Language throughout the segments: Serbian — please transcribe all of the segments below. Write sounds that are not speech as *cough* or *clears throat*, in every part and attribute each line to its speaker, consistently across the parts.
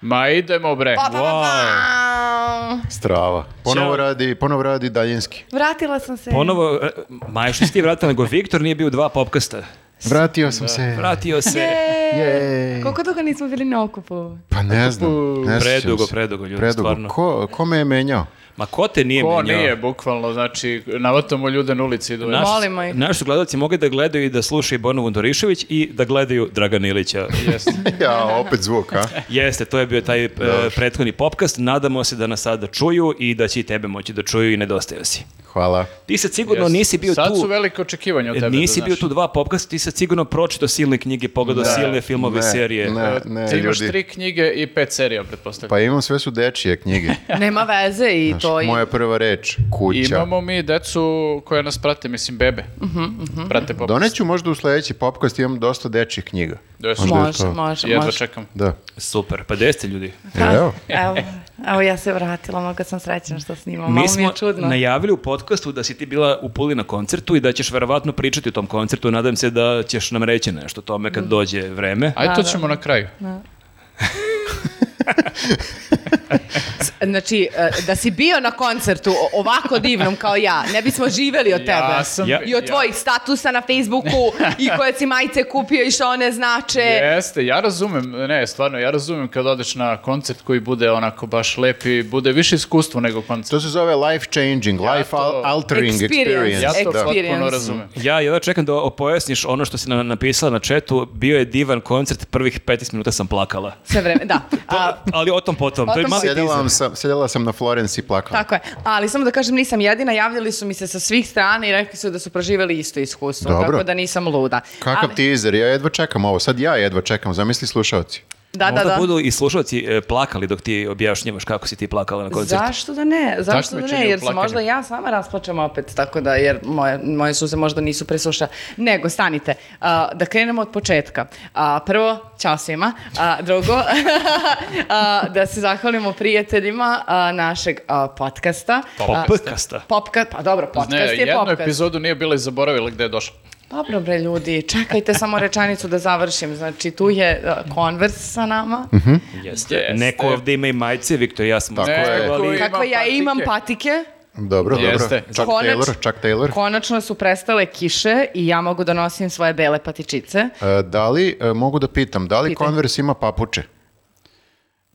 Speaker 1: Ma idemo bre.
Speaker 2: Pa, pa, pa, pa.
Speaker 3: Strava. Ponovo radi, ponovo radi daljinski.
Speaker 2: Vratila sam se.
Speaker 4: Ponovo, e, Maja što si ti vratila, nego Viktor nije bio u dva popkasta.
Speaker 3: Vratio sam se.
Speaker 4: Vratio se.
Speaker 2: Jej.
Speaker 3: Jej.
Speaker 2: Koliko dugo nismo bili na okupu?
Speaker 3: Pa ne znam. Ne sjećam
Speaker 4: Predugo,
Speaker 3: se.
Speaker 4: predugo, ljudi,
Speaker 3: Predugo.
Speaker 4: stvarno.
Speaker 3: Ko, ko me je menjao? *laughs*
Speaker 4: Ma ko te nije
Speaker 1: Ko
Speaker 4: menjao?
Speaker 1: nije, bukvalno, znači, navatamo ljude na ulici. Do
Speaker 4: Naš,
Speaker 2: Molimo ih.
Speaker 4: naši su gledalci mogli da gledaju i da slušaju Bonovu Dorišević i da gledaju Dragana Ilića.
Speaker 3: Ja, opet zvuk, a?
Speaker 4: *laughs* Jeste, to je bio taj e, prethodni popkast. Nadamo se da nas sada čuju i da će i tebe moći da čuju i nedostaju si.
Speaker 3: Hvala.
Speaker 4: Ti sad sigurno nisi bio
Speaker 1: Sad
Speaker 4: tu...
Speaker 1: su velike očekivanja od
Speaker 4: E,
Speaker 1: tebe.
Speaker 4: Nisi
Speaker 1: da
Speaker 4: bio
Speaker 1: znaš.
Speaker 4: tu dva popkasta, ti sad sigurno pročito silne knjige, pogledao silne filmove,
Speaker 3: Ne,
Speaker 4: serije.
Speaker 3: Ne,
Speaker 1: E,
Speaker 3: ne,
Speaker 1: Ti imaš
Speaker 3: ljudi.
Speaker 1: tri knjige i pet serija, pretpostavljam.
Speaker 3: Pa imam sve su dečije knjige.
Speaker 2: Nema veze i
Speaker 3: Znaš,
Speaker 2: to i...
Speaker 3: moja prva reč, kuća.
Speaker 1: Imamo mi decu koja nas prate, mislim bebe.
Speaker 2: Mhm,
Speaker 1: Prate popis.
Speaker 3: Doneću možda u sledeći popkast, imam dosta dečjih knjiga.
Speaker 1: Dosta.
Speaker 3: Možda je
Speaker 2: Može,
Speaker 3: to.
Speaker 2: može,
Speaker 1: Jedva
Speaker 2: može.
Speaker 1: čekam.
Speaker 3: Da.
Speaker 4: Super, pa gde ste ljudi?
Speaker 3: Evo.
Speaker 2: Evo, evo ja se vratila, mnogo sam srećna što snimam. Malo
Speaker 4: Mi
Speaker 2: mi
Speaker 4: smo
Speaker 2: je čudno.
Speaker 4: najavili u podcastu da si ti bila u Puli na koncertu i da ćeš verovatno pričati o tom koncertu. Nadam se da ćeš nam reći nešto o tome
Speaker 2: Mm.
Speaker 4: kad dođe vreme.
Speaker 1: Ajde, to
Speaker 2: Da, da.
Speaker 1: ćemo na kraju.
Speaker 2: Znači, e, da si bio na koncertu o- ovako divnom kao ja, ne bismo živeli od tebe.
Speaker 1: Ja sam...
Speaker 4: Ja-
Speaker 2: I od tvojih statusa na Facebooku i koje si majice kupio i što one znače.
Speaker 1: Jeste, ja razumem, ne, stvarno, ja razumem kad odeš na koncert koji bude onako baš lep i bude više iskustvo nego koncert.
Speaker 3: To se zove life changing,
Speaker 1: Ja
Speaker 3: life
Speaker 1: to-
Speaker 3: al- altering
Speaker 2: Experience.
Speaker 3: experience.
Speaker 1: Ja to
Speaker 2: Da.
Speaker 1: potpuno
Speaker 2: Experience.
Speaker 1: razumem.
Speaker 4: Ja jedva čekam da opojasniš ono što si nam napisala na četu. Bio je divan koncert, prvih 15 minuta sam plakala.
Speaker 2: Sve vreme, da. A,
Speaker 4: Ali o tom potom. to je
Speaker 2: Potom
Speaker 4: mali
Speaker 3: Sedela,
Speaker 4: teaser.
Speaker 3: vam sam, sedela sam na Florence i plakala.
Speaker 2: Tako je. Ali samo da kažem, nisam jedina, javljali su mi se sa svih strana i rekli su da su proživjeli isto iskustvo,
Speaker 3: Dobro.
Speaker 2: tako da nisam luda.
Speaker 3: Kakav
Speaker 2: Ali-
Speaker 3: teaser, ja jedva čekam ovo. Sad ja jedva čekam, zamisli slušalci.
Speaker 2: Da, da,
Speaker 4: Možda
Speaker 2: da.
Speaker 4: budu i slušalci e, plakali dok ti objašnjavaš kako si ti plakala na koncertu.
Speaker 2: Zašto da ne? Zašto da
Speaker 1: Takmičenje
Speaker 2: ne?
Speaker 1: u
Speaker 2: Jer se
Speaker 1: plakanju.
Speaker 2: možda ja sama rasplačem opet, tako da, jer moje, moje suze možda nisu presuša. Nego, stanite, a, da krenemo od početka. A, prvo, čao svima. A, drugo, *laughs* a, da se zahvalimo prijateljima a, našeg a, podcasta. A,
Speaker 4: Popkasta.
Speaker 2: popka- pa dobro, podcast
Speaker 1: Ne,
Speaker 2: je
Speaker 1: jednu
Speaker 2: podcast.
Speaker 1: epizodu nije bila i zaboravila gde je došla.
Speaker 2: Dobro bre ljudi, čekajte samo rečanicu da završim. Znači tu je uh, Converse sa nama.
Speaker 4: Jeste.
Speaker 1: Jeste.
Speaker 4: Neko ovdje ima i majice, Viktor i ja smo
Speaker 3: Tako
Speaker 4: uspeli, ali-
Speaker 3: je.
Speaker 1: Neko ima
Speaker 2: Kakve ja
Speaker 1: patike.
Speaker 2: imam patike.
Speaker 3: Dobro,
Speaker 1: Jeste.
Speaker 3: dobro. Chuck
Speaker 2: Konač-
Speaker 3: Taylor, Chuck Taylor.
Speaker 2: Konačno su prestale kiše i ja mogu da nosim svoje bele patičice.
Speaker 3: E, da li, e, mogu da pitam, da li
Speaker 2: Pitaj.
Speaker 3: Converse ima papuče?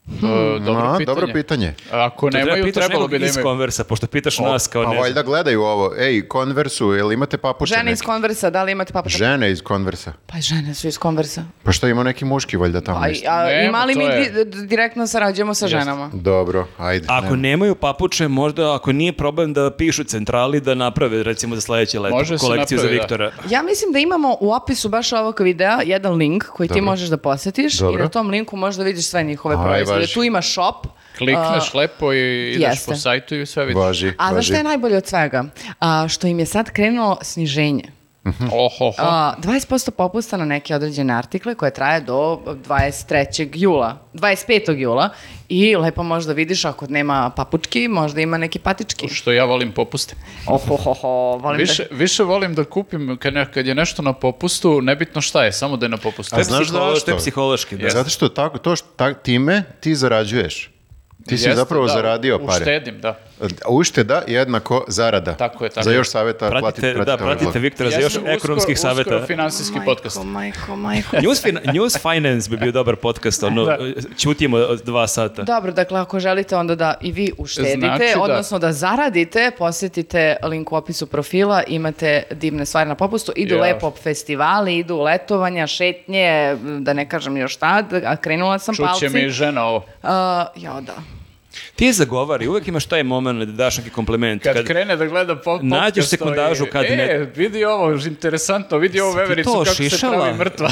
Speaker 1: E, dobro,
Speaker 3: A,
Speaker 1: pitanje.
Speaker 3: Mhm. dobro pitanje.
Speaker 1: Ako
Speaker 4: To treba
Speaker 1: nemaju,
Speaker 4: pitaš
Speaker 1: trebalo
Speaker 4: nekog
Speaker 1: bi da
Speaker 4: iz
Speaker 1: imaju.
Speaker 4: konversa, pošto pitaš nas kao
Speaker 3: Pa
Speaker 4: ne znam.
Speaker 3: valjda gledaju ovo. Ej, Converse-u, jel imate papuče?
Speaker 2: Žene
Speaker 3: neke?
Speaker 2: iz Converse, da li imate papuče?
Speaker 3: Žene iz Converse-a.
Speaker 2: Pa žene su iz Converse.
Speaker 3: Pa što ima neki muški valjda tamo?
Speaker 2: Pa,
Speaker 3: isto?
Speaker 2: a,
Speaker 1: Nema,
Speaker 2: imali
Speaker 1: to
Speaker 2: mi
Speaker 1: je.
Speaker 2: di- d- direktno sarađujemo sa ženama.
Speaker 3: Dobro, ajde.
Speaker 4: Ako
Speaker 3: nema.
Speaker 4: nemaju papuče, možda ako nije problem da pišu centrali da naprave recimo za sledeće leto
Speaker 1: Može se
Speaker 4: kolekciju
Speaker 1: napravi,
Speaker 4: za
Speaker 1: da.
Speaker 4: Viktora.
Speaker 2: Ja mislim da imamo u opisu baš ovog videa jedan link koji ti
Speaker 3: Dobro.
Speaker 2: možeš da posjetiš i
Speaker 3: Dobro.
Speaker 2: na tom linku možeš da vidiš sve njihove
Speaker 3: Aj,
Speaker 2: proizvode.
Speaker 3: važi.
Speaker 2: Tu ima shop. a,
Speaker 1: Klikneš lepo i ideš
Speaker 2: jeste.
Speaker 1: po sajtu i sve vidiš.
Speaker 3: Važi,
Speaker 2: A znaš
Speaker 3: važi.
Speaker 2: šta je najbolje od svega? A, što im je sad krenulo sniženje.
Speaker 3: Mhm.
Speaker 1: Oho, ho.
Speaker 2: A, 20% popusta na neke određene artikle koje traje do 23. jula, 25. jula i lepo možeš da vidiš ako nema papučki, možda ima neki patički.
Speaker 1: Što ja volim popuste.
Speaker 2: Oho, ho, ho, volim te.
Speaker 1: Više, više volim da kupim kad, ne- kad je nešto na popustu, nebitno šta je, samo da je na popustu.
Speaker 4: To je
Speaker 3: znaš
Speaker 4: psiholo-
Speaker 3: zašto?
Speaker 4: To je psihološki, da.
Speaker 3: Zato što tako, to što, tak- time ti zarađuješ. Ti si
Speaker 1: Jeste,
Speaker 3: zapravo
Speaker 1: da,
Speaker 3: zaradio pare.
Speaker 1: Uštedim, da.
Speaker 3: A Ušteda jednako zarada.
Speaker 1: Tako je, tako
Speaker 3: Za
Speaker 1: je.
Speaker 3: još savjeta platite,
Speaker 4: Pratite, da,
Speaker 3: ovaj
Speaker 4: pratite
Speaker 3: blog.
Speaker 4: Viktora za
Speaker 1: Ja
Speaker 4: još
Speaker 1: sam uskoro-
Speaker 4: ekonomskih
Speaker 1: Uskoro
Speaker 4: saveta.
Speaker 1: financijski podcast.
Speaker 2: Majko, majko, majko.
Speaker 4: News, fin- news Finance bi bio dobar podcast, ono,
Speaker 1: Da.
Speaker 4: ćutimo od dva sata.
Speaker 2: Dobro, dakle, ako želite onda da i vi uštedite,
Speaker 1: Znači da-
Speaker 2: odnosno da zaradite, posjetite link u opisu profila, imate divne stvari na popustu, idu
Speaker 1: Ja.
Speaker 2: lepo festivali, idu letovanja, šetnje, da ne kažem još šta, a krenula sam palci.
Speaker 1: Čuće mi žena ovo.
Speaker 2: A, jao da.
Speaker 4: Ti je zagovari, uvek imaš taj moment da daš neki komplement.
Speaker 1: Kad, krene da gleda po, podcast,
Speaker 4: Nađeš sekundažu
Speaker 1: to je,
Speaker 4: kad
Speaker 1: e,
Speaker 4: ne-
Speaker 1: vidi ovo, interesantno, vidi ovo
Speaker 4: Jesi ti
Speaker 1: vevericu
Speaker 4: to
Speaker 1: kako se
Speaker 4: šišala?
Speaker 1: pravi
Speaker 3: *laughs*
Speaker 1: mrtva.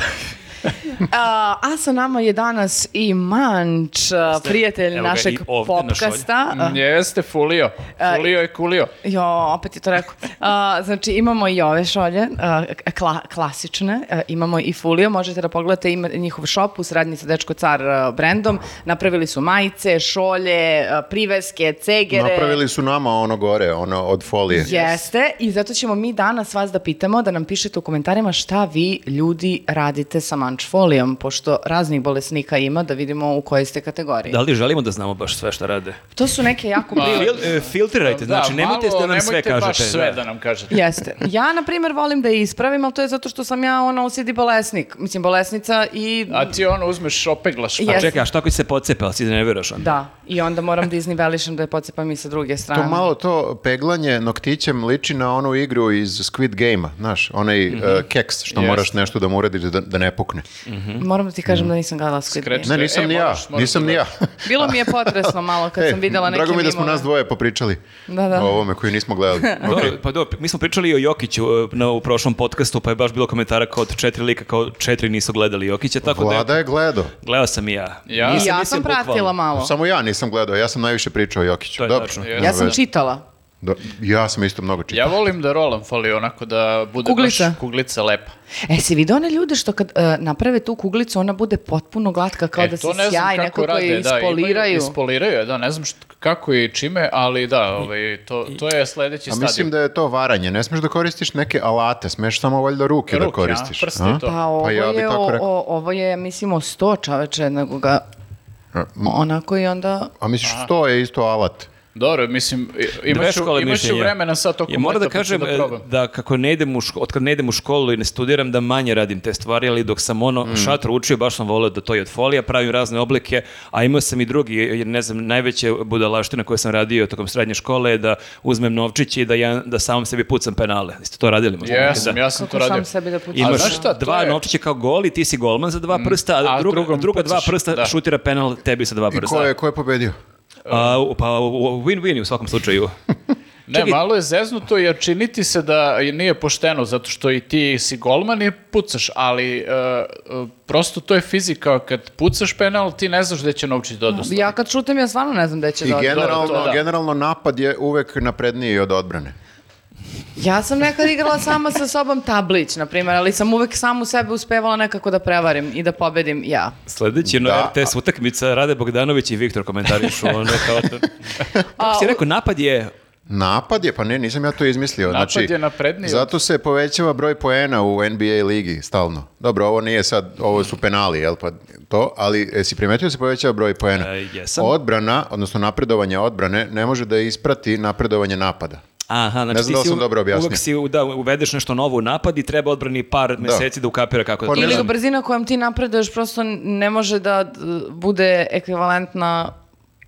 Speaker 2: A, a sa nama je danas i Manč, a, prijatelj
Speaker 4: Evo ga,
Speaker 2: našeg
Speaker 4: i ovde Mm. naš
Speaker 2: popkasta. A,
Speaker 1: Jeste, fulio. Fulio je kulio.
Speaker 2: Jo, opet je to rekao. A, znači, imamo i ove šolje, a, kla- klasične, a, imamo i Fulio, možete da pogledate ima njihov shop u sradnji sa Dečko Car a, brendom. Napravili su majice, šolje, a, priveske, cegere.
Speaker 3: Napravili su nama ono gore, ono od folije.
Speaker 2: Jeste, i zato ćemo mi danas vas da pitamo, da nam pišete u komentarima šta vi ljudi radite sa Manč Foliom. bolijom, pošto raznih bolesnika ima, da vidimo u kojoj ste kategoriji.
Speaker 4: Da li želimo da znamo baš sve šta rade?
Speaker 2: To su neke jako
Speaker 1: Ma,
Speaker 2: privatne.
Speaker 4: Fil- e, filtrirajte, znači nemojte da nam sve
Speaker 1: nemojte
Speaker 4: kažete.
Speaker 1: baš sve
Speaker 4: da.
Speaker 1: da nam kažete.
Speaker 2: Jeste. Ja, na primjer, volim da je ispravim, ali to je zato što sam ja ono osjedi bolesnik. Mislim, bolesnica i...
Speaker 1: A ti ono uzmeš, opeglaš. pa.
Speaker 2: Je.
Speaker 4: A
Speaker 2: Jeste.
Speaker 4: čekaj, a šta ako se pocepe, ali si ne vjeraš onda?
Speaker 2: Da, i onda moram da iznivelišem da je pocepam i sa druge strane.
Speaker 3: To malo to peglanje noktićem liči na onu igru iz Squid Game-a, znaš, onaj e, keks što
Speaker 1: Mhm. Jeste.
Speaker 3: moraš nešto da mu uradiš da, da ne pukne.
Speaker 1: Mhm.
Speaker 2: Moram da ti
Speaker 3: Mhm.
Speaker 2: kažem da nisam gledala Squid Game.
Speaker 1: Skreću.
Speaker 3: Ne,
Speaker 1: E,
Speaker 3: nisam ni ja,
Speaker 1: moraš- moraš
Speaker 3: nisam
Speaker 1: da
Speaker 3: ni ja. *laughs*
Speaker 2: Bilo mi je potresno malo kad sam
Speaker 3: E,
Speaker 2: videla neke
Speaker 3: Drago mi je da smo
Speaker 2: mimove.
Speaker 3: nas dvoje popričali
Speaker 2: Da, da.
Speaker 3: o ovome koji
Speaker 2: *laughs*
Speaker 3: nismo gledali.
Speaker 4: Dobro, pa dobro, mi smo pričali o Jokiću e, na, u prošlom podcastu, pa je baš bilo komentara kao od četiri lika, kao četiri nisu gledali Jokića, tako
Speaker 3: Vlada
Speaker 4: da
Speaker 3: je gledao.
Speaker 4: gledao sam i ja.
Speaker 1: Ja?
Speaker 2: I
Speaker 4: Nisam,
Speaker 2: ja
Speaker 4: mislim,
Speaker 2: sam pratila
Speaker 4: bukvalno.
Speaker 2: malo.
Speaker 3: Samo ja nisam gledao, ja sam najviše pričao o Jokiću.
Speaker 4: To je
Speaker 3: Dobro,
Speaker 4: tačno.
Speaker 3: nema
Speaker 1: Ja
Speaker 2: Ja sam
Speaker 3: veze.
Speaker 2: čitala.
Speaker 3: Do- ja sam isto mnogo čitao.
Speaker 1: Ja volim da rolam fali onako da bude
Speaker 2: Kuglica.
Speaker 1: baš kuglica lepa.
Speaker 2: E, si vidio one ljude što kad e, naprave tu kuglicu, ona bude potpuno glatka, kao
Speaker 1: E,
Speaker 2: da se
Speaker 1: to ne znam
Speaker 2: sjaj,
Speaker 1: kako
Speaker 2: nekako je
Speaker 1: da, imaju-
Speaker 2: ispoliraju.
Speaker 1: ispoliraju, je, da, ne znam št- kako i čime, ali da, ovaj, to, to je sledeći
Speaker 3: A
Speaker 1: stadij.
Speaker 3: mislim da je to varanje. Ne smeš da koristiš neke alate, smeš samo valjda ruke, da
Speaker 1: Ruke, a,
Speaker 3: koristiš.
Speaker 1: prsti
Speaker 3: a?
Speaker 1: i to.
Speaker 2: Pa ovo,
Speaker 3: ja bi
Speaker 2: je,
Speaker 3: tako
Speaker 2: o-
Speaker 3: rekao.
Speaker 2: o- ovo je, mislim, o sto čoveče, nego ga
Speaker 3: A,
Speaker 2: onako i onda...
Speaker 3: A misliš, to je isto alat.
Speaker 1: Dobro, mislim, i-
Speaker 4: Dve
Speaker 1: imaš,
Speaker 4: škole
Speaker 1: imaš
Speaker 4: mišljenja.
Speaker 1: vremena sad tokom
Speaker 4: Ja moram da
Speaker 1: leta, pa ću
Speaker 4: kažem e, da,
Speaker 1: probam.
Speaker 4: kako ne idem u ško- otkad ne idem u školu i ne studiram da manje radim te stvari, ali dok sam ono šatro učio baš sam voleo da to i od folija pravim razne oblike, a imao sam i drugi e, jer ne znam najveće budalaštine koje sam radio tokom srednje škole je da uzmem novčiće i da ja da samom sebi pucam penale. Jeste to radili možda?
Speaker 1: Jesam,
Speaker 4: Da.
Speaker 1: ja sam
Speaker 2: Kako
Speaker 1: to radio.
Speaker 2: sam sebi da pucam?
Speaker 1: A
Speaker 4: Imaš
Speaker 1: znaš šta, to
Speaker 4: dva
Speaker 1: je- Mm.
Speaker 4: novčića kao gol i ti si golman za dva prsta, a,
Speaker 1: a
Speaker 4: druga-
Speaker 1: drugom
Speaker 4: druga dva
Speaker 1: pucaš,
Speaker 4: prsta
Speaker 1: da.
Speaker 4: šutira penal tebi sa dva
Speaker 3: I
Speaker 4: prsta.
Speaker 3: ko je, ko je pobedio?
Speaker 4: A, u- pa u- u- win-win je u svakom
Speaker 3: *laughs*
Speaker 4: slučaju.
Speaker 1: Ne, malo je zeznuto jer čini ti se da nije pošteno zato što i ti si golman i pucaš, ali e, e, prosto to je fizika. Kad pucaš penal, ti ne znaš gde će novčić da odnosno.
Speaker 2: Ja kad šutem, ja stvarno ne znam gde će
Speaker 3: I
Speaker 2: da ode.
Speaker 3: generalno,
Speaker 1: to da.
Speaker 3: generalno napad je uvek napredniji od odbrane.
Speaker 2: Ja sam nekad igrala sama sa sobom tablić, na primjer, ali sam uvek samu sebe uspevala nekako da prevarim i da pobedim ja.
Speaker 4: Sljedeći na
Speaker 3: Da.
Speaker 4: RTS utakmica Rade Bogdanović i
Speaker 1: *laughs*
Speaker 4: Viktor komentarišu ono kao... Kako si rekao, napad je...
Speaker 3: Napad je, pa ne, nisam ja to izmislio.
Speaker 1: Napad
Speaker 3: znači,
Speaker 1: je napredniji od-
Speaker 3: Zato se povećava broj poena u NBA ligi stalno. Dobro, ovo nije sad, ovo su penali, jel pa to, ali e, si primetio da se povećava broj poena?
Speaker 4: E, jesam.
Speaker 3: Odbrana, odnosno napredovanje odbrane, ne može da isprati napredovanje napada.
Speaker 4: Aha, znači
Speaker 3: Ne znam
Speaker 4: ti
Speaker 3: da li
Speaker 4: si
Speaker 3: sam
Speaker 4: u-
Speaker 3: dobro objasnio.
Speaker 4: uvek si u- da, uvedeš nešto novo u napad i treba odbrani par mjeseci da ukapira kako
Speaker 3: Pa
Speaker 4: da to
Speaker 2: Ili
Speaker 3: ne
Speaker 4: radi.
Speaker 2: ga
Speaker 3: znam.
Speaker 2: brzina kojom ti napreduješ prosto ne može da d- bude ekvivalentna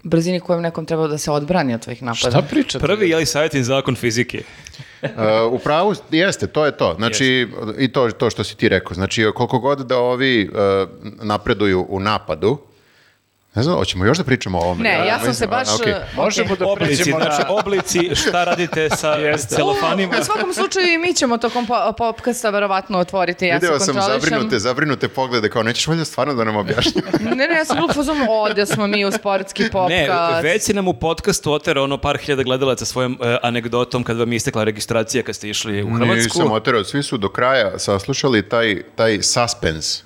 Speaker 2: brzini kojom nekom treba da se odbrani od tvojih napada.
Speaker 1: Šta pričate?
Speaker 4: Prvi, je li savjetin zakon fizike?
Speaker 3: E, u pravu jeste, to je to. Znači, i to, to što si ti rekao. Znači, koliko god da ovi e, napreduju u napadu, ne znam, hoćemo još da pričamo o ovome?
Speaker 2: Ne, ja sam se
Speaker 3: mislim,
Speaker 2: baš...
Speaker 3: a, okej.
Speaker 2: uh,
Speaker 1: Možemo da
Speaker 4: Oblici,
Speaker 1: pređemo
Speaker 4: znači
Speaker 1: na...
Speaker 4: oblici, šta radite sa
Speaker 1: *laughs* Jeste. *laughs*
Speaker 4: celofanima?
Speaker 2: U svakom slučaju i mi ćemo tokom po- popkasta verovatno otvoriti, ja se
Speaker 3: Video sam
Speaker 2: kontrolišem.
Speaker 3: zabrinute, zabrinute poglede, kao nećeš valjda stvarno da nam
Speaker 2: *laughs*
Speaker 3: objašnjam.
Speaker 2: Ne, ne, ja sam bilo u fazonu, ovdje smo mi u sportski
Speaker 4: Ne,
Speaker 2: popkast.
Speaker 4: već si nam u podcastu oterao ono par hiljada gledalaca svojom e, anegdotom kad vam je istekla registracija kad ste išli u Hrvatsku.
Speaker 3: Nisam oterao, svi su do kraja saslušali taj, taj
Speaker 1: *laughs*
Speaker 3: suspens.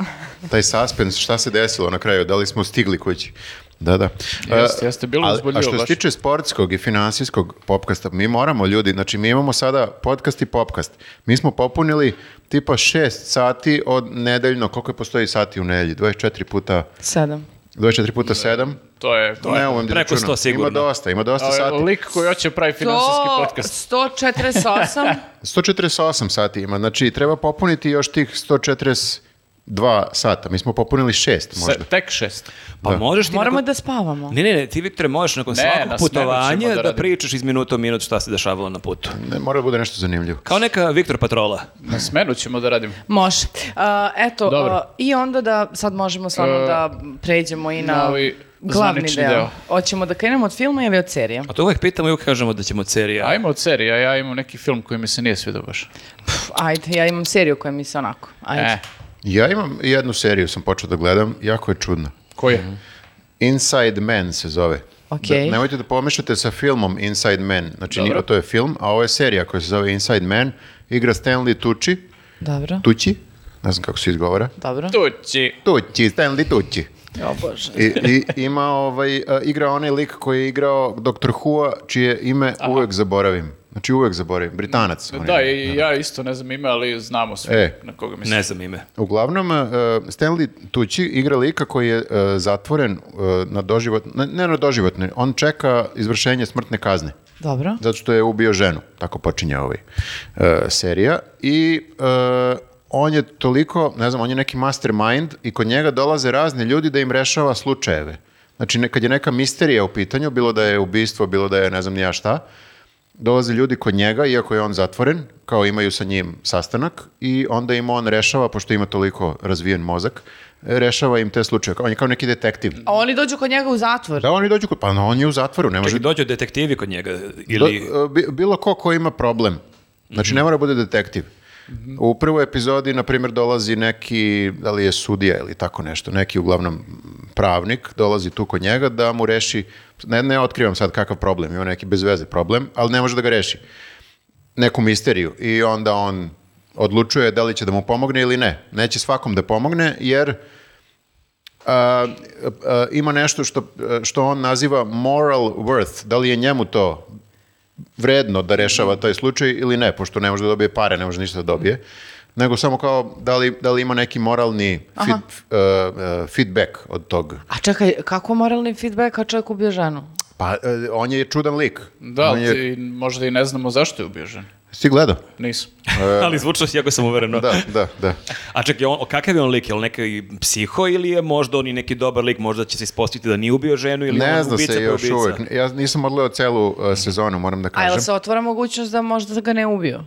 Speaker 3: Taj suspens, šta se desilo na kraju, da li smo stigli kući. Da, da.
Speaker 1: Jeste, jeste, bilo
Speaker 3: Ali-
Speaker 1: uzbudljivo
Speaker 3: A što se
Speaker 1: baš.
Speaker 3: tiče sportskog i finansijskog popkasta, mi moramo ljudi, znači mi imamo sada podcast i popkast. Mi smo popunili tipa šest sati od nedeljno, koliko je postoji sati u nedelji? 24 puta,
Speaker 2: Sedam.
Speaker 3: 24
Speaker 1: Da.
Speaker 3: puta 7?
Speaker 1: To je... To je.
Speaker 3: Ne, umem da
Speaker 4: preko
Speaker 3: izračunam.
Speaker 4: sto sigurno. Ovaj,
Speaker 3: Ima dosta, ima dosta
Speaker 1: Ovo je
Speaker 3: sati.
Speaker 1: lik koji hoće pravi finansijski
Speaker 2: To
Speaker 1: podcast.
Speaker 2: 148
Speaker 3: 148 sati ima, znači treba popuniti još tih 142 sata. Mi smo popunili šest možda.
Speaker 1: Se, tek šest.
Speaker 4: Pa možeš ti
Speaker 2: moramo
Speaker 4: nakon-
Speaker 2: da spavamo.
Speaker 4: Ne, ne, ne, ti Viktore možeš nakon
Speaker 1: Ne,
Speaker 4: svakog
Speaker 1: na smenu ćemo
Speaker 4: putovanja
Speaker 1: da
Speaker 4: da,
Speaker 1: radimo.
Speaker 4: pričaš iz minuta u minut šta se dešavalo na putu.
Speaker 3: Ne, mora da bude nešto zanimljivo.
Speaker 4: Kao neka Viktor Patrola.
Speaker 1: Na smenu ćemo da radimo.
Speaker 2: Može. A, eto,
Speaker 1: Dobro.
Speaker 2: a, i onda da sad možemo stvarno
Speaker 1: E,
Speaker 2: da pređemo i na
Speaker 1: novi
Speaker 2: glavni
Speaker 1: zvanični
Speaker 2: deo.
Speaker 1: deo.
Speaker 2: Hoćemo da krenemo od filma ili od serije?
Speaker 4: A Pa to uvek pitamo i uvek kažemo da ćemo od serija.
Speaker 1: Ajmo od serija, ja imam neki film koji mi se nije svidao baš.
Speaker 2: Pff, ajde, ja imam seriju koja mi se onako. Ajde.
Speaker 1: E,
Speaker 3: Ja imam jednu seriju, sam počeo da gledam, jako je čudna.
Speaker 1: koji je?
Speaker 3: Inside Man se zove.
Speaker 2: Okej.
Speaker 3: Da- nemojte da pomešate sa filmom Inside Man. Znači,
Speaker 1: Dobro.
Speaker 3: nije- to je film, a ovo je serija koja se zove Inside Man. Igra Stanley Tucci.
Speaker 2: Dobro.
Speaker 3: Tucci? Ne znam kako se izgovara.
Speaker 2: Dobro.
Speaker 1: Tući.
Speaker 3: Tucci, Stanley Tucci.
Speaker 2: O Bože.
Speaker 3: I, i e, ima ovaj, a, igra onaj lik koji je igrao Dr. Hua, čije ime uvek zaboravim. Znači uvek zaboravim. Britanac. on je.
Speaker 1: Da, i ja isto ne znam ime, ali znamo sve
Speaker 3: E.
Speaker 1: na koga mislim.
Speaker 4: Ne znam ime.
Speaker 3: Uglavnom, e, Stanley Tucci igra lika koji je e, zatvoren e, na doživotno, ne, ne na doživotno, on čeka izvršenje smrtne kazne.
Speaker 5: Dobro.
Speaker 3: Zato što je ubio ženu, tako počinje ovaj e, serija. I e, on je toliko, ne znam, on je neki mastermind i kod njega dolaze razni ljudi da im rešava slučajeve. Znači, ne- kad je neka misterija u pitanju, bilo da je ubistvo, bilo da je ne znam ni ja šta, dolaze ljudi kod njega, iako je on zatvoren, kao imaju sa njim sastanak i onda im on rešava, pošto ima toliko razvijen mozak, e, rešava im te slučaje. On je kao neki detektiv.
Speaker 5: A oni dođu kod njega u zatvor.
Speaker 3: Da, oni dođu kod, pa on je u zatvoru, ne može
Speaker 4: Čekaj, dođu detektivi kod njega ili...
Speaker 3: Do- e, bi- bilo ko ko ima problem. Znači, ne mora da bude detektiv. U prvoj epizodi, na primjer, dolazi neki, da li je sudija ili tako nešto, neki uglavnom m, pravnik, dolazi tu kod njega da mu reši, ne, ne otkrivam sad kakav problem, ima neki bez veze problem, ali ne može da ga reši. Neku misteriju. I onda on odlučuje da li će da mu pomogne ili ne. Neće svakom da pomogne, jer a, a, ima nešto što, što on naziva moral worth. Da li je njemu to vredno da rešava taj slučaj ili ne, pošto ne može da dobije pare, ne može ništa da dobije, nego samo kao da li, da li ima neki moralni fit, e, e, feedback od tog.
Speaker 5: A čekaj, kako moralni feedback kad čovjek ubio ženu?
Speaker 3: Pa e, on je čudan lik.
Speaker 1: Da,
Speaker 3: on
Speaker 1: ali
Speaker 3: je,
Speaker 1: ti možda i ne znamo zašto je ubio ženu.
Speaker 3: si gledao?
Speaker 1: Nisam.
Speaker 4: *laughs* ali zvučno si jako sam uvereno.
Speaker 3: e- Da, da, da.
Speaker 4: A čekaj, on, kakav je on lik? Je li neki psiho ili je možda on i neki dobar lik? Možda će se ispostaviti da nije ubio ženu ili
Speaker 3: Ne
Speaker 4: on
Speaker 3: zna
Speaker 4: ubica
Speaker 3: se
Speaker 4: pa
Speaker 3: još
Speaker 4: ubica?
Speaker 3: uvek. Ja nisam odgledao celu e, sezonu, moram da
Speaker 5: A jel
Speaker 3: kažem.
Speaker 5: se otvara mogućnost da možda ga ne ubio?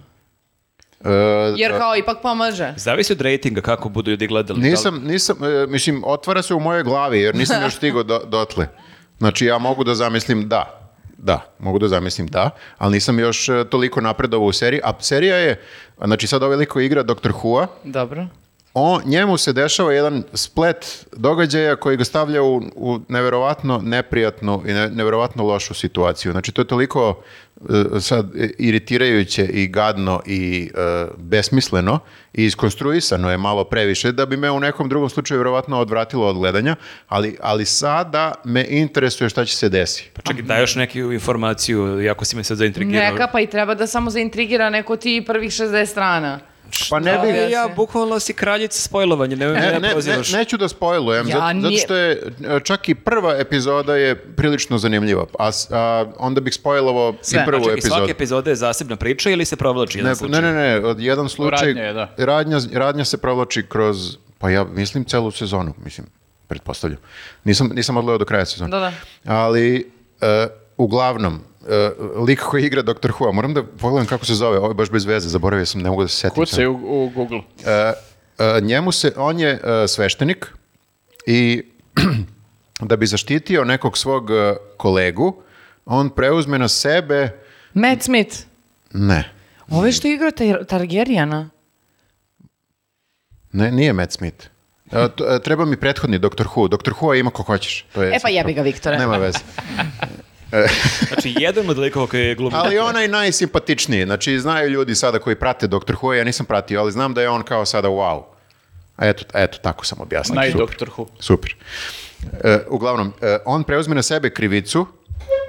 Speaker 3: E,
Speaker 5: Jer kao ipak pomaže.
Speaker 4: Zavisi od rejtinga kako budu ljudi gledali. Da li-
Speaker 3: Nisam, nisam, e, mislim, otvara se u mojoj glavi, jer
Speaker 4: *laughs*
Speaker 3: nisam još stigao do, dotle. Znači, ja mogu da zamislim da, da, mogu da zamislim da, ali nisam još e, toliko napredovao u seriji, a serija je, znači sad ovaj lik koji igra Dr. Hua,
Speaker 5: Dobro.
Speaker 3: on, njemu se dešava jedan splet događaja koji ga stavlja u, u neverovatno neprijatnu i ne, neverovatno lošu situaciju. Znači, to je toliko e, sad e, iritirajuće i gadno i e, besmisleno i iskonstruisano je malo previše da bi me u nekom drugom slučaju verovatno odvratilo od gledanja, ali, ali sada me interesuje šta će se desiti.
Speaker 4: Pa čekaj, daj još neku informaciju, jako si me sad zaintrigirao.
Speaker 5: Neka pa i treba da samo zaintrigira neko ti prvih 60 strana.
Speaker 3: Pa ne
Speaker 4: Ali
Speaker 3: bih...
Speaker 5: bi-
Speaker 4: ja, bukvalno si kraljica spojlovanja, ne,
Speaker 3: Ne,
Speaker 4: ne,
Speaker 3: ne, ne, neću da spojlujem,
Speaker 5: Ja
Speaker 3: zato, zato
Speaker 5: nije-
Speaker 3: što je e, čak i prva epizoda je prilično zanimljiva, a, s- a onda bih spojlovao i
Speaker 5: Sve.
Speaker 3: prvu
Speaker 4: Čekaj,
Speaker 3: epizodu.
Speaker 4: svaka epizoda je zasebna priča ili se provlači jedan
Speaker 3: Ne,
Speaker 4: slučaj?
Speaker 3: ne, ne, ne, od jedan slučaj,
Speaker 1: Radnja je, da.
Speaker 3: radnja, radnja se provlači kroz, pa ja mislim celu sezonu, mislim, pretpostavljam. Nisam, nisam odgledao do kraja sezone.
Speaker 5: Da, da.
Speaker 3: Ali, e, uglavnom, e, lik koji igra Dr. Hua, moram da pogledam kako se zove, ovo je baš bez veze, zaboravio sam, ne mogu da se setim. sad.
Speaker 1: Kucaj u, u Google.
Speaker 3: E, e, njemu se, on je e, sveštenik i *clears throat* da bi zaštitio nekog svog e, kolegu, on preuzme na sebe,
Speaker 5: Matt Smith.
Speaker 3: ne,
Speaker 5: Ove što igra Tar- Targaryena.
Speaker 3: ne nije Matt Smith. E, t- e, treba mi prethodni Dr. Who. Dr. Who ima ko hoćeš. To je
Speaker 5: E pa jebi ga, Viktore.
Speaker 3: Nema veze.
Speaker 4: Znači, jedan od likova koji je glumio.
Speaker 3: Ali onaj najsimpatičniji. Znači, znaju ljudi sada koji prate Dr. Who, ja nisam pratio, ali znam da je on kao sada wow. A eto, eto tako sam objasnio. Super.
Speaker 1: Najdoktor Who.
Speaker 3: Super. E, uglavnom, e, on preuzme na sebe krivicu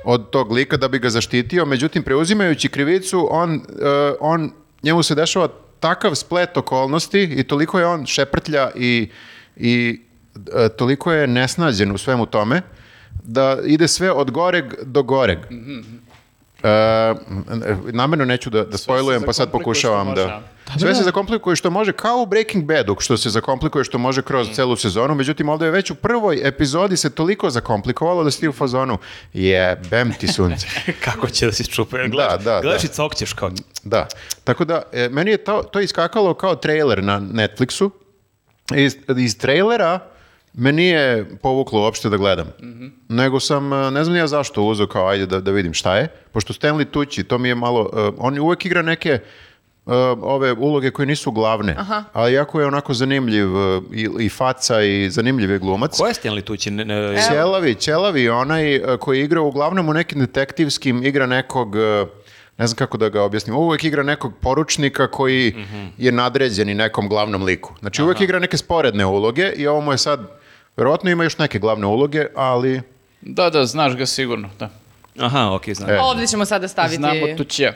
Speaker 3: od tog lika da bi ga zaštitio, međutim, preuzimajući krivicu, on, e, on, njemu se dešava takav splet okolnosti i toliko je on šeprtlja i, i e, toliko je nesnađen u svemu tome da ide sve od goreg do goreg.
Speaker 1: Mhm.
Speaker 3: E, namerno neću da, da spojlujem, pa sad
Speaker 1: zakomplikuje
Speaker 3: pokušavam
Speaker 1: što može,
Speaker 3: da... Sve se zakomplikuje što može, kao u Breaking Badu, što se zakomplikuje što može kroz celu sezonu, međutim ovdje je već u prvoj epizodi se toliko zakomplikovalo da si ti u fazonu jebem ti sunce.
Speaker 4: *laughs* Kako će da se čupe?
Speaker 3: Da, da,
Speaker 4: Gledaš
Speaker 3: da.
Speaker 4: i cokćeš kao...
Speaker 3: da. Tako da, e, meni je to, to iskakalo kao trailer na Netflixu. Iz, iz trailera me nije povuklo uopšte da gledam. Nego sam, e, ne znam ni ja zašto uzeo kao ajde da, da vidim šta je. Pošto Stanley Tucci, to mi je malo, e, on uvek igra neke e, ove uloge koje nisu glavne. A jako je onako zanimljiv e, i, i faca i zanimljiv je glumac.
Speaker 4: Ko je Stanley Tucci? Ne,
Speaker 3: E.
Speaker 4: ne,
Speaker 3: Ćelavi, Ćelavi, onaj e, koji igra uglavnom u nekim detektivskim, igra nekog, e, ne znam kako da ga objasnim, uvek igra nekog poručnika koji
Speaker 4: Mhm.
Speaker 3: je nadređen i nekom glavnom liku. Znači uvek igra neke sporedne uloge i ovo mu je sad, verovatno ima još neke glavne uloge, ali
Speaker 1: Da, da, znaš ga sigurno, da.
Speaker 4: Aha, okej, znam.
Speaker 3: E.
Speaker 5: Ovdje ćemo sada staviti.
Speaker 1: Znamo Tućija.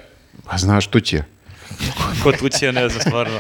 Speaker 3: Pa znaš, tu će.
Speaker 4: Ko tući, ja ne znam,
Speaker 3: *laughs*
Speaker 4: stvarno.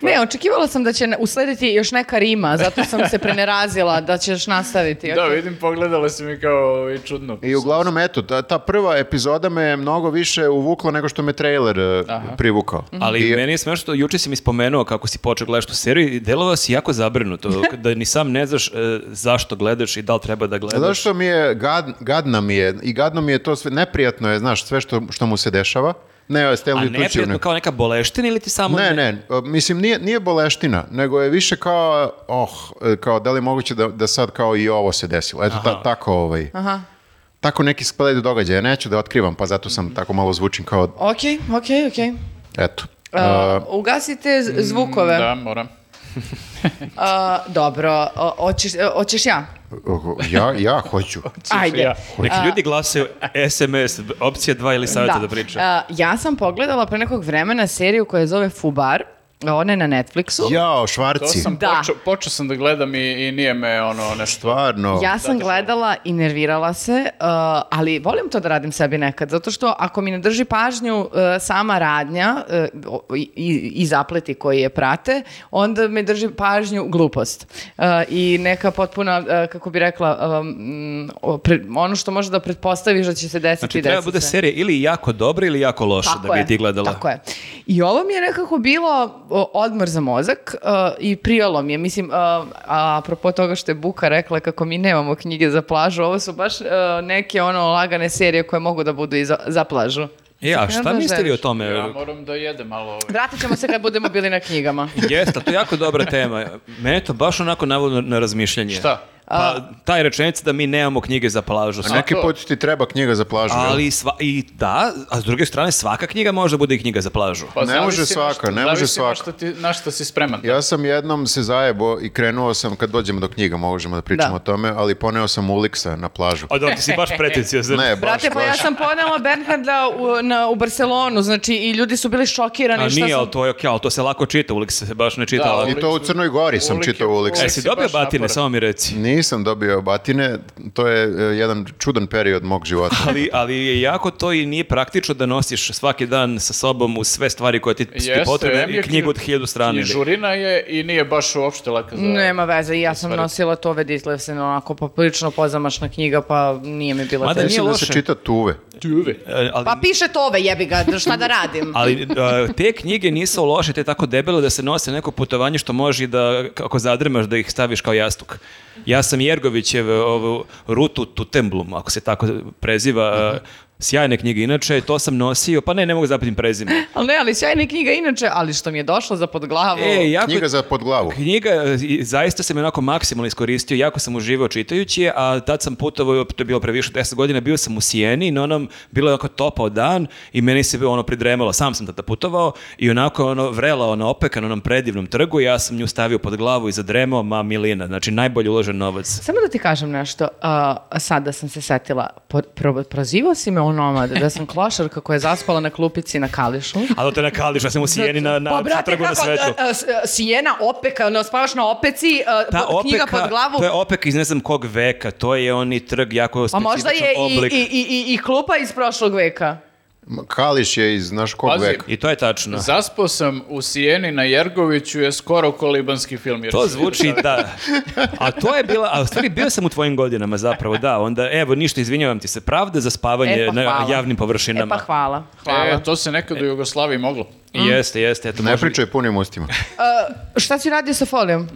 Speaker 2: Ne, očekivala sam da će na- uslediti još neka rima, zato sam se prenerazila da ćeš nastaviti.
Speaker 1: Da,
Speaker 2: ok.
Speaker 1: vidim, pogledala si mi kao ovaj, čudno.
Speaker 3: I uglavnom, eto, ta, ta prva epizoda me je mnogo više uvukla nego što me trailer e, privukao.
Speaker 4: Ali
Speaker 3: I-
Speaker 4: meni je smešno, juče si mi spomenuo kako si počeo gledaš tu seriju i delovao si jako
Speaker 3: *laughs*
Speaker 4: zabrinuto, da ni sam ne znaš e, zašto gledaš i da li treba da gledaš.
Speaker 3: Zato što mi je, gad, gadna mi je, i gadno mi je to sve, neprijatno je, znaš, sve što, što mu se dešava. Ne, o
Speaker 4: A
Speaker 3: Stanley Tucci,
Speaker 4: neprijatno
Speaker 3: ne.
Speaker 4: kao neka boleština ili ti samo...
Speaker 3: Ne, ne, e, mislim, nije, nije boleština, nego je više kao, oh, e, kao, da li je moguće da, da sad kao i ovo se desilo. Eto, ta- tako ovaj,
Speaker 2: Aha.
Speaker 3: tako neki splet događaja, neću da otkrivam, pa zato sam tako malo zvučim kao,
Speaker 2: Ok, ok, ok.
Speaker 3: eto.
Speaker 2: A, ugasite z- zvukove.
Speaker 1: Da, moram.
Speaker 2: A, dobro, o- hoćeš, hoćeš ja?
Speaker 3: Uh, ja, ja hoću.
Speaker 2: Ajde.
Speaker 1: ja.
Speaker 4: Neki ljudi glasaju SMS, opcija 2 ili savjeta da, priča.
Speaker 2: A, ja sam pogledala pre nekog vremena seriju koja zove Fubar. Ona je na Netflixu.
Speaker 3: Jao,
Speaker 1: To
Speaker 3: švarci.
Speaker 1: sam
Speaker 2: Da.
Speaker 1: počeo, počeo sam da gledam i, i nije me ono nešto.
Speaker 3: Stvarno.
Speaker 2: Ja sam gledala i nervirala se, uh, ali volim to da radim sebi nekad, zato što ako mi ne drži pažnju uh, sama radnja uh, o- i, i- i zapleti koji je prate, onda me drži pažnju glupost. Uh, I neka potpuna, uh, kako bi rekla, um, o- pre- ono što može da pretpostaviš da će se desiti,
Speaker 4: Znači, treba
Speaker 2: desi
Speaker 4: bude
Speaker 2: se.
Speaker 4: serija ili jako dobra ili jako loša da bi
Speaker 2: je,
Speaker 4: ti gledala.
Speaker 2: Tako je. I ovo mi je nekako bilo o, odmor za mozak uh, i prijalo mi je. Mislim, uh, a apropo toga što je Buka rekla kako mi nemamo knjige za plažu, ovo su baš uh, neke ono lagane serije koje mogu da budu i za, za plažu.
Speaker 4: E, a
Speaker 2: Sad
Speaker 4: šta
Speaker 2: krenuo da
Speaker 4: mislite vi o
Speaker 2: želiš.
Speaker 4: tome?
Speaker 1: Ja moram da jedem malo ovaj.
Speaker 2: Vratit ćemo se kad budemo bili na
Speaker 4: *laughs*
Speaker 2: knjigama.
Speaker 4: Jeste, to je jako dobra tema. Mene to baš onako navodno na razmišljanje.
Speaker 1: Šta?
Speaker 4: Pa, taj rečenica da mi nemamo knjige za plažu.
Speaker 3: A neki
Speaker 1: to-
Speaker 3: put ti treba knjiga za plažu. jel?
Speaker 4: Ali sva, i da, a s druge strane svaka knjiga može da bude i knjiga za plažu.
Speaker 1: Pa
Speaker 3: Ne
Speaker 1: zavisi
Speaker 3: može
Speaker 1: na
Speaker 3: svaka,
Speaker 1: šta-
Speaker 3: ne može
Speaker 1: zavisi na
Speaker 3: svaka.
Speaker 1: šta ti- na šta si spreman.
Speaker 3: Ja sam jednom se zajebo i krenuo sam, kad dođemo do knjiga možemo da pričamo
Speaker 2: Da.
Speaker 3: o tome, ali poneo sam Uliksa na plažu.
Speaker 4: A da, ti si
Speaker 2: *laughs*
Speaker 4: baš pretencijozan.
Speaker 3: Ne, baš,
Speaker 2: Brate, pa ja
Speaker 3: baš.
Speaker 2: sam ponela Bernharda u, na, u Barcelonu, znači i ljudi su bili šokirani.
Speaker 4: A
Speaker 2: šta
Speaker 4: nije,
Speaker 2: sam-
Speaker 4: ali to je okej, ali to se lako čita, ulik se baš ne čita.
Speaker 1: Da,
Speaker 4: lako.
Speaker 3: I to u Crnoj Gori sam
Speaker 1: Ulik-
Speaker 3: čitao Uliksa.
Speaker 1: Ulik-
Speaker 4: E, si
Speaker 1: si
Speaker 4: dobio
Speaker 1: baš
Speaker 4: batine,
Speaker 1: naporan.
Speaker 4: samo mi reci.
Speaker 3: Nisam dobio batine, to je e, jedan čudan period mog života.
Speaker 4: Ali, ali je jako to i nije praktično da nosiš svaki dan sa sobom u sve stvari koje ti, ti
Speaker 1: Jeste, em
Speaker 4: potrebne
Speaker 1: je
Speaker 4: i knjigu od
Speaker 1: knjiž-
Speaker 4: hiljadu strana.
Speaker 1: I žurina je i nije baš uopšte laka za...
Speaker 2: Nema veze, i ja sam
Speaker 1: Stvari.
Speaker 2: nosila tove Ditlevsen, onako poprilično pozamašna knjiga, pa nije mi bila
Speaker 4: Mada
Speaker 2: teško.
Speaker 4: nije
Speaker 3: Mislim da se
Speaker 4: loše.
Speaker 3: čita tuve.
Speaker 4: E, ali,
Speaker 2: Pa piše tove, jebi ga, šta da radim? *laughs*
Speaker 4: ali e, te knjige nisu loše, te tako debelo da se nose na neko putovanje što može i da, ako zadremaš, da ih staviš kao jastuk. Ja sam Jergovićev e, ovu Rutu Tutemblum, ako se tako preziva, e, sjajne knjige. Inače, to sam nosio, pa ne, ne mogu zapatim prezime.
Speaker 2: Ali ne, ali sjajna knjiga inače, ali što mi je došlo za pod glavu.
Speaker 4: E, jako,
Speaker 3: Knjiga za podglavu.
Speaker 4: knjiga, e, i zaista sam je onako maksimalno iskoristio, jako sam uživao čitajući je, a tad sam putovao, to je bilo previše od 10 godina, bio sam u Sijeni, na onom, bilo je onako topao dan i meni se bilo ono pridremalo, sam sam tada putovao i onako ono vrela ono opeka na onom predivnom trgu, ja sam nju stavio pod glavu i zadremao, ma milina, znači najbolje uložen novac.
Speaker 2: Samo da ti kažem nešto, a, sada sam se setila, po, pro, prozivao si me u nomad, da sam klošarka koja je zaspala na klupici na kališu. Pa,
Speaker 4: A da te nakališ, ja sam u Sijeni na, na trgu na svetu.
Speaker 2: a, a, s- a, Sijena, opeka, ono, spavaš na opeci, a,
Speaker 4: Ta
Speaker 2: po- knjiga
Speaker 4: opeka,
Speaker 2: pod glavu.
Speaker 4: to je opek iz ne znam kog veka, to je oni trg jako
Speaker 2: Pa
Speaker 4: specifičan
Speaker 2: možda je i,
Speaker 4: znači oblik.
Speaker 2: i, i, i, i klupa iz prošlog veka.
Speaker 3: Kališ je iz naš kog
Speaker 1: Pazi,
Speaker 3: veka.
Speaker 4: I to je tačno.
Speaker 1: Zaspao sam u Sijeni na Jergoviću je skoro kolibanski film. Jer
Speaker 4: To zvuči da. A to je bila, a u stvari bio sam u tvojim godinama zapravo, da. Onda, evo, ništa, izvinjavam ti se, pravda za spavanje
Speaker 2: E, pa
Speaker 4: na
Speaker 2: hvala.
Speaker 4: javnim
Speaker 2: E
Speaker 4: površinama.
Speaker 2: pa hvala, Hm? hvala.
Speaker 1: E, to se nekad u Jugoslaviji moglo.
Speaker 4: Jeste, jeste, eto,
Speaker 3: Ne
Speaker 4: može-
Speaker 3: pričaj punim ustima.
Speaker 2: A, šta si radio sa folijom?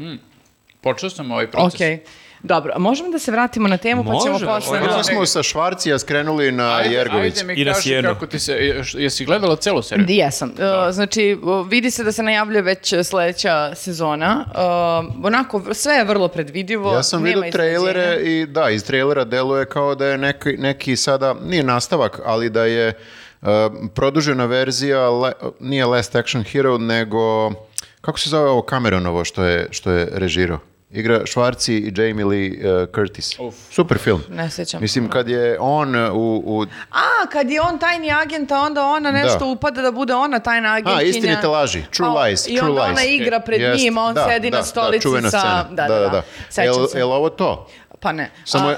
Speaker 1: Počeo sam ovaj proces.
Speaker 2: Ok, dobro. a Možemo da se vratimo na temu, pa ćemo
Speaker 4: Može,
Speaker 2: posle
Speaker 4: ovo je
Speaker 2: na-
Speaker 3: Kako smo sa Švarcija skrenuli na
Speaker 1: Ajde,
Speaker 3: Jergović?
Speaker 1: ajde mi
Speaker 4: I na
Speaker 1: kaži
Speaker 4: Sijenu.
Speaker 1: kako ti se, je- š- jesi gledala celu seriju?
Speaker 2: Jesam.
Speaker 4: Da.
Speaker 2: E, Znači, o, vidi se da se najavljuje već e, sledeća sezona. E, Onako, v- sve je vrlo predvidivo.
Speaker 3: Ja sam
Speaker 2: Pa, nema
Speaker 3: vidio trailere
Speaker 2: iznenađenja.
Speaker 3: i da, iz trailera deluje kao da je neki, neki sada, nije nastavak, ali da je uh, produžena verzija, le- nije Last Action Hero, nego, kako se zove ovo Cameronovo što je, što je režirao? Igra Švarci i Jamie Lee uh, Curtis. Super film.
Speaker 2: Ne sećam.
Speaker 3: Mislim, kad je on uh, u... u
Speaker 2: A, kad je on tajni agent, a onda ona nešto
Speaker 3: Da.
Speaker 2: upada da bude ona tajna agentkinja.
Speaker 3: a, istinite laži, True
Speaker 2: Pa,
Speaker 3: Lies, True
Speaker 2: I onda ona
Speaker 3: Lies.
Speaker 2: igra pred
Speaker 3: Jest,
Speaker 2: njim, a on
Speaker 3: da,
Speaker 2: sedi
Speaker 3: da,
Speaker 2: na stolici
Speaker 3: da, čuvena
Speaker 2: sa...
Speaker 3: scena.
Speaker 2: Da, da, da. Sećam
Speaker 3: Jel-
Speaker 2: se.
Speaker 3: jel ovo to?
Speaker 2: Pa ne.
Speaker 3: Samo
Speaker 2: A-
Speaker 3: je-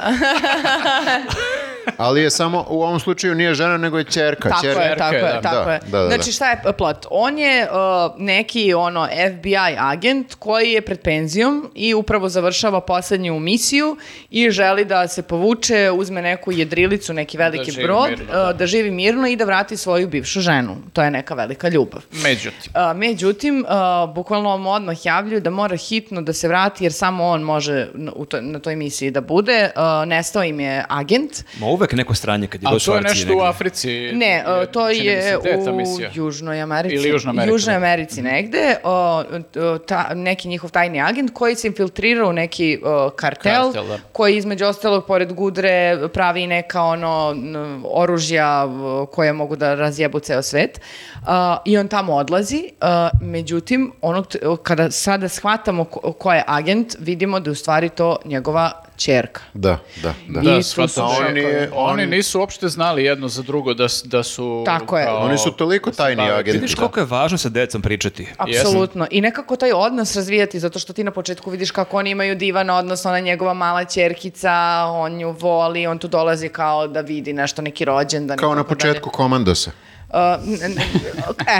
Speaker 3: Ali je samo, u ovom slučaju nije žena, nego je čerka.
Speaker 2: Tako
Speaker 3: čerka.
Speaker 2: je, tako je,
Speaker 1: da.
Speaker 2: tako
Speaker 3: Da,
Speaker 2: je.
Speaker 3: da, da, da.
Speaker 2: Znači šta je p- plot? On je uh, neki ono FBI agent koji je pred penzijom i upravo završava poslednju misiju i želi da se povuče, uzme neku jedrilicu, neki veliki
Speaker 1: živi
Speaker 2: brod,
Speaker 1: mirno, da.
Speaker 2: uh, da živi mirno i da vrati svoju bivšu ženu. To je neka velika ljubav.
Speaker 1: Međutim,
Speaker 2: A, međutim, a, bukvalno mu odmah javljuju da mora hitno da se vrati jer samo on može na, u toj- na toj misiji da bude. A, nestao im je agent.
Speaker 4: Ma uvek neko stranje kad je
Speaker 1: ali
Speaker 4: god
Speaker 1: to je
Speaker 4: Švarci
Speaker 1: nešto
Speaker 4: negde.
Speaker 1: u Africi.
Speaker 2: Ne, a, to
Speaker 1: čini mi
Speaker 2: je
Speaker 1: se, gde ta
Speaker 2: u
Speaker 1: misija?
Speaker 2: Južnoj Americi.
Speaker 1: Ili Južna Amerika,
Speaker 2: Južnoj
Speaker 1: da.
Speaker 2: Americi negde. O, o, ta, neki njihov tajni agent koji se infiltrirao u neki o, kartel,
Speaker 1: Kartel, da.
Speaker 2: koji između ostalog pored Gudre pravi i neka ono n- oružja v- koje mogu da razjebu ceo svet. A, I on tamo odlazi. A, međutim, onog t- kada sada shvatamo ko, ko je agent, vidimo da je u stvari to njegova čerka.
Speaker 3: Da, da, da.
Speaker 2: I
Speaker 1: Da,
Speaker 2: tu
Speaker 1: shvatam.
Speaker 2: su
Speaker 1: Oni,
Speaker 3: šokovi.
Speaker 1: oni nisu uopšte znali jedno za drugo da, s- da su...
Speaker 2: Tako je.
Speaker 1: kao-
Speaker 3: Oni su toliko tajni
Speaker 1: bave-
Speaker 3: agenti.
Speaker 4: Vidiš
Speaker 3: da.
Speaker 4: koliko je važno sa decom pričati.
Speaker 2: Apsolutno. I nekako taj odnos razvijati, zato što ti na početku vidiš kako oni imaju divan odnos, ona je njegova mala ćerkica, on nju voli, on tu dolazi kao da vidi nešto, neki rođendan. i
Speaker 3: Kao na
Speaker 2: tako dalje.
Speaker 3: početku komandosa.
Speaker 2: Uh, n- n-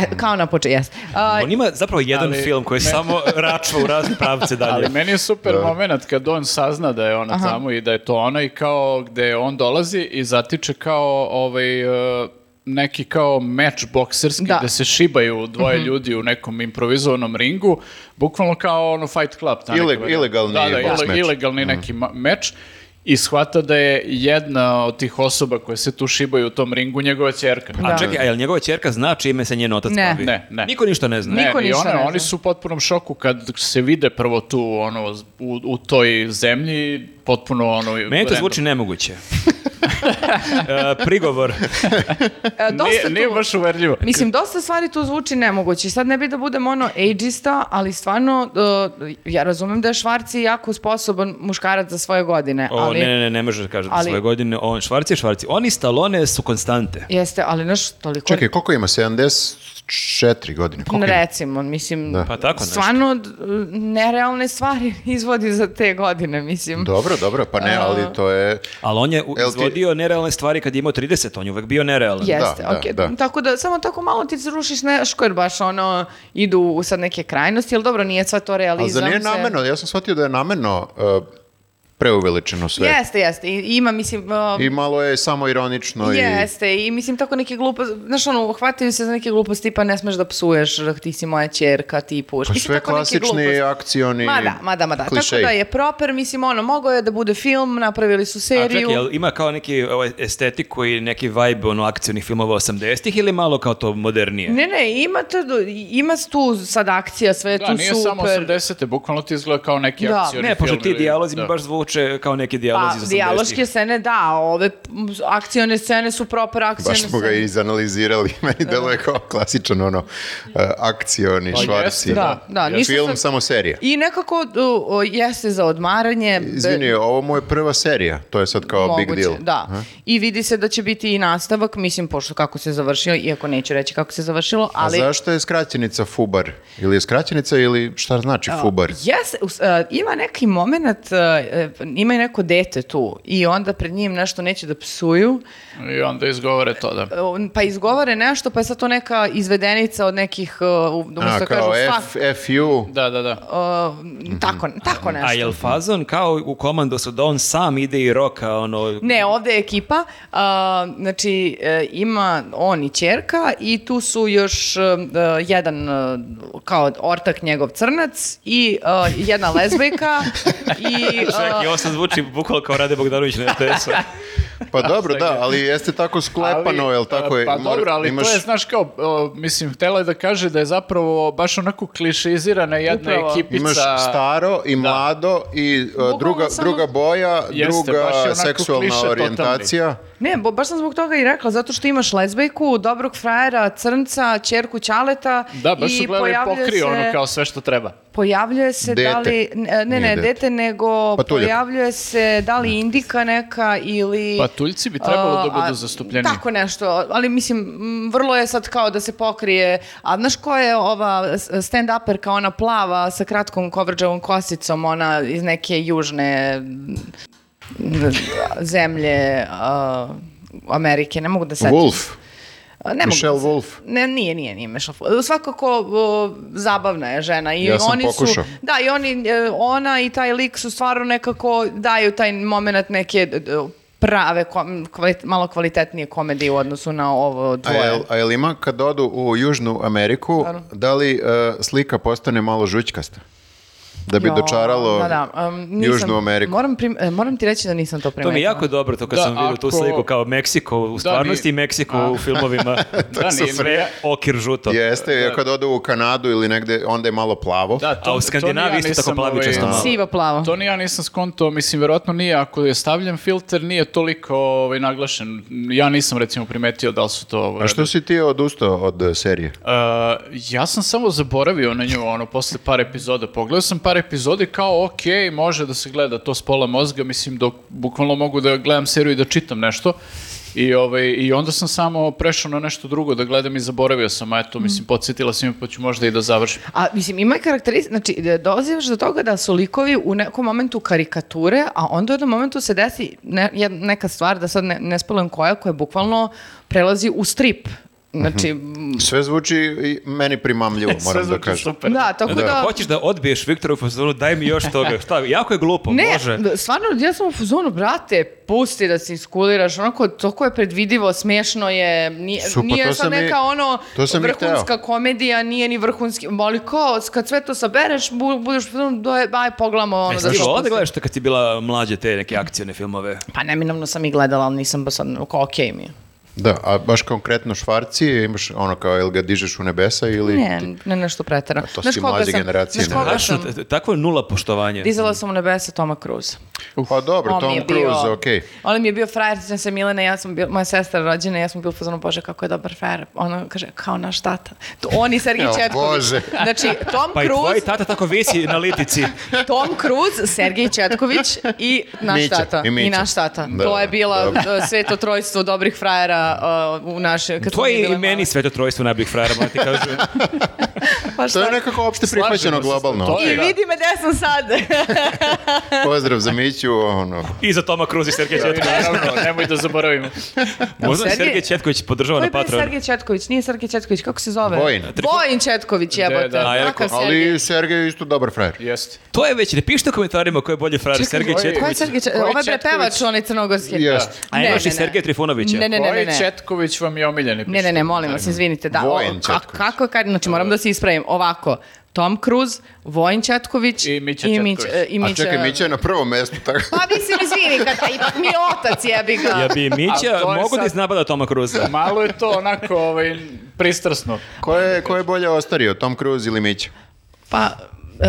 Speaker 2: e, kao na početku, jes. Uh,
Speaker 4: On ima zapravo jedan
Speaker 1: Ali-
Speaker 4: film koji
Speaker 1: ne.
Speaker 4: samo račva u razne pravce dalje.
Speaker 1: Ali meni je super
Speaker 3: Da.
Speaker 1: moment kad on sazna da je ona tamo i da je to ona i kao gde on dolazi i zatiče kao ovaj e, neki kao meč bokserski
Speaker 2: Da. Mhm.
Speaker 1: da. se šibaju dvoje ljudi u nekom improvizovanom ringu, bukvalno kao ono Fight Club. ta neka
Speaker 3: Ileg-
Speaker 1: varijanta.
Speaker 3: ilegalni
Speaker 1: da, da,
Speaker 3: boks
Speaker 1: ile-
Speaker 3: meč. Mhm.
Speaker 1: ilegalni neki ma- meč i shvata da je jedna od tih osoba koje se tu šibaju u tom ringu njegova ćerka.
Speaker 4: A
Speaker 2: Da.
Speaker 4: čekaj, a jel njegova čerka zna čime se njen otac
Speaker 2: Ne.
Speaker 4: bavi?
Speaker 1: Ne, ne.
Speaker 4: Niko ništa ne zna.
Speaker 2: Niko
Speaker 1: Ne, i
Speaker 2: ništa ne
Speaker 1: ona,
Speaker 2: zna.
Speaker 1: oni su u potpunom šoku kad se vide prvo tu ono, z- u, u toj zemlji, potpuno ono...
Speaker 4: Meni to
Speaker 1: random.
Speaker 4: zvuči
Speaker 2: *laughs*
Speaker 4: nemoguće. E, prigovor.
Speaker 2: e, dosta
Speaker 1: Nije,
Speaker 2: tu-
Speaker 1: nije baš uverljivo.
Speaker 2: Mislim, dosta stvari tu zvuči nemoguće. Sad ne bi da budem ono ageista, ali stvarno, uh, ja razumem da je Švarci jako sposoban muškarac za svoje godine.
Speaker 4: O,
Speaker 2: ali...
Speaker 4: ne, ne, ne, ne može da kaže da
Speaker 2: ali-
Speaker 4: svoje godine. On, švarci je švarci. Oni stalone su konstante.
Speaker 2: Jeste, ali znaš, toliko...
Speaker 3: Čekaj, koliko ima? 74 godine? Koliko ima?
Speaker 2: Recimo, mislim,
Speaker 3: Da.
Speaker 4: Pa tako nešto.
Speaker 2: stvarno d- nerealne stvari *laughs* izvodi za te godine, mislim.
Speaker 3: Dobro, dobro, pa ne, ali to je...
Speaker 4: Ali on je u-
Speaker 3: Jel ti-
Speaker 4: izvodio nerealne stvari kad je imao 30, on je uvek bio nerealan.
Speaker 2: Jeste,
Speaker 3: Da, da,
Speaker 2: okej.
Speaker 3: da.
Speaker 2: Tako da, samo tako malo ti zrušiš nešto, jer baš ono, idu u sad neke krajnosti, ali dobro, nije sva to realizam.
Speaker 3: Ali za nije
Speaker 2: se-
Speaker 3: nameno, ja sam shvatio da je nameno uh, preuveličeno sve.
Speaker 2: Jeste, jeste. I, i ima, mislim, uh,
Speaker 3: I malo je samo ironično
Speaker 2: Jeste, i mislim tako neke gluposti, znaš ono, hvataju se za neke gluposti, pa ne smeš da psuješ, ti si moja čerka, ti puš.
Speaker 3: i pa
Speaker 2: Mislim,
Speaker 3: sve
Speaker 2: tako neke
Speaker 3: klasični
Speaker 2: gluposti.
Speaker 3: akcioni
Speaker 2: Ma da, ma da, ma da.
Speaker 3: klišeji.
Speaker 2: Tako da je proper, mislim, ono, mogao je da bude film, napravili su
Speaker 4: A
Speaker 2: seriju.
Speaker 4: čekaj, jel ima kao neki ovaj, estetik koji neki vibe ono, akcijnih filmova 80-ih ili malo kao to modernije?
Speaker 2: Ne, ne, ima, to, ima tu sad akcija, sve je
Speaker 1: Da,
Speaker 2: tu
Speaker 1: nije
Speaker 2: super.
Speaker 1: samo 80. Bukvalno ti izgleda kao neki
Speaker 2: Da.
Speaker 1: akcioni
Speaker 4: Ne, pošto
Speaker 1: film
Speaker 4: ti
Speaker 1: ili-
Speaker 4: dijalozi
Speaker 1: da.
Speaker 4: mi baš zvuče kao neki dijalozi
Speaker 2: Pa,
Speaker 4: iz 80-ih.
Speaker 2: dijaloške scene, da, a ove m, akcione scene su proper akcione
Speaker 3: Baš smo ga
Speaker 2: scene.
Speaker 3: izanalizirali, *laughs* meni deluje kao klasičan ono uh, akcioni švarci.
Speaker 1: Pa jeste,
Speaker 2: Da, da, ništa
Speaker 3: Film
Speaker 2: sam-
Speaker 3: samo serija.
Speaker 2: I nekako u, o, jeste za odmaranje. be-
Speaker 3: Izvini, ovo mu je prva serija, to je sad kao big
Speaker 2: moguće,
Speaker 3: deal.
Speaker 2: Da. I vidi se da će biti i nastavak, mislim, pošto kako se završio, iako neću reći kako se završilo,
Speaker 3: A
Speaker 2: ali...
Speaker 3: zašto je skraćenica fubar? Ili je skraćenica ili šta znači fubar?
Speaker 2: Jes, us- e, ima neki moment, e, e, ima i neko dete tu i onda pred njim nešto neće da psuju,
Speaker 1: I onda izgovore to, da.
Speaker 2: e, on- pa izgovore nešto, pa je sad to neka izvedenica od nekih, e, u-
Speaker 3: A,
Speaker 2: umesto da kažu
Speaker 3: kao
Speaker 2: fuck,
Speaker 3: F, FU.
Speaker 1: Da, da, da.
Speaker 2: e, tako, tako nešto.
Speaker 4: A jel fazon kao u komandu su da on sam ide i roka,
Speaker 2: *laughs*
Speaker 4: ono...
Speaker 2: Ne, ovde je ekipa, a, znači e, ima on i čerka i tu su još e, jedan e, kao ortak njegov crnac i e, jedna lezbejka i... e,
Speaker 4: Čekaj, ovo sad zvuči bukvalo kao Rade Bogdanović
Speaker 2: *laughs*
Speaker 4: na RTS-u.
Speaker 3: Pa dobro, da, ali jeste tako sklepano,
Speaker 1: Ali,
Speaker 3: jel tako je?
Speaker 1: Pa
Speaker 3: mora-
Speaker 1: dobro, ali
Speaker 3: imaš-
Speaker 1: to je, znaš, kao, o, mislim, htela je da kaže da je zapravo baš onako klišizirana jedna
Speaker 2: Upravo.
Speaker 1: ekipica.
Speaker 3: Imaš staro i mlado i uh,
Speaker 2: Bukvalno
Speaker 3: druga,
Speaker 2: samo-
Speaker 3: druga boja,
Speaker 1: Da. Jeste,
Speaker 3: druga
Speaker 1: baš je onako kliše
Speaker 3: seksualna
Speaker 1: totalni.
Speaker 3: orijentacija.
Speaker 2: Ne, bo, baš sam zbog toga i rekla, zato što imaš lezbejku, dobrog frajera, crnca, čerku ćaleta
Speaker 1: Da, baš su
Speaker 2: i
Speaker 1: gledali
Speaker 2: pojavljuje
Speaker 1: pokri,
Speaker 2: se,
Speaker 1: ono kao sve što treba.
Speaker 2: pojavljuje se da
Speaker 3: Dete.
Speaker 2: li, ne, ne,
Speaker 3: Nije
Speaker 2: ne
Speaker 3: dete. Pa
Speaker 2: dete, nego
Speaker 3: Patuljak.
Speaker 2: pojavljuje se da li indika neka ili...
Speaker 1: Patuljci Pa bi trebalo da
Speaker 2: A,
Speaker 1: budu
Speaker 2: a,
Speaker 1: zastupljeni.
Speaker 2: Tako nešto, ali mislim, m, vrlo je sad kao da se pokrije, a znaš ko je ova stand-uperka, ona plava sa kratkom kovrđavom kosicom, ona iz neke južne... zemlje a, Amerike, ne mogu da setim.
Speaker 3: Wolf.
Speaker 2: A, Ne
Speaker 3: Michelle
Speaker 2: mogu da
Speaker 3: Wolf.
Speaker 2: se- Ne, nije, nije, nije Michelle Wolf. Svakako o, zabavna je žena. I
Speaker 3: Ja sam
Speaker 2: oni
Speaker 3: pokušao.
Speaker 2: Su, da, i oni, e, ona i taj lik su stvarno nekako daju taj moment neke d- d- prave, kom- kvalit- malo kvalitetnije komedije u odnosu na ovo
Speaker 3: A
Speaker 2: dvoje.
Speaker 3: jel, a jel ima kad odu u Južnu Ameriku, da li e, slika postane malo žućkasta? Da bi
Speaker 2: Jo,
Speaker 3: dočaralo
Speaker 2: da, da, um, nisam-
Speaker 3: Južnu Ameriku.
Speaker 2: Moram, prim- e, moram ti reći da nisam to
Speaker 4: To
Speaker 2: primetila.
Speaker 4: mi je jako dobro, to kad
Speaker 1: Da,
Speaker 4: sam vidio tu
Speaker 1: ako-
Speaker 4: sliku kao Meksiko u stvarnosti
Speaker 1: nije-
Speaker 4: i Meksiko
Speaker 1: *laughs*
Speaker 4: u filmovima.
Speaker 1: Da, nije, nije-
Speaker 4: Okir žuto.
Speaker 3: Jeste, jer kad odu u Kanadu ili negde, onda je malo plavo.
Speaker 1: Da,
Speaker 4: A u
Speaker 1: to
Speaker 4: Skandinaviji
Speaker 1: ni ja
Speaker 4: isto
Speaker 1: nisam,
Speaker 4: tako plavičasto
Speaker 1: ovaj,
Speaker 4: malo.
Speaker 2: Sivo plavo.
Speaker 1: To ni ja nisam skonto, mislim, verovatno nije, ako je stavljen filter, nije toliko ovaj, naglašen. Ja nisam, recimo, primetio da li su to... Ovaj,
Speaker 3: A što si ti odustao od e, serije?
Speaker 1: Uh, ja sam samo zaboravio na nju, ono, posle par epizoda. Pogledao sam par epizode kao, ok, može da se gleda to s pola mozga, mislim, dok bukvalno mogu da gledam seriju i da čitam nešto. I, ovaj, I onda sam samo prešao na nešto drugo da gledam i zaboravio sam, a eto,
Speaker 3: Mm.
Speaker 1: mislim, podsjetila sam me, pa ću možda i da završim.
Speaker 2: A mislim, ima karakteristika, znači da dolaziš do toga da su likovi u nekom momentu karikature, a onda u jednom momentu se desi ne, jed- neka stvar, da sad ne, ne spolim koja, koja bukvalno prelazi u strip. Znači, m,
Speaker 3: Sve zvuči i meni
Speaker 1: *laughs*
Speaker 3: primamljivo, moram da
Speaker 1: zvuči
Speaker 3: kažem.
Speaker 1: super.
Speaker 2: da, tako da...
Speaker 4: Hoćeš da odbiješ Viktora u fazonu, daj mi još toga. Šta, jako je glupo,
Speaker 2: Ne,
Speaker 4: može.
Speaker 2: da, stvarno, ja sam u fuzonu, brate, pusti da se iskuliraš, onako, toliko je predvidivo, smiješno je, nije,
Speaker 3: Su, pa to
Speaker 2: nije sad
Speaker 3: sam i-
Speaker 2: neka ono
Speaker 3: to sam i
Speaker 2: vrhunska komedija, nije ni vrhunski, ali kao, kad sve to sabereš, bu, budeš u fazonu, doj, aj, pogledamo ono
Speaker 4: E,
Speaker 2: da
Speaker 4: znaš,
Speaker 2: što
Speaker 4: ovdje
Speaker 2: pusti.
Speaker 4: gledaš to kad si bila mlađe te neke akcijne filmove.
Speaker 2: Pa neminovno sam i gledala, ali nisam baš sad, kao, okej mi je.
Speaker 3: Da, a baš konkretno Švarci, imaš ono kao, jel ga dižeš u nebesa ili...
Speaker 2: Ne, ne nešto pretjerano.
Speaker 3: to su
Speaker 2: Znaš
Speaker 3: ti
Speaker 2: koga
Speaker 3: mlađe
Speaker 2: sam-
Speaker 3: generacije,
Speaker 2: Znaš
Speaker 3: ne?
Speaker 2: koga
Speaker 4: Znaš,
Speaker 2: sam?
Speaker 4: t- takvo je nula poštovanje.
Speaker 2: Dizala sam u nebesa Toma Cruise.
Speaker 3: Pa dobro,
Speaker 2: On mi
Speaker 3: Tom
Speaker 2: je bio-
Speaker 3: Cruise, okej.
Speaker 2: On mi je bio frajer, sjećam se Milena, i ja sam bil, moja sestra rođena, i ja sam bila pozorno, bože, kako je dobar frajer. Ona kaže, kao naš tata. To, on i
Speaker 3: *laughs*
Speaker 2: Sergij
Speaker 3: Jao,
Speaker 2: Četković.
Speaker 3: bože.
Speaker 2: Znači, Tom
Speaker 4: *laughs* Pa i tvoj
Speaker 2: Cruise,
Speaker 4: tata tako visi na litici. *laughs*
Speaker 2: Tom Cruise, Sergij Četković i naš
Speaker 3: Mića,
Speaker 2: tata.
Speaker 3: i Mića.
Speaker 2: naš tata.
Speaker 3: Da,
Speaker 2: to je bila
Speaker 3: dobro.
Speaker 2: uh, sveto trojstvo dobrih frajera uh, u našoj... *laughs* kad smo
Speaker 4: To
Speaker 2: mi
Speaker 4: je
Speaker 2: bile
Speaker 4: i meni
Speaker 2: male.
Speaker 4: svetotrojstvo najboljih frajera, moram ti
Speaker 2: *laughs*
Speaker 4: kažem.
Speaker 2: Pa
Speaker 3: To
Speaker 2: šta?
Speaker 3: je nekako opšte prihvaćeno
Speaker 1: Slažemo se,
Speaker 3: globalno.
Speaker 1: to je-
Speaker 2: I
Speaker 1: Da.
Speaker 2: vidi me gde sam
Speaker 1: Pa
Speaker 2: sad.
Speaker 3: Pozdrav za Miću,
Speaker 2: *laughs*
Speaker 3: ono...
Speaker 4: I za Toma Cruise i Sergej
Speaker 1: I
Speaker 4: Četković.
Speaker 1: Naravno, nemoj da zaboravimo.
Speaker 4: Možda
Speaker 2: Sergej-
Speaker 4: Sergej Četković
Speaker 2: To
Speaker 4: podržava na
Speaker 2: je bio
Speaker 4: Patreon.
Speaker 2: Sergej Četković, nije Sergej Četković, kako se zove?
Speaker 3: Vojin.
Speaker 2: Vojin Četković, jebote.
Speaker 1: Da, da.
Speaker 4: A, ja
Speaker 2: Kakav
Speaker 4: rekao,
Speaker 2: Sergej?
Speaker 3: Ali Sergej je isto dobar frajer.
Speaker 1: Jeste.
Speaker 4: To je već, ne pišite u komentarima ko je bolji frajer,
Speaker 2: Čekaj,
Speaker 4: Sergej
Speaker 2: koji-
Speaker 4: Četković.
Speaker 2: Ko je Sergej Četković?
Speaker 1: Koji
Speaker 2: Ovaj bre
Speaker 1: Četković?
Speaker 2: pevač, onaj crnogorski.
Speaker 3: Jeste.
Speaker 4: A
Speaker 2: Ne,
Speaker 4: imaš
Speaker 2: ne,
Speaker 4: i
Speaker 2: ne.
Speaker 4: Sergeja Trifunovića.
Speaker 2: Ne, ne, ne, ne,
Speaker 1: Koji
Speaker 2: ne.
Speaker 1: Četković vam je omiljeni?
Speaker 2: Ne, ne, ne, molim vas, izvinite. Da, o,
Speaker 3: Vojin
Speaker 2: ka-
Speaker 3: Četković.
Speaker 2: kako, kad, znači moram da se ispravim. Ovako, Tom Cruise, Vojin Četković
Speaker 1: I Mića Četković.
Speaker 2: e, i
Speaker 3: A
Speaker 2: Mića-
Speaker 3: čekaj, Mića je na prvom mjestu, tako...
Speaker 2: Pa mislim, izvini, kad, a ipak mi je otac jebi ga.
Speaker 4: Ja bi Mića
Speaker 1: A to je
Speaker 4: mogu da
Speaker 1: sad-
Speaker 4: iznapada Toma Cruza.
Speaker 1: Malo je to onako ovaj, pristrasno.
Speaker 3: Ko je, ko je bolje ostario, Tom Cruise ili Mića?
Speaker 2: Pa, e,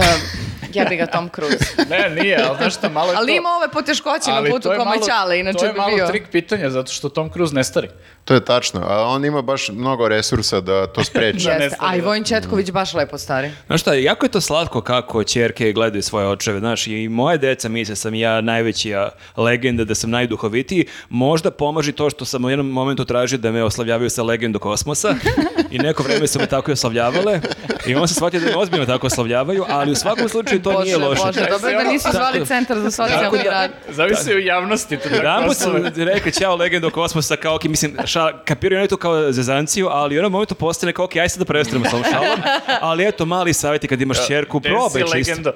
Speaker 2: jebi ga Tom Cruise.
Speaker 1: Ne, nije, *laughs* ali znaš šta, malo je to...
Speaker 2: Ali ima ove poteškoće na
Speaker 1: Ali
Speaker 2: putu
Speaker 1: to je
Speaker 2: kao moj
Speaker 1: malo-
Speaker 2: čale,
Speaker 1: To
Speaker 2: inače
Speaker 1: je
Speaker 2: bi
Speaker 1: malo
Speaker 2: bio.
Speaker 1: trik pitanja, zato što Tom Cruise ne stari.
Speaker 3: To je tačno, a on ima baš mnogo resursa da
Speaker 2: *laughs*
Speaker 3: to spreči.
Speaker 1: ne
Speaker 2: Jeste, a
Speaker 1: stari,
Speaker 2: i
Speaker 1: da.
Speaker 2: Vojin Četković baš lepo stari.
Speaker 4: Znaš šta, jako je to slatko kako čerke gledaju svoje očeve, znaš, i moje deca misle sam ja najveći a, legenda, da sam najduhovitiji, možda pomaži to što sam u jednom momentu tražio da me oslavljavaju sa legendu
Speaker 1: *laughs*
Speaker 4: kosmosa i neko vreme su me tako i oslavljavale i on se shvatio da me ozbiljno tako oslavljavaju, ali u svakom slučaju to
Speaker 2: Bože,
Speaker 4: nije loše.
Speaker 2: Bože, dobro je da nisu
Speaker 4: Tako-
Speaker 2: zvali centar za socijalni
Speaker 4: da-
Speaker 2: rad.
Speaker 1: Zavisi u javnosti. to tako
Speaker 4: Jedanput su
Speaker 1: osobe.
Speaker 4: rekli ćao legendo kosmosa kao ok, mislim, ša, kapiraju oni to kao zezanciju, ali u jednom momentu postane kao ok, aj sad da prestanemo s ovom šalom, ali eto mali savjeti kad imaš čerku,
Speaker 1: Da, Desi
Speaker 4: probaj čisto.
Speaker 1: legenda.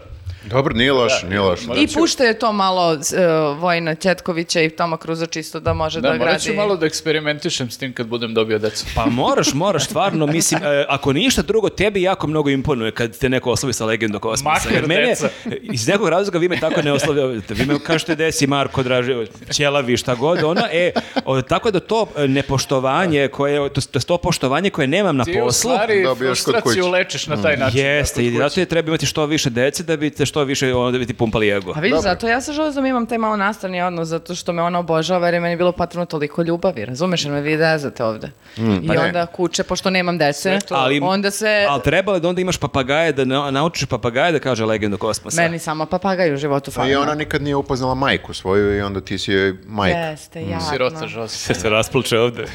Speaker 3: Dobro, Da. nije loše, nije loše.
Speaker 1: morat
Speaker 2: I
Speaker 1: ću-
Speaker 2: pušta je to malo s- e, Vojna Ćetkovića i Toma Kruza čisto da može da,
Speaker 1: Da, morat ću
Speaker 2: gradi.
Speaker 1: malo da eksperimentišem s tim kad budem dobio decu.
Speaker 4: Pa moraš, moraš, stvarno, mislim, e, ako ništa drugo, tebi jako mnogo imponuje kad te neko oslavi sa legendom kosmosa.
Speaker 1: Makar
Speaker 4: Jer mene-
Speaker 1: deca.
Speaker 4: Iz nekog razloga vi me tako ne oslavljavate. Vi me kažete desi Marko Draže, ćelavi, šta god, ono, e, o, tako da to e, nepoštovanje, koje, to, to, to poštovanje koje nemam na
Speaker 1: Ti u
Speaker 4: poslu,
Speaker 1: stvari
Speaker 3: Dobijaš kod
Speaker 1: frustraciju
Speaker 3: kuće.
Speaker 1: lečiš na taj način.
Speaker 4: Mm. Jeste, i
Speaker 1: da
Speaker 4: zato je treba imati što više dece da bi te što više ono, da bi ti pumpali ego.
Speaker 2: Pa vidiš, zato ja sa Žozom imam taj malo nastavni odnos, zato što me ona obožava, jer je meni bilo potrebno toliko ljubavi, razumeš, jer me vi dezate ovde. I
Speaker 3: ne.
Speaker 2: onda kuće, pošto nemam dece,
Speaker 4: Ali,
Speaker 2: onda se...
Speaker 4: ali trebalo je da onda imaš papagaje, da na- naučiš papagaje da kaže legendu kosmosa.
Speaker 2: Meni samo papagaj u životu
Speaker 3: Pa I
Speaker 2: fali.
Speaker 3: ona nikad nije upoznala majku svoju i onda ti si joj majka.
Speaker 2: Jeste, jadno.
Speaker 1: Sirota žost.
Speaker 4: se se raspluče ovde.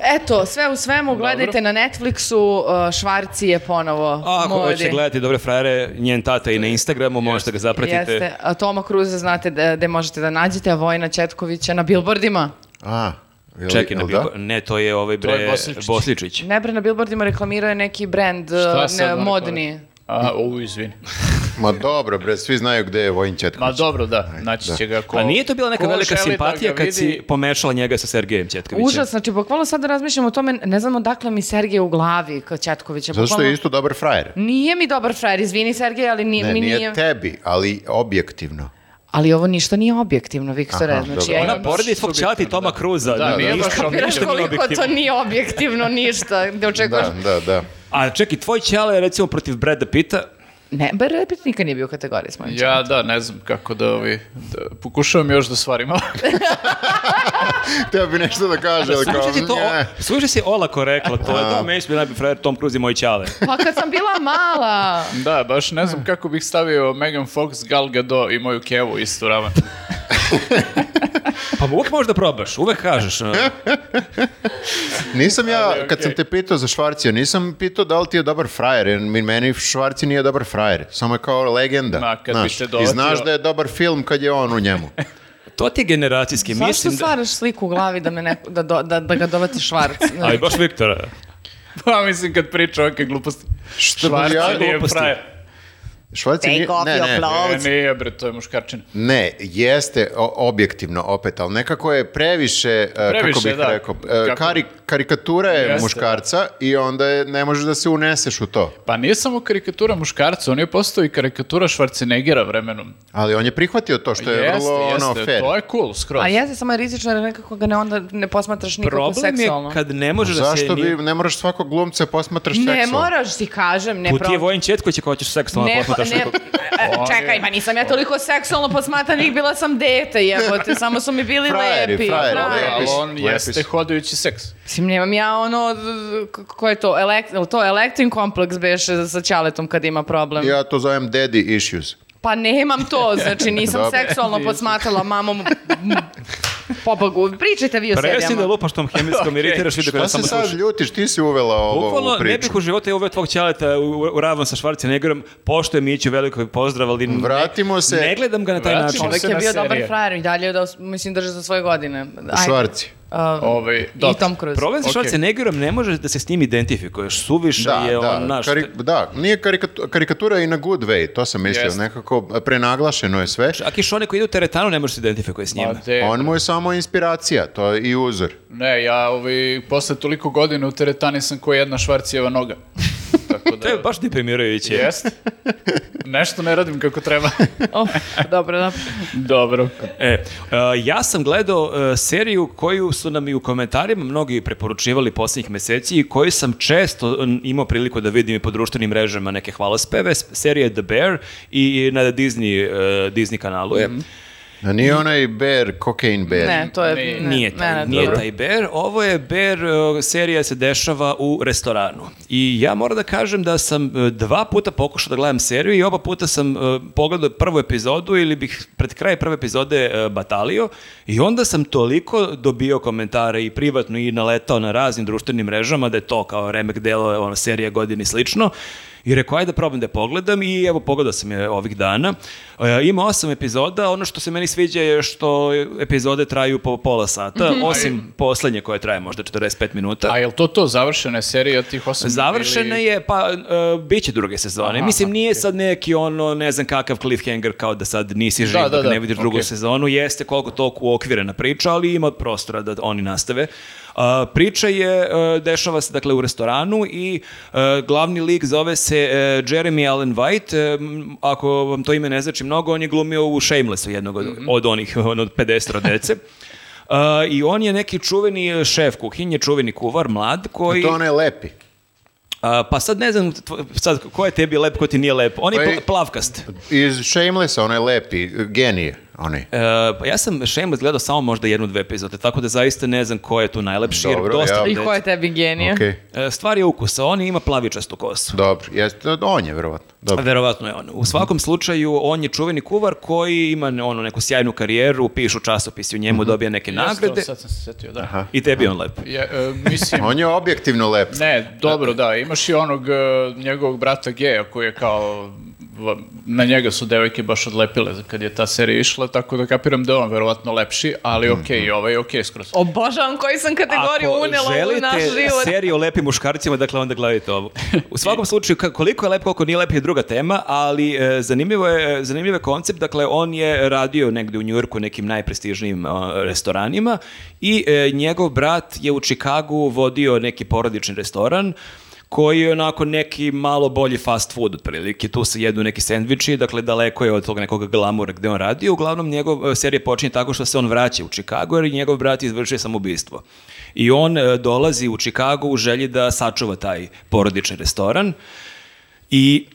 Speaker 2: Eto, sve u svemu, gledajte na Netflixu, uh, Švarci je ponovo
Speaker 4: A ako
Speaker 2: modi.
Speaker 4: hoćete gledati dobre frajere, njen tata i na Instagramu, možete ga zapratite.
Speaker 2: Jeste. A Toma Kruza znate da- gde možete da nađete, a Vojna Četkovića na billboardima.
Speaker 3: A, jel-
Speaker 4: Čekaj, na
Speaker 3: jel da?
Speaker 4: Billboard- ne, to je ovaj bre,
Speaker 1: To je Bosličić.
Speaker 4: Bosličić.
Speaker 2: Ne bre, na billboardima reklamirao je neki brand
Speaker 1: Šta
Speaker 2: e,
Speaker 1: sad
Speaker 2: ne,
Speaker 1: oni
Speaker 2: modni.
Speaker 1: koriste? A, u, izvini.
Speaker 3: Ma dobro, bre, svi znaju gde je Vojin Četković.
Speaker 1: Ma dobro, da,
Speaker 3: Znači,
Speaker 1: naći će ga ko...
Speaker 4: A nije to bila neka
Speaker 1: ko
Speaker 4: velika
Speaker 1: želi da
Speaker 4: simpatija
Speaker 1: ga
Speaker 4: kad
Speaker 1: vidi.
Speaker 4: si pomešala njega sa Sergejem Ćetkovićem?
Speaker 2: Užas, znači bukvalno sada razmišljam o tome, ne znam odakle mi Sergej u glavi kao Četkovića.
Speaker 3: Zato što
Speaker 2: bukvalno-
Speaker 3: je isto dobar frajer.
Speaker 2: Nije mi dobar frajer, izvini Sergej, ali ni,
Speaker 3: Ne,
Speaker 2: mi
Speaker 3: nije,
Speaker 2: nije...
Speaker 3: tebi, ali objektivno.
Speaker 2: Ali ovo ništa nije objektivno, Viktore.
Speaker 3: Aha,
Speaker 2: znači,
Speaker 3: dobro.
Speaker 2: ja
Speaker 4: Ona
Speaker 2: imam-
Speaker 4: poredi svog
Speaker 1: subjektivno,
Speaker 4: čata i Toma
Speaker 1: da.
Speaker 4: Cruza.
Speaker 1: Da, nije
Speaker 4: ništa
Speaker 1: baš objektivno.
Speaker 2: Kapiraš
Speaker 4: nije
Speaker 2: koliko to
Speaker 4: objektivno.
Speaker 2: nije objektivno ništa, gde očekuješ...
Speaker 3: Da, da, da.
Speaker 4: A čekaj, tvoj ćale je recimo protiv Breda Pita.
Speaker 2: Ne, bar Repit nikad nije bio u kategoriji s mojim četkom.
Speaker 1: Ja da, ne znam kako da ovi... Da, pokušavam još da stvarim.
Speaker 3: *laughs* Teo bi nešto da kaže, ali kao... Da.
Speaker 4: Slušaj si to,
Speaker 3: ne.
Speaker 4: o- slušaj si olako rekla, to je to meni bi najbolji frajer Tom Cruise i moj ćale.
Speaker 2: Pa kad sam bila mala...
Speaker 1: da, baš ne znam kako bih stavio Megan Fox, Gal Gadot i moju kevu istu ravan.
Speaker 4: Pa uvek možeš da probaš, uvek
Speaker 3: *laughs*
Speaker 4: kažeš. e, a.
Speaker 3: Nisam ja,
Speaker 1: Ali,
Speaker 3: kad sam
Speaker 1: okej.
Speaker 3: te pitao za Švarcija, nisam pitao da li ti je dobar frajer, jer mi- meni Švarci nije dobar frajer, samo je kao legenda.
Speaker 1: Ma, kad bi
Speaker 3: znaš.
Speaker 1: te
Speaker 3: I
Speaker 1: dovatio-
Speaker 3: znaš da je dobar film kad je on u
Speaker 1: *laughs*
Speaker 3: njemu.
Speaker 4: To ti je generacijski,
Speaker 2: Zašto
Speaker 4: mislim da...
Speaker 2: stvaraš sliku u glavi da, me neko, da, do- da, da ga dovati
Speaker 4: *laughs*
Speaker 2: švarc?
Speaker 4: Ali baš e, Viktora.
Speaker 1: *laughs* pa mislim kad priča ovakve gluposti.
Speaker 3: Što
Speaker 1: Švarci
Speaker 3: bi ja-
Speaker 1: nije
Speaker 4: gluposti.
Speaker 1: frajer.
Speaker 3: Švarci nije...
Speaker 2: off
Speaker 3: Ne,
Speaker 2: your
Speaker 3: ne,
Speaker 2: clothes.
Speaker 1: E, nije bre, to je muškarčina.
Speaker 3: ne, jeste o- objektivno opet, ali nekako je previše, e, kako
Speaker 1: Previše,
Speaker 3: bih
Speaker 1: da.
Speaker 3: rekao, e,
Speaker 1: Kako-
Speaker 3: kari- karikatura je
Speaker 1: Jeste.
Speaker 3: muškarca i onda je, ne možeš da se uneseš u to.
Speaker 1: Pa nije samo karikatura muškarca, on je postao i karikatura Schwarzeneggera vremenom.
Speaker 3: Ali on je prihvatio to što je
Speaker 1: Jeste,
Speaker 3: vrlo ono
Speaker 1: jeste,
Speaker 3: fair.
Speaker 1: to je cool, skroz.
Speaker 2: A jeste samo je rizično jer nekako ga ne, onda ne posmatraš nikako
Speaker 4: Problem je
Speaker 2: seksualno.
Speaker 4: kad ne možeš da se...
Speaker 3: Zašto
Speaker 4: ni-
Speaker 3: bi, ne moraš svakog glumca posmatraš
Speaker 2: Ne
Speaker 3: seksualno?
Speaker 2: moraš ti kažem, ne
Speaker 4: Put je
Speaker 2: problem.
Speaker 4: Vojin Četković ako hoćeš seksualno
Speaker 2: Ne, pa
Speaker 4: posmataš
Speaker 2: ne,
Speaker 4: nekog.
Speaker 2: e, čekaj, ma nisam ja toliko seksualno posmatranih, bila sam dete, jebote, samo su mi bili
Speaker 3: Frajeri,
Speaker 2: lepi.
Speaker 3: frajeri,
Speaker 1: Ali,
Speaker 2: frajeri.
Speaker 3: lepi. Lepis,
Speaker 1: on
Speaker 3: lepis.
Speaker 1: jeste hodajući seks.
Speaker 2: Mislim, nemam ja ono, d- k- ko je to, elekt, jel to elektrin kompleks beše sa ćaletom kad ima problem.
Speaker 3: Ja to zovem daddy issues.
Speaker 2: Pa nemam to, znači nisam
Speaker 3: Dobro.
Speaker 2: seksualno posmatrala mamom pobogu. Pričajte vi o
Speaker 4: Presi da
Speaker 2: serijama.
Speaker 4: lupaš tom
Speaker 3: *laughs*
Speaker 4: hemijskom, iritiraš ljude
Speaker 3: Pa
Speaker 4: koji
Speaker 3: se
Speaker 4: da samo
Speaker 3: sad
Speaker 4: slušaju.
Speaker 3: ljutiš, ti si uvela ovo
Speaker 4: Bukvalno
Speaker 3: u
Speaker 4: ne
Speaker 3: priču.
Speaker 4: bih u životu uveo tvog ćaleta u, u ravan sa Schwarzeneggerom, pošto je Miću veliko pozdrav, ali ne,
Speaker 3: Vratimo se-
Speaker 4: ne gledam ga na taj
Speaker 1: Vratimo se.
Speaker 4: način.
Speaker 2: Čovjek je
Speaker 1: na
Speaker 2: bio dobar
Speaker 1: serije.
Speaker 2: frajer i dalje, da, mislim, drže za svoje godine. Ajde.
Speaker 3: Švarci.
Speaker 2: A,
Speaker 1: Ovaj,
Speaker 2: I
Speaker 1: dobro.
Speaker 2: Tom Cruise. *laughs*
Speaker 4: Problem sa
Speaker 1: Ok.
Speaker 4: Schwarzeneggerom ne možeš da se s njim identifikuješ, suviše
Speaker 3: Da,
Speaker 4: je
Speaker 3: da,
Speaker 4: on naš.
Speaker 3: kari- da, nije karikatura, karikatura je i na good way, to sam mislio,
Speaker 1: Jeste.
Speaker 3: nekako prenaglašeno je sve.
Speaker 4: Čak i što oni koji idu u teretanu ne možeš se identifikuje s njima.
Speaker 1: Pa de-
Speaker 3: On mu je samo inspiracija, to je i uzor.
Speaker 1: Ne, ja ovi, posle toliko godina u teretani sam ko jedna švarcijeva noga. Tako da...
Speaker 4: To je baš deprimirajuće.
Speaker 1: Jeste. Nešto ne radim kako treba.
Speaker 2: Uf, Oh, dobro, da.
Speaker 1: Dobro.
Speaker 2: dobro.
Speaker 4: E, a, ja sam gledao e, seriju koju su nam i u komentarima mnogi preporučivali posljednjih meseci i koju sam često n, imao priliku da vidim i po društvenim mrežama neke hvalospeve. S- Serija je The Bear i na Disney, e, Disney kanalu
Speaker 3: Mhm.
Speaker 4: je.
Speaker 3: A Da nije onaj bear, cocaine bear.
Speaker 2: Ne, to je...
Speaker 1: Nije-
Speaker 2: ne,
Speaker 4: Nije,
Speaker 2: ne,
Speaker 4: taj,
Speaker 2: ne,
Speaker 4: nije
Speaker 2: dobro.
Speaker 4: taj Bear. Ovo je Bear, e, serija se dešava u restoranu. I ja moram da kažem da sam e, dva puta pokušao da gledam seriju i oba puta sam e, pogledao prvu epizodu ili bih pred kraj prve epizode e, batalio i onda sam toliko dobio komentare i privatno i naletao na raznim društvenim mrežama da je to kao remek delo, ono, serija godini slično. I rekao, ajde da probam da je pogledam i evo pogledao sam je ovih dana. E, ima osam epizoda, ono što se meni sviđa je što epizode traju po pola sata, osim poslednje koje traje možda 45 minuta.
Speaker 1: A jel to to završena je serija tih osam?
Speaker 4: Završena
Speaker 1: ili-
Speaker 4: je, pa e, bit će druge sezone.
Speaker 1: Aha,
Speaker 4: Mislim,
Speaker 1: aha,
Speaker 4: nije sad neki ono, ne znam kakav cliffhanger kao da sad nisi živ,
Speaker 1: Da,
Speaker 4: da,
Speaker 1: da, da,
Speaker 4: ne vidiš drugu
Speaker 1: okej.
Speaker 4: sezonu. Jeste koliko toliko uokvirena priča, ali ima prostora da oni nastave. A, priča je, e, dešava se dakle u restoranu i e, glavni lik zove se e, Jeremy Allen White. E, m, ako vam to ime ne znači mnogo, on je glumio u Shamelessu jednog
Speaker 1: Mhm.
Speaker 4: od, od onih, ono, od 50
Speaker 1: *laughs*
Speaker 4: dece. A, I on je neki čuveni šef kuhinje, čuveni kuvar, mlad, koji...
Speaker 3: Pa To onaj lepi.
Speaker 4: A, pa sad ne znam tvo- sad ko je tebi lep, ko ti nije lep. On je
Speaker 3: Pa i-
Speaker 4: pl- plavkast.
Speaker 3: Iz Shamelessa, onaj lepi, genije, onaj.
Speaker 4: E, pa ja sam Shameless gledao samo možda jednu, dve epizode, tako da zaista ne znam ko je tu najlepši. jer
Speaker 3: Dobro,
Speaker 4: dosta
Speaker 3: ja-
Speaker 4: dece-
Speaker 2: I ko je tebi genije?
Speaker 3: Okej,
Speaker 4: E, Stvar je ukusa, on ima plavičastu kosu.
Speaker 3: dobro, jeste, on je verovatno. Dobro.
Speaker 4: Verovatno je on. U svakom slučaju, on je čuveni kuvar koji ima ono, neku sjajnu karijeru, pišu časopisi u njemu,
Speaker 3: Mhm.
Speaker 4: dobija neke
Speaker 1: Jeste, da,
Speaker 4: nagrade
Speaker 1: Sad sam se setio, da.
Speaker 4: i tebi je on lep.
Speaker 1: Je, e,
Speaker 3: *laughs*
Speaker 1: mislim,
Speaker 3: On je objektivno lep.
Speaker 1: ne, dobro, da, imaš i onog e, njegovog brata Geja koji je kao va- na njega su devojke baš odlepile za kad je ta serija išla, tako da kapiram da je on verovatno lepši, ali okej, ovaj je okej skroz.
Speaker 5: Obožavam koji sam kategoriju unela u naš život.
Speaker 4: seriju o lepim muškarcima, dakle onda gledajte ovo. U
Speaker 5: *laughs*
Speaker 4: svakom slučaju, ka- koliko je lep, koliko nije lep je druga tema, ali e, zanimljivo je, zanimljiv je koncept, dakle on je radio negde u Njujorku nekim najprestižnijim e, restoranima i e, njegov brat je u Čikagu vodio neki porodični restoran koji je onako neki malo bolji fast food otprilike. Tu se jedu neki sendviči, dakle daleko je od tog nekog glamura gde on radi. Uglavnom njegov e, serija počinje tako što se on vraća u Chicago jer je njegov brat izvršio samoubistvo. I on e, dolazi u Chicago u želji da sačuva taj porodični restoran i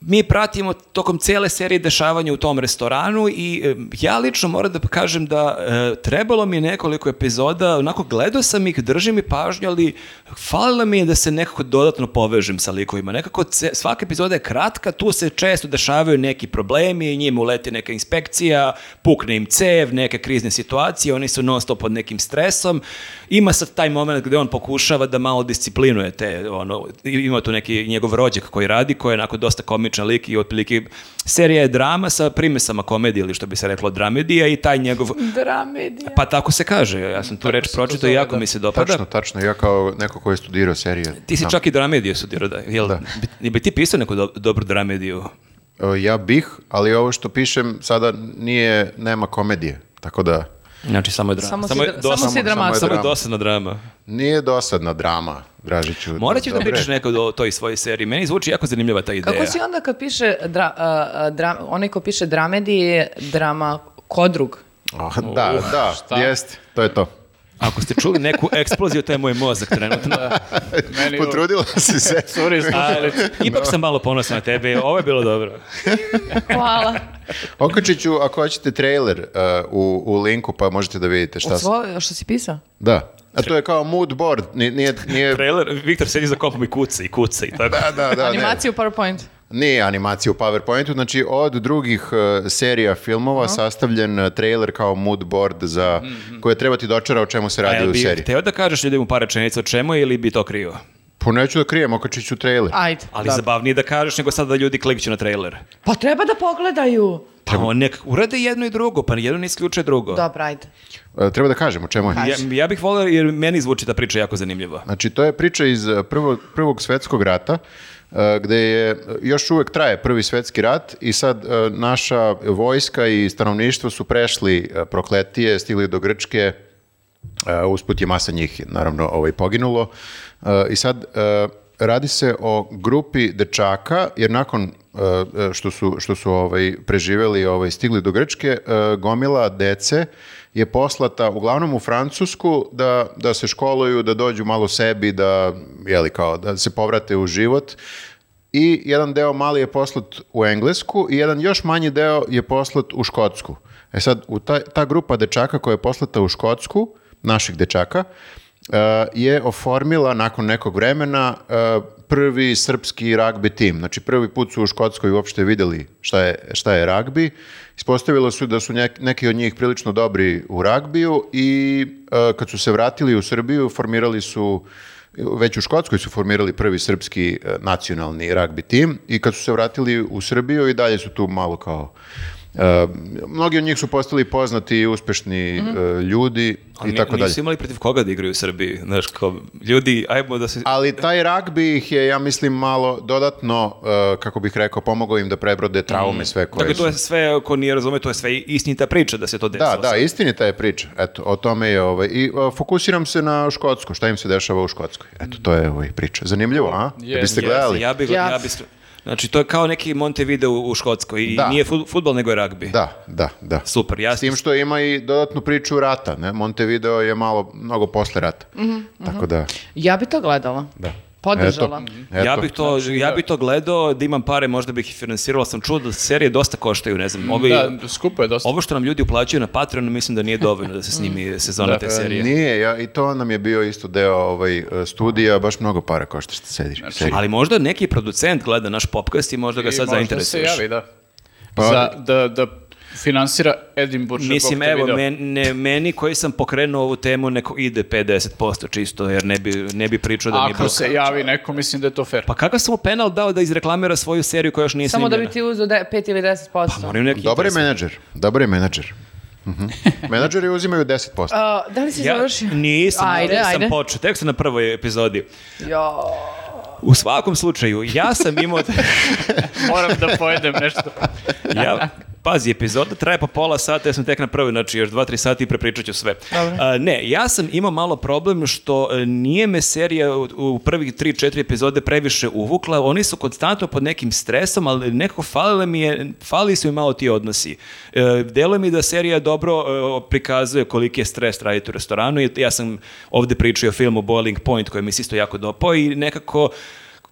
Speaker 4: mi pratimo tokom cele serije dešavanja u tom restoranu i e, ja lično moram da kažem da e, trebalo mi je nekoliko epizoda, onako gledao sam ih, držim mi pažnju, ali falilo mi je da se nekako dodatno povežem sa likovima. Nekako ce- svaka epizoda je kratka, tu se često dešavaju neki problemi, njim uleti neka inspekcija, pukne im cev, neke krizne situacije, oni su non stop pod nekim stresom. Ima sad taj moment gde on pokušava da malo disciplinuje te, ono, i- ima tu neki njegov rođak koji radi, koji je onako dosta komičan lik i otprilike serija je drama sa primesama komedije ili što bi se reklo dramedija i taj njegov
Speaker 5: Da. Dramedija.
Speaker 4: Pa tako se kaže, ja sam tu
Speaker 5: Pa
Speaker 4: reč pročitao i jako
Speaker 5: da.
Speaker 4: mi se dopada.
Speaker 3: Tačno, tačno. Ja kao neko ko je studirao serije.
Speaker 4: Ti si
Speaker 5: Da.
Speaker 3: znam.
Speaker 4: čak i dramediju studirao, da. Jel, da. Bi, bi ti pisao neku do, dobru dramediju?
Speaker 3: E, Ja bih, ali ovo što pišem sada nije, nema komedije. Tako da
Speaker 4: Znači, samo je drama.
Speaker 5: Samo,
Speaker 4: je
Speaker 5: si, dra- samo
Speaker 4: dosadna-
Speaker 5: si
Speaker 3: samo je
Speaker 5: dramatik.
Speaker 4: Samo je
Speaker 3: drama.
Speaker 4: dosadna drama.
Speaker 3: nije dosadna drama, Dražiću.
Speaker 4: Morat ću da
Speaker 3: Dobre.
Speaker 4: pričaš nekad o toj svojoj seriji. Meni zvuči jako zanimljiva ta ideja.
Speaker 5: Kako si onda kad piše, dra, a, a, dra- onaj ko piše dramedije je drama kodrug?
Speaker 3: Ah, da, da, jest, to je to.
Speaker 4: Ako ste čuli neku eksploziju, to je moj mozak
Speaker 5: *laughs*
Speaker 4: trenutno.
Speaker 5: Da.
Speaker 1: Meni,
Speaker 3: Potrudila
Speaker 4: *laughs*
Speaker 3: si se.
Speaker 1: Sorry,
Speaker 4: Ali, ipak sam malo ponosan na tebe. Ovo je bilo dobro.
Speaker 5: Hvala.
Speaker 3: Okačit ću, ako hoćete, trailer e, u, u linku, pa možete da vidite šta
Speaker 5: Od
Speaker 3: se-
Speaker 5: svoje, što si pisao?
Speaker 3: Da. A to je kao mood board. Nije, nije, nije
Speaker 4: Trailer, Viktor sedi za kompom i kuca i kuca i tako.
Speaker 3: E- da, da, da, ne.
Speaker 5: Animaciju PowerPoint.
Speaker 3: Nije animacija u PowerPointu, znači od drugih e, serija filmova sastavljen e, trailer kao mood board za,
Speaker 4: Mhm.
Speaker 3: koje treba ti dočara o čemu se
Speaker 4: A
Speaker 3: radi
Speaker 4: jel
Speaker 3: u
Speaker 4: bi
Speaker 3: seriji.
Speaker 4: hteo da kažeš ljudima par rečenica o čemu je ili bi to krivo?
Speaker 3: Pa neću da krijem, okačit ću trailer.
Speaker 5: Ajde.
Speaker 4: Ali
Speaker 5: dobro.
Speaker 4: zabavnije da kažeš nego sad da ljudi klikću na trailer.
Speaker 5: Pa treba da pogledaju.
Speaker 4: Pa on nek urade jedno i drugo, pa jedno ne isključuje drugo.
Speaker 5: Da. Dobro, ajde.
Speaker 3: E, Treba da kažem o čemu je.
Speaker 4: Ja, ja bih volio jer meni zvuči ta priča jako zanimljiva.
Speaker 3: Znači, to je priča iz e, prvo, prvog svetskog rata, e, gde je, e, još uvek traje prvi svetski rat i sad e, naša vojska i stanovništvo su prešli e, prokletije, stigli do Grčke, e, usput je masa njih, naravno, ovaj, poginulo. E, I sad, e, radi se o grupi dečaka, jer nakon e, e, što su, što su ovaj, preživeli, ovaj, stigli do Grčke, e, gomila dece je poslata uglavnom u Francusku da, da se školuju, da dođu malo sebi, da, jeli, kao, da se povrate u život. I jedan deo mali je poslat u Englesku i jedan još manji deo je poslat u Škotsku. E sad, u ta, ta grupa dečaka koja je poslata u Škotsku, naših dečaka, e, je oformila nakon nekog vremena e, prvi srpski ragbi tim. Znači, prvi put su u Škotskoj uopšte videli šta je, šta je ragbi. Ispostavilo su da su nek- neki od njih prilično dobri u ragbiju i e, kad su se vratili u Srbiju, formirali su već u Škotskoj su formirali prvi srpski e, nacionalni ragbi tim i kad su se vratili u Srbiju i dalje su tu malo kao e, mnogi od njih su postali poznati i uspešni e, ljudi
Speaker 4: Mhm. Ali
Speaker 3: i tako dalje.
Speaker 4: Nisu imali protiv koga da igraju u Srbiji. Znaš, kao, ljudi, ajmo da se...
Speaker 3: Ali taj ragbi ih je, ja mislim, malo dodatno, e, kako bih rekao, pomogao im da prebrode traume sve koje
Speaker 4: Dakle, to je
Speaker 3: su.
Speaker 4: sve, ako nije razume, to je sve istinita priča da se to desilo.
Speaker 3: Da, da, istinita je priča. Eto, o tome je ovaj. I e, fokusiram se na Škotsku, šta im se dešava u Škotskoj. Eto, to je ovaj priča. Zanimljivo, a?
Speaker 1: Yes,
Speaker 3: Da biste
Speaker 1: yes,
Speaker 3: gledali?
Speaker 4: Ja bih,
Speaker 5: Ja.
Speaker 4: ja bih... Znači, to je kao neki Montevideo u u Škotskoj i
Speaker 3: Da.
Speaker 4: nije futbol, nego je ragbi.
Speaker 3: Da, da, da.
Speaker 4: Super, ja
Speaker 3: S tim što ima i dodatnu priču rata, ne? Montevideo je malo, mnogo posle rata. Tako da,
Speaker 5: Ja bi to gledala.
Speaker 3: da.
Speaker 5: Podržala.
Speaker 3: Eto, eto.
Speaker 4: Mhm.
Speaker 3: znači,
Speaker 4: Ja bih, to, ja bih to gledao, da imam pare, možda bih ih finansirao, ali sam čuo da serije dosta koštaju, ne znam, ovi,
Speaker 1: da, skupo je dosta.
Speaker 4: ovo što nam ljudi uplaćuju na Patreon, mislim da nije dovoljno da se snimi sezona te serije.
Speaker 3: Nije, ja, i to nam je bio isto deo ovaj, e, studija, baš mnogo para košta što sediš. serija.
Speaker 4: Ali možda neki producent gleda naš podcast i možda Da ga
Speaker 1: I
Speaker 4: sad
Speaker 1: možda se
Speaker 4: zainteresuješ.
Speaker 1: javi, da.
Speaker 3: Pa-
Speaker 1: Za, da, da finansira Edinburgh.
Speaker 4: Mislim,
Speaker 1: Bog te
Speaker 4: evo,
Speaker 1: video.
Speaker 4: men, ne, meni koji sam pokrenuo ovu temu neko ide 50% čisto, jer ne bi, ne bi pričao da mi je
Speaker 1: Ako
Speaker 4: bilo...
Speaker 1: se javi neko, mislim da je to fair.
Speaker 4: Pa kakav sam mu penal dao da izreklamira svoju seriju koja još nije
Speaker 5: Samo da
Speaker 4: snimljena?
Speaker 5: bi ti uzeo 5 ili 10%.
Speaker 4: Pa moram neki
Speaker 3: Dobar je
Speaker 4: interes.
Speaker 3: menadžer, dobar je menadžer. Mhm. Menadžeri uzimaju 10%.
Speaker 5: A, da li si završio?
Speaker 4: nisam,
Speaker 5: Ajde,
Speaker 4: ajde, sam
Speaker 5: ajde.
Speaker 4: počeo, tek sam na prvoj epizodi.
Speaker 5: Jo.
Speaker 4: U svakom slučaju, ja sam imao...
Speaker 5: *laughs*
Speaker 1: Moram da pojedem nešto.
Speaker 4: ja, pazi, epizoda traje po pola sata, ja sam tek na prvoj, znači još dva, tri sati i prepričat ću sve. A, ne, ja sam imao malo problem što e, nije me serija u, u prvih tri, četiri epizode previše uvukla, oni su konstantno pod nekim stresom, ali nekako falile mi je, fali su mi malo ti odnosi. E, deluje mi da serija dobro e, prikazuje koliki je stres raditi u restoranu, i ja sam ovde pričao o filmu Boiling Point koji mi se isto jako dopao i nekako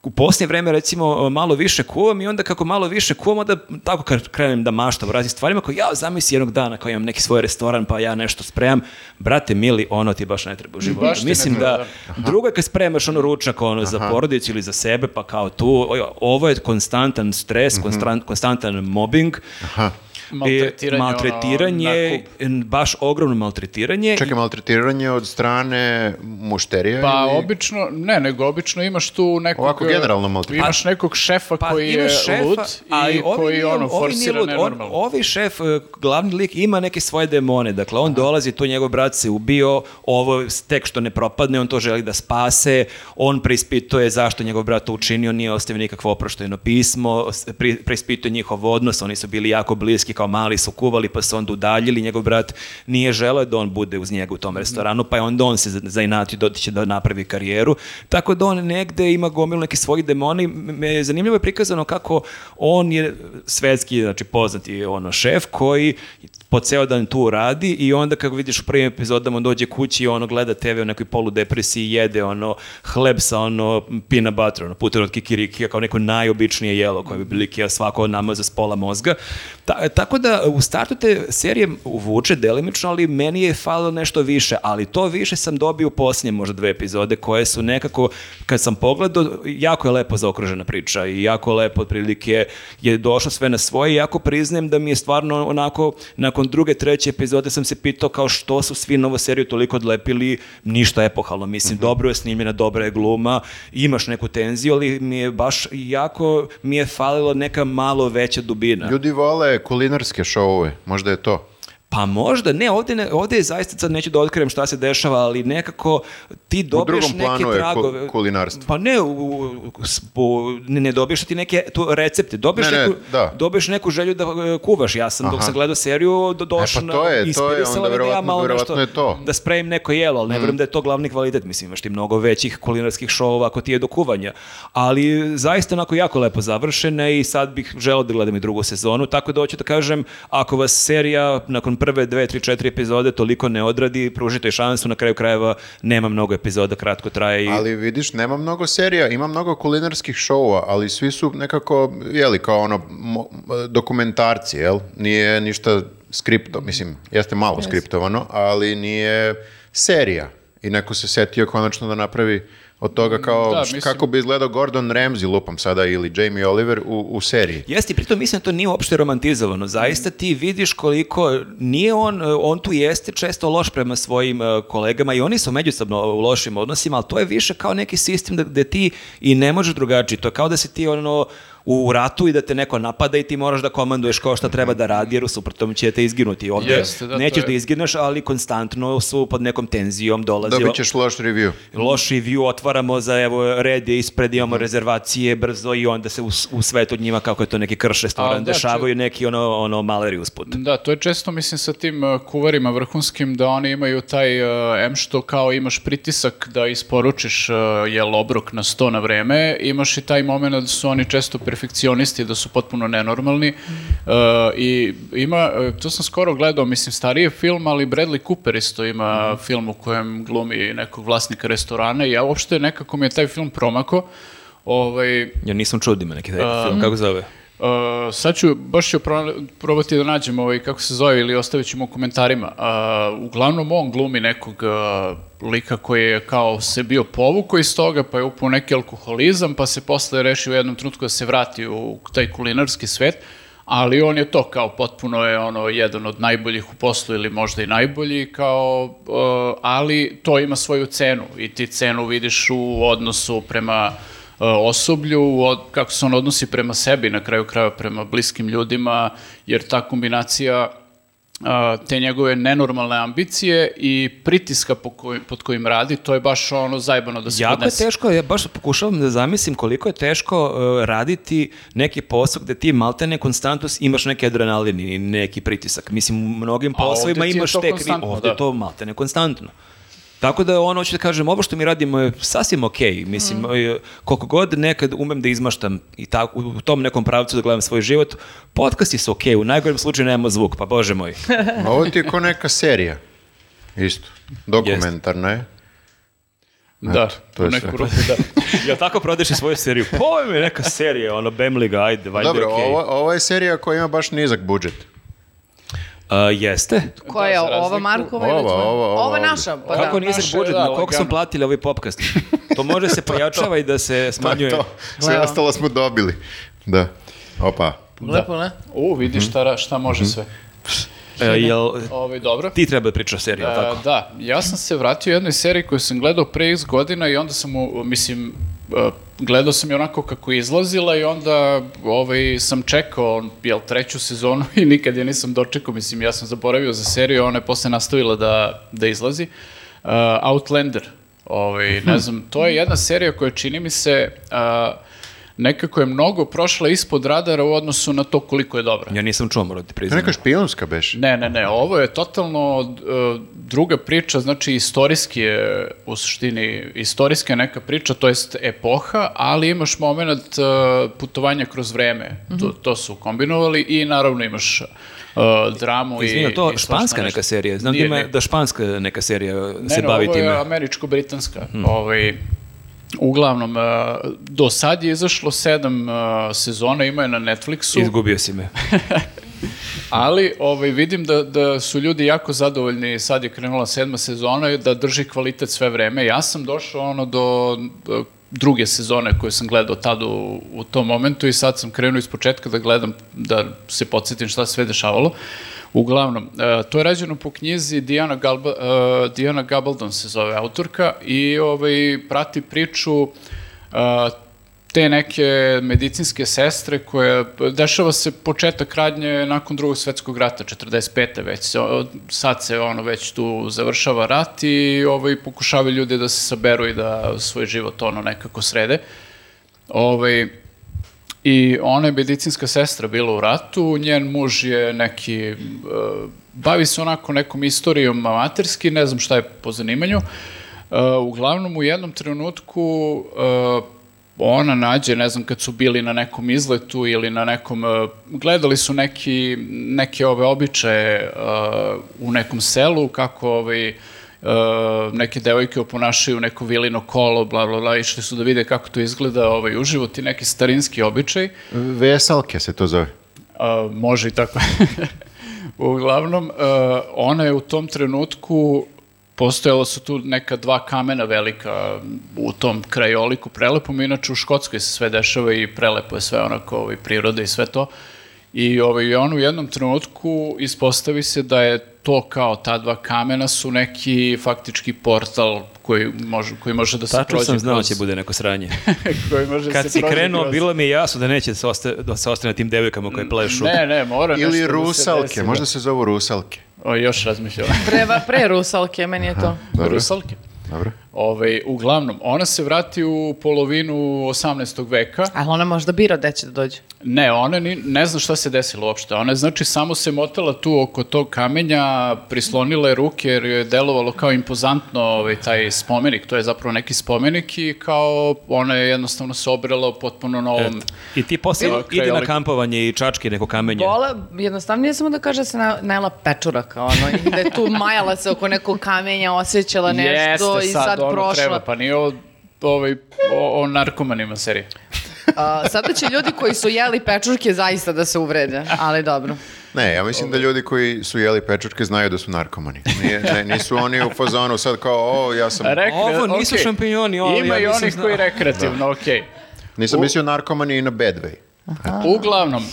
Speaker 4: u posljednje vreme recimo malo više kuvam i onda kako malo više kuvam onda tako kad krenem da maštam o raznim stvarima kao ja zamisli jednog dana kao imam neki svoj restoran pa ja nešto spremam brate mili ono ti baš ne treba u životu
Speaker 1: Baš ti ne
Speaker 4: mislim
Speaker 1: treba,
Speaker 4: da drugo je kad spremaš ono ručak ono za porodicu ili za sebe pa kao tu o- ovo je konstantan stres
Speaker 1: Mhm.
Speaker 4: konstan- konstantan mobbing
Speaker 3: Aha.
Speaker 1: Maltretiranje,
Speaker 4: E,
Speaker 1: ono,
Speaker 4: maltretiranje, en, baš ogromno maltretiranje
Speaker 3: Čekaj, maltretiranje od strane mušterija
Speaker 1: *laughs* Pa
Speaker 3: ili-
Speaker 1: obično, ne, nego obično imaš tu nekog... e,
Speaker 3: Ovako generalno maltretiranje.
Speaker 1: Imaš nekog šefa koji je
Speaker 4: Pa, imaš šefa,
Speaker 1: lud
Speaker 4: ali
Speaker 1: i
Speaker 4: ovi
Speaker 1: koji
Speaker 4: nije-
Speaker 1: ono
Speaker 4: ovi nije
Speaker 1: forsira
Speaker 4: lud. On-
Speaker 1: nenormalno.
Speaker 4: Ovi šef, e, glavni lik, ima neke svoje demone. Dakle, on dolazi, tu njegov brat se ubio, ovo tek što ne propadne, on to želi da spase, on preispituje zašto njegov brat to učinio, nije ostavio nikakvo oproštajno pismo, s- pri- preispituje njihov odnos, oni su bili jako bliski, kao mali su kuvali, pa su onda udaljili, njegov brat nije želeo da on bude uz njega u
Speaker 1: Mhm.
Speaker 4: tom restoranu, pa je onda on se za- zainatio da će da napravi karijeru. Tako da on negde ima gomilu nekih svojih demona i me je zanimljivo je prikazano kako on je svetski, znači poznati ono šef koji po ceo dan tu radi i onda kako vidiš u prvim epizodama on dođe kući i ono gleda TV u nekoj poludepresiji i jede ono hleb sa ono peanut butter, ono puter od kikirikija kao neko najobičnije jelo koje bi bili svako namaza s pola mozga. Ta- tako da u startu te serije uvuče delimično, ali meni je falilo nešto više, ali to više sam dobio u posljednje možda dve epizode koje su nekako, kad sam pogledao, jako je lepo zaokružena priča i jako lepo otprilike je došlo sve na svoje i jako priznajem da mi je stvarno onako, nakon druge, treće epizode sam se pitao kao što su svi novu seriju toliko odlepili, ništa epohalno, mislim, dobro je snimljena, dobra je gluma, imaš neku tenziju, ali mi je baš jako, mi je falilo neka malo veća dubina.
Speaker 3: Ljudi vole kulinarske šoue, možda je to.
Speaker 4: Pa možda, ne, ovdje, ne, ovdje je zaista, sad neću da otkrijem šta se dešava, ali nekako ti dobiješ
Speaker 3: drugom planu
Speaker 4: neke
Speaker 3: je ku-
Speaker 4: tragove.
Speaker 3: kulinarstvo.
Speaker 4: Pa ne, u, u- s- po- ne, ne dobiješ ti neke tu recepte, dobiješ,
Speaker 3: Ne, ne,
Speaker 4: neku,
Speaker 3: da.
Speaker 4: dobiješ neku želju da e, kuvaš. Ja sam dok
Speaker 3: Aha.
Speaker 4: sam gledao seriju do, došao
Speaker 3: E, pa
Speaker 4: na-
Speaker 3: to je- to je
Speaker 4: inspirisala
Speaker 3: onda
Speaker 4: me da ja
Speaker 3: verovatno-
Speaker 4: malo
Speaker 3: verovatno
Speaker 4: nešto-
Speaker 3: je to.
Speaker 4: da spremim neko jelo, ali ne vjerujem da je to glavni kvalitet. Mislim, imaš ti mnogo većih kulinarskih šova ako ti je do kuvanja. Ali zaista onako jako lepo završene i sad bih želeo da gledam i drugu sezonu. Tako da hoću da kažem, ako vas serija nakon prve dve, tri, četiri epizode toliko ne odradi, pružite joj šansu. Na kraju krajeva nema mnogo epizoda, kratko traje i...
Speaker 3: Ali vidiš, nema mnogo serija, ima mnogo kulinarskih šoua, ali svi su nekako, jeli, kao ono, mo- dokumentarci, jel? Nije ništa skripto, mislim, jeste malo skriptovano, ali nije serija. I neko se setio konačno da napravi od toga kao
Speaker 1: Da,
Speaker 3: š-
Speaker 1: mislim-
Speaker 3: kako bi izgledao Gordon Ramsay, lupam sada, ili Jamie Oliver u, u seriji.
Speaker 4: Jeste, i pritom mislim da to nije uopšte romantizovano. Zaista ti vidiš koliko nije on, e, on tu jeste često loš prema svojim e, kolegama i oni su međusobno u lošim odnosima, ali to je više kao neki sistem da, gde ti i ne možeš drugačije. To je kao da si ti ono u ratu i da te neko napada i ti moraš da komanduješ ko šta treba da radi, jer u suprotnom će te izginuti. Ovdje
Speaker 1: Jeste, da, to
Speaker 4: nećeš
Speaker 1: je-
Speaker 4: da izgineš, ali konstantno su pod nekom tenzijom dolazi
Speaker 3: Dobit ćeš loš review.
Speaker 4: loš review otvaramo za evo red je ispred imamo rezervacije brzo i onda se u, u svetu od njima kako je to neki krš
Speaker 1: A,
Speaker 4: restoran
Speaker 1: da,
Speaker 4: dešavaju neki ono ono maleri usput.
Speaker 1: Da, to je često, mislim, sa tim uh, kuvarima vrhunskim, da oni imaju taj, uh, em što kao imaš pritisak da isporučiš uh, jel obrok na sto na vreme, imaš i taj moment da su oni često perfekcionisti, da su potpuno nenormalni Uh, i ima, uh, to sam skoro gledao, mislim, stariji film, ali Bradley Cooper isto ima film u kojem glumi nekog vlasnika restorana i ja uopšte nekako mi je taj film promako, ovaj,
Speaker 4: Ja nisam čuo da ima neki taj film, kako zove?
Speaker 1: Uh, sad ću, baš ću pro- probati da nađem ovaj, kako se zove ili ostavit ćemo u komentarima. Uh, uglavnom on glumi nekog uh, lika koji je kao se bio povukao iz toga, pa je upao u neki alkoholizam, pa se posle rešio u jednom trenutku da se vrati u taj kulinarski svet, ali on je to kao potpuno je ono jedan od najboljih u poslu ili možda i najbolji kao e, ali to ima svoju cenu i ti cenu vidiš u odnosu prema e, osoblju, u od, kako se on odnosi prema sebi, na kraju kraja prema bliskim ljudima, jer ta kombinacija a, te njegove nenormalne ambicije i pritiska po koj, pod kojim radi, to je baš ono zajebano da se
Speaker 4: Jako je
Speaker 1: podnese.
Speaker 4: teško, ja baš pokušavam da zamislim koliko je teško uh, raditi neki posao gde ti maltene konstantno imaš neki adrenalin i neki pritisak. Mislim, u mnogim
Speaker 1: A ovde
Speaker 4: poslovima
Speaker 1: ti je
Speaker 4: imaš
Speaker 1: to
Speaker 4: te kri...
Speaker 1: konstantno,
Speaker 4: Ovde je
Speaker 1: da.
Speaker 4: to maltene konstantno. Tako da ono, hoću da kažem, ovo što mi radimo je sasvim okej. Mislim,
Speaker 1: Mm.
Speaker 4: e, koliko god nekad umem da izmaštam i tako, u- u tom nekom pravcu da gledam svoj život, podcasti su okej, u najgorem slučaju nemamo zvuk, pa
Speaker 1: *laughs*
Speaker 4: bože moj.
Speaker 3: Ovo ti je ko neka serija. Isto. Dokumentarna je.
Speaker 1: Da,
Speaker 3: Eto, to
Speaker 1: to
Speaker 3: je
Speaker 1: je
Speaker 3: sve.
Speaker 1: neku ruku, da.
Speaker 3: *laughs*
Speaker 4: Jel tako prodeš i svoju seriju? Pojme, neka serija, ono, Bemliga, ajde, valjda
Speaker 3: Dobro,
Speaker 4: je okej.
Speaker 3: ovo, ovo je serija koja ima baš nizak budžet.
Speaker 4: A, E, jeste.
Speaker 5: Koja je
Speaker 1: Da, za
Speaker 5: ova
Speaker 1: razliku-
Speaker 5: Markova?
Speaker 3: Ova,
Speaker 5: ili tvoja?
Speaker 3: ova, ova
Speaker 5: Ova
Speaker 3: ovde.
Speaker 5: naša, pa
Speaker 4: Kako
Speaker 5: da.
Speaker 4: nizak
Speaker 1: naše,
Speaker 4: budžet,
Speaker 1: da,
Speaker 4: na koliko sam
Speaker 1: lagano.
Speaker 4: platili ovaj popkast? To
Speaker 1: *laughs*
Speaker 4: može se pojačava i da se
Speaker 3: To je
Speaker 4: smanjuje.
Speaker 3: to. Sve
Speaker 5: Evo.
Speaker 3: ostalo smo dobili. Da. Opa.
Speaker 4: da.
Speaker 5: Lepo, ne?
Speaker 1: U, vidi šta, šta može
Speaker 4: Mhm.
Speaker 1: sve.
Speaker 4: E, jel,
Speaker 1: Ovi, dobro.
Speaker 4: ti treba da pričaš seriju, jel
Speaker 1: E,
Speaker 4: tako?
Speaker 1: Da, ja sam se vratio jednoj seriji koju sam gledao pre x godina i onda sam, u, mislim, e, gledao sam je onako kako je izlazila i onda ovaj, sam čekao, jel, treću sezonu *laughs* i nikad je nisam dočekao, mislim, ja sam zaboravio za seriju, ona je posle nastavila da, da izlazi. E, Outlander, ovaj, ne znam, to je jedna serija koja čini mi se... a, nekako je mnogo prošla ispod radara u odnosu na to koliko je dobra.
Speaker 4: Ja nisam čuo, moram da ti
Speaker 3: To je
Speaker 4: priznam.
Speaker 3: neka špijunska beš.
Speaker 1: Ne, ne, ne, ovo je totalno e, druga priča, znači istorijski je u suštini, istorijska je neka priča, to jest epoha, ali imaš moment e, putovanja kroz vreme, to, to su kombinovali i naravno imaš e, dramu i...
Speaker 4: Izvini, to
Speaker 1: i svašta
Speaker 4: španska
Speaker 1: nešto.
Speaker 4: neka serija. Znam da
Speaker 1: Nije,
Speaker 4: ima
Speaker 1: nije.
Speaker 4: da španska neka serija se
Speaker 1: ne,
Speaker 4: bavi
Speaker 1: ovo
Speaker 4: time. Mhm.
Speaker 1: je američko-britanska. Ovaj, uglavnom, e, do sad je izašlo sedam e, sezona, ima je na Netflixu.
Speaker 4: Izgubio
Speaker 1: *laughs*
Speaker 4: si me.
Speaker 1: Ali ovaj, vidim da, da su ljudi jako zadovoljni, sad je krenula sedma sezona i da drži kvalitet sve vreme. Ja sam došao ono do, do druge sezone koju sam gledao tad u, u tom momentu i sad sam krenuo iz početka da gledam, da se podsjetim šta se sve dešavalo. Uglavnom, e, to je rađeno po knjizi Diana, Galba, e, Diana Gabaldon se zove autorka i ovaj, prati priču e, te neke medicinske sestre koje, dešava se početak radnje nakon drugog svetskog rata, 45. već, se, sad se ono već tu završava rat i ovaj, pokušavaju ljudi da se saberu i da svoj život ono nekako srede. Ovaj, I ona je medicinska sestra bila u ratu, njen muž je neki, e, bavi se onako nekom istorijom amaterski, ne znam šta je po zanimanju. E, Uglavnom u jednom trenutku e, ona nađe, ne znam, kad su bili na nekom izletu ili na nekom, e, gledali su neki, neke ove običaje e, u nekom selu, kako ovaj, e, neke devojke oponašaju neko vilino kolo, bla, bla, bla, išli su da vide kako to izgleda ovaj, uživo, ti neki starinski običaj.
Speaker 3: Veselke se to zove.
Speaker 1: A, može i tako. *laughs* Uglavnom, e, ona je u tom trenutku, postojala su tu neka dva kamena velika u tom krajoliku prelepom, inače u Škotskoj se sve dešava i prelepo je sve onako ovaj, priroda i sve to. I ovaj, on u jednom trenutku ispostavi se da je to kao ta dva kamena su neki faktički portal koji može, koji može da se
Speaker 4: Tačno
Speaker 1: prođe
Speaker 4: sam znao da
Speaker 1: kroz...
Speaker 4: će bude neko sranje.
Speaker 1: *laughs* koji može da se
Speaker 4: Kad si
Speaker 1: prođe
Speaker 4: krenuo,
Speaker 1: kroz-
Speaker 4: bilo mi je jasno da neće da se osta- da se ostane na tim devojkama koje plešu.
Speaker 1: Ne, ne, mora nešto
Speaker 3: Ili
Speaker 1: da se
Speaker 3: rusalke,
Speaker 1: desi, da.
Speaker 3: možda se zovu rusalke.
Speaker 1: O, još razmišljam.
Speaker 5: Preva, pre Rusalke, meni je to.
Speaker 3: Dobro,
Speaker 1: Rusalke.
Speaker 3: dobro.
Speaker 1: Ove, Ovaj, uglavnom, ona se vrati u polovinu 18. veka.
Speaker 5: Ali ona možda bira gde će da dođe.
Speaker 1: Ne, ona ni, ne zna šta se desilo uopšte. Ona je, znači, samo se motala tu oko tog kamenja, prislonila je ruke jer joj je delovalo kao impozantno ovaj, taj spomenik. To je zapravo neki spomenik i kao ona je jednostavno se obrela u potpuno novom...
Speaker 4: E, I ti posle
Speaker 1: Bilo-
Speaker 4: ide na
Speaker 1: krajolik.
Speaker 4: kampovanje i čački neko kamenje.
Speaker 5: Bola, jednostavnije samo da kaže da se na- najela pečuraka, ono, i da je tu majala se oko nekog kamenja, osjećala Pa nešto i sad,
Speaker 1: ono
Speaker 5: prošla.
Speaker 1: treba, pa nije ovo ovaj, o, o narkomanima serija.
Speaker 5: A, sada će ljudi koji su jeli pečurke zaista da se uvrede, ali dobro.
Speaker 3: Ne, ja mislim
Speaker 1: Ovaj.
Speaker 3: da ljudi koji su jeli pečurke znaju da su narkomani. Nije, ne, nisu oni u fazonu sad kao, o, ja sam,
Speaker 1: Rekre,
Speaker 4: Ovo nisu šampinjoni, ovo
Speaker 1: Ima
Speaker 4: ja
Speaker 1: i
Speaker 4: nisam
Speaker 1: onih
Speaker 4: znao. Da.
Speaker 1: koji rekreativno, okej.
Speaker 3: nisam mislio narkomani i na Bedway.
Speaker 1: Uglavnom, e,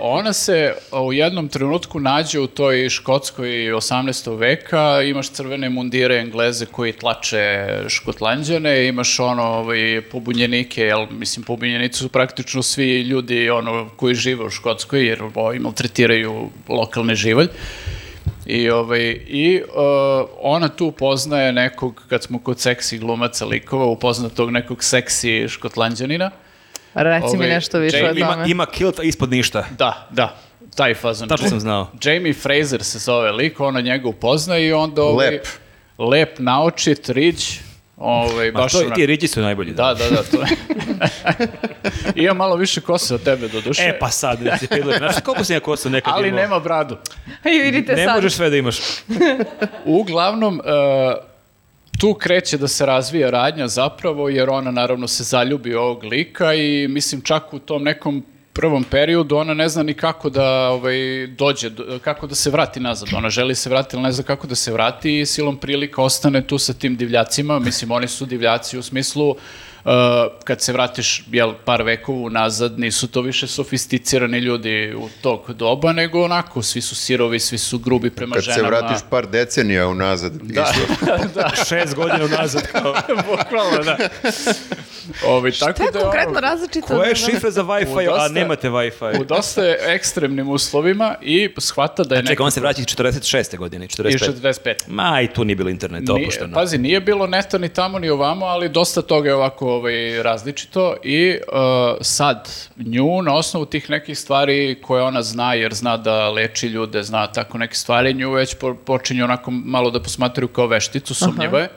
Speaker 1: ona se e, u jednom trenutku nađe u toj Škotskoj 18. veka, imaš crvene mundire Engleze koji tlače Škotlanđane, imaš ono ovaj, pobunjenike, jel, mislim pobunjenici su praktično svi ljudi ono, koji žive u Škotskoj jer ovaj, maltretiraju lokalne živalj. I, ovaj, i uh, ona tu poznaje nekog, kad smo kod seksi glumaca likova, upozna tog nekog seksi škotlanđanina.
Speaker 5: Reci mi
Speaker 1: Ovaj,
Speaker 5: nešto više o
Speaker 1: Jamie
Speaker 5: tome.
Speaker 4: Ima, ima kilt ispod ništa.
Speaker 1: Da, da, taj fazon.
Speaker 4: Tačno sam znao.
Speaker 1: Jamie Fraser se zove lik, ona njega upozna i onda... Ovaj,
Speaker 3: Lep.
Speaker 1: Lep, naočit, riđ. Ovaj,
Speaker 4: Ma
Speaker 1: baš
Speaker 4: to,
Speaker 1: onako-
Speaker 4: ti riđi su najbolji.
Speaker 1: Da, da, da, to je. *laughs* Ima malo više kose od tebe, do duše.
Speaker 4: E pa sad, da se pidle. Znaš koliko sam ja kosao nekad
Speaker 1: ali
Speaker 4: imao?
Speaker 1: nema bradu.
Speaker 5: I vidite
Speaker 4: Ne
Speaker 5: sad.
Speaker 4: možeš sve da imaš.
Speaker 1: Uglavnom, e, tu kreće da se razvija radnja zapravo, jer ona naravno se zaljubi u ovog lika i mislim čak u tom nekom prvom periodu ona ne zna ni kako da ovaj, dođe, do- kako da se vrati nazad. Ona želi se vrati, ali ne zna kako da se vrati i silom prilika ostane tu sa tim divljacima. Mislim, oni su divljaci u smislu e, kad se vratiš jel, par vekovu nazad, nisu to više sofisticirani ljudi u tog doba, nego onako, svi su sirovi, svi su grubi prema
Speaker 3: Kad se
Speaker 1: ženama.
Speaker 3: vratiš par decenija unazad. Da.
Speaker 4: Šest godina unazad kao...
Speaker 1: *laughs* Bukvalno, da. Ovi, tako
Speaker 5: To je
Speaker 1: da, ono,
Speaker 5: konkretno različito.
Speaker 4: Koje je
Speaker 5: od-
Speaker 4: šifre za Wi-Fi, a
Speaker 1: dosta-
Speaker 4: nemate Wi-Fi?
Speaker 1: U dosta je ekstremnim uslovima i shvata da je
Speaker 4: Čekaj,
Speaker 1: neko...
Speaker 4: Znači, on se vraća 46. godine,
Speaker 1: I
Speaker 4: 45.
Speaker 1: 45.
Speaker 4: Ma, i tu nije bilo interneta,
Speaker 1: Nije-
Speaker 4: opušteno.
Speaker 1: pazi, nije bilo neta ni tamo ni ovamo, ali dosta toga je ovako ovaj, različito i uh, sad nju na osnovu tih nekih stvari koje ona zna, jer zna da leči ljude, zna tako neke stvari, nju već po- počinju onako malo da posmatraju kao vešticu, sumnjivo je.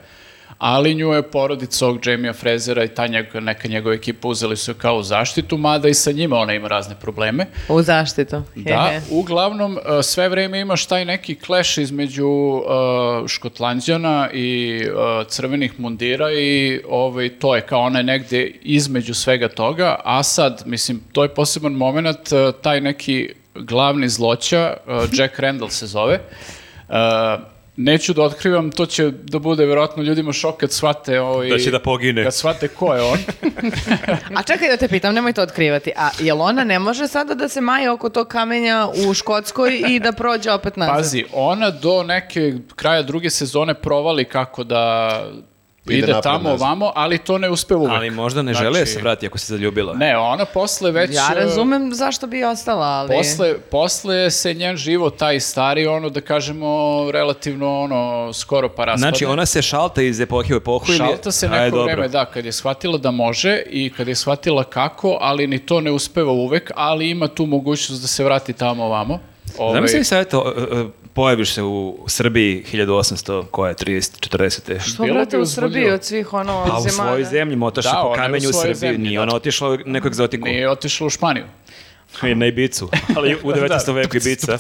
Speaker 1: Ali nju je porodica ovog Jamie Frezera i ta njeg, neka njegova ekipa uzeli su je kao u zaštitu, mada i sa njima ona ima razne probleme.
Speaker 5: U zaštitu.
Speaker 1: Da,
Speaker 5: Hehe.
Speaker 1: uglavnom e, sve vreme imaš taj neki clash između e, Škotlanđana i e, crvenih mundira i ovaj, to je kao ona je negde između svega toga, a sad, mislim, to je poseban moment, e, taj neki glavni zloća, e, Jack Randall se zove, e, neću da otkrivam, to će da bude verovatno ljudima šok kad shvate ovaj,
Speaker 4: Da će da pogine.
Speaker 1: kad shvate ko je on.
Speaker 4: *laughs*
Speaker 5: A čekaj da te pitam, nemoj to otkrivati. A jel ona ne može sada da se maje oko tog kamenja u Škotskoj i da prođe
Speaker 1: Pa
Speaker 5: opet nazad?
Speaker 1: Pazi, ona do neke kraja druge sezone provali kako da
Speaker 3: Ide
Speaker 1: ide,
Speaker 3: napred,
Speaker 1: tamo
Speaker 3: nazad.
Speaker 1: ovamo, ali to ne uspe uvek. Znači,
Speaker 4: Ali možda ne žele da se vrati ako se zaljubila.
Speaker 1: Ne, ona posle već...
Speaker 5: Ja
Speaker 1: e,
Speaker 5: razumem zašto bi ostala, ali...
Speaker 1: Posle, posle se njen život, taj stari, ono da kažemo relativno ono skoro pa raspada.
Speaker 4: Znači, ona se šalta iz epohe u epohu ili...
Speaker 1: Šalta se neko
Speaker 4: Aj, dobro.
Speaker 1: vreme, da, kad je shvatila da može i kad je shvatila kako, ali ni to ne uspeva uvek, ali ima tu mogućnost da se vrati tamo ovamo. Ovaj,
Speaker 4: Znam se sad, eto, e, e, pojaviš se u Srbiji 1800, koja je, 30, 40.
Speaker 5: Što,
Speaker 1: bilo
Speaker 5: brate,
Speaker 1: bi
Speaker 5: u Srbiji
Speaker 1: uzbudljivo. Pa
Speaker 5: od svih ono
Speaker 4: A Pa u
Speaker 5: zemalja?
Speaker 4: svojoj zemlji motaš se
Speaker 1: Da,
Speaker 4: po
Speaker 1: ona je u
Speaker 4: kamenju u
Speaker 1: svojoj
Speaker 4: Srbiji.
Speaker 1: zemlji,
Speaker 4: Nije
Speaker 1: da.
Speaker 4: ona otišla u neku egzotiku.
Speaker 1: Nije otišla u Španiju.
Speaker 4: Na Ibicu. Da. Ali u 19. veku Ibica.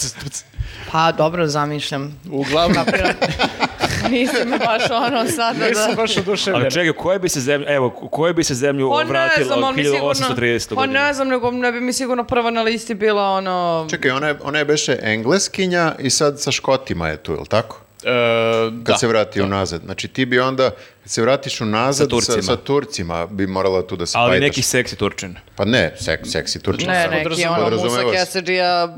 Speaker 5: Pa dobro, zamišljam.
Speaker 1: Uglavnom,
Speaker 5: Nisi me baš ono sada da...
Speaker 1: nisam *laughs* baš oduševljen.
Speaker 4: Ali čekaj, koje bi se zemlju, evo, koje bi se zemlju
Speaker 5: Pa ne
Speaker 4: vratila
Speaker 5: znam,
Speaker 4: od
Speaker 5: on mi sigurno...
Speaker 4: 1830.
Speaker 5: Pa
Speaker 4: godine?
Speaker 5: ne znam, nego ne bi mi sigurno prva na listi bila ono...
Speaker 3: Čekaj, ona je, ona je beše engleskinja i sad sa škotima je tu, je li tako?
Speaker 1: E,
Speaker 3: Kad
Speaker 1: da.
Speaker 3: se vrati unazad. Znači ti bi onda, kad se vratiš unazad, sa
Speaker 4: Sa
Speaker 3: Turcima,
Speaker 4: Turcima.
Speaker 3: sa, Turcima bi morala tu da se
Speaker 4: Ali
Speaker 3: fajtaš.
Speaker 4: neki seksi Turčin.
Speaker 3: Pa ne, sek, seksi Turčin.
Speaker 5: Ne,
Speaker 1: se
Speaker 5: neki
Speaker 1: podrazumeva.
Speaker 5: ono Musa eh,
Speaker 3: Podrazumeva se. *laughs*
Speaker 5: Kesedžija...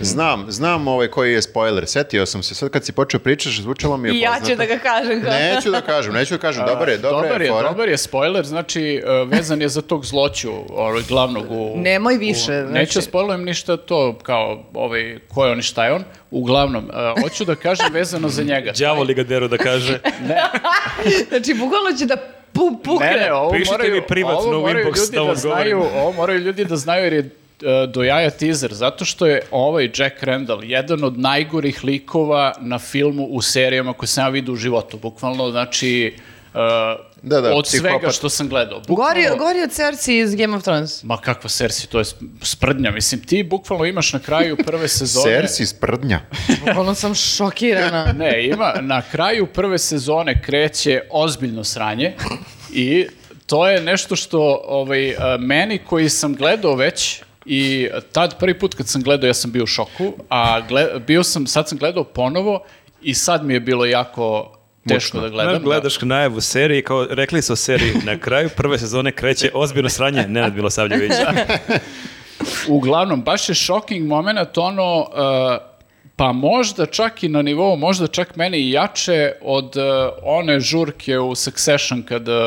Speaker 3: Znam, znam ovaj koji je spoiler. Setio sam se, sad kad si počeo pričaš, zvučalo mi je
Speaker 5: I ja ću da ga kažem. kao-
Speaker 3: Neću da kažem, neću da kažem. Dobar je, dobra
Speaker 1: dobar je,
Speaker 3: fora.
Speaker 1: dobar je spoiler, znači e, vezan je za tog zloću ovaj, glavnog u...
Speaker 5: Nemoj više,
Speaker 1: u-
Speaker 5: znači-
Speaker 1: Neću da spoilujem ništa to kao ovaj, ko je on i šta je on. Uglavnom, e, hoću da kažem vezano za njega.
Speaker 4: Đavo li ga deru da *laughs* kaže.
Speaker 5: *laughs* Znači, bukvalno će da pu, pukne.
Speaker 1: Ne, ne, ovo
Speaker 4: Pišite
Speaker 1: moraju,
Speaker 4: mi privatno
Speaker 1: ovo
Speaker 4: u
Speaker 1: moraju
Speaker 4: inbox
Speaker 1: ljudi
Speaker 4: da
Speaker 1: da
Speaker 4: vam
Speaker 1: znaju,
Speaker 4: govorim.
Speaker 1: ovo moraju ljudi da znaju jer je e, do jaja teaser, zato što je ovaj Jack Randall jedan od najgorih likova na filmu u serijama koje sam ja vidio u životu, bukvalno, znači, e,
Speaker 3: Da, da,
Speaker 1: od svega
Speaker 3: psihopat.
Speaker 1: što sam gledao.
Speaker 5: Gori,
Speaker 1: Bukvalno-
Speaker 5: gori od Cersei iz Game of Thrones.
Speaker 1: Ma kakva Cersei, to je sp- sprdnja. Mislim, ti bukvalno imaš na kraju prve sezone...
Speaker 3: Sersi sprdnja.
Speaker 5: Bukvalno sam
Speaker 3: *laughs*
Speaker 5: šokirana.
Speaker 1: Ne, ima, na kraju prve sezone kreće ozbiljno sranje i to je nešto što ovaj, a, meni koji sam gledao već i tad prvi put kad sam gledao ja sam bio u šoku, a gle- bio sam, sad sam gledao ponovo i sad mi je bilo jako teško da gledam.
Speaker 4: Znaš, gledaš najavu serije, kao rekli su o seriji na kraju prve sezone kreće ozbiljno sranje Nenad *laughs* Milosavljević.
Speaker 1: Uglavnom, baš je shocking moment ono, uh, pa možda čak i na nivou, možda čak meni i jače od uh, one žurke u Succession kada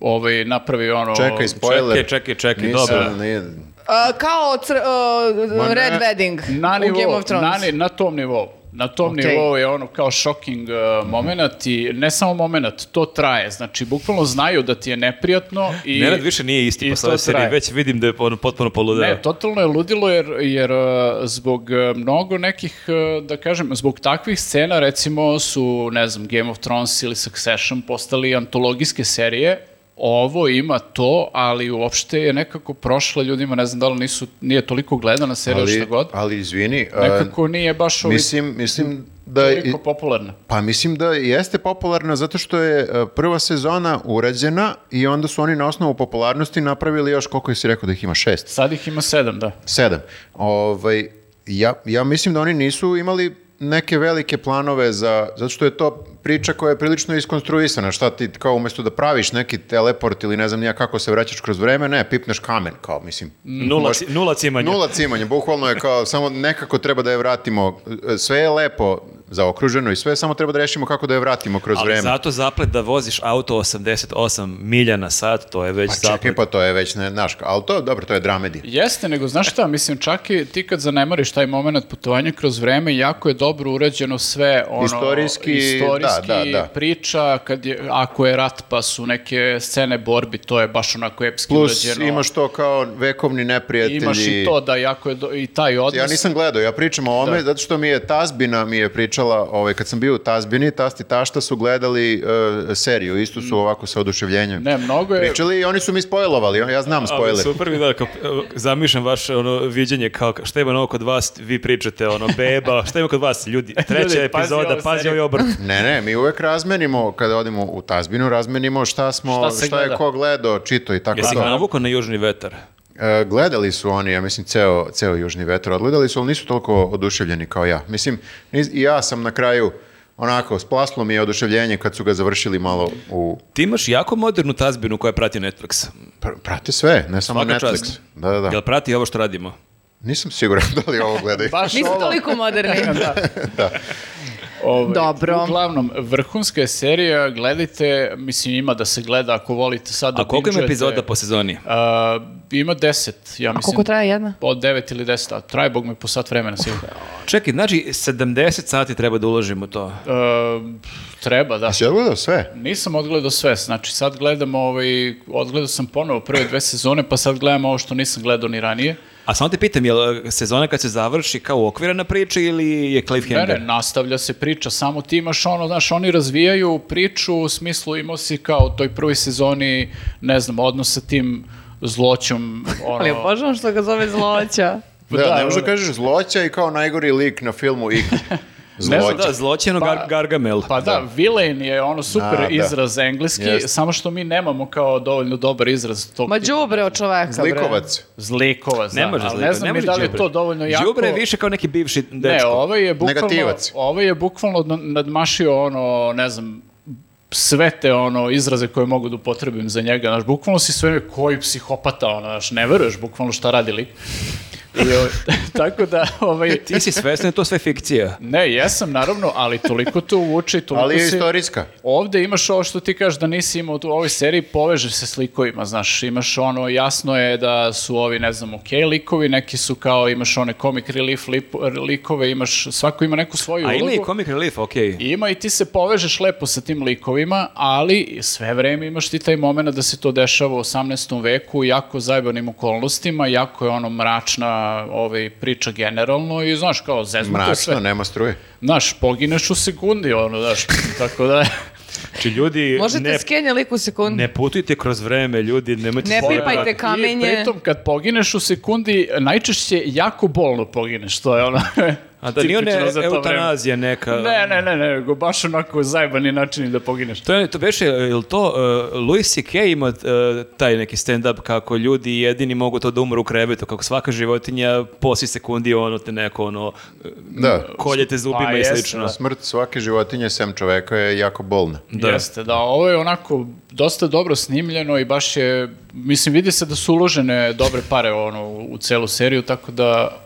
Speaker 1: ovaj, napravi ono...
Speaker 3: Čekaj, spoiler.
Speaker 4: Čekaj, čekaj, čekaj,
Speaker 3: Nisam,
Speaker 4: dobro.
Speaker 3: nije-
Speaker 5: A, Eh, kao cr- a,
Speaker 3: Ma ne,
Speaker 5: Red Wedding
Speaker 1: na,
Speaker 5: u
Speaker 1: nivou,
Speaker 5: Game of Thrones.
Speaker 1: na, ni- na tom nivou. Na tom
Speaker 5: Okej.
Speaker 1: nivou je ono kao shocking uh, moment i ne samo moment, to traje. Znači, bukvalno znaju da ti je neprijatno i...
Speaker 4: Nenad više nije isti
Speaker 1: i
Speaker 4: posle ove
Speaker 1: to traje.
Speaker 4: serije, već vidim da je on potpuno poludeo.
Speaker 1: Ne, totalno je ludilo jer, jer e, zbog e, mnogo nekih, e, da kažem, zbog takvih scena recimo su, ne znam, Game of Thrones ili Succession postali antologijske serije, ovo ima to, ali uopšte je nekako prošla ljudima, ne znam da li nisu, nije toliko gledana serija ali, šta
Speaker 3: Ali,
Speaker 1: god,
Speaker 3: ali izvini, a,
Speaker 1: nekako nije baš ovi,
Speaker 3: mislim, mislim da... i-
Speaker 1: toliko popularna.
Speaker 3: Pa mislim da jeste popularna zato što je e, prva sezona urađena i onda su oni na osnovu popularnosti napravili još koliko si rekao da ih ima šest,
Speaker 1: Sad ih ima sedam, da.
Speaker 3: sedam. Ovaj, ja, ja mislim da oni nisu imali neke velike planove za, zato što je to priča koja je prilično iskonstruisana, šta ti kao umjesto da praviš neki teleport ili ne znam nija kako se vraćaš kroz vreme, ne, pipneš kamen, kao mislim.
Speaker 4: Nula, ci- nula cimanja.
Speaker 3: Nula cimanja, bukvalno je kao samo nekako treba da je vratimo, e, sve je lepo zaokruženo i sve, samo treba da rešimo kako da je vratimo kroz
Speaker 4: Ali
Speaker 3: vreme.
Speaker 4: zato zaplet da voziš auto 88 milja na sat, to je već
Speaker 3: Pa
Speaker 4: zaplet.
Speaker 3: čekaj, pa to je već, ne, znaš, ali to, dobro, to je dramedija.
Speaker 1: Jeste, nego znaš šta, mislim, čak i ti kad zanemariš taj moment putovanja kroz vreme, jako je dobro urađeno sve, ono,
Speaker 3: Istorijski,
Speaker 1: istorijski
Speaker 3: da, da, da.
Speaker 1: priča, kad je, ako je rat, pa su neke scene borbi, to je baš onako epski
Speaker 3: Plus
Speaker 1: urađeno.
Speaker 3: imaš to kao vekovni neprijatelji.
Speaker 1: Imaš i to, da, jako je do- i taj odnos.
Speaker 3: Ja nisam gledao, ja pričam o ovome, zato što mi je Tazbina mi je pričala, ovaj, kad sam bio u Tazbini, Tast i Tašta su gledali e, seriju, isto su ovako sa oduševljenjem.
Speaker 1: Ne, mnogo je...
Speaker 3: Pričali i oni su mi spojlovali, ja znam
Speaker 4: Ali
Speaker 3: spoiler.
Speaker 4: super mi da, kao, zamišljam vaše ono, viđenje, kao, šta ima novo kod vas, vi pričate, ono, beba, šta ima kod vas, ljudi, treća
Speaker 1: Ljudi, pazi
Speaker 4: epizoda,
Speaker 1: ovu
Speaker 4: pazi
Speaker 1: seriju.
Speaker 4: ovaj obrt.
Speaker 3: Ne, ne, mi uvek razmenimo, kada odemo u Tazbinu, razmenimo šta smo,
Speaker 1: Šta
Speaker 3: šta,
Speaker 1: se
Speaker 3: je
Speaker 1: gleda.
Speaker 3: ko gledao, čito i tako
Speaker 4: Jesi
Speaker 3: to.
Speaker 4: ga navukao na južni vetar?
Speaker 3: E, gledali su oni, ja mislim, ceo, ceo Južni vetar odgledali su, ali nisu toliko oduševljeni kao ja. Mislim, niz- i ja sam na kraju onako, splaslo mi je oduševljenje kad su ga završili malo u...
Speaker 4: Ti imaš jako modernu tazbinu koja prati Netflix.
Speaker 3: pr- prate sve, ne samo
Speaker 4: Svaka
Speaker 3: Netflix.
Speaker 4: čast.
Speaker 3: Da, da, da.
Speaker 4: Jel prati ovo što radimo?
Speaker 3: Nisam siguran *laughs* da li ovo gledaju.
Speaker 1: Baš
Speaker 5: Nisu
Speaker 1: ovo.
Speaker 5: toliko
Speaker 3: *laughs*
Speaker 5: moderni.
Speaker 3: Da,
Speaker 1: Ovaj,
Speaker 5: Dobro.
Speaker 1: Uglavnom, vrhunska je serija, gledajte, mislim ima da se gleda ako volite sad da
Speaker 4: A koliko ima
Speaker 1: bingeujete.
Speaker 4: epizoda po sezoni?
Speaker 1: A, ima deset, ja
Speaker 5: A
Speaker 1: mislim.
Speaker 5: koliko traje jedna?
Speaker 1: Od devet ili deset, a traje, bog me, po sat vremena sigurno.
Speaker 4: Čekaj, znači 70 sati treba da uložimo u to.
Speaker 1: E, treba, da.
Speaker 3: Jesi odgledao sve?
Speaker 1: Nisam odgledao sve, znači sad gledam ovaj, odgledao sam ponovo prve dve sezone, pa sad gledam ovo što nisam gledao ni ranije.
Speaker 4: A samo te pitam, jel e, sezona kad se završi kao okvirana priča ili je
Speaker 1: Ne,
Speaker 4: cliffhanger?
Speaker 1: ne, nastavlja se priča, samo ti imaš ono, znaš, oni razvijaju priču u smislu imao si kao u toj prvoj sezoni, ne znam, odnos sa tim zloćom,
Speaker 5: Ali
Speaker 1: ono...
Speaker 5: obožavam što ga zove zloća.
Speaker 1: Pa
Speaker 3: Da,
Speaker 1: da,
Speaker 3: ne možda
Speaker 1: ono-
Speaker 3: kažeš zloća i kao najgori lik na filmu ik. Zloća.
Speaker 4: Da, zloćeno gar- Gargamel.
Speaker 1: Pa da, villain je ono super
Speaker 3: Da, da.
Speaker 1: izraz engleski,
Speaker 3: Jeste.
Speaker 1: samo što mi nemamo kao dovoljno dobar izraz tog
Speaker 5: Ma
Speaker 1: tipa.
Speaker 5: đubre od čoveka, bre.
Speaker 3: Zlikovac.
Speaker 1: Zlikovac, da,
Speaker 4: Ne može
Speaker 1: ali
Speaker 4: zlikovac,
Speaker 1: ne
Speaker 4: ne
Speaker 1: znam mi
Speaker 4: može
Speaker 1: da li je
Speaker 4: đubre.
Speaker 1: to dovoljno jako...
Speaker 4: Đubre je više kao neki bivši
Speaker 1: Ne,
Speaker 4: dečko.
Speaker 1: ovo je bukvalno,
Speaker 3: Negativac.
Speaker 1: ovo je bukvalno nad- nadmašio ono, ne znam, sve te ono izraze koje mogu da upotrebim za njega, znaš, bukvalno si sve koji psihopata, ono, znaš, ne veruješ bukvalno šta radi lik. I, o, *laughs* tako da, ovaj,
Speaker 4: Ti si svestan da je to sve fikcija.
Speaker 1: ne, jesam, naravno, ali toliko to uvuče i toliko
Speaker 3: Ali je
Speaker 1: si-
Speaker 3: istorijska.
Speaker 1: Ovde imaš ovo što ti kažeš da nisi imao tu- u ovoj seriji, poveže se s likovima, znaš, imaš ono, jasno je da su ovi, ne znam, ok likovi, neki su kao, imaš one comic relief lip- likove, imaš, svako ima neku svoju
Speaker 4: A
Speaker 1: ulogu.
Speaker 4: ima i comic relief, okej.
Speaker 1: Ima i ti se povežeš lepo sa tim likovima, ali sve vreme imaš ti taj moment da se to dešava u 18. veku u jako zajbanim okolnostima, jako je ono mračna ovaj, priča generalno i znaš kao zeznuto je sve.
Speaker 3: Mračno, nema struje.
Speaker 1: Znaš, pogineš u sekundi, ono, znaš, tako da...
Speaker 4: Znači, ljudi,
Speaker 2: Možete
Speaker 4: ne,
Speaker 2: skenja lik u sekundu.
Speaker 4: ne putujte kroz vreme, ljudi, nemojte
Speaker 2: Ne
Speaker 4: se bojati.
Speaker 2: pipajte
Speaker 1: I
Speaker 2: kamenje.
Speaker 1: pritom kad pogineš u sekundi, najčešće jako bolno pogineš, to je ono
Speaker 4: A da nije
Speaker 1: tipično
Speaker 4: one
Speaker 1: za to vreme.
Speaker 4: eutanazija neka.
Speaker 1: Ne, ne, ne, ne, nego baš onako zajebani načini da pogineš.
Speaker 4: To je to beše, jel to uh, Louis C.K. ima uh, taj neki stand up kako ljudi jedini mogu to da umru u krevetu, kako svaka životinja posi sekundi ono te neko ono e, Mm,
Speaker 3: Da.
Speaker 4: koljete zubima
Speaker 1: Pa
Speaker 4: i
Speaker 1: jeste,
Speaker 4: slično.
Speaker 1: da.
Speaker 3: Smrt svake životinje sem čoveka je jako bolna.
Speaker 4: Da.
Speaker 1: Jeste, da, ovo je onako dosta dobro snimljeno i baš je, mislim, vidi se da su uložene dobre pare ono, u celu seriju, tako da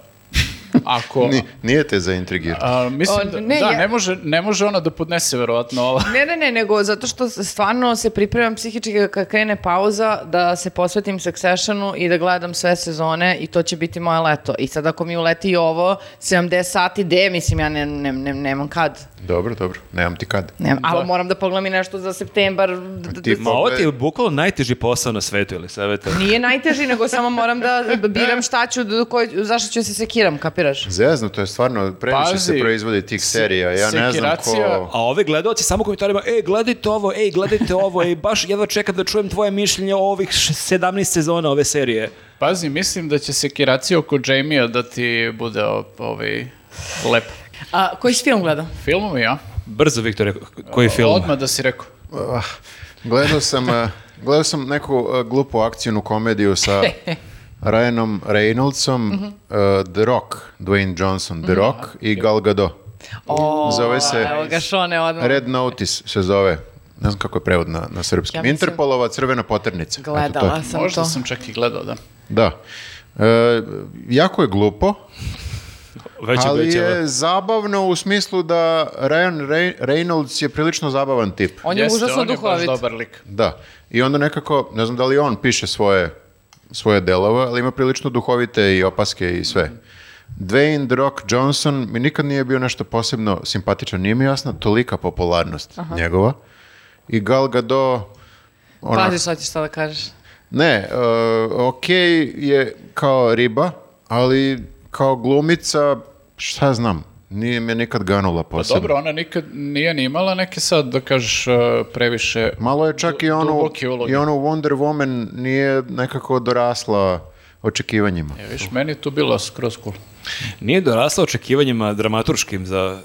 Speaker 1: ako...
Speaker 3: Ni- Nije te zaintrigirao.
Speaker 1: a, mislim,
Speaker 2: O,
Speaker 1: da,
Speaker 2: ne,
Speaker 1: da,
Speaker 2: ja-
Speaker 1: ne, može, ne može ona da podnese verovatno ovo.
Speaker 2: Ne, ne, ne, nego zato što stvarno se pripremam psihički da kad krene pauza da se posvetim Successionu i da gledam sve sezone i to će biti moje leto. I sad ako mi uleti i ovo, 70 sati, de, mislim, ja ne, ne, ne, nemam kad.
Speaker 3: Dobro, dobro, nemam ti kad.
Speaker 2: Nemam, ali moram da pogledam i nešto za septembar. d- d-
Speaker 3: Ti
Speaker 4: Ma ovo ti je
Speaker 3: pogled-
Speaker 4: bukvalo najteži posao na svetu, ili savjeta?
Speaker 2: Nije najteži, nego samo moram da biram šta ću, do koj, zašto ću da se sekiram, kapiraš?
Speaker 3: Zezno, to je stvarno, previše se
Speaker 1: Pazi,
Speaker 3: proizvodi tih serija, ja ne znam
Speaker 1: sekiracija-
Speaker 3: ko...
Speaker 4: A ove gledalci samo komentarima, ej, gledajte ovo, ej, gledajte ovo, ej, baš jedva čekam da čujem tvoje mišljenje o ovih š- 17 sezona ove serije.
Speaker 1: Pazi, mislim da će sekiracija oko Jamie-a da ti bude o- ovaj, lep.
Speaker 2: A, koji si film gledao?
Speaker 1: Filmovi, ja?
Speaker 4: Brzo, Viktore, koji film?
Speaker 1: Odmah da si rekao.
Speaker 3: Ah, Gledao sam, eh, gledao sam neku eh, glupu akcijnu
Speaker 1: *laughs*
Speaker 3: komediju sa Ryanom Reynoldsom,
Speaker 2: Mhm.
Speaker 3: eh, The Rock, Dwayne Johnson, The Rock i Gal Gadot. zove se
Speaker 2: Evo ga, Šone, odmah.
Speaker 3: Red Notice, se zove. Ne znam kako je prevod na, na srpskom.
Speaker 2: Ja mislim-
Speaker 3: Interpolova crvena poternica. Eto, to je.
Speaker 2: Gledala sam
Speaker 1: Možda
Speaker 2: to.
Speaker 1: sam čak i gledao, da.
Speaker 3: Da. Eh, jako je glupo,
Speaker 4: Već je
Speaker 3: ali
Speaker 4: obećala.
Speaker 3: je zabavno u smislu da Ryan Re- Reynolds je prilično zabavan tip.
Speaker 2: On je
Speaker 1: Jeste,
Speaker 2: užasno
Speaker 1: on je baš
Speaker 2: duhovit.
Speaker 1: dobar lik.
Speaker 3: Da. I onda nekako, ne znam da li on piše svoje, svoje delove, ali ima prilično duhovite i opaske i sve. Dwayne The Rock Johnson mi nikad nije bio nešto posebno simpatičan, nije mi jasna tolika popularnost njegova. I Gal Gadot, ona-
Speaker 2: Pazi šta ćeš sada kažeš.
Speaker 3: ne, ok je kao riba, ali kao glumica, šta ja znam, nije me nikad ganula posebno.
Speaker 1: Pa Dobro, ona nikad nije ni imala neke sad, da kažeš, uh, previše...
Speaker 3: Malo je čak i onu,
Speaker 1: duboke uloge.
Speaker 3: i onu Wonder Woman nije nekako dorasla očekivanjima.
Speaker 1: E, viš, meni je tu bilo skroz cool.
Speaker 4: Nije dorasla očekivanjima dramaturškim za...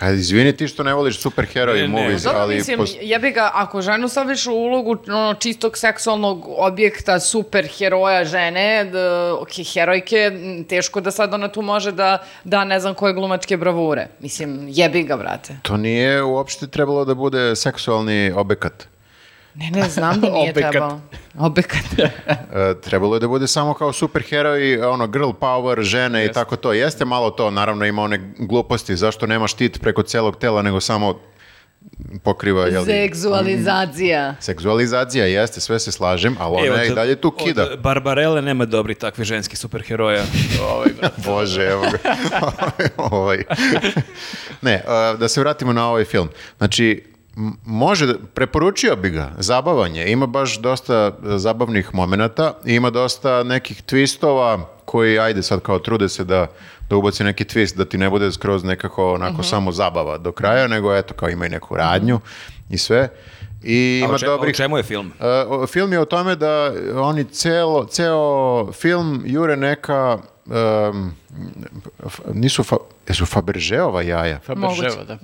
Speaker 3: A izvini ti što ne voliš
Speaker 4: Ne,
Speaker 3: superheroj
Speaker 4: ne.
Speaker 3: movies,
Speaker 2: Dobro,
Speaker 3: E, ali...
Speaker 2: mislim,
Speaker 3: post-
Speaker 2: jebi ga, ako ženu staviš u ulogu ono, čistog seksualnog objekta, super heroja žene, d, ok, herojke, m, teško da sad ona tu može da da ne znam koje glumačke bravure. Mislim, jebi ga, brate.
Speaker 3: To nije uopšte trebalo da bude seksualni obekat.
Speaker 2: Ne, ne, znam *laughs* da nije
Speaker 1: Obekat.
Speaker 2: trebalo. *laughs* Obekat.
Speaker 3: E, trebalo je da bude samo kao superheroj, ono, girl power, žene i tako to. Jeste malo to, naravno ima one gluposti, zašto nema štit preko celog tela, nego samo pokriva, jel?
Speaker 2: Seksualizacija.
Speaker 3: Seksualizacija, jeste, sve se slažem, ali ona
Speaker 4: E,
Speaker 3: je Pa i
Speaker 4: od-
Speaker 3: dalje tu
Speaker 4: od
Speaker 3: kida.
Speaker 4: Barbarelle nema dobrih takvih ženskih superheroja. Ovaj,
Speaker 3: *laughs* Bože, evo ga. ovaj. Ne, a, da se vratimo na ovaj film. Znači, m- može, da- preporučio bi ga, zabavan je, ima baš dosta e, zabavnih momenata, i ima dosta nekih twistova koji, ajde sad kao trude se da, da ubaci neki twist, da ti ne bude skroz nekako onako samo zabava do kraja, nego eto kao ima i neku radnju i sve. I
Speaker 4: A
Speaker 3: ima
Speaker 4: o, če- a o
Speaker 3: dobrih
Speaker 4: čemu je film?
Speaker 3: E, o- film je o tome da oni celo, ceo film jure neka em, f- nisu fa, jesu Fabergeova jaja.
Speaker 1: Faberževa, da.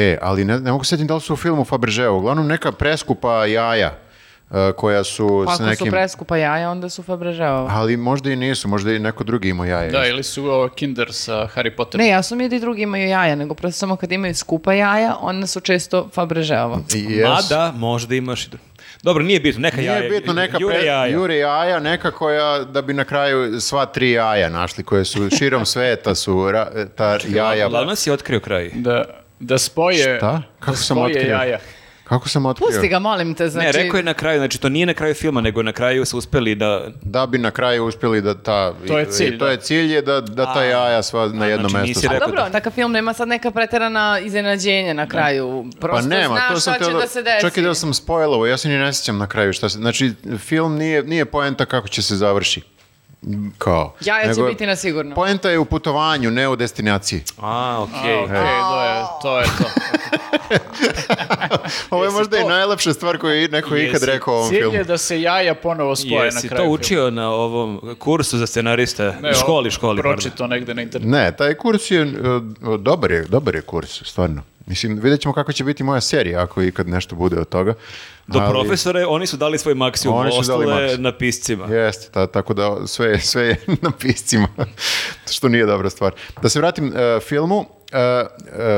Speaker 3: E, ali ne, ne mogu sjetiti da li su u filmu Fabergeova. Uglavnom neka preskupa jaja e, koja su
Speaker 2: Pa
Speaker 3: s
Speaker 2: ako
Speaker 3: nekim...
Speaker 2: su preskupa jaja, onda su Fabražeova.
Speaker 3: Ali možda i nisu, možda i neko drugi imao jaja.
Speaker 1: Da, ili su ovo Kinder sa Harry Potter.
Speaker 2: Ne, jasno mi je da i drugi imaju jaja, nego prosto samo kad imaju skupa jaja, onda su često Fabražeova.
Speaker 3: I jesu.
Speaker 4: Mada, možda imaš i dru- Dobro, nije bitno, neka
Speaker 3: Nije
Speaker 4: da, jaja.
Speaker 3: bitno neka
Speaker 4: Jure
Speaker 3: pre-
Speaker 4: jaja.
Speaker 3: Jure jaja, neka koja da bi na kraju sva tri jaja našli, koje su širom sveta su ra- ta
Speaker 4: Znači,
Speaker 3: jaja.
Speaker 4: Glavno si otkrio kraj.
Speaker 1: Da, da spoje,
Speaker 3: Šta? Kako
Speaker 1: da
Speaker 3: sam
Speaker 1: spoje
Speaker 3: otkrio?
Speaker 1: jaja.
Speaker 3: Kako sam otkrio?
Speaker 2: Pusti ga, molim te, znači...
Speaker 4: Ne, rekao je na kraju, znači to nije na kraju filma, nego na kraju su uspeli da...
Speaker 3: Da bi na kraju uspjeli da ta...
Speaker 1: To je
Speaker 3: i-
Speaker 1: cilj,
Speaker 3: To
Speaker 1: da.
Speaker 3: je cilj je da, da ta jaja sva na jednom
Speaker 4: znači
Speaker 3: mjestu.
Speaker 4: nisi
Speaker 2: A
Speaker 4: rekao
Speaker 2: dobro,
Speaker 4: da-
Speaker 2: takav film nema sad neka preterana iznenađenja na kraju.
Speaker 3: Pa
Speaker 2: Prosto
Speaker 3: nema,
Speaker 2: znaš
Speaker 3: to sam
Speaker 2: šta će
Speaker 3: teo
Speaker 2: da se desi.
Speaker 3: Čak i da sam spoilovo, ja se ni ne sjećam na kraju šta se... Znači, film nije, nije poenta kako će se završi. kao.
Speaker 2: Jaja će
Speaker 3: Nego-
Speaker 2: biti na sigurno.
Speaker 3: Poenta je u putovanju, ne u
Speaker 1: *laughs*
Speaker 3: destinaciji.
Speaker 4: A, okej.
Speaker 1: Ok, to je to. Je to.
Speaker 3: Ovo je možda i najlepša stvar koju je neko ikad
Speaker 4: Jesi.
Speaker 3: rekao o ovom
Speaker 1: Cilj
Speaker 3: filmu.
Speaker 1: je da se jaja ponovo spoje na
Speaker 4: Jesi
Speaker 1: kraju.
Speaker 4: to učio na ovom kursu za scenariste?
Speaker 1: Ne,
Speaker 4: školi,
Speaker 1: o-
Speaker 4: školi. pardon.
Speaker 1: Pročito negde na internetu.
Speaker 3: Ne, taj kurs je, e, dobar je, dobar je kurs, stvarno. Mislim, vidjet ćemo kako će biti moja serija, ako ikad nešto bude od toga.
Speaker 4: Do
Speaker 3: Ali-
Speaker 4: profesore, oni su dali svoj maksimum,
Speaker 3: Oni su dali
Speaker 4: ostalo je
Speaker 3: maksimum.
Speaker 4: na piscima.
Speaker 3: Jeste, ta, tako da sve, je- sve je *laughs* na piscima, što nije dobra stvar. Da se vratim e, filmu, e, e,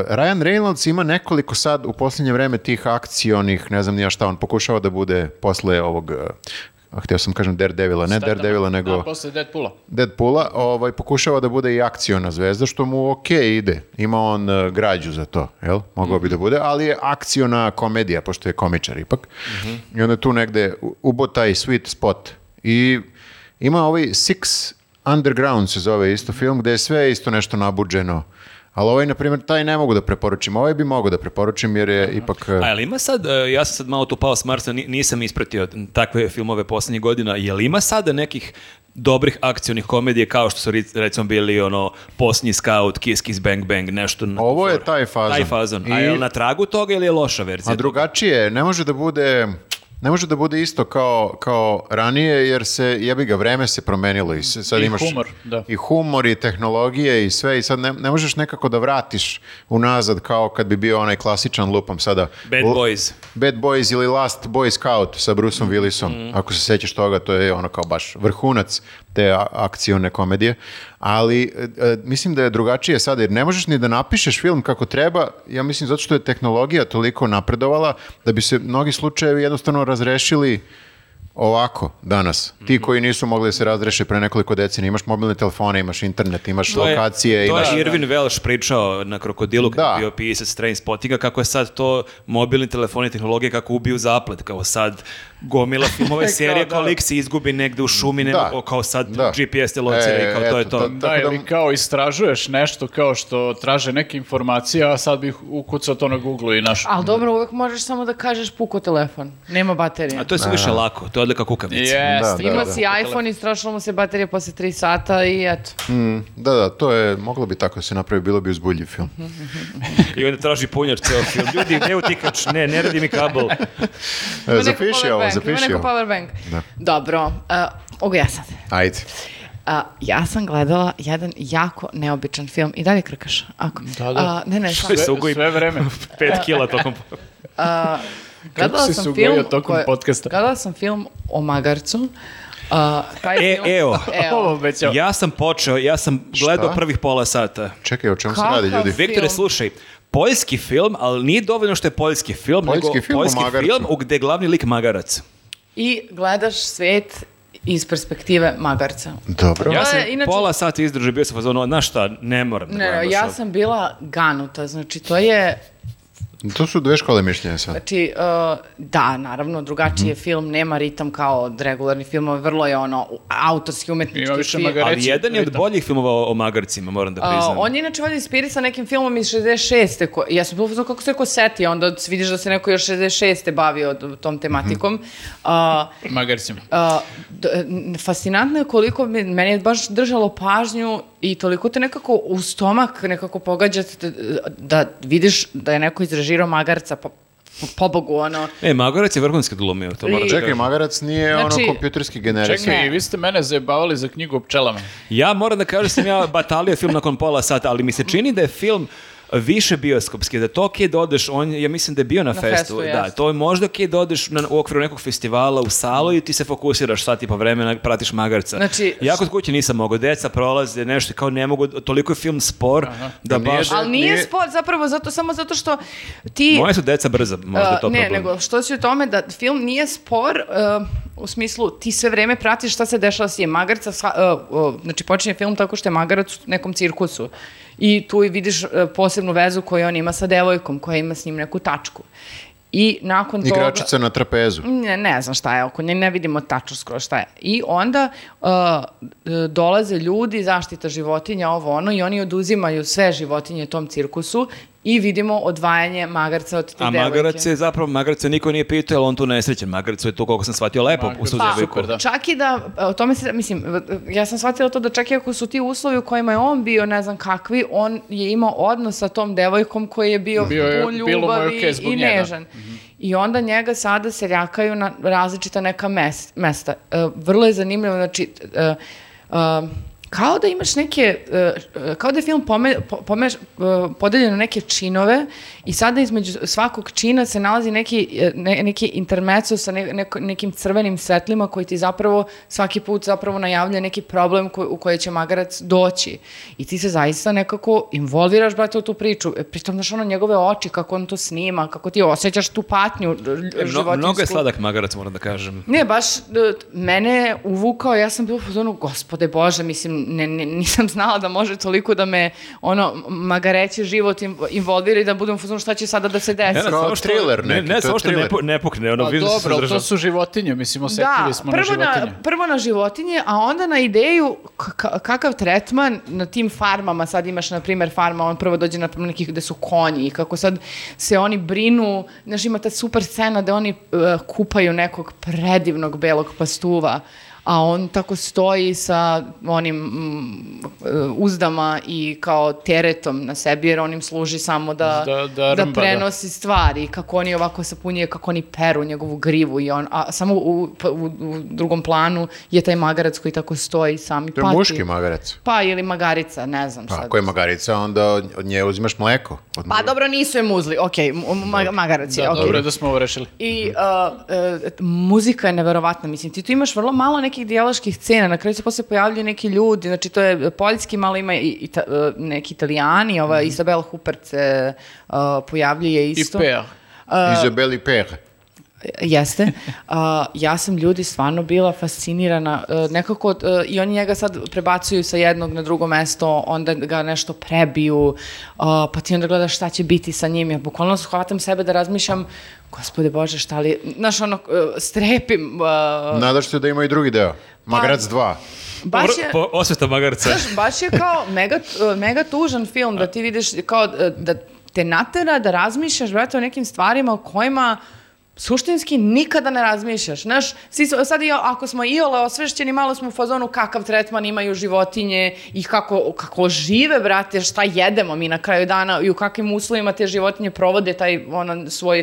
Speaker 3: Ryan Reynolds ima nekoliko sad u posljednje vreme tih akcionih, ne znam ni ja šta, on pokušava da bude posle ovog, e, a htio sam kažem Daredevila, ne Daredevila, nego...
Speaker 1: A, Da, posle Deadpoola.
Speaker 3: Deadpoola, ovaj, pokušava da bude i akciona zvezda, što mu ok ide. Ima on e, građu za to, jel? Mogao bi da bude, ali je akciona komedija, pošto je komičar ipak. I onda tu negde u- ubo taj sweet spot. I ima ovaj Six Underground se zove isto film, gde je sve isto nešto nabuđeno. Ali ovaj, na primjer, taj ne mogu da preporučim. Ovaj bi mogao da preporučim, jer je ipak... e,
Speaker 4: A jel ima sad, e, ja sam sad malo tu pao s Marsa, ni- nisam ispratio takve filmove posljednjih godina, jel ima sada nekih dobrih akcionih komedije kao što su ri- recimo bili ono Posljednji scout, Kiss Kiss Bang Bang, nešto na tu
Speaker 3: Ovo je
Speaker 4: foru.
Speaker 3: taj fazon.
Speaker 4: Taj fazon. A
Speaker 3: I-
Speaker 4: jel na tragu toga ili je loša
Speaker 3: A
Speaker 4: verzija?
Speaker 3: drugačije, je, ne može da bude ne može da bude isto kao, kao ranije, jer se, jebi ga, vreme se promenilo i se- sad
Speaker 1: I
Speaker 3: imaš
Speaker 1: humor, da.
Speaker 3: i humor i tehnologije i sve i sad ne, ne možeš nekako da vratiš unazad kao kad bi bio onaj klasičan lupam sada.
Speaker 4: Bad
Speaker 3: L-
Speaker 4: Boys.
Speaker 3: Bad Boys ili Last Boy Scout sa Bruceom Willisom. Ako se sećaš toga, to je ono kao baš vrhunac te a- akcione komedije. Ali e, e, mislim da je drugačije sada, jer ne možeš ni da napišeš film kako treba, ja mislim zato što je tehnologija toliko napredovala, da bi se mnogi slučajevi jednostavno razrešili ovako danas. Ti koji nisu mogli da se razreše pre nekoliko decenija, imaš mobilne telefone, imaš internet, imaš
Speaker 4: To je-
Speaker 3: lokacije,
Speaker 4: to
Speaker 3: imaš...
Speaker 4: je Irvin Welsh pričao na Krokodilu kada
Speaker 3: Da.
Speaker 4: je bio pisac Trainspottinga, kako je sad to mobilni telefoni tehnologije kako ubiju zaplet, kao sad gomila filmova i serija *laughs* kao da. lik se izgubi negde u šumi, nema,
Speaker 3: Da.
Speaker 4: o, kao sad
Speaker 3: Da.
Speaker 4: GPS te locira
Speaker 3: E,
Speaker 4: i kao to je
Speaker 3: eto,
Speaker 4: to.
Speaker 3: to-
Speaker 1: Da,
Speaker 3: Tako da-
Speaker 1: ili kao istražuješ nešto kao što traže neke informacije, a sad bih ukucao to na Google i našao.
Speaker 2: Ali dobro, uvek možeš samo da kažeš puko telefon. Nema baterije.
Speaker 4: A to je sve više lako, to je odlika kukavice.
Speaker 1: Jeste.
Speaker 3: Da,
Speaker 2: Ima
Speaker 3: da.
Speaker 2: si iPhone, istrašila mu se baterija posle 3 sata i eto.
Speaker 3: Da, da, to je, moglo bi tako da se napravi, bilo bi uzbuljiv film.
Speaker 4: I onda traži punjač ceo film. Ljudi, ne utikač, ne, ne radi mi kabel.
Speaker 3: E,
Speaker 2: Ima neko
Speaker 3: zapiši
Speaker 2: power
Speaker 3: ovo,
Speaker 2: bank,
Speaker 3: zapiši
Speaker 2: Ima neko pa
Speaker 3: ovo.
Speaker 2: power bank.
Speaker 3: Da.
Speaker 2: Dobro, uh, mogu ja sad.
Speaker 3: Ajde.
Speaker 2: A, ja sam gledala jedan jako neobičan film i dalje krkaš. Ako,
Speaker 1: Da, da.
Speaker 2: A, ne, ne,
Speaker 4: Što
Speaker 2: sam,
Speaker 4: je se
Speaker 1: Sve,
Speaker 4: ugojim
Speaker 1: sve vreme.
Speaker 4: 5 kila tokom...
Speaker 1: Kako
Speaker 2: gledala
Speaker 1: si se
Speaker 2: sam
Speaker 1: ugojio
Speaker 2: film
Speaker 1: tokom
Speaker 2: koje-
Speaker 1: podcasta?
Speaker 2: Gledala sam film o magarcu. A, taj
Speaker 4: E,
Speaker 2: film-
Speaker 4: evo.
Speaker 1: Ovo
Speaker 2: Evo.
Speaker 1: obećao.
Speaker 4: Ja sam počeo, ja sam gledao
Speaker 3: Šta?
Speaker 4: prvih pola sata.
Speaker 3: Čekaj, o čemu se
Speaker 2: Kakav
Speaker 3: radi, ljudi?
Speaker 2: film?
Speaker 4: Viktore, slušaj, poljski film, ali nije dovoljno što je poljski film,
Speaker 3: Poljski
Speaker 4: nego
Speaker 3: film o
Speaker 4: poljski
Speaker 3: magarcu.
Speaker 4: film u gde je glavni lik magarac.
Speaker 2: I gledaš svet iz perspektive magarca.
Speaker 3: Dobro.
Speaker 4: Ja
Speaker 2: To
Speaker 4: sam
Speaker 2: je, inače-
Speaker 4: pola sata izdržao, bio sam fazon, znaš šta, ne moram. da gledam
Speaker 2: Ne,
Speaker 4: baš
Speaker 2: ja
Speaker 4: ovo."
Speaker 2: sam bila ganuta, znači to je
Speaker 3: To su dve škole mišljenja sad.
Speaker 2: Znači, uh, da, naravno, drugačiji je film, nema ritam kao od regularnih filmova, vrlo je ono u- autorski, umetnički
Speaker 1: Ima više
Speaker 2: film.
Speaker 1: magaraca.
Speaker 4: Ali
Speaker 1: Reci,
Speaker 4: jedan je od
Speaker 1: Rita.
Speaker 4: boljih filmova o, o magarcima, moram da
Speaker 2: Uh,
Speaker 4: priznam.
Speaker 2: on je inače valjda inspirisan nekim filmom iz 66. Ko, ja sam bilo kako se neko seti, onda vidiš da se neko još 66. bavio d- tom tematikom. Uh,
Speaker 1: Magarcima.
Speaker 2: Uh, d- n- fascinantno je koliko mi, meni je baš držalo pažnju i toliko te nekako u stomak nekako pogađa te- da vidiš da je neko izrežirao magarca po, po, pobogu ono
Speaker 4: E, Magarac je vrhunski glumio, to moram da
Speaker 3: Čekaj,
Speaker 4: kažem.
Speaker 3: Magarac nije
Speaker 2: Znači-
Speaker 3: ono kompjuterski generik.
Speaker 1: Čekaj,
Speaker 2: Ne.
Speaker 1: i vi ste mene zajebavali za knjigu o pčelama.
Speaker 4: Ja moram da kažem da sam ja batalio film nakon pola sata, ali mi se čini da je film više bioskopski, da to ok da odeš, on, je- ja mislim da je bio na,
Speaker 2: Na
Speaker 4: festu,
Speaker 2: festu,
Speaker 4: da,
Speaker 2: jeste.
Speaker 4: to je možda ok da odeš na, u okviru nekog festivala u salu i ti se fokusiraš sat i po vremena, pratiš magarca.
Speaker 2: Znači-
Speaker 4: ja kod kuće nisam mogao, deca prolaze, nešto, kao ne mogu, toliko je film spor, da
Speaker 3: Nije
Speaker 4: baš...
Speaker 3: da-
Speaker 2: Ali nije,
Speaker 3: Nije-
Speaker 2: sport zapravo zato samo zato što ti
Speaker 4: Moje su deca brza, možda je
Speaker 2: Uh,
Speaker 4: to
Speaker 2: ne,
Speaker 4: problem.
Speaker 2: nego što si u tome da film nije spor uh, u smislu ti sve vreme pratiš šta se dešava s njim. Magarca, sva- uh, uh, znači počinje film tako što je magarac u nekom cirkusu i tu i vidiš uh, posebnu vezu koju on ima sa devojkom koja ima s njim neku tačku. I nakon toga...
Speaker 3: Igračica na trapezu.
Speaker 2: Ne, ne znam šta je oko nje, ne vidimo tačno skoro šta je. I onda uh, e, dolaze ljudi, zaštita životinja, ovo ono, i oni oduzimaju sve životinje tom cirkusu i vidimo odvajanje magarca od te
Speaker 4: A
Speaker 2: devojke.
Speaker 4: magarac je zapravo, magarac je niko nije pitao, ali on tu nesrećen. Magarac je tu, koliko sam shvatio, lepo
Speaker 1: Magarac
Speaker 4: uz tu
Speaker 1: je
Speaker 4: devojku.
Speaker 1: super, da.
Speaker 2: Čak i da, o tome se, mislim, ja sam shvatila to da čak i ako su ti uslovi u kojima je on bio, ne znam kakvi, on je imao odnos sa tom devojkom koji je bio,
Speaker 1: Bio je-
Speaker 2: pun
Speaker 1: bilo mu je
Speaker 2: ljubavi
Speaker 1: okej zbog
Speaker 2: i
Speaker 1: njega. Mhm.
Speaker 2: nežan. I onda njega sada seljakaju na različita neka mes, mesta. E, vrlo je zanimljivo, znači, e, e, kao da imaš neke, e, e, kao da je film pome, po- pomeš, e, podeljen u neke činove i sada između svakog čina se nalazi neki, e, ne, neki intermeco sa ne, neko- nekim crvenim svetlima koji ti zapravo svaki put zapravo najavlja neki problem ko- u koji će magarac doći. I ti se zaista nekako involviraš, brate, u tu priču. E, Pritom, znaš, ono, njegove oči, kako on to snima, kako ti osjećaš tu patnju
Speaker 4: E,
Speaker 2: e,
Speaker 4: mno-
Speaker 2: životinsku.
Speaker 4: mnogo je sladak magarac, moram da kažem.
Speaker 2: Ne, baš, e, t- mene je uvukao, ja sam bila ono, gospode Bože, mislim, ne, ne- nisam znala da može toliko da me, ono, magareći život im- involvira i da budem u fazonu šta će sada da se desi.
Speaker 3: Kao
Speaker 4: samo E što-
Speaker 3: thriller
Speaker 4: ne,
Speaker 3: neki, to
Speaker 4: ne,
Speaker 3: je
Speaker 4: samo što ne,
Speaker 3: thriller.
Speaker 4: pu- ne pukne, ono,
Speaker 1: Pa
Speaker 4: vidim da se
Speaker 1: dobro, ali to
Speaker 4: zadržao.
Speaker 1: su životinje, mislim, osetljivi smo na
Speaker 2: Da, prvo
Speaker 1: životinje.
Speaker 2: prvo na životinje, a onda na ideju k- k- kakav tretman na tim farmama, sad imaš na primjer farma, on prvo dođe na nekih gde su konji i kako sad se oni brinu, znaš ima ta super scena da oni e, kupaju nekog predivnog belog pastuva, a on tako stoji sa onim mm, e, uzdama i kao teretom na sebi jer on im služi samo da,
Speaker 1: Da- da rmba, da.
Speaker 2: prenosi nosi stvari, kako oni ovako sapunjuje, kako oni peru njegovu grivu i on, a samo u, pa u, u drugom planu je taj magarac koji tako stoji sam i
Speaker 3: To je
Speaker 2: pati.
Speaker 3: muški magarac.
Speaker 2: Pa ili magarica, ne znam sad.
Speaker 3: Pa, ako je magarica, onda od od nje uzimaš mleko. Od
Speaker 2: Pa
Speaker 3: muve.
Speaker 2: dobro, nisu je muzli, okej, mu- ma- magarac je,
Speaker 1: Da,
Speaker 2: okej.
Speaker 1: dobro je da smo ovo rešili.
Speaker 2: I a, e, muzika je neverovatna, mislim, ti tu imaš vrlo malo nekih dijaloških scena, na kraju se posle pojavljuju neki ljudi, znači to je poljski, malo ima i, i ta- e, neki italijani, ova
Speaker 3: Mhm.
Speaker 2: Isabel Huppert se a, pojavljuje isto.
Speaker 1: I Pea.
Speaker 3: Izabeli Per.
Speaker 2: Jeste. A, ja sam ljudi stvarno bila fascinirana. E, nekako, e, i oni njega sad prebacuju sa jednog na drugo mesto, onda ga nešto prebiju, a, pa ti onda gledaš šta će biti sa njim. Ja bukvalno shvatam sebe da razmišljam, gospode Bože, šta li... Znaš, ono, e, strepim. e,
Speaker 3: Nadaš se da ima i drugi deo. Magarac 2.
Speaker 2: Pa-
Speaker 1: pa
Speaker 2: baš je...
Speaker 4: Por- po- osveta magarca.
Speaker 2: Znaš, baš je kao mega, mega tužan film da ti vidiš kao e, da te natera da razmišljaš brate o nekim stvarima o kojima suštinski nikada ne razmišljaš. Znaš, svi su- sad i ako smo iole osvešćeni, malo smo u fazonu kakav tretman imaju životinje i kako, kako žive, brate, šta jedemo mi na kraju dana i u kakvim uslovima te životinje provode taj ono, svoj,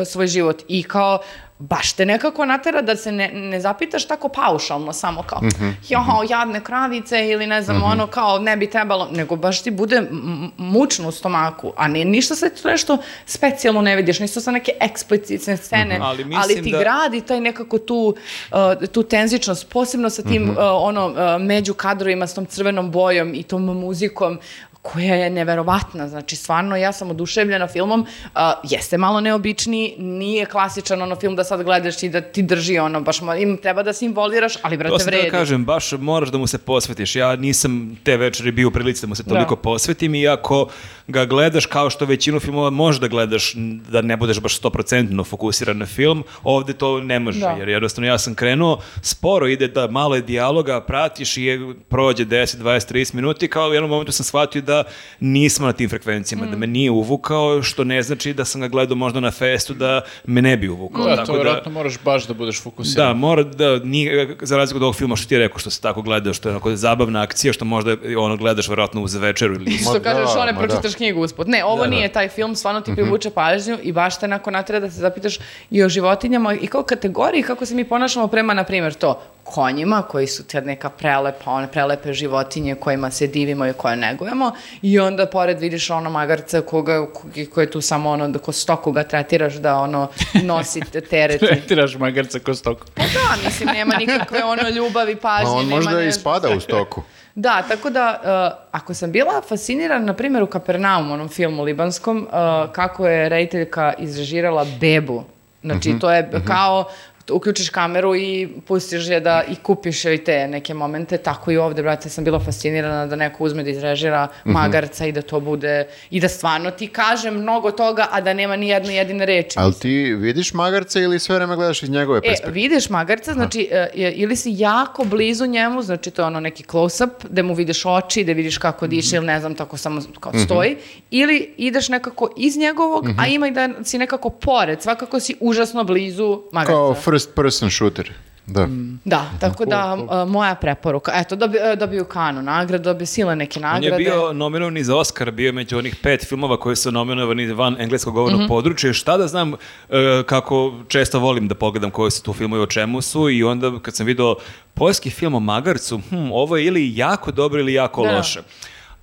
Speaker 2: e, svoj život. I kao, baš te nekako natera da se ne, ne zapitaš tako paušalno samo kao
Speaker 4: Mhm,
Speaker 2: joho, jadne kravice ili ne znam ono kao ne bi trebalo, nego baš ti bude m- m- mučno u stomaku, a ne, ništa se tu nešto specijalno ne vidiš, nisu sa neke eksplicitne scene,
Speaker 4: Ali
Speaker 2: ali,
Speaker 4: mislim
Speaker 2: ti
Speaker 4: da-
Speaker 2: gradi taj nekako tu, uh, tu tenzičnost, posebno sa
Speaker 4: Mhm.
Speaker 2: tim uh, ono, uh, među kadrovima s tom crvenom bojom i tom muzikom koja je neverovatna, znači stvarno ja sam oduševljena filmom, a, jeste malo neobičniji, nije klasičan ono film da sad gledaš i da ti drži ono, baš mo- im treba da se involviraš, ali
Speaker 4: To
Speaker 2: brate
Speaker 4: sam teo da
Speaker 2: vredi.
Speaker 4: kažem, baš moraš da mu se posvetiš. Ja nisam te večeri bio u prilici da mu se toliko posvetim, iako ga gledaš kao što većinu filmova možeš da gledaš, n- da ne budeš baš 100% fokusiran na film, ovde to ne može,
Speaker 2: Da.
Speaker 4: jer jednostavno ja sam krenuo, sporo ide da malo je dijaloga, pratiš i je, prođe 10, 20, 30 minuti, kao u jednom momentu sam shvatio da nismo na tim frekvencijama, da me nije uvukao, što ne znači da sam ga gledao možda na festu, da me ne bi uvukao.
Speaker 1: Da, to
Speaker 4: tako da,
Speaker 1: vjerojatno moraš baš da budeš fokusiran.
Speaker 4: da, mora da, nije, za razliku od ovog filma što ti je rekao, što se tako gledao, što je onako zabavna akcija, što možda ono gledaš vjerojatno uz večeru ili...
Speaker 2: Što
Speaker 3: Ma
Speaker 2: kažeš,
Speaker 3: da, Mhm.
Speaker 2: one
Speaker 3: ma
Speaker 2: pročitaš knjigu usput. Ne, ovo
Speaker 4: Da, da.
Speaker 2: nije taj film, stvarno ti privuče pažnju i baš te nakon natera da se zapitaš i o životinjama i kao kategoriji kako se mi ponašamo prema, na primjer, to konjima koji su te neka prelepa, one prelepe životinje kojima se divimo i koje negujemo i onda pored vidiš ono magarca koga, koji je tu samo ono, da ko stoku ga tretiraš da ono nosi
Speaker 1: *laughs*
Speaker 2: te
Speaker 4: Da.
Speaker 3: *laughs*
Speaker 2: teret.
Speaker 1: Tretiraš magarca ko stoku.
Speaker 2: da, mislim, nema nikakve ono ljubavi, pažnje.
Speaker 3: A on
Speaker 2: nema
Speaker 3: možda i
Speaker 2: nešto.
Speaker 3: spada u stoku.
Speaker 2: Da, tako da, uh, ako sam bila fascinirana, na primjer, u Kapernaumu, onom filmu e, libanskom, uh, kako je rediteljka izrežirala bebu. Znači, to je kao uključiš kameru i pustiš je da i kupiš joj te neke momente. Tako i ovde, brate, sam bila fascinirana da neko uzme da izrežira magarca i da to bude, i da stvarno ti kaže mnogo toga, a da nema ni jedne jedine reči.
Speaker 3: Ali ti vidiš magarca ili sve vreme gledaš iz njegove
Speaker 2: E,
Speaker 3: perspektive?
Speaker 2: vidiš magarca, znači, e, je- ili si jako blizu njemu, znači to je ono neki close-up, gde mu vidiš oči, da vidiš kako
Speaker 4: Mhm.
Speaker 2: diše ili ne znam, tako samo kao stoji, ili ideš nekako iz njegovog, a
Speaker 4: Mhm.
Speaker 2: ima i da si nekako pored, svakako si užasno blizu magarca.
Speaker 3: Kao first person shooter. Da.
Speaker 2: Da, tako da e, moja preporuka. Eto, dobi, e, dobio Kanu nagradu, dobio sile neke
Speaker 4: On je
Speaker 2: nagrade.
Speaker 4: bio nominovan i za Oscar, bio je među onih pet filmova koji su nominovani van engleskog govornog
Speaker 1: Mhm.
Speaker 4: područja. Šta da znam e, kako često volim da pogledam koji su tu filmovi, o čemu su i onda kad sam video poljski film o Magarcu, hm, ovo je ili jako dobro ili jako
Speaker 2: Da.
Speaker 4: loše.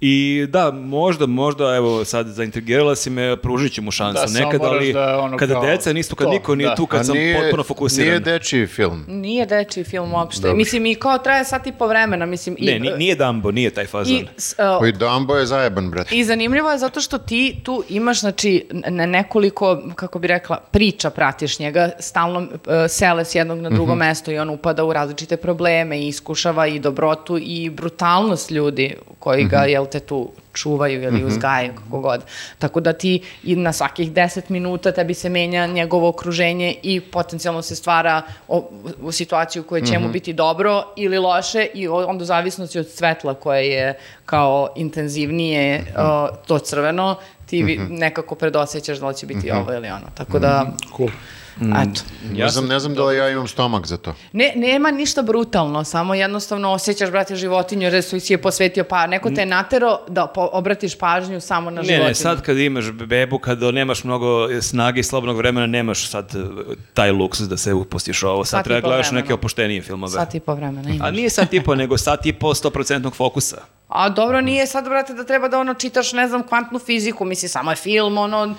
Speaker 4: I da, možda, možda, evo, sad zaintrigirala si me, pružit ću mu šansu
Speaker 1: Da, samo
Speaker 4: nekad,
Speaker 1: moraš
Speaker 4: ali
Speaker 1: da, ono,
Speaker 4: kada
Speaker 1: kao
Speaker 4: deca nisu, kad
Speaker 1: to,
Speaker 4: niko nije
Speaker 1: da.
Speaker 4: tu, kad
Speaker 3: A
Speaker 4: sam
Speaker 3: nije-
Speaker 4: potpuno fokusiran.
Speaker 3: Nije dečiji film.
Speaker 2: Nije dečiji film uopšte.
Speaker 3: Dobro.
Speaker 2: Mislim, i kao traje sat i po vremena, mislim.
Speaker 4: Ne,
Speaker 2: i,
Speaker 4: ni- nije Dumbo, nije taj fazon.
Speaker 2: i, s- e,
Speaker 3: Koji Dumbo je zajeban, brate.
Speaker 2: I zanimljivo je zato što ti tu imaš, znači, na nekoliko, kako bi rekla, priča pratiš njega, stalno e, sele s jednog na drugo mesto i on upada u različite probleme i iskušava i dobrotu i brutalnost ljudi koji ga, jel te, tu čuvaju ili uzgajaju, kako god. Tako da ti i na svakih 10 minuta tebi se menja njegovo okruženje i potencijalno se stvara o, u situaciju koja će
Speaker 4: Mhm.
Speaker 2: mu biti dobro ili loše i o- onda u zavisnosti od svetla koje je kao intenzivnije
Speaker 4: Mhm.
Speaker 2: o, to crveno, ti vi- nekako predosećaš da li će
Speaker 4: Mhm.
Speaker 2: biti ovo ili ono. Tako da,
Speaker 1: Cool.
Speaker 2: eto.
Speaker 3: Ne znam, ne znam da li ja imam stomak za to.
Speaker 2: Ne, nema ništa brutalno, samo jednostavno osjećaš, brate, životinju, jer si si je posvetio, pa neko te je natero da po- obratiš pažnju samo na
Speaker 4: Ne,
Speaker 2: životinju.
Speaker 4: ne, sad kad imaš bebu, kad nemaš mnogo snage i slobodnog vremena, nemaš sad e, taj luksus da se upustiš u ovo. Sad
Speaker 2: Sat i
Speaker 4: treba
Speaker 2: po
Speaker 4: gledaš
Speaker 2: vremena.
Speaker 4: neke opuštenije filmove.
Speaker 2: Sat i po vremena ima.
Speaker 4: A nije sat i po, nego sat i po 100% fokusa.
Speaker 2: A dobro, nije sad, brate, da treba da ono čitaš, ne znam, kvantnu fiziku, misli, samo je film, ono... mm,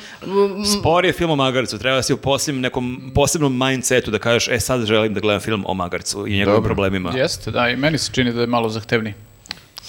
Speaker 4: Spor je film o magarcu, treba si u posebnom, nekom posebnom mindsetu da kažeš, e sad želim da gledam film o magarcu i njegovim
Speaker 3: Dobro.
Speaker 4: problemima.
Speaker 1: Jeste, da, i meni se čini da je malo zahtevniji.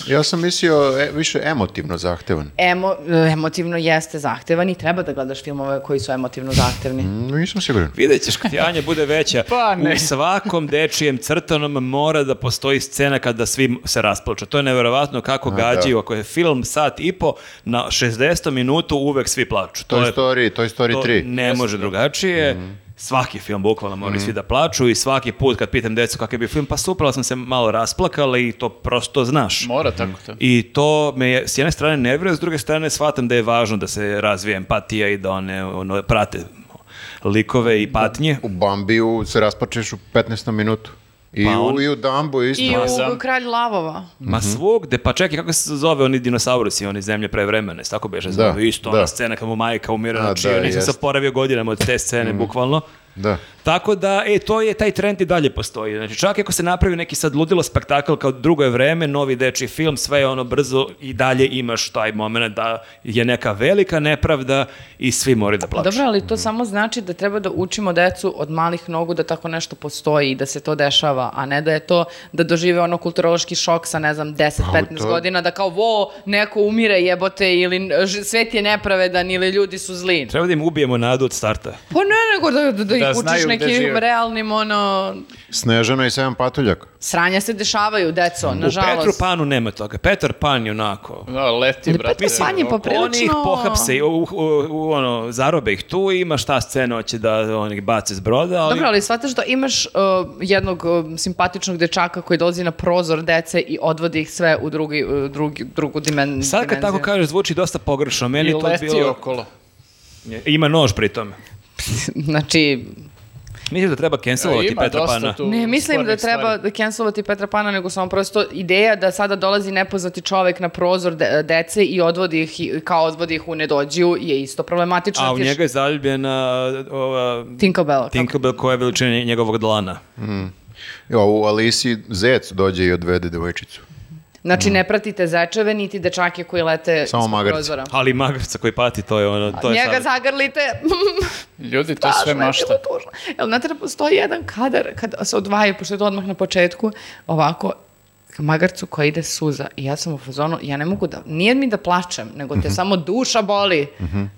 Speaker 3: Ja sam mislio e, više emotivno zahtevan.
Speaker 2: Emo, emotivno jeste zahtevan i treba da gledaš filmove koji su emotivno zahtevni.
Speaker 3: Mm, Nisam siguran.
Speaker 4: Vidjet ćeš kad Janja bude veća.
Speaker 1: Pa ne.
Speaker 4: U svakom dečijem crtanom mora da postoji scena kada svi se rasplaču. To je neverovatno kako gađaju. Ako je film sat i po, na 60. minutu uvek svi plaču.
Speaker 3: Toy Story, Toy Story
Speaker 4: to
Speaker 3: 3.
Speaker 4: ne može drugačije. Svaki film bukvalno moraju svi da plaču i svaki put kad pitam decu kakav je bio film, pa super, ali sam se malo rasplakala i to prosto znaš.
Speaker 1: Mora tako da. to.
Speaker 4: I to me je, s jedne strane nervira, s druge strane shvatam da je važno da se razvije empatija i da one ono, prate likove i patnje.
Speaker 3: U Bambiju se raspačeš u 15. minutu. I,
Speaker 4: Pa on-
Speaker 3: u, I u Dumbo isto.
Speaker 2: I u
Speaker 1: Sam.
Speaker 2: Kralj lavova.
Speaker 3: Mhm.
Speaker 4: Ma svugde, pa čekaj, kako se zove oni dinosaurusi, oni zemlje prevremene, se tako beže zove, isto ona
Speaker 3: da.
Speaker 4: scena kad mu majka umira,
Speaker 3: A,
Speaker 4: znači
Speaker 3: da,
Speaker 4: ja nisam se
Speaker 3: jest.
Speaker 4: oporavio godinama od te scene, bukvalno.
Speaker 3: Da.
Speaker 4: Tako da, e, to je, taj trend i dalje postoji. Znači, čak i ako se napravi neki sad ludilo spektakl kao drugo je vreme, novi dečiji film, sve je ono brzo i dalje imaš taj moment da je neka velika nepravda i svi moraju da plaću.
Speaker 2: Dobro, ali to samo znači da treba da učimo decu od malih nogu da tako nešto postoji i da se to dešava, a ne da je to da dožive ono kulturološki šok sa, ne znam, 10-15
Speaker 3: to-
Speaker 2: godina, da kao, vo, neko umire jebote ili e, ž- svet je nepravedan ili ljudi su zli.
Speaker 4: Treba da im ubijemo nadu od starta.
Speaker 2: Pa ne, nego da, da, da ih
Speaker 1: Da
Speaker 2: učiš
Speaker 1: znaju gde
Speaker 2: nekim
Speaker 1: žive.
Speaker 2: realnim, ono,
Speaker 3: Snežana i Sevan Patuljak.
Speaker 2: sranja se dešavaju, deco,
Speaker 4: U Petru pa-
Speaker 2: nažalost.
Speaker 4: Panu nema toga. Petar Pan je onako...
Speaker 1: Da, leti,
Speaker 2: Ali
Speaker 1: brate.
Speaker 2: Petar Pan je
Speaker 1: oko-
Speaker 2: poprilično-
Speaker 4: Oni ih pohapse, i u, u, u- ono, zarobe ih tu, ima šta scena hoće da oni ih bace s broda, ali...
Speaker 2: Dobro, ali shvataš da imaš uh, jednog uh, simpatičnog dečaka koji dolazi na prozor dece i odvodi ih sve u drugi, uh, drugi, drugu dimen- dimenziju.
Speaker 4: Sad kad tako kažeš, zvuči dosta pogrešno. Meni
Speaker 1: I
Speaker 4: je to
Speaker 1: leti
Speaker 4: bilo...
Speaker 1: okolo.
Speaker 4: Ima nož pri tome.
Speaker 2: *laughs* znači,
Speaker 4: Mislim da treba cancelovati
Speaker 1: Ima
Speaker 4: Petra
Speaker 1: dosta
Speaker 4: Pana.
Speaker 1: tu
Speaker 2: ne mislim da
Speaker 1: spornih
Speaker 2: treba
Speaker 1: stvari.
Speaker 2: da cancelovati Petra Pana, nego samo prosto ideja da sada dolazi nepoznati čovek na prozor de- dece i odvodi ih, i- kao odvodi ih u nedođiju je isto problematično.
Speaker 4: A u
Speaker 2: Ti ješ-
Speaker 4: njega je zaljubljena ova...
Speaker 2: Tinkerbell. kako-
Speaker 4: Tinkerbell koja je veličina njegovog dlana.
Speaker 3: Jo, u Alisi zec dođe i odvede devojčicu.
Speaker 2: Znači, ne pratite zečeve, niti dečake koji lete
Speaker 3: Mm. Samo
Speaker 2: ispod
Speaker 3: magarce.
Speaker 2: prozora.
Speaker 4: Ali magarca koji pati, to je ono... To je
Speaker 2: Da. Njega
Speaker 4: sad-
Speaker 2: zagrlite, *laughs*
Speaker 1: Ljudi, to je sve
Speaker 2: Strašno je
Speaker 1: mašta.
Speaker 2: bilo tužno. Jel, znate da postoji jedan kadar, kada se odvajaju, pošto je to odmah na početku, ovako, magarcu koja ide suza i ja sam u fazonu, ja ne mogu da, nije mi da plačem, nego te samo duša boli,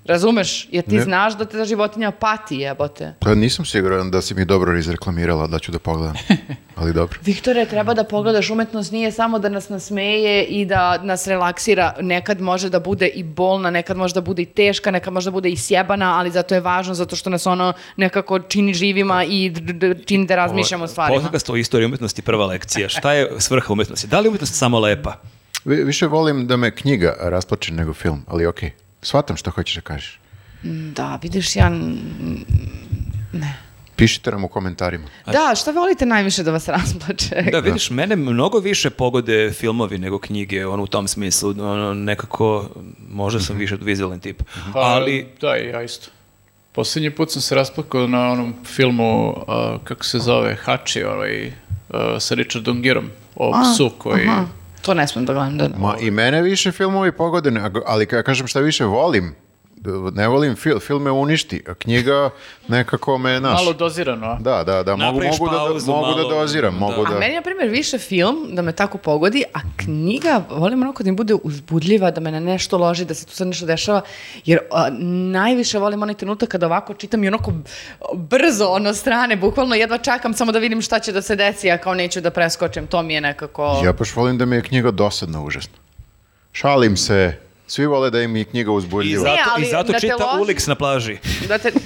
Speaker 2: razumeš, jer ti
Speaker 3: Mhm. Ne.
Speaker 2: znaš da te ta životinja pati jebote.
Speaker 3: Pa nisam siguran da si mi dobro izreklamirala, da ću da
Speaker 2: *laughs*
Speaker 3: pogledam. Ali dobro.
Speaker 2: Viktore, treba da pogledaš, umetnost nije samo da nas nasmeje i da nas relaksira. Nekad može da bude i bolna, nekad može da bude i teška, nekad može da bude i sjebana, ali zato je važno, zato što nas ono nekako čini živima i d- d- d- čini da razmišljamo o stvarima.
Speaker 4: Podcast o istoriji umetnosti, prva lekcija. Šta je svrha umetnosti? Da li je umetnost samo lepa?
Speaker 3: Vi- više volim da me knjiga rasplače nego film, ali okej. Shvatam što hoćeš da kažeš.
Speaker 2: Da, vidiš, ja...
Speaker 3: Pišite nam u komentarima.
Speaker 2: Da, šta volite najviše da vas *laughs* rasplače?
Speaker 4: Da, vidiš, mene mnogo više pogode filmovi nego knjige, ono u tom smislu, ono, nekako, možda
Speaker 3: Mhm.
Speaker 4: sam više vizualan tip,
Speaker 1: Pa,
Speaker 4: ali
Speaker 1: Da, i ja isto. Posljednji put sam se rasplakao na onom filmu, a, kako se zove, Hači, ovaj, a, sa Richardom Girom, o psu koji...
Speaker 2: To ne smem da gledam, da.
Speaker 3: Ma i mene više filmovi pogode, ne- ali ja kažem šta više volim, d- ne volim film, film me uništi, a knjiga nekako me, naš,
Speaker 1: Malo dozirano, a?
Speaker 3: da, da, da, mogu,
Speaker 4: Napraviš
Speaker 3: mogu, da,
Speaker 4: pauzu
Speaker 3: mogu da
Speaker 4: malo,
Speaker 3: doziram,
Speaker 4: da.
Speaker 3: mogu
Speaker 4: A
Speaker 3: da,
Speaker 2: A Pa meni, na primjer, više film, da me tako pogodi, a knjiga, volim onako da mi bude uzbudljiva, da me na nešto loži, da se tu sad nešto dešava, jer a, najviše volim onaj trenutak kada ovako čitam i onako b- brzo, ono, strane, bukvalno jedva čekam samo da vidim šta će da se desi, ja kao neću da preskočim, to mi je nekako...
Speaker 3: ja baš volim da mi je knjiga dosadna, užasno. Šalim se, svi vole da im je knjiga
Speaker 4: i
Speaker 3: uzbudljiva.
Speaker 4: zato,
Speaker 2: ali
Speaker 4: i zato
Speaker 2: da te
Speaker 4: čita
Speaker 2: loži-
Speaker 4: Uliks na plaži.
Speaker 2: Da te,
Speaker 3: *laughs*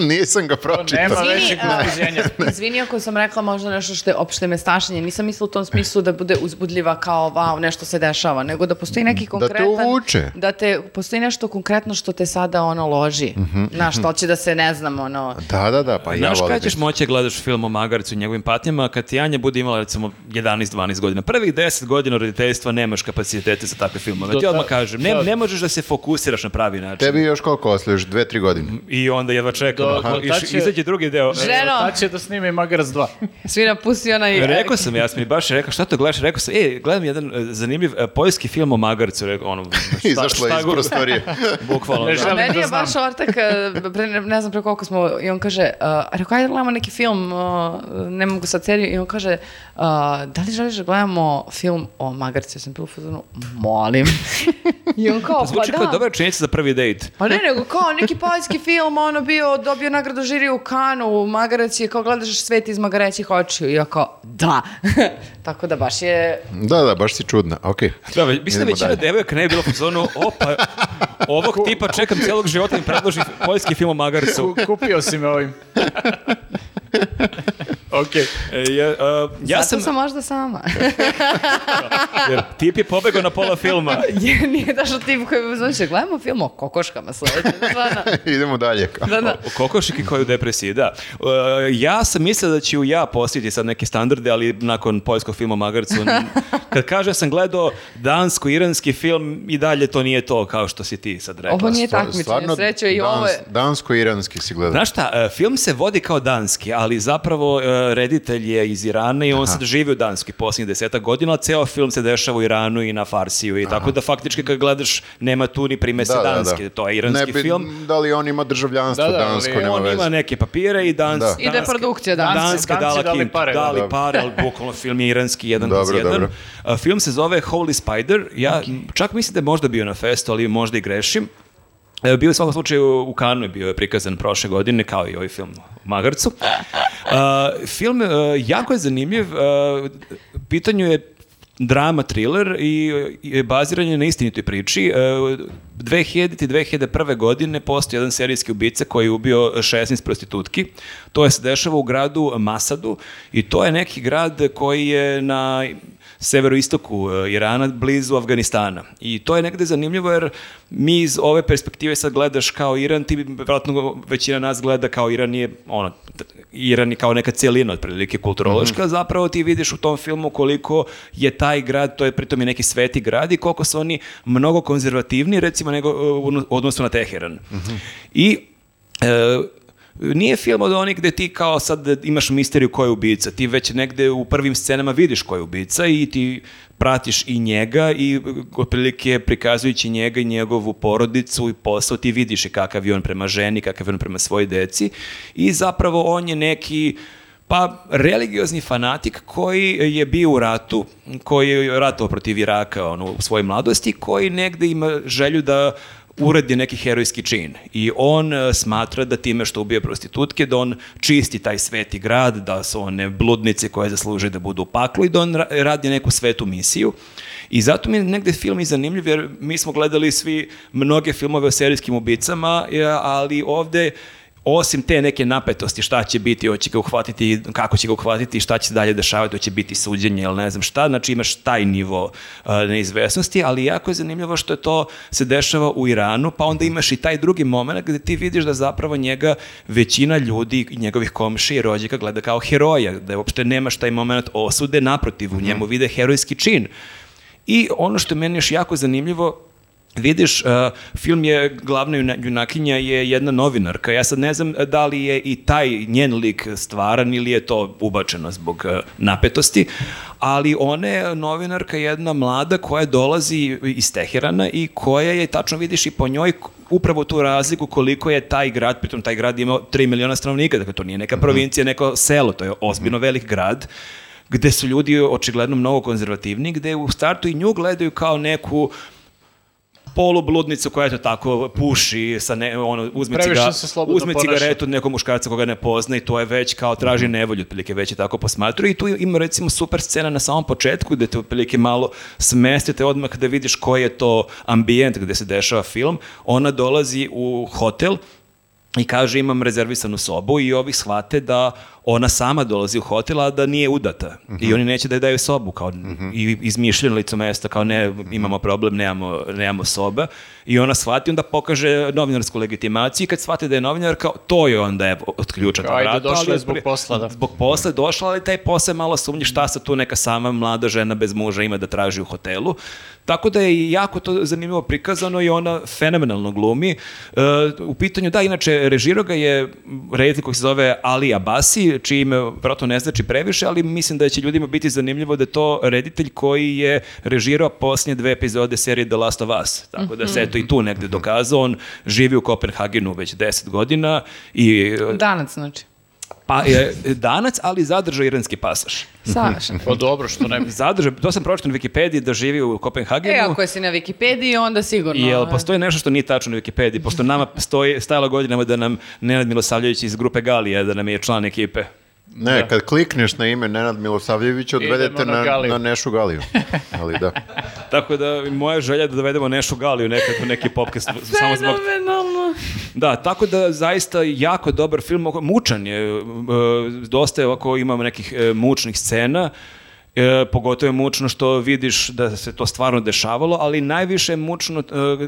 Speaker 3: Nisam ga pročitao.
Speaker 1: Nema
Speaker 2: Izvini,
Speaker 1: većeg
Speaker 2: a-
Speaker 1: uzbuđenja.
Speaker 2: *laughs* izvini ako sam rekla možda nešto što je opšte mestašenje, nisam mislila u tom smislu da bude uzbudljiva kao, wow, nešto se dešava, nego da postoji neki
Speaker 3: te
Speaker 2: konkretan...
Speaker 3: uvuče.
Speaker 2: Da te, postoji nešto konkretno što te sada, ono, loži. Znaš, to će da se, ne znam, ono...
Speaker 3: Da, da, da, pa ja
Speaker 4: Znaš
Speaker 3: volim.
Speaker 4: kada ćeš moći da gledaš film o Magarcu i njegovim patnjama, kad ti Anja bude imala recimo 11-12 godina. Prvih 10 godina roditeljstva nemaš kapacitete za takve filmove.
Speaker 1: Do
Speaker 4: ti odmah
Speaker 1: ta-
Speaker 4: kažem, ne,
Speaker 1: da.
Speaker 4: ne možeš da se fokusiraš na pravi način.
Speaker 3: Tebi još koliko ostaješ, dve, tri godine.
Speaker 4: I onda jedva
Speaker 1: Do-
Speaker 4: čekam. ako
Speaker 1: do
Speaker 4: iš-
Speaker 1: tad će-
Speaker 4: Izađe drugi deo.
Speaker 2: Ženo!
Speaker 1: Tad će da snime i Magarac 2.
Speaker 2: Svi napusti onaj...
Speaker 4: Rekao sam, ja sam mi baš rekao, šta to gledaš? Rekao sam, e, gledam jedan e, zanimljiv e, poljski film o Magarcu. Rekao,
Speaker 3: *laughs*
Speaker 4: ono, šta,
Speaker 3: Izašla je
Speaker 4: šta
Speaker 3: iz
Speaker 4: god-
Speaker 3: prostorije.
Speaker 4: *laughs* Bukvalno,
Speaker 1: Ne
Speaker 4: da.
Speaker 2: A
Speaker 1: želim
Speaker 2: meni
Speaker 1: da
Speaker 2: je
Speaker 1: znam.
Speaker 2: baš ortak, eh, pre, ne- ne znam pre koliko smo, i on kaže, uh, rekao, ajde da gledamo neki film, eh, ne mogu sad seriju, i on kaže, eh, da li želiš da gledamo film o magarci? Ja sam bila u fazonu, molim. *laughs* I on kao,
Speaker 4: Zvuči
Speaker 2: pa
Speaker 4: kao
Speaker 2: da.
Speaker 4: dobra činjenica za prvi dejt.
Speaker 2: Pa ne, nego kao neki poljski film, ono bio, dobio nagradu žiri u Kanu, u Magareci, je kao gledaš svet iz Magarećih očiju. I ja kao, da. *laughs* Tako da baš je...
Speaker 3: Da, da, baš si čudna, okej.
Speaker 4: Da, ve- mislim da
Speaker 3: Idemo
Speaker 4: većina
Speaker 3: dalje.
Speaker 4: devojaka ne bi bila u zonu, opa, ovog tipa čekam cijelog života i mi predloži poljski film o Magarcu.
Speaker 1: Ku- Kupio si me ovim. Okej.
Speaker 4: E, ja, a, ja
Speaker 2: Zato
Speaker 4: sam,
Speaker 2: sam možda sama. *laughs*
Speaker 4: jer tip je pobegao na pola
Speaker 2: *laughs*
Speaker 4: filma.
Speaker 2: Jer Nije dašao tim koji bi znači, gledamo film o kokoškama sledeće.
Speaker 4: *laughs*
Speaker 2: Stvarno.
Speaker 3: *laughs* Idemo dalje.
Speaker 2: Da, da.
Speaker 4: O kokošiki koji je u depresiji, da. E, ja sam mislio da ću ja postići sad neke standarde, ali nakon poljskog filma o Magarcu,
Speaker 3: *laughs*
Speaker 4: n- kad kaže sam gledao dansko-iranski film i dalje to nije to kao što si ti sad rekla.
Speaker 2: Ovo nije
Speaker 3: Stva-
Speaker 2: takmičenje,
Speaker 3: stvarno
Speaker 2: sreće i ovo je...
Speaker 3: Dansko-iranski si gledao.
Speaker 4: Znaš šta, e, film se vodi kao danski, ali zapravo e, reditelj je iz Irana i on sad živi u Danskoj posljednjih deseta godina, a ceo film se dešava u Iranu i na Farsiju i tako da faktički kad gledaš nema tu ni primese
Speaker 3: Da, da, da.
Speaker 4: danske, to je iranski
Speaker 3: ne bi,
Speaker 4: film.
Speaker 3: Da li on ima državljanstvo
Speaker 1: Da, da, ali
Speaker 3: dansko,
Speaker 1: on
Speaker 3: nema
Speaker 4: On
Speaker 3: veze.
Speaker 4: ima neke papire i dans,
Speaker 3: Da.
Speaker 4: danske,
Speaker 3: I
Speaker 2: da je produkcija danska.
Speaker 4: Danska
Speaker 1: Danci
Speaker 4: dala
Speaker 1: dali
Speaker 4: kint,
Speaker 1: pare, da,
Speaker 4: dali
Speaker 3: da.
Speaker 4: pare, ali bukvalno film je iranski jedan
Speaker 3: Dobro,
Speaker 4: kroz jedan.
Speaker 3: dobro.
Speaker 4: A, Film se zove Holy Spider. Ja m, čak mislim da je možda bio na festu, ali možda i grešim. E, Bio je u svakom slučaju u Kanu je bio je prikazan prošle godine, kao i ovaj film u
Speaker 2: *laughs*
Speaker 4: Magarcu. A, film e, jako je zanimljiv. A, pitanju je drama, thriller i, i baziran je na istinitoj priči. E, 2000. i 2001. godine postoji jedan serijski ubica koji je ubio 16 prostitutki. To je se dešava u gradu Masadu i to je neki grad koji je na severoistoku e, Irana, blizu Afganistana. I to je negde zanimljivo jer mi iz ove perspektive sad gledaš kao Iran, ti vjerojatno većina nas gleda kao Iran je, ono, t- Iran je kao neka cijelina otprilike kulturološka, zapravo ti vidiš u tom filmu koliko je taj grad, to je pritom i neki sveti grad i koliko su oni mnogo konzervativni recimo nego e, u odno- odnosu na Teheran. I e, nije film od onih gde ti kao sad imaš misteriju ko je ubica, ti već negde u prvim scenama vidiš ko je ubica i ti pratiš i njega i uh, otprilike prikazujući njega i njegovu porodicu i posao ti vidiš i kakav je on prema ženi, kakav je on prema svoj deci i zapravo on je neki Pa, religiozni fanatik koji je bio u ratu, koji je ratovao protiv Iraka ono, u svojoj mladosti, koji negde ima želju da uradi neki herojski čin. I on e, smatra da time što ubije prostitutke, da on čisti taj sveti grad, da su one bludnice koje zasluže da budu u paklu i da on ra- radi neku svetu misiju. I zato mi je negde film i zanimljiv, jer mi smo gledali svi mnoge filmove o serijskim ubicama, e, ali ovde osim te neke napetosti šta će biti, hoće ga uhvatiti, kako će ga uhvatiti, šta će se dalje dešavati, hoće biti suđenje ili ne znam šta, znači imaš taj nivo uh, neizvesnosti, ali jako je zanimljivo što je to se dešava u Iranu, pa onda imaš i taj drugi moment gde ti vidiš da zapravo njega većina ljudi, i njegovih komšija i rođaka gleda kao heroja, da uopšte nemaš taj moment osude, naprotiv, u njemu vide herojski čin. I ono što je meni još jako zanimljivo, vidiš, uh, film je, glavna juna- junakinja je jedna novinarka. Ja sad ne znam da li je i taj njen lik stvaran ili je to ubačeno zbog uh, napetosti, ali ona je novinarka jedna mlada koja dolazi iz Teherana i koja je, tačno vidiš i po njoj, upravo tu razliku koliko je taj grad, pritom taj grad ima 3 miliona stanovnika, dakle to nije neka provincija, neko selo, to je ozbiljno velik grad, gde su ljudi očigledno mnogo konzervativni, gde u startu i nju gledaju kao neku polubludnicu koja eto tako puši sa ne, ono, uzme,
Speaker 1: Previše
Speaker 4: ciga,
Speaker 1: se slobodno
Speaker 4: uzme
Speaker 1: ponaša.
Speaker 4: cigaretu od nekog muškarca koga ne pozna i to je već kao traži nevolju, otprilike već je tako posmatruje i tu ima recimo super scena na samom početku gde te otprilike malo smestite odmah da vidiš koji je to ambijent gde se dešava film. Ona dolazi u hotel i kaže imam rezervisanu sobu i ovi shvate da ona sama dolazi u hotel, a da nije udata. I oni neće da je daju sobu, kao i izmišljeno licu mesta, kao ne, imamo problem, nemamo, nemamo soba. I ona shvati, onda pokaže novinarsku legitimaciju i kad shvate da je novinarka, to je onda evo, otključa
Speaker 1: Kao, ajde, došla je zbog posla, da.
Speaker 4: Zbog posla je došla, ali taj posao je malo sumnji šta sa tu neka sama mlada žena bez muža ima da traži u hotelu. Tako da je jako to zanimljivo prikazano i ona fenomenalno glumi. E, u pitanju, da, inače, režirao ga je reditelj koji se zove Ali Abasi, čiji ime vratno ne znači previše, ali mislim da će ljudima biti zanimljivo da je to reditelj koji je režirao posljednje dve epizode serije The Last of Us. Tako da se eto i tu negde dokazao. On živi u Kopenhagenu već 10 godina i e,
Speaker 2: Danac, znači.
Speaker 4: pa je danac, ali zadržao iranski pasaš. *laughs*
Speaker 2: Savršeno.
Speaker 1: Pa dobro, što ne bi
Speaker 4: Zadržao, to sam pročitao na Wikipediji da živi u Kopenhagenu.
Speaker 2: E, ako si na Wikipediji, onda sigurno.
Speaker 4: Jel
Speaker 2: ovaj.
Speaker 4: postoji nešto što nije tačno na Wikipediji, pošto nama stoji, stajalo godinama da nam Nenad Milosavljević iz grupe Galija, da nam je član ekipe.
Speaker 3: Ne, kad klikneš na ime Nenad Milosavljević, odvedete
Speaker 1: da. Idemo na
Speaker 3: na,
Speaker 1: Galiju.
Speaker 3: na
Speaker 1: *laughs*
Speaker 3: Nešu Galiju. Ali da.
Speaker 4: Tako da moja želja je da dovedemo Nešu Galiju nekako u neki
Speaker 2: *laughs*
Speaker 4: popkast samo zbog
Speaker 2: Fenomenalno.
Speaker 4: Da, tako da zaista jako dobar film, Oko- mučan je, e, dosta je ovako, imamo nekih e, mučnih scena, e, pogotovo je mučno što vidiš da se to stvarno dešavalo, ali najviše je mučno e,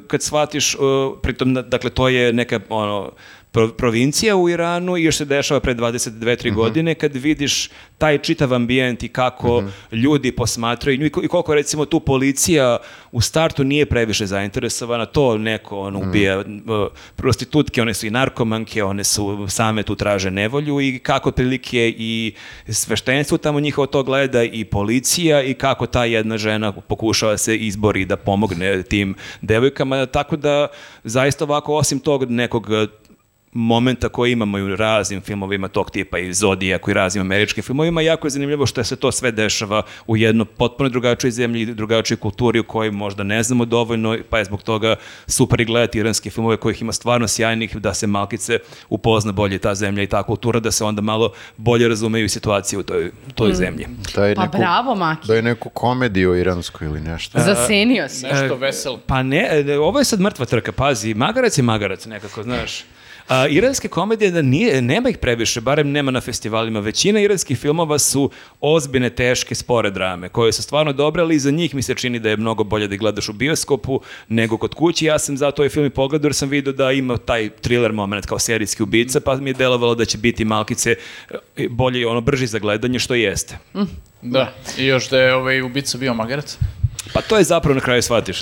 Speaker 4: kad shvatiš, e, pritom, da- dakle, to je neka ono, pro- provincija u Iranu i još se dešava pre 22-3 godine kad vidiš taj čitav ambijent i kako ljudi posmatraju nju i ko- i koliko recimo tu policija u startu nije previše zainteresovana, to neko on ubija m, e, prostitutke, one su i narkomanke, one su same tu traže nevolju i kako prilike i sveštenstvo tamo njihovo to gleda i policija i kako ta jedna žena pokušava se izbori da pomogne tim devojkama, tako da zaista ovako osim tog nekog e, momenta koje imamo i u raznim filmovima tog tipa i Zodijaku i raznim američkim filmovima, jako je zanimljivo što se to sve dešava u jedno potpuno drugačoj zemlji, drugačoj kulturi u kojoj možda ne znamo dovoljno, pa je zbog toga super i gledati iranske filmove kojih ima stvarno sjajnih, da se malkice upozna bolje ta zemlja i ta kultura, da se onda malo bolje razumeju i situacije u toj, toj zemlji.
Speaker 3: Da je
Speaker 2: Pa
Speaker 3: neku,
Speaker 2: bravo, Maki.
Speaker 3: Da je neku komediju iransku ili
Speaker 4: E,
Speaker 3: nešto.
Speaker 1: Da.
Speaker 2: Zasenio si.
Speaker 1: nešto veselo.
Speaker 4: Pa ne, e, ovo je sad mrtva trka, pazi, magarac je magarac nekako, znaš. A, iranske komedije da nije, nema ih previše, barem nema na festivalima. Većina iranskih filmova su ozbiljne, teške, spore drame, koje su stvarno dobre, ali i za njih mi se čini da je mnogo bolje da ih gledaš u bioskopu nego kod kući. Ja sam zato ovaj film i pogledao jer sam vidio da ima taj thriller moment kao serijski ubica, pa mi je delovalo da će biti malkice e, bolje i ono brži za gledanje, što jeste.
Speaker 1: Da, i još da je ovaj ubica bio magarac.
Speaker 4: Pa to je zapravo na kraju shvatiš.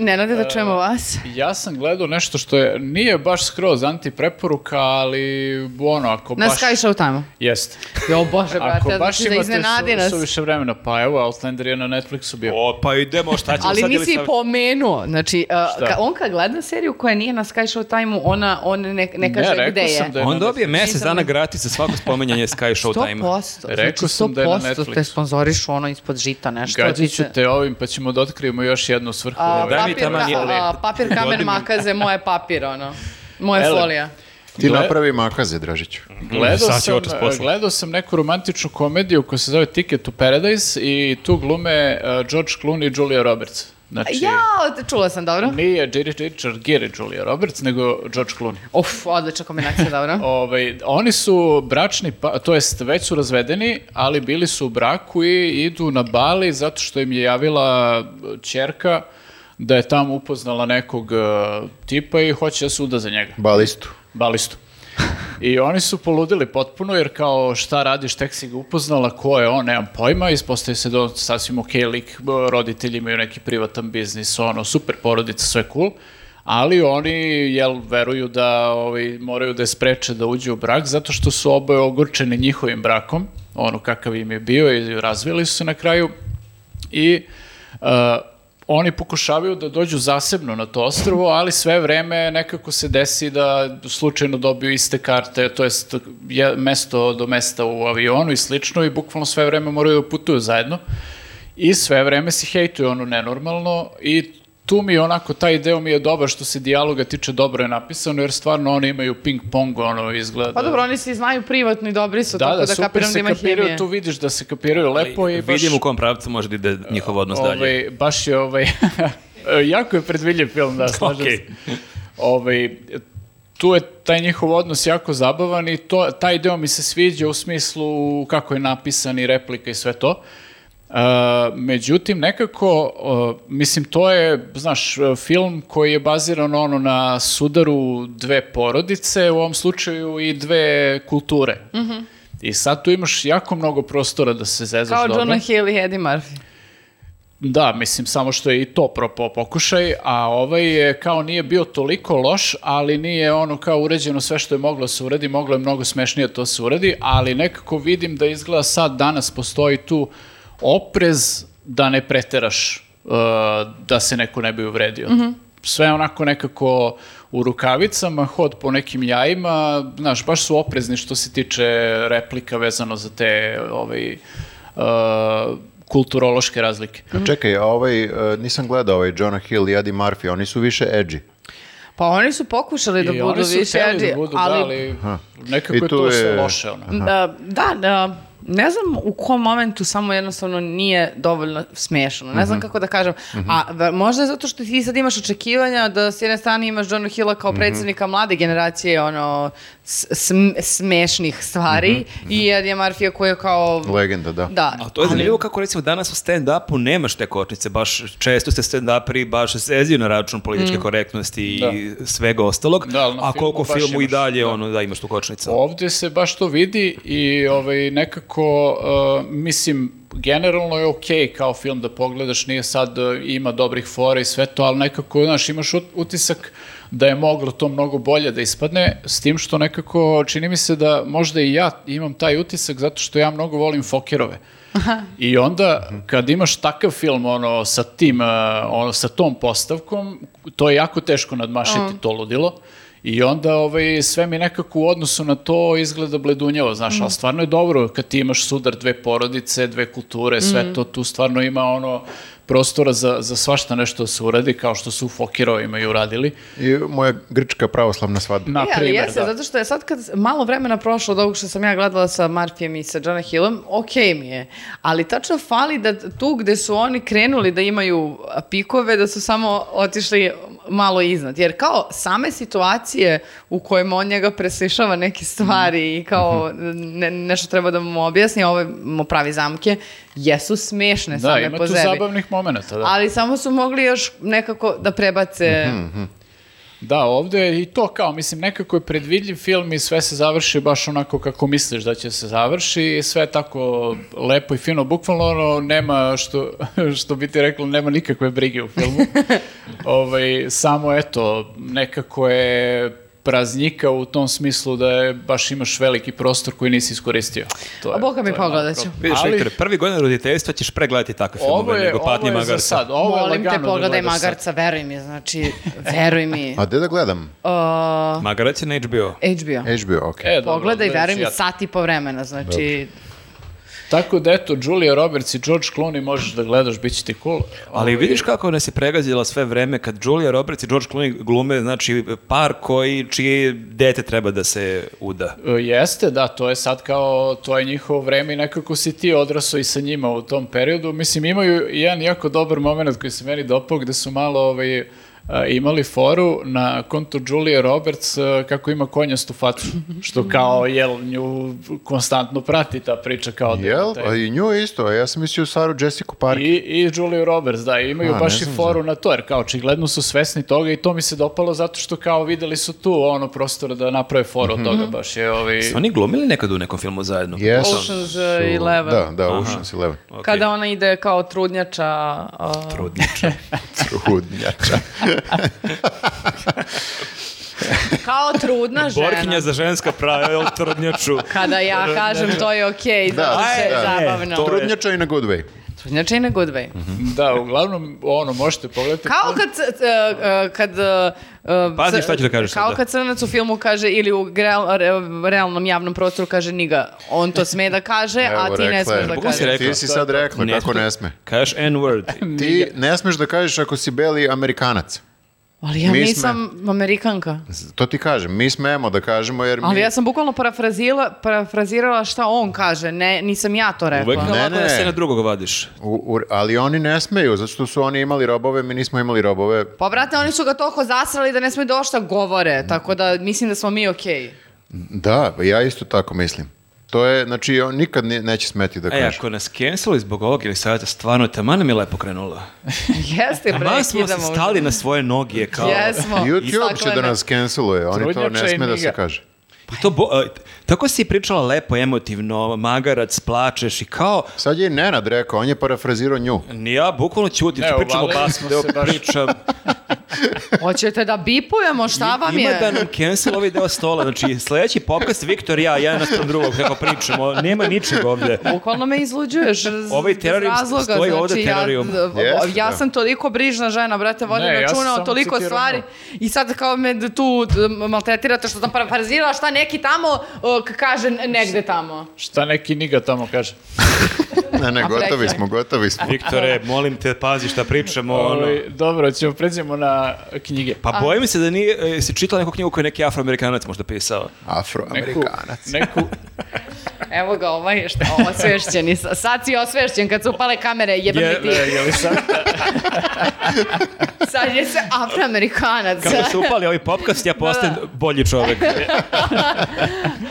Speaker 2: Nenade, da čujemo vas.
Speaker 1: Ja sam gledao nešto što je, nije baš skroz antipreporuka, ali ono, ako
Speaker 2: Na
Speaker 1: baš...
Speaker 2: Sky Show time.
Speaker 1: Jeste.
Speaker 2: Jo, bože,
Speaker 1: Ako
Speaker 2: brate, ja
Speaker 1: baš
Speaker 2: znači da iznenadi
Speaker 1: imate
Speaker 2: nas.
Speaker 1: su, više vremena, pa evo, Outlander je na Netflixu bio.
Speaker 4: O, pa idemo, šta ćemo
Speaker 2: Ali
Speaker 4: sad
Speaker 2: nisi
Speaker 4: Elisaveta?
Speaker 2: pomenuo, znači, uh,
Speaker 1: Šta?
Speaker 2: ka- on kad gleda seriju koja nije na Sky Show time ona, on ne, ne, kaže
Speaker 1: rekao
Speaker 2: gde je.
Speaker 1: sam da je
Speaker 4: On
Speaker 1: na
Speaker 4: dobije mesec
Speaker 2: Nisam-
Speaker 4: dana gratis za svako spomenjanje
Speaker 1: *laughs*
Speaker 4: Sky Show time.
Speaker 2: 100%, znači
Speaker 1: Rekao sam da je na
Speaker 2: 100% te
Speaker 1: Netflixu.
Speaker 2: sponzorišu ono ispod žita nešto.
Speaker 1: Gađit
Speaker 2: ti
Speaker 1: ću
Speaker 2: se-
Speaker 1: te ovim, pa ćemo da otkrijemo još jednu svrhu.
Speaker 2: A,
Speaker 1: ove-
Speaker 4: Daj mi
Speaker 2: papir,
Speaker 4: taman
Speaker 2: ka-
Speaker 4: je-
Speaker 2: a, papir kamen makaze, moje papir, ono. Moje
Speaker 1: Ele. znači-
Speaker 2: folija.
Speaker 3: Ti
Speaker 1: Gle-
Speaker 3: napravi makaze, Dražiću.
Speaker 1: Gledao
Speaker 4: Sad će
Speaker 1: sam,
Speaker 4: otac posla.
Speaker 1: gledao sam neku romantičnu komediju koja se zove Ticket to Paradise i tu glume uh, George Clooney i Julia Roberts. Znači,
Speaker 2: Ja, čula sam, dobro.
Speaker 1: nije Giri- Richard Gere Julia Roberts, nego George Clooney.
Speaker 2: Uf, odlična kombinacija, dobro.
Speaker 1: Ovaj, oni su bračni, pa, to jest već su razvedeni, ali bili su u braku i idu na Bali zato što im je javila čerka da je tamo upoznala nekog eh, tipa i hoće da se uda za njega,
Speaker 3: Balistu.
Speaker 1: balistu. I oni su poludili potpuno jer kao šta radiš, tek si ga upoznala, ko je on, nemam pojma, ispostaje se da je on sasvim okej lik, b- roditelji imaju neki privatan biznis, ono, super porodica, sve cool, ali oni, jel, veruju da ovaj, moraju da je spreče da uđu u brak zato što su oboje ogorčeni njihovim brakom, ono kakav im je bio i razvili su se na kraju i uh, oni pokušavaju da dođu zasebno na to ostrvo, ali sve vreme nekako se desi da slučajno dobiju iste karte, to jest je, mesto do mesta u avionu i slično i bukvalno sve vreme moraju da putuju zajedno i sve vreme se hejtuju ono nenormalno i tu mi je onako, taj deo mi je dobar što se dijaloga tiče dobro je napisano, jer stvarno oni imaju ping pong, ono izgleda.
Speaker 2: Pa dobro, oni se i znaju privatno i dobri su, tako da,
Speaker 1: super
Speaker 2: kapiram da
Speaker 1: se
Speaker 2: ima hemije.
Speaker 1: kapiraju, tu vidiš da se kapiraju lepo i baš...
Speaker 4: Vidim u kom pravcu može da ide njihov odnos dalje.
Speaker 1: Ovaj, baš je ovaj, *laughs* jako je predvidljiv film, da, slažem
Speaker 4: Okej.
Speaker 1: se. Ovaj, tu je taj njihov odnos jako zabavan i to, taj deo mi se sviđa u smislu kako je napisan i replika i sve to. Uh, međutim, nekako, uh, mislim, to je, znaš, uh, film koji je baziran ono na sudaru dve porodice, u ovom slučaju i dve kulture. I sad tu imaš jako mnogo prostora da se zezaš
Speaker 2: Kao
Speaker 1: dobro.
Speaker 2: Jonah Hill i Eddie Murphy.
Speaker 1: Da, mislim, samo što je i to propao pokušaj, a ovaj je kao nije bio toliko loš, ali nije ono kao uređeno sve što je moglo da se uredi, moglo je mnogo smešnije da to se uredi, ali nekako vidim da izgleda sad, danas postoji tu oprez da ne preteraš uh, da se neko ne bi uvredio. Sve onako nekako u rukavicama, hod po nekim jajima, znaš, baš su oprezni što se tiče replika vezano za te ovaj, uh, kulturološke razlike.
Speaker 3: A čekaj, a ovaj, e, nisam gledao ovaj Jonah Hill i Eddie Murphy, oni su više edgy.
Speaker 2: Pa oni su pokušali da
Speaker 1: I
Speaker 2: budu
Speaker 1: oni su
Speaker 2: više
Speaker 1: hteli
Speaker 2: edgy,
Speaker 1: da budu,
Speaker 2: ali
Speaker 1: da, ali nekako
Speaker 3: I
Speaker 1: je
Speaker 3: tu
Speaker 1: to sve
Speaker 3: je-
Speaker 1: loše. Ono.
Speaker 2: Da, da, da, ne znam u kom momentu samo jednostavno nije dovoljno smešano. Ne znam
Speaker 3: Mhm.
Speaker 2: kako da kažem. A ve- možda je zato što ti sad imaš očekivanja da s jedne strane imaš Johnu Hilla kao
Speaker 3: Mhm.
Speaker 2: predsjednika mlade generacije ono s- sm- smešnih stvari i Eddie Murphy koji je kao...
Speaker 3: Mhm. Legenda, da.
Speaker 2: Da.
Speaker 4: A to je zanimljivo kako recimo danas u stand-upu nemaš te kočnice, baš često se stand-uperi baš seziju na račun političke korektnosti i svega ostalog,
Speaker 1: Mm. Da, ali na
Speaker 4: a
Speaker 1: filmu
Speaker 4: koliko
Speaker 1: baš
Speaker 4: filmu i
Speaker 1: imaš,
Speaker 4: dalje
Speaker 1: da.
Speaker 4: ono da imaš tu kočnicu.
Speaker 1: Ovdje se baš to vidi i ovaj, nekako, uh, mislim, generalno je okej kao film da pogledaš, nije sad, uh, ima dobrih fora i sve to, ali nekako, znaš, imaš ut- utisak da je moglo to mnogo bolje da ispadne, s tim što nekako čini mi se da možda i ja imam taj utisak zato što ja mnogo volim Fokerove. I onda kad imaš takav film ono sa tim uh, ono sa tom postavkom, to je jako teško nadmašiti to ludilo. I onda ovaj, sve mi nekako u odnosu na to izgleda bledunjavo, znaš, ali stvarno je dobro kad ti imaš sudar dve porodice, dve kulture, sve to, tu stvarno ima ono prostora za, za svašta nešto da se uradi, kao što su u Fokirovima i uradili.
Speaker 3: I moja grčka pravoslavna svadba.
Speaker 1: Na
Speaker 2: E, ali
Speaker 1: primer,
Speaker 2: jeste,
Speaker 1: da.
Speaker 2: zato što je sad kad malo vremena prošlo od ovog što sam ja gledala sa Marfijem i sa Johna Hillom, okej mi je. Ali tačno fali da tu gde su oni krenuli da imaju a, pikove, da su samo otišli malo iznad. Jer kao same situacije u kojima on njega preslišava neke stvari i kao
Speaker 1: Mhm.
Speaker 2: ne- nešto treba da mu objasni, a ovaj mu pravi zamke, jesu smešne
Speaker 1: Da,
Speaker 2: same
Speaker 1: ima
Speaker 2: po
Speaker 1: tu da.
Speaker 2: sebi.
Speaker 1: zabavnih momenata, da. Mhm.
Speaker 2: Ali samo su mogli još nekako da prebace
Speaker 1: Da, ovde i to kao, mislim, nekako je predvidljiv film i sve se završi baš onako kako misliš da će se završi i sve je tako lepo i fino, bukvalno ono, nema što, *laughs* što bi ti reklo, nema nikakve brige u
Speaker 2: *laughs*
Speaker 1: filmu. ovaj, samo eto, nekako je praznjika u tom smislu da je, baš imaš veliki prostor koji nisi iskoristio. To je,
Speaker 2: A Boga mi
Speaker 1: to je malo
Speaker 2: pogledat ću.
Speaker 1: problem.
Speaker 4: Vidiš,
Speaker 1: Ali-
Speaker 4: Viktor, prvi godin roditeljstva ćeš pregledati takve
Speaker 1: Ovo
Speaker 4: filmove
Speaker 1: je,
Speaker 4: nego
Speaker 1: ovo
Speaker 4: Patnje
Speaker 1: je za
Speaker 4: Magarca.
Speaker 1: sad. Ovo je
Speaker 2: Molim te,
Speaker 1: lagano da
Speaker 2: pogledaj
Speaker 1: gledaš sad.
Speaker 2: Magarca, veruj mi, znači, veruj
Speaker 3: *laughs*
Speaker 2: mi.
Speaker 3: A gde da gledam?
Speaker 2: Uh,
Speaker 4: Magarac je na HBO.
Speaker 2: HBO.
Speaker 3: HBO, ok.
Speaker 1: E, dobro,
Speaker 2: Pogledaj,
Speaker 1: gledat ću
Speaker 2: veruj mi,
Speaker 1: ja.
Speaker 2: sat i po vremena, znači,
Speaker 1: Tako da eto, Julia Roberts i George Clooney možeš da gledaš, bit će ti cool.
Speaker 4: Ali vidiš kako nas je pregazila sve vreme kad Julia Roberts i George Clooney glume, znači par koji, čije dete treba da se uda.
Speaker 1: E, Jeste, da, to je sad kao, to je njihovo vreme i nekako si ti odrasao i sa njima u tom periodu. Mislim, imaju jedan jako dobar moment koji se meni dopao, gde su malo ovaj, a, imali foru na kontu Julia Roberts e, kako ima konjastu facu, što kao, jel, nju konstantno prati ta priča kao da
Speaker 3: Jel? A i nju isto, a ja sam mislio Saru Jessica Parker.
Speaker 1: I, I Julia Roberts, da, i imaju
Speaker 3: A,
Speaker 1: baš
Speaker 3: ne
Speaker 1: i
Speaker 3: znam
Speaker 1: foru na to, jer kao očigledno su svesni toga i to mi se dopalo zato što kao videli su tu ono prostora da naprave foru od toga, baš je ovi...
Speaker 4: Su oni glumili nekad u nekom filmu zajedno?
Speaker 3: Jesu.
Speaker 2: Ocean's
Speaker 3: Su-
Speaker 2: Eleven.
Speaker 3: Da, da, Ocean's Eleven.
Speaker 4: Okej.
Speaker 2: kada ona ide kao trudnjača, uh,
Speaker 4: Trudniča.
Speaker 3: Trudnjača.
Speaker 2: kao trudna žena.
Speaker 4: Borkinja za ženska prava, jel trudnjaču?
Speaker 2: Kada ja kažem to je okej, zato što je
Speaker 3: da.
Speaker 2: zabavno.
Speaker 4: *laughs* To je-
Speaker 3: Trudnjača i na good way.
Speaker 2: Trudnjača i na good way.
Speaker 1: Da, uglavnom, ono, možete pogledati.
Speaker 2: Kao kad... c- c- e, kad e, e,
Speaker 4: Pazi
Speaker 2: cr-
Speaker 4: šta ću da kažeš
Speaker 2: Kao
Speaker 4: sada.
Speaker 2: kad crnac u filmu kaže, ili u gre- re- realnom javnom prostoru kaže niga. On to sme da kaže, a ti ne
Speaker 3: rekla je.
Speaker 2: smeš da
Speaker 4: Bukvalno si
Speaker 2: kažeš.
Speaker 4: rekla.
Speaker 3: Ti si sad rekla,
Speaker 4: Ne
Speaker 3: kako
Speaker 4: sme.
Speaker 2: *laughs*
Speaker 3: ne sme.
Speaker 4: Kažeš N-word.
Speaker 3: Ti ne smeš da kažeš ako si beli Amerikanac.
Speaker 2: Ali ja
Speaker 3: Mi
Speaker 2: nisam Amerikanka.
Speaker 3: To ti kažem, mi smemo da kažemo jer mi...
Speaker 2: Ali ja sam bukvalno parafrazila, parafrazirala šta on kaže, ne, nisam ja to rekla.
Speaker 4: Uvek
Speaker 3: Ne,
Speaker 4: ne, ne.
Speaker 3: ne.
Speaker 4: da se na drugog vadiš.
Speaker 3: U- u- ali oni ne smeju, zato što su oni imali robove, mi nismo imali robove.
Speaker 2: Pa brate, oni su ga toliko zasrali da ne smiju došta govore, tako da mislim da smo mi okej. *laughs*
Speaker 3: Da, ja isto tako mislim. To je, znači, on nikad ne- neće smeti da
Speaker 4: E,
Speaker 3: kaže.
Speaker 4: ako nas canceli zbog ovog ili savjeta, stvarno, taman nam je lepo krenulo.
Speaker 2: Jeste, bre,
Speaker 4: Taman smo se
Speaker 2: kidamo.
Speaker 4: stali na svoje noge, kao...
Speaker 2: Jesmo.
Speaker 3: *laughs* YouTube će da
Speaker 2: Staklene.
Speaker 3: nas canceluje, oni to
Speaker 1: Trudnjača
Speaker 3: ne
Speaker 1: i
Speaker 3: sme da se
Speaker 1: miga.
Speaker 3: kaže.
Speaker 4: I Pa to bo- a, tako si pričala lepo, emotivno, magarac, plačeš i kao...
Speaker 3: Sad je i Nenad rekao, on je parafrazirao nju.
Speaker 4: Ni ja bukvalno ćutim,
Speaker 1: Evo,
Speaker 4: pričamo
Speaker 1: valili
Speaker 4: basno,
Speaker 1: smo
Speaker 4: deo
Speaker 1: se baš.
Speaker 4: pričam.
Speaker 2: *laughs* Hoćete da bipujemo, šta vam
Speaker 4: Ima da
Speaker 2: je?
Speaker 4: nam cancel ovaj deo stola. Znači, sledeći podcast, Viktor i ja, jedan naspram drugog, kako pričamo. Nema ničeg ovde.
Speaker 2: Bukvalno me
Speaker 4: *laughs*
Speaker 2: izluđuješ z-
Speaker 4: Ovaj
Speaker 2: bez
Speaker 4: terarijum
Speaker 2: razloga. znači,
Speaker 4: stoji ovde,
Speaker 2: ja,
Speaker 4: terarijum.
Speaker 3: Jeste,
Speaker 2: ja
Speaker 3: da.
Speaker 2: sam toliko brižna žena, brate, vodim
Speaker 1: Ne, ja sam
Speaker 2: računa o
Speaker 1: samo
Speaker 2: toliko
Speaker 1: citirao
Speaker 2: stvari i sad kao me d- tu d- maltretirate što sam parafrazirala šta neki tamo o, k- kaže n- negde tamo.
Speaker 1: Šta neki niga tamo kaže.
Speaker 3: Ne, ne, gotovi
Speaker 2: prekine.
Speaker 3: smo, gotovi smo.
Speaker 4: Viktore, molim te, pazi šta pričamo. Ono.
Speaker 1: Ovaj, dobro, ćemo pređemo na knjige.
Speaker 4: Pa bojim se da nije, e, si čitala neku knjigu koju je neki afroamerikanac možda pisao.
Speaker 1: Neku,
Speaker 3: Afroamerikanac.
Speaker 1: neku,
Speaker 2: Evo ga, ovaj, šta, osvešćeni. sa- Sad si osvešćen kad su upale kamere, jebem
Speaker 4: Je-
Speaker 2: je, ti.
Speaker 1: e, je li sad?
Speaker 2: Sad je se afroamerikanac.
Speaker 4: Kako su upali ovaj popkast, ja postajem bolji čovek.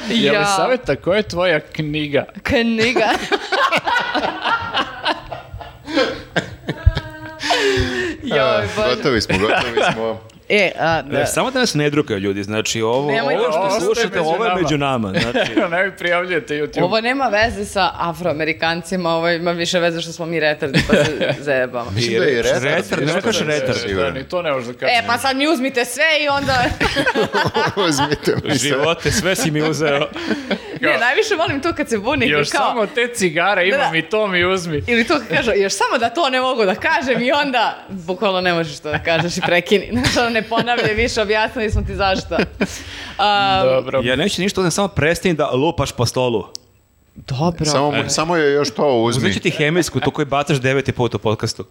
Speaker 1: Je li
Speaker 2: Ja.
Speaker 1: saveta, koja je tvoja knjiga?
Speaker 2: Knjiga. Joj,
Speaker 3: Ah,
Speaker 2: bože.
Speaker 3: Gotovi smo, gotovi
Speaker 2: *laughs*
Speaker 3: smo.
Speaker 2: E, a, da.
Speaker 4: E, Samo da nas ne drukaju ljudi, znači ovo,
Speaker 2: Nemojte,
Speaker 4: ovo što
Speaker 1: ostaje
Speaker 4: slušate,
Speaker 1: među
Speaker 4: ovo je
Speaker 1: nama.
Speaker 4: među nama. Znači,
Speaker 1: ne mi prijavljujete YouTube.
Speaker 2: Ovo nema veze sa afroamerikancima, ovo ima više veze što smo mi retardi pa se zajebamo.
Speaker 3: Mislim da je i retard.
Speaker 4: Retard,
Speaker 3: isto
Speaker 4: ne
Speaker 3: da
Speaker 4: kažeš
Speaker 3: je
Speaker 4: retard.
Speaker 1: Da,
Speaker 3: siguran.
Speaker 1: ni to ne možeš da kažeš.
Speaker 2: E, pa sad mi uzmite sve i onda...
Speaker 3: Uzmite mi sve.
Speaker 4: živote, sve si mi uzeo.
Speaker 2: ne, najviše volim to kad se bunim.
Speaker 1: Još
Speaker 2: pa, kao,
Speaker 1: samo te cigare imam
Speaker 2: Da.
Speaker 1: i to mi uzmi.
Speaker 2: Ili to kad kažu, još samo da to ne mogu da kažem i onda bukvalno ne možeš to da kažeš i prekini. *laughs* Znaš, ono, ne ponavljaj više, objasnili smo ti zašto. Um, A,
Speaker 1: Dobro.
Speaker 4: Ja neću ništa, ovdje samo prestani da lupaš po stolu.
Speaker 2: dobro.
Speaker 3: Samo, mu- samo je još to uzmi.
Speaker 4: Uzet ću ti hemijsku, tu koju bataš deveti put u podcastu.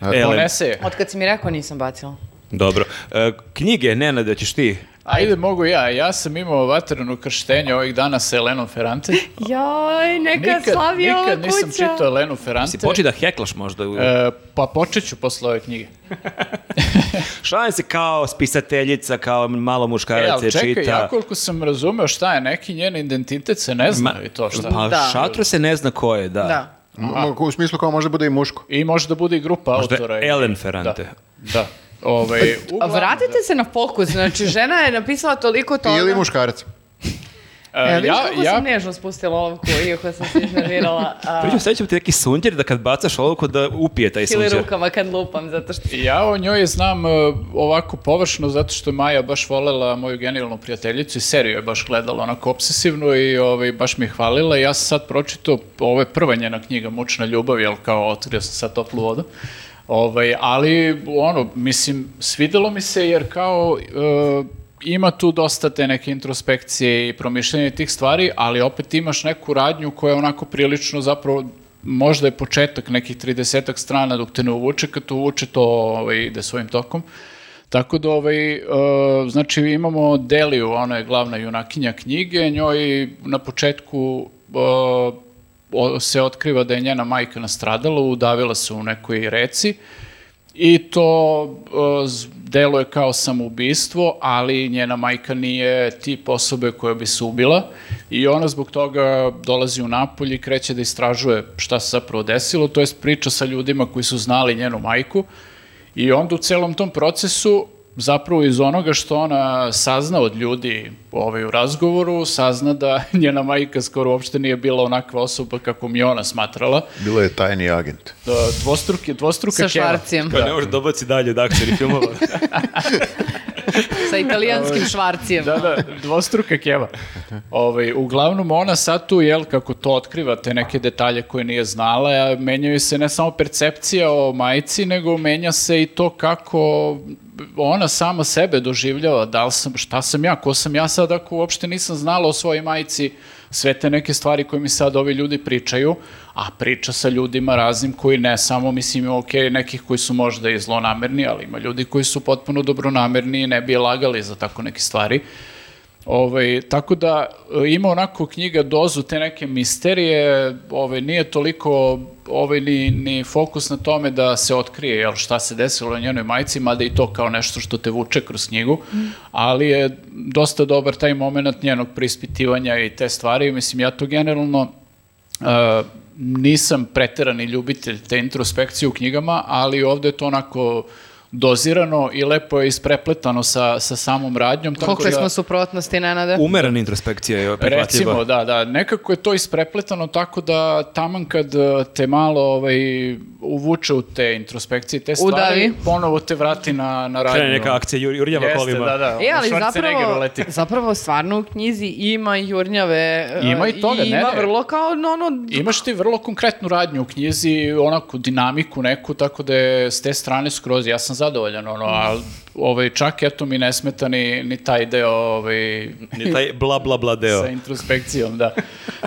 Speaker 3: A,
Speaker 4: Elem.
Speaker 1: Ponese je.
Speaker 2: Od kad si mi rekao nisam bacila.
Speaker 4: Dobro. E, knjige, Nenade, ćeš ti?
Speaker 1: Ajde, mogu ja. Ja sam imao vatrenu krštenje ovih dana sa Elenom
Speaker 2: *laughs*
Speaker 1: Ferrante.
Speaker 2: Joj, neka
Speaker 1: Nikad,
Speaker 2: slavi ova kuća.
Speaker 1: nikad nisam čitao Elenu Ferrante.
Speaker 4: Si počeo da heklaš možda. U...
Speaker 1: E, pa počet ću posle ove knjige.
Speaker 4: Šalim se kao spisateljica, kao malo
Speaker 1: E,
Speaker 4: muškarac je
Speaker 1: ali čekaj,
Speaker 4: čita.
Speaker 1: ja koliko sam razumeo šta je neki njen identitet se ne zna i to šta.
Speaker 4: Pa
Speaker 2: Da.
Speaker 4: šatro se ne zna ko je, da.
Speaker 2: Da.
Speaker 3: M- u smislu kao možda bude i muško.
Speaker 1: I može da bude i grupa
Speaker 4: Možda
Speaker 1: autora.
Speaker 4: je Ellen Ferrante.
Speaker 1: Da. da. Ovaj, uglavnom,
Speaker 2: *laughs* Vratite se na fokus, znači žena je napisala toliko toga.
Speaker 3: Ili muškarac.
Speaker 1: da. E,
Speaker 2: E, vidiš
Speaker 1: ja,
Speaker 2: kako
Speaker 1: ja
Speaker 2: sam nežno spustila olovku, iako sam se
Speaker 1: *laughs*
Speaker 2: iznervirala a,
Speaker 4: Pričam, sad ćemo ti neki sunđer da kad bacaš olovku da upije taj
Speaker 2: ili
Speaker 4: sunđer.
Speaker 2: rukama kad lupam, zato što
Speaker 1: Ja o njoj znam e, ovako površno zato što je Maja baš volela moju genijalnu prijateljicu i seriju je baš gledala onako obsesivno i ovaj, baš mi je hvalila. Ja sam sad pročitao, ovo je prva njena knjiga Mučna ljubav, jel kao otkrio sam sad toplu vodu. Ovaj, ali ono, mislim, svidelo mi se jer kao e, ima tu dosta te neke introspekcije i promišljanje tih stvari, ali opet imaš neku radnju koja je onako prilično zapravo možda je početak nekih 30 strana dok te ne uvuče, kad te uvuče to ovaj, ide svojim tokom. Tako da, ovaj, e, znači imamo Deliju, ona je glavna junakinja knjige, njoj na početku e, o- se otkriva da je njena majka nastradala, udavila se u nekoj reci i to e, z- deluje kao samoubistvo, ali njena majka nije tip osobe koja bi se ubila i ona zbog toga dolazi u Napolj i kreće da istražuje šta se zapravo desilo, to jest priča sa ljudima koji su znali njenu majku i onda u celom tom procesu zapravo iz onoga što ona sazna od ljudi ovaj, u razgovoru, sazna da *laughs* njena majka skoro uopšte nije bila onakva osoba kako mi je ona smatrala.
Speaker 3: Bilo je tajni agent.
Speaker 1: E, Dvostruke, dvostruka
Speaker 2: sa
Speaker 1: keva. Da.
Speaker 2: švarcijem,
Speaker 4: Kao Pa ne može dobaci dalje od akcijnih filmova.
Speaker 1: *laughs*
Speaker 2: sa italijanskim švarcijem.
Speaker 1: Da, da, dvostruka keva. Ovaj, uglavnom ona sad tu, jel, kako to otkriva, te neke detalje koje nije znala, a menjaju se ne samo percepcija o majici, nego menja se i to kako ona sama sebe doživljava, da li sam, šta sam ja, ko sam ja sad, ako uopšte nisam znala o svojoj majici, sve te neke stvari koje mi sad ovi ljudi pričaju, a priča sa ljudima raznim koji ne samo, mislim, ima ok, nekih koji su možda i zlonamerni, ali ima ljudi koji su potpuno dobronamerni i ne bi je lagali za tako neke stvari. Ovaj, tako da e, ima onako knjiga dozu te neke misterije, ovaj, nije toliko ovaj, ni, ni fokus na tome da se otkrije jel, šta se desilo na njenoj majci, mada i to kao nešto što te vuče kroz knjigu, ali je dosta dobar taj moment njenog prispitivanja i te stvari. Mislim, ja to generalno e, nisam preterani ljubitelj te introspekcije u knjigama, ali ovde je to onako dozirano i lepo je isprepletano sa, sa samom radnjom. tako
Speaker 2: Koliko
Speaker 1: da-
Speaker 2: smo suprotnosti, Nenade?
Speaker 4: Umerana introspekcija je prihvatljiva.
Speaker 1: Recimo, da, da. Nekako je to isprepletano tako da taman kad e, te malo ovaj, uvuče u te introspekcije, i te stvari,
Speaker 2: Udavi.
Speaker 1: ponovo te vrati na, na radnju.
Speaker 4: Krene neka akcija jur, jurnjava
Speaker 1: da, Jeste,
Speaker 4: kolima.
Speaker 1: da, da.
Speaker 2: E, ali
Speaker 1: Schwarzenegger
Speaker 2: zapravo,
Speaker 1: uleti.
Speaker 2: zapravo stvarno u knjizi ima i jurnjave. e,
Speaker 1: Ima i toga,
Speaker 2: i
Speaker 1: ne,
Speaker 2: Ima
Speaker 1: ne.
Speaker 2: vrlo kao, no, ono,
Speaker 1: Imaš ti vrlo konkretnu radnju u knjizi, onako dinamiku neku, tako da je s te strane skroz, ja sam zadovoljan, ono, ali ovaj, čak eto mi ne smeta ni, ni taj deo ovaj,
Speaker 4: Ni taj bla bla bla deo.
Speaker 1: sa introspekcijom, da.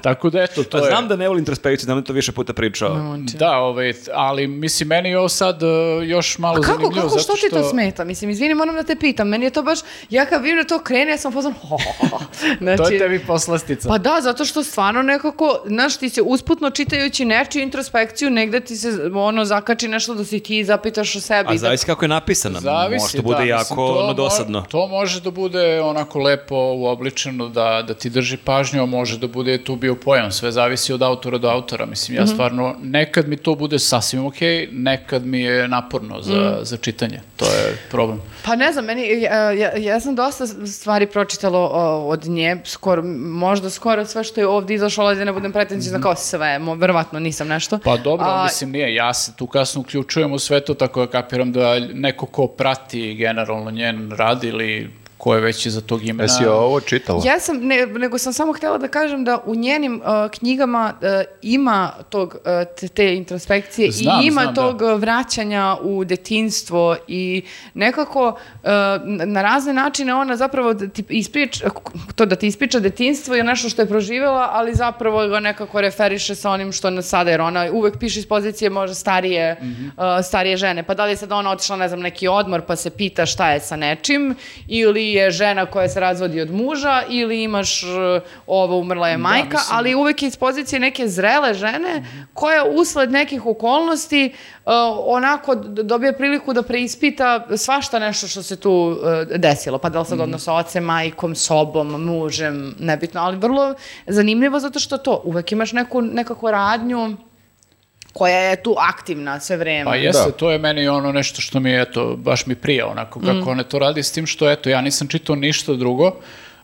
Speaker 1: Tako da eto, to
Speaker 4: Pa
Speaker 1: je...
Speaker 4: znam da ne volim introspekciju, znam da je to više puta pričao.
Speaker 1: Da, ovaj, ali mislim, meni je ovo sad e, još malo
Speaker 2: A kako,
Speaker 1: zanimljivo.
Speaker 2: kako,
Speaker 1: zato
Speaker 2: što ti to smeta? Mislim, izvini, moram da te pitam, meni je to baš, ja kad vidim da to krene, ja sam pozvan, ho, ho, *laughs* ho.
Speaker 1: To je
Speaker 2: Znači,
Speaker 1: tebi poslastica.
Speaker 2: Pa da, zato što stvarno nekako, znaš, ti se usputno čitajući nečiju introspekciju, negde ti se ono zakači nešto da si ti zapitaš o sebi. I
Speaker 4: A
Speaker 2: da,
Speaker 4: zavisi kako je napisana.
Speaker 1: Zavisi,
Speaker 4: Pa, Možda bude
Speaker 1: da,
Speaker 4: jako
Speaker 1: mislim, to
Speaker 4: ono,
Speaker 1: mo-
Speaker 4: dosadno.
Speaker 1: To može da bude onako lepo uobličeno, da, da ti drži pažnju, a može da bude tu bio pojam. Sve zavisi od autora do autora. Mislim,
Speaker 2: Mhm.
Speaker 1: ja stvarno, nekad mi to bude sasvim okej, nekad mi je naporno za,
Speaker 2: Mhm.
Speaker 1: za čitanje. To je problem.
Speaker 2: pa ne znam, meni, ja, ja, ja sam dosta stvari pročitala o, od nje, skoro, možda skoro sve što je ovdje izašlo, ali da ne budem pretencijna kao sve, mo, verovatno nisam nešto.
Speaker 1: Pa dobro,
Speaker 2: A,
Speaker 1: mislim nije, ja se tu kasno uključujem u sve to, tako da kapiram da neko ko prati generalno njen rad ili ko je veći za tog imena.
Speaker 3: Jesi E, ovo čitala?
Speaker 2: Da. Ja sam, ne, nego sam samo htjela da kažem da u njenim uh, knjigama uh, ima tog, uh, te, te introspekcije
Speaker 1: Znam,
Speaker 2: i ima
Speaker 1: znam, da.
Speaker 2: tog uh, vraćanja u detinstvo i nekako uh, na na razne načine ona zapravo da ti ispriča, to da ti ispriča detinstvo je nešto što je proživjela, ali zapravo ga nekako referiše sa onim što je sada, jer ona uvek piše iz pozicije možda starije, uh, starije žene. Pa da li je sad ona otišla, ne znam, neki odmor pa se pita šta je sa nečim ili je žena koja se razvodi od muža ili imaš uh, ovo umrla je majka,
Speaker 1: mislim-
Speaker 2: ali uvek je iz pozicije neke zrele žene koja usled nekih okolnosti uh, onako d- dobije priliku da preispita svašta nešto što se tu uh, desilo. Pa da li sad
Speaker 1: Mhm.
Speaker 2: odnos sa ocem, majkom, sobom, mužem, nebitno, ali vrlo zanimljivo zato što to, uvek imaš neku nekakvu radnju koja je tu aktivna sve vreme.
Speaker 1: Pa jeste,
Speaker 3: Da.
Speaker 1: to je meni ono nešto što mi, eto, baš mi prija onako kako one to radi s tim što, eto, ja nisam čitao ništa drugo.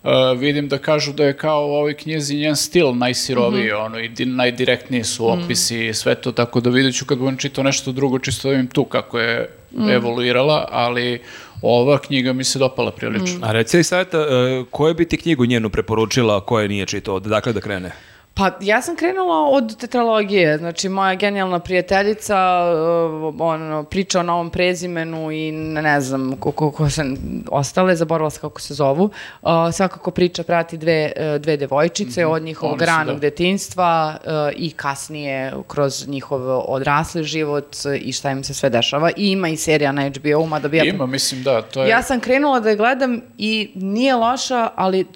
Speaker 1: E, vidim da kažu da je kao u ovoj knjizi njen stil najsiroviji, ono, i di- najdirektniji su opisi i sve to, tako da vidjet ću kad budem čitao nešto drugo, čisto da vidim tu kako je evoluirala, ali ova knjiga mi se dopala prilično.
Speaker 4: A reci li sad, koju bi ti knjigu njenu preporučila, a koje nije čitao, dakle da krene?
Speaker 2: Pa ja sam krenula od tetralogije, znači moja genijalna prijateljica e, ono, priča o novom prezimenu i ne ne znam ko, ko, ko se ostale, zaboravila sam kako se zovu. E, svakako priča prati dve, e, dve devojčice od njihovog
Speaker 1: one Mhm. su,
Speaker 2: ranog
Speaker 1: da.
Speaker 2: detinjstva e, i kasnije kroz njihov odrasli život e, i šta im se sve dešava. I ima i serija na HBO-u, mada bi ja
Speaker 1: Ima, mislim, da, to je...
Speaker 2: ja sam krenula da je gledam i nije loša, ali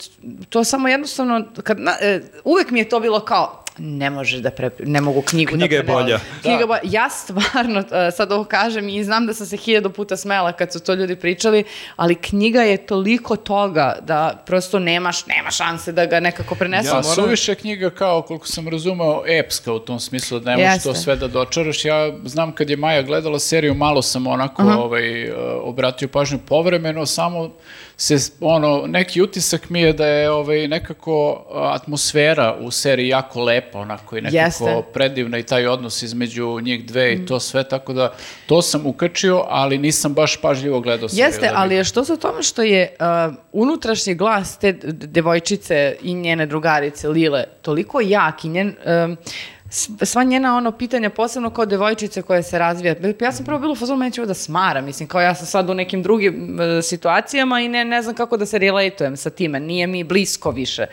Speaker 2: to samo jednostavno, kad, na, e, uvek mi je to bilo kao, ne može da pre, ne mogu knjigu
Speaker 4: Knjiga
Speaker 2: da
Speaker 4: je
Speaker 2: prenesem.
Speaker 4: bolja.
Speaker 2: Knjiga
Speaker 1: Da.
Speaker 2: je bolja. Ja stvarno, e, sad ovo kažem i znam da sam se hiljadu puta smela kad su to ljudi pričali, ali knjiga je toliko toga da prosto nemaš, nema šanse da ga nekako prenesem.
Speaker 1: Ja, a suviše knjiga kao, koliko sam razumeo, epska u tom smislu, da ne možeš to
Speaker 2: Jeste.
Speaker 1: sve da dočaraš. Ja znam kad je Maja gledala seriju, malo sam onako ovaj, e, obratio pažnju povremeno, samo se, ono, neki utisak mi je da je ovaj, nekako a, atmosfera u seriji jako lepa, onako i nekako
Speaker 2: Jeste. Mm.
Speaker 1: predivna i taj odnos između njih dve i to sve, tako da to sam ukačio, ali nisam baš pažljivo gledao seriju.
Speaker 2: Jeste,
Speaker 1: da bi-
Speaker 2: ali je što se u tome što je uh, unutrašnji glas te d- devojčice i njene drugarice Lile toliko jak i njen, um, s- sva njena ono pitanja, posebno kao devojčice koja se razvija. Ja sam prvo bila u fazonu, meni će ovo da smara, mislim, kao ja sam sad u nekim drugim e, situacijama i ne, ne znam kako da se relatujem sa time, nije mi blisko više.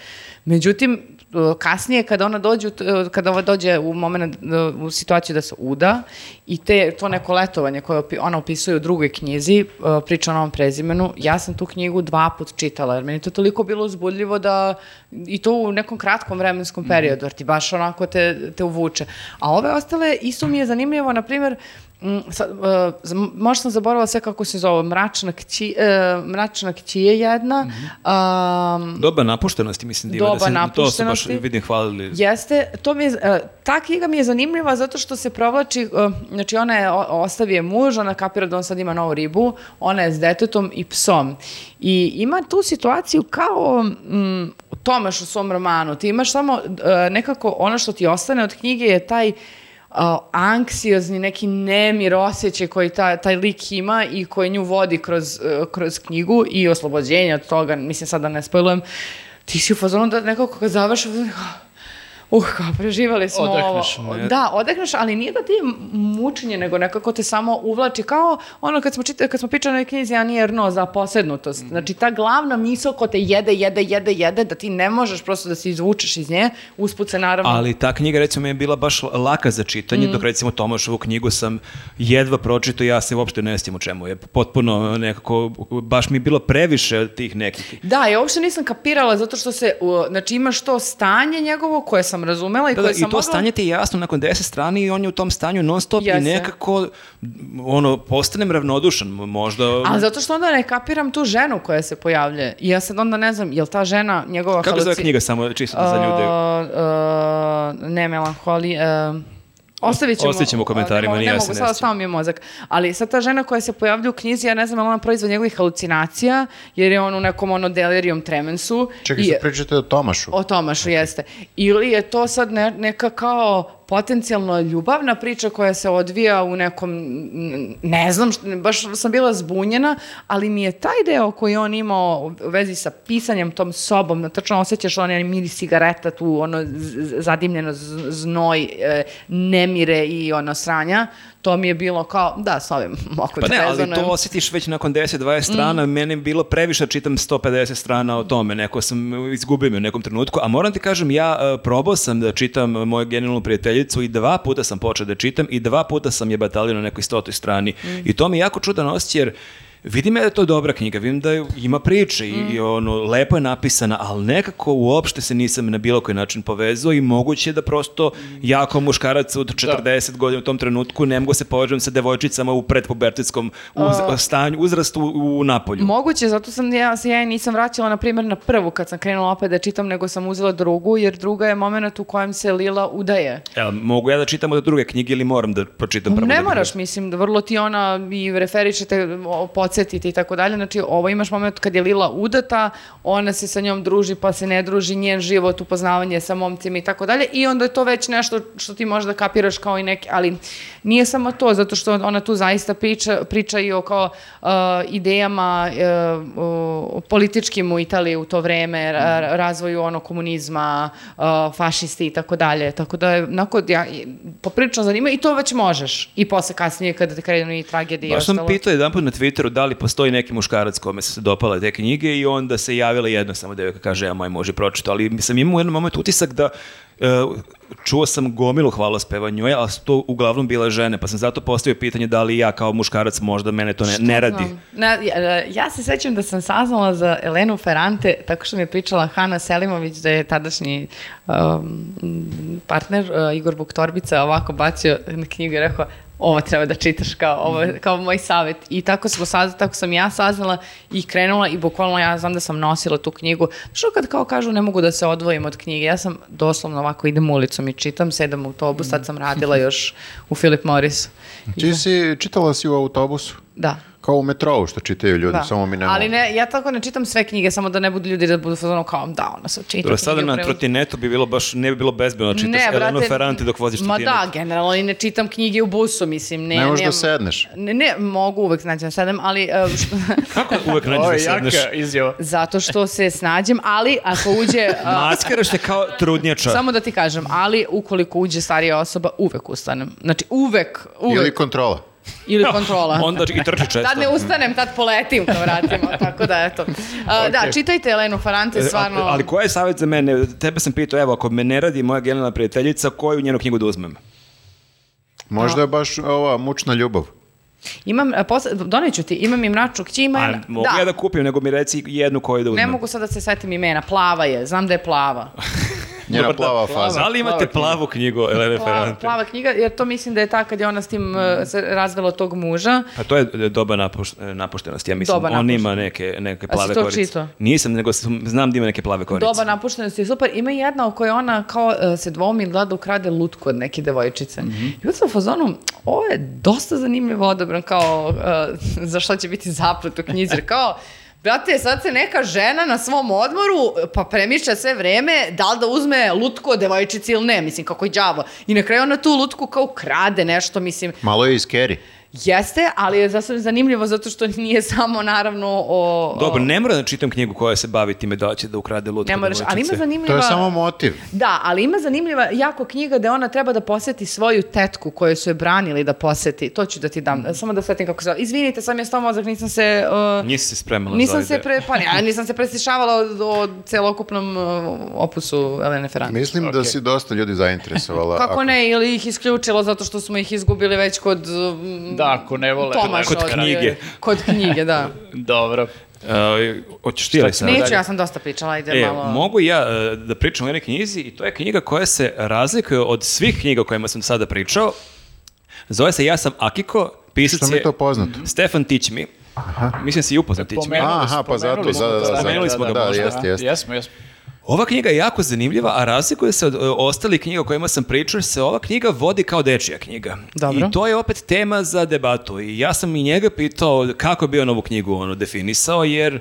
Speaker 2: Međutim, e, kasnije kada ona dođe, u t- e, kada ova dođe u moment, e, u situaciju da se uda i te, to neko letovanje koje opi- ona opisuje u drugoj knjizi, e, priča o novom prezimenu, ja sam tu knjigu dva put čitala, jer meni je to toliko bilo uzbudljivo da, i to u nekom kratkom vremenskom periodu, jer ti baš onako te, te uvuče. A ove ostale, isto mi je zanimljivo, na primjer, Mm, sad, e, za- možda sam zaboravila sve kako se zove, mračna kći, e, mračna kći je jedna, am,
Speaker 4: Doba napuštenosti, mislim, diva.
Speaker 2: Doba
Speaker 4: da se, To su baš,
Speaker 2: napuštenosti.
Speaker 4: vidim, hvalili.
Speaker 2: Jeste, to mi je, e, ta knjiga mi je zanimljiva zato što se provlači, e, znači ona je o- ostavio je muž, ona kapira da on sad ima novu ribu, ona je s detetom i psom. I ima tu situaciju kao mm, u Tomaš u svom romanu, ti imaš samo e, nekako ono što ti ostane od knjige je taj a, anksiozni neki nemir osjećaj koji ta, taj lik ima i koji nju vodi kroz, e, kroz knjigu i oslobođenje od toga, mislim sad da ne spojlujem, ti si u fazonu da nekako kad završi, u fazonu, uh, kao preživali smo
Speaker 1: Odahneš,
Speaker 2: ovo.
Speaker 4: ne?
Speaker 2: Da, odahneš, ali nije da ti je mučenje, nego nekako te samo uvlači, kao ono kad smo, čita, kad smo pričali na knjizi Annie Ernaux za
Speaker 4: Mm.
Speaker 2: posednutost. Znači, ta glavna misao ko te jede, jede, jede, jede, da ti ne možeš prosto da se izvučeš iz nje, usput se naravno...
Speaker 4: Ali ta knjiga recimo mi je bila baš laka za čitanje,
Speaker 2: Mm.
Speaker 4: dok recimo Tomašovu knjigu sam jedva pročitao, ja se uopšte ne sjećam u čemu je. Potpuno e, nekako, baš mi je bilo previše tih nekih.
Speaker 2: Da, ja uopšte nisam kapirala zato što se, u, znači imaš to stanje njegovo koje sam razumela i
Speaker 4: Da, da,
Speaker 2: koje sam
Speaker 4: I to
Speaker 2: mogla-
Speaker 4: stanje ti je jasno nakon deset strani i on je u tom stanju non stop i
Speaker 2: Jeste.
Speaker 4: nekako ono, postanem ravnodušan možda.
Speaker 2: Ali zato što onda ne kapiram tu ženu koja se pojavlja. I ja sad onda ne znam, je li ta žena njegova
Speaker 4: Kako se zove
Speaker 2: Pa haluci-
Speaker 4: knjiga samo čisto da za ljude?
Speaker 2: Uh, uh, ne melanholi, uh, ostavit ćemo,
Speaker 4: Ostavit ćemo u komentarima,
Speaker 2: ne mogu,
Speaker 4: ni ja
Speaker 2: ne
Speaker 4: se
Speaker 2: mogu,
Speaker 4: ne
Speaker 2: sada
Speaker 4: sjećam.
Speaker 2: stao mi je mozak. Ali sad ta žena koja se pojavlja u knjizi, ja ne znam, je li ona proizvod njegovih halucinacija, jer je on u nekom ono delirium tremensu.
Speaker 3: Čekaj,
Speaker 2: I-
Speaker 3: sad pričate o Tomašu.
Speaker 2: O Tomašu, jeste. Ili je to sad ne- neka kao potencijalno ljubavna priča koja se odvija u nekom, n- ne znam, št- baš sam bila zbunjena, ali mi je taj deo koji on imao u vezi sa pisanjem tom sobom, na tačno osjećaš onaj miris cigareta tu, ono z- z- zadimljeno z- znoj, e, nemire i ono sranja, to mi je bilo kao, da, s ovim mogu
Speaker 4: Pa
Speaker 2: da
Speaker 4: ne, ali to
Speaker 2: rezonujem.
Speaker 4: osjetiš već nakon 10-20 strana, meni je bilo previše da čitam 150 strana o tome, neko sam izgubio me u nekom trenutku, a moram ti kažem, ja e, probao sam da čitam moju genijalnu prijateljicu i dva puta sam počeo da čitam i dva puta sam je batalio na nekoj stotoj strani i to mi je jako čudan osjećaj jer Vidim ja da je to dobra knjiga, vidim da je- ima priče i, i ono, lepo je napisana, ali nekako uopšte se nisam na bilo koji način povezao i moguće je da prosto ja kao muškarac
Speaker 2: Da.
Speaker 4: od 40 godina u tom trenutku ne mogu se povežem sa devojčicama u predpubertetskom uz, stanju, uzrastu u, u Napolju.
Speaker 2: Moguće, zato sam ja se ja i nisam vraćala na primjer na prvu kad sam krenula opet da čitam, nego sam uzela drugu, jer druga je moment u kojem se Lila udaje.
Speaker 4: Jel, mogu ja da čitam od druge knjige ili moram da pročitam prvo?
Speaker 2: ne
Speaker 4: da bi-
Speaker 2: moraš, mislim, da vrlo ti ona i referiše te, o, podsjetite i tako dalje. Znači, ovo imaš moment kad je Lila udata, ona se sa njom druži pa se ne druži, njen život, upoznavanje sa momcima i tako dalje. I onda je to već nešto što ti možda kapiraš kao i neki, ali nije samo to, zato što ona tu zaista priča, priča i o kao uh, idejama e, o- o političkim u Italiji u to vreme, ra-
Speaker 4: Mhm.
Speaker 2: razvoju ono komunizma, uh, fašisti i tako dalje. Tako da je onako, ja, i- poprilično zanima i to već možeš. I posle kasnije kada te krenu i tragedije i
Speaker 4: Baš sam
Speaker 2: ostalo.
Speaker 4: pitao jedan put na Twitteru da li postoji neki muškarac kome su se dopale te knjige i onda se javila jedna samo devojka kaže ja moj može pročito, ali sam imao u jednom momentu utisak da e, čuo sam gomilu hvalospeva njoj, ali su to uglavnom bile žene, pa sam zato postavio pitanje da li ja kao muškarac možda mene to ne, ne radi.
Speaker 2: Na, ja, ja se sećam da sam saznala za Elenu Ferrante tako što mi je pričala Hana Selimović da je tadašnji um, partner uh, Igor Buktorbica ovako bacio na knjigu i rekao ovo treba da čitaš kao, ovo,
Speaker 4: Mhm.
Speaker 2: je kao moj savjet. I tako smo saznali, tako sam ja saznala i krenula i bukvalno ja znam da sam nosila tu knjigu. Što kad kao kažu ne mogu da se odvojim od knjige, ja sam doslovno ovako idem ulicom i čitam, sedam u autobus, tad sam
Speaker 4: *laughs*
Speaker 2: radila još u Philip Morrisu.
Speaker 3: Ti si, čitala si u autobusu?
Speaker 2: Da.
Speaker 3: Kao u metrou što čitaju ljudi,
Speaker 2: Da.
Speaker 3: samo mi ne
Speaker 2: Ali ne, ja tako ne čitam sve knjige, samo da ne budu ljudi da budu ono kao, da, ona se čita.
Speaker 4: Dobro, sada
Speaker 2: knjige
Speaker 4: na
Speaker 2: pre-
Speaker 4: trotinetu bi bilo baš, ne bi bilo bezbedno da čitaš Elenu Ferrante dok voziš
Speaker 2: Ma
Speaker 4: trotinet.
Speaker 2: da, generalno i ne čitam knjige u busu, mislim. Ne,
Speaker 3: Ne možeš
Speaker 2: nemam-
Speaker 3: da sedneš.
Speaker 2: Ne, ne, mogu uvek znači da sedem, ali e, *laughs* što-
Speaker 4: Kako uvek nađeš
Speaker 1: Ovo
Speaker 4: da
Speaker 1: je
Speaker 4: sedneš?
Speaker 1: jaka izjava.
Speaker 2: zato što se snađem, ali ako uđe...
Speaker 4: *laughs*
Speaker 2: a,
Speaker 4: Maskaraš te kao trudnjača.
Speaker 2: Samo da ti kažem, ali ukoliko uđe starija osoba, uvek ustanem. Znači, uvek, uvek.
Speaker 3: Ili kontrola.
Speaker 2: Ili kontrola.
Speaker 4: *laughs* Onda i trči često.
Speaker 2: Tad Da, ne ustanem, tad poletim kad vratimo, tako da eto. A, Da, čitajte Elenu Farante,
Speaker 4: E,
Speaker 2: stvarno...
Speaker 4: Ali, ali koji je savjet za mene? Tebe sam pitao, evo, ako me ne radi moja genijalna prijateljica, koju njenu knjigu da uzmem?
Speaker 2: Da.
Speaker 3: Možda je baš ova mučna ljubav.
Speaker 2: Imam, a, posle, doneću ti, imam i mračnu kći, ima
Speaker 4: A,
Speaker 2: jedna-
Speaker 4: mogu ja da kupim, nego mi reci jednu koju da uzmem.
Speaker 2: Ne mogu sad da se setim imena, plava je, znam da je
Speaker 4: *laughs*
Speaker 2: plava.
Speaker 3: Njena
Speaker 4: Dobar dan.
Speaker 3: plava faza.
Speaker 4: Da li imate plavu knjigu Elene
Speaker 2: Plava,
Speaker 4: Ferrante?
Speaker 2: plava knjiga, jer to mislim da je ta kad je ona s tim e, se razvela tog muža.
Speaker 4: Pa to je doba napuš, napuštenost, ja mislim.
Speaker 2: Doba
Speaker 4: On
Speaker 2: napuštenost.
Speaker 4: ima neke, neke
Speaker 2: A si
Speaker 4: plave
Speaker 2: to
Speaker 4: korice.
Speaker 2: čitao?
Speaker 4: Nisam, nego sam, znam da ima neke plave korice.
Speaker 2: Doba napuštenosti je super. Ima jedna u kojoj ona kao e, se dvomi gleda da ukrade lutku od neke devojčice. I onda sam u fazonu, ovo je dosta zanimljivo odabran kao e, *laughs* za šta će biti zaplet u knjizi. Jer Kao, brate, sad se neka žena na svom odmoru e, pa premišlja sve vreme da li da uzme lutku od devojčice ili ne, mislim, kako i đavo. I na kraju ona tu lutku kao krade nešto, mislim,
Speaker 3: Malo je iz Kerry.
Speaker 2: jeste, ali je zasvim zanimljivo zato što nije samo, naravno, o... o-
Speaker 4: Dobro, ne moram da čitam knjigu koja se bavi time da će da ukrade lutku
Speaker 2: ne moraš, ali ima
Speaker 4: devojčice.
Speaker 2: zanimljiva...
Speaker 3: To je samo motiv.
Speaker 2: Da, ali ima zanimljiva jako knjiga da ona treba da poseti svoju tetku koju su je branili da poseti. To ću da ti dam, samo da setim kako se zove. Izvinite, sam je stao mozak, nisam se... uh,
Speaker 4: Nisi se spremala
Speaker 2: nisam
Speaker 4: za
Speaker 2: se
Speaker 4: ide.
Speaker 2: pre, pa ne, a nisam se prestišavala od, od celokupnom uh, opusu Elene Ferrante.
Speaker 3: Mislim da si dosta ljudi zainteresovala.
Speaker 2: Kako
Speaker 3: Ako-
Speaker 2: ne, ili ih isključilo zato što smo ih izgubili već kod um,
Speaker 1: Da, ako ne vole.
Speaker 2: Tomaša
Speaker 4: Kod
Speaker 2: od-
Speaker 4: knjige.
Speaker 2: Kod knjige, da.
Speaker 1: Dobro.
Speaker 4: E, hoćeš ti ili sad?
Speaker 2: Neću, ja sam dosta pričala, ide
Speaker 4: E,
Speaker 2: malo...
Speaker 4: mogu i ja e, da pričam o jednoj knjizi i to je knjiga koja se razlikuje od svih knjiga o kojima sam sada pričao. Zove se Ja sam Akiko, pisac
Speaker 3: Što mi
Speaker 4: je
Speaker 3: je to poznato?
Speaker 4: Stefan Tićmi. Mislim da si i upoznat Tićmi.
Speaker 1: Pomenuo-
Speaker 3: Aha, pa zato,
Speaker 1: spomenuli smo
Speaker 3: za,
Speaker 1: to.
Speaker 3: za, za,
Speaker 4: Spomenuli smo ga
Speaker 3: da,
Speaker 4: možda.
Speaker 3: jeste, jeste.
Speaker 1: Jesmo, jesmo.
Speaker 4: Ova knjiga je jako zanimljiva, a razlikuje se od e, ostalih knjiga o kojima sam pričao, jer se ova knjiga vodi kao dečija knjiga.
Speaker 2: Dobro.
Speaker 4: I to je opet tema za debatu. I ja sam i njega pitao kako bi on ovu knjigu ono, definisao, jer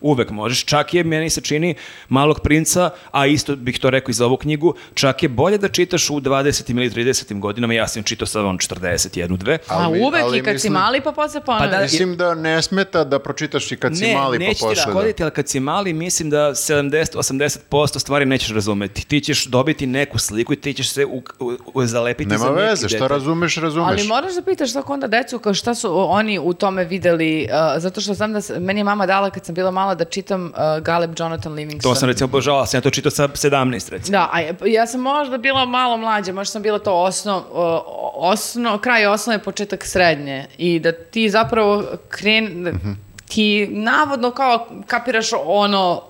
Speaker 4: Uvek možeš. Čak je, meni se čini, Malog princa, a isto bih to rekao i za ovu knjigu, čak je bolje da čitaš u 20. ili 30. godinama, ja sam je čitao sad on 41, 2.
Speaker 2: A
Speaker 3: Ali-
Speaker 2: uvek
Speaker 3: ali
Speaker 2: i kad si
Speaker 3: mislim-
Speaker 2: mali pa posle ponovno.
Speaker 4: Pa da,
Speaker 3: Mislim da ne smeta da pročitaš i kad si mali pa
Speaker 4: neće ti
Speaker 3: pošle. da-
Speaker 4: škoditi, ali kad si mali, mislim da 70-80% stvari nećeš razumeti. Ti ćeš dobiti neku sliku i ti ćeš se u, u, u, zalepiti
Speaker 3: Nema
Speaker 4: za neki
Speaker 3: veze, šta
Speaker 4: detalj.
Speaker 3: razumeš, razumeš.
Speaker 2: Ali moraš da pitaš tako onda decu kao šta su oni u tome videli, uh, zato što znam da s- meni je mama dala kad sam bila mala da čitam uh, Galeb Jonathan Livingston.
Speaker 4: To sam recimo obožavao, sam ja to čitao sa 17 recimo.
Speaker 2: Da, a ja- ja sam možda bila malo mlađa, možda sam bila to osno, o- o- osno, kraj osnove, početak srednje. I da ti zapravo kren, da ti navodno kao kapiraš ono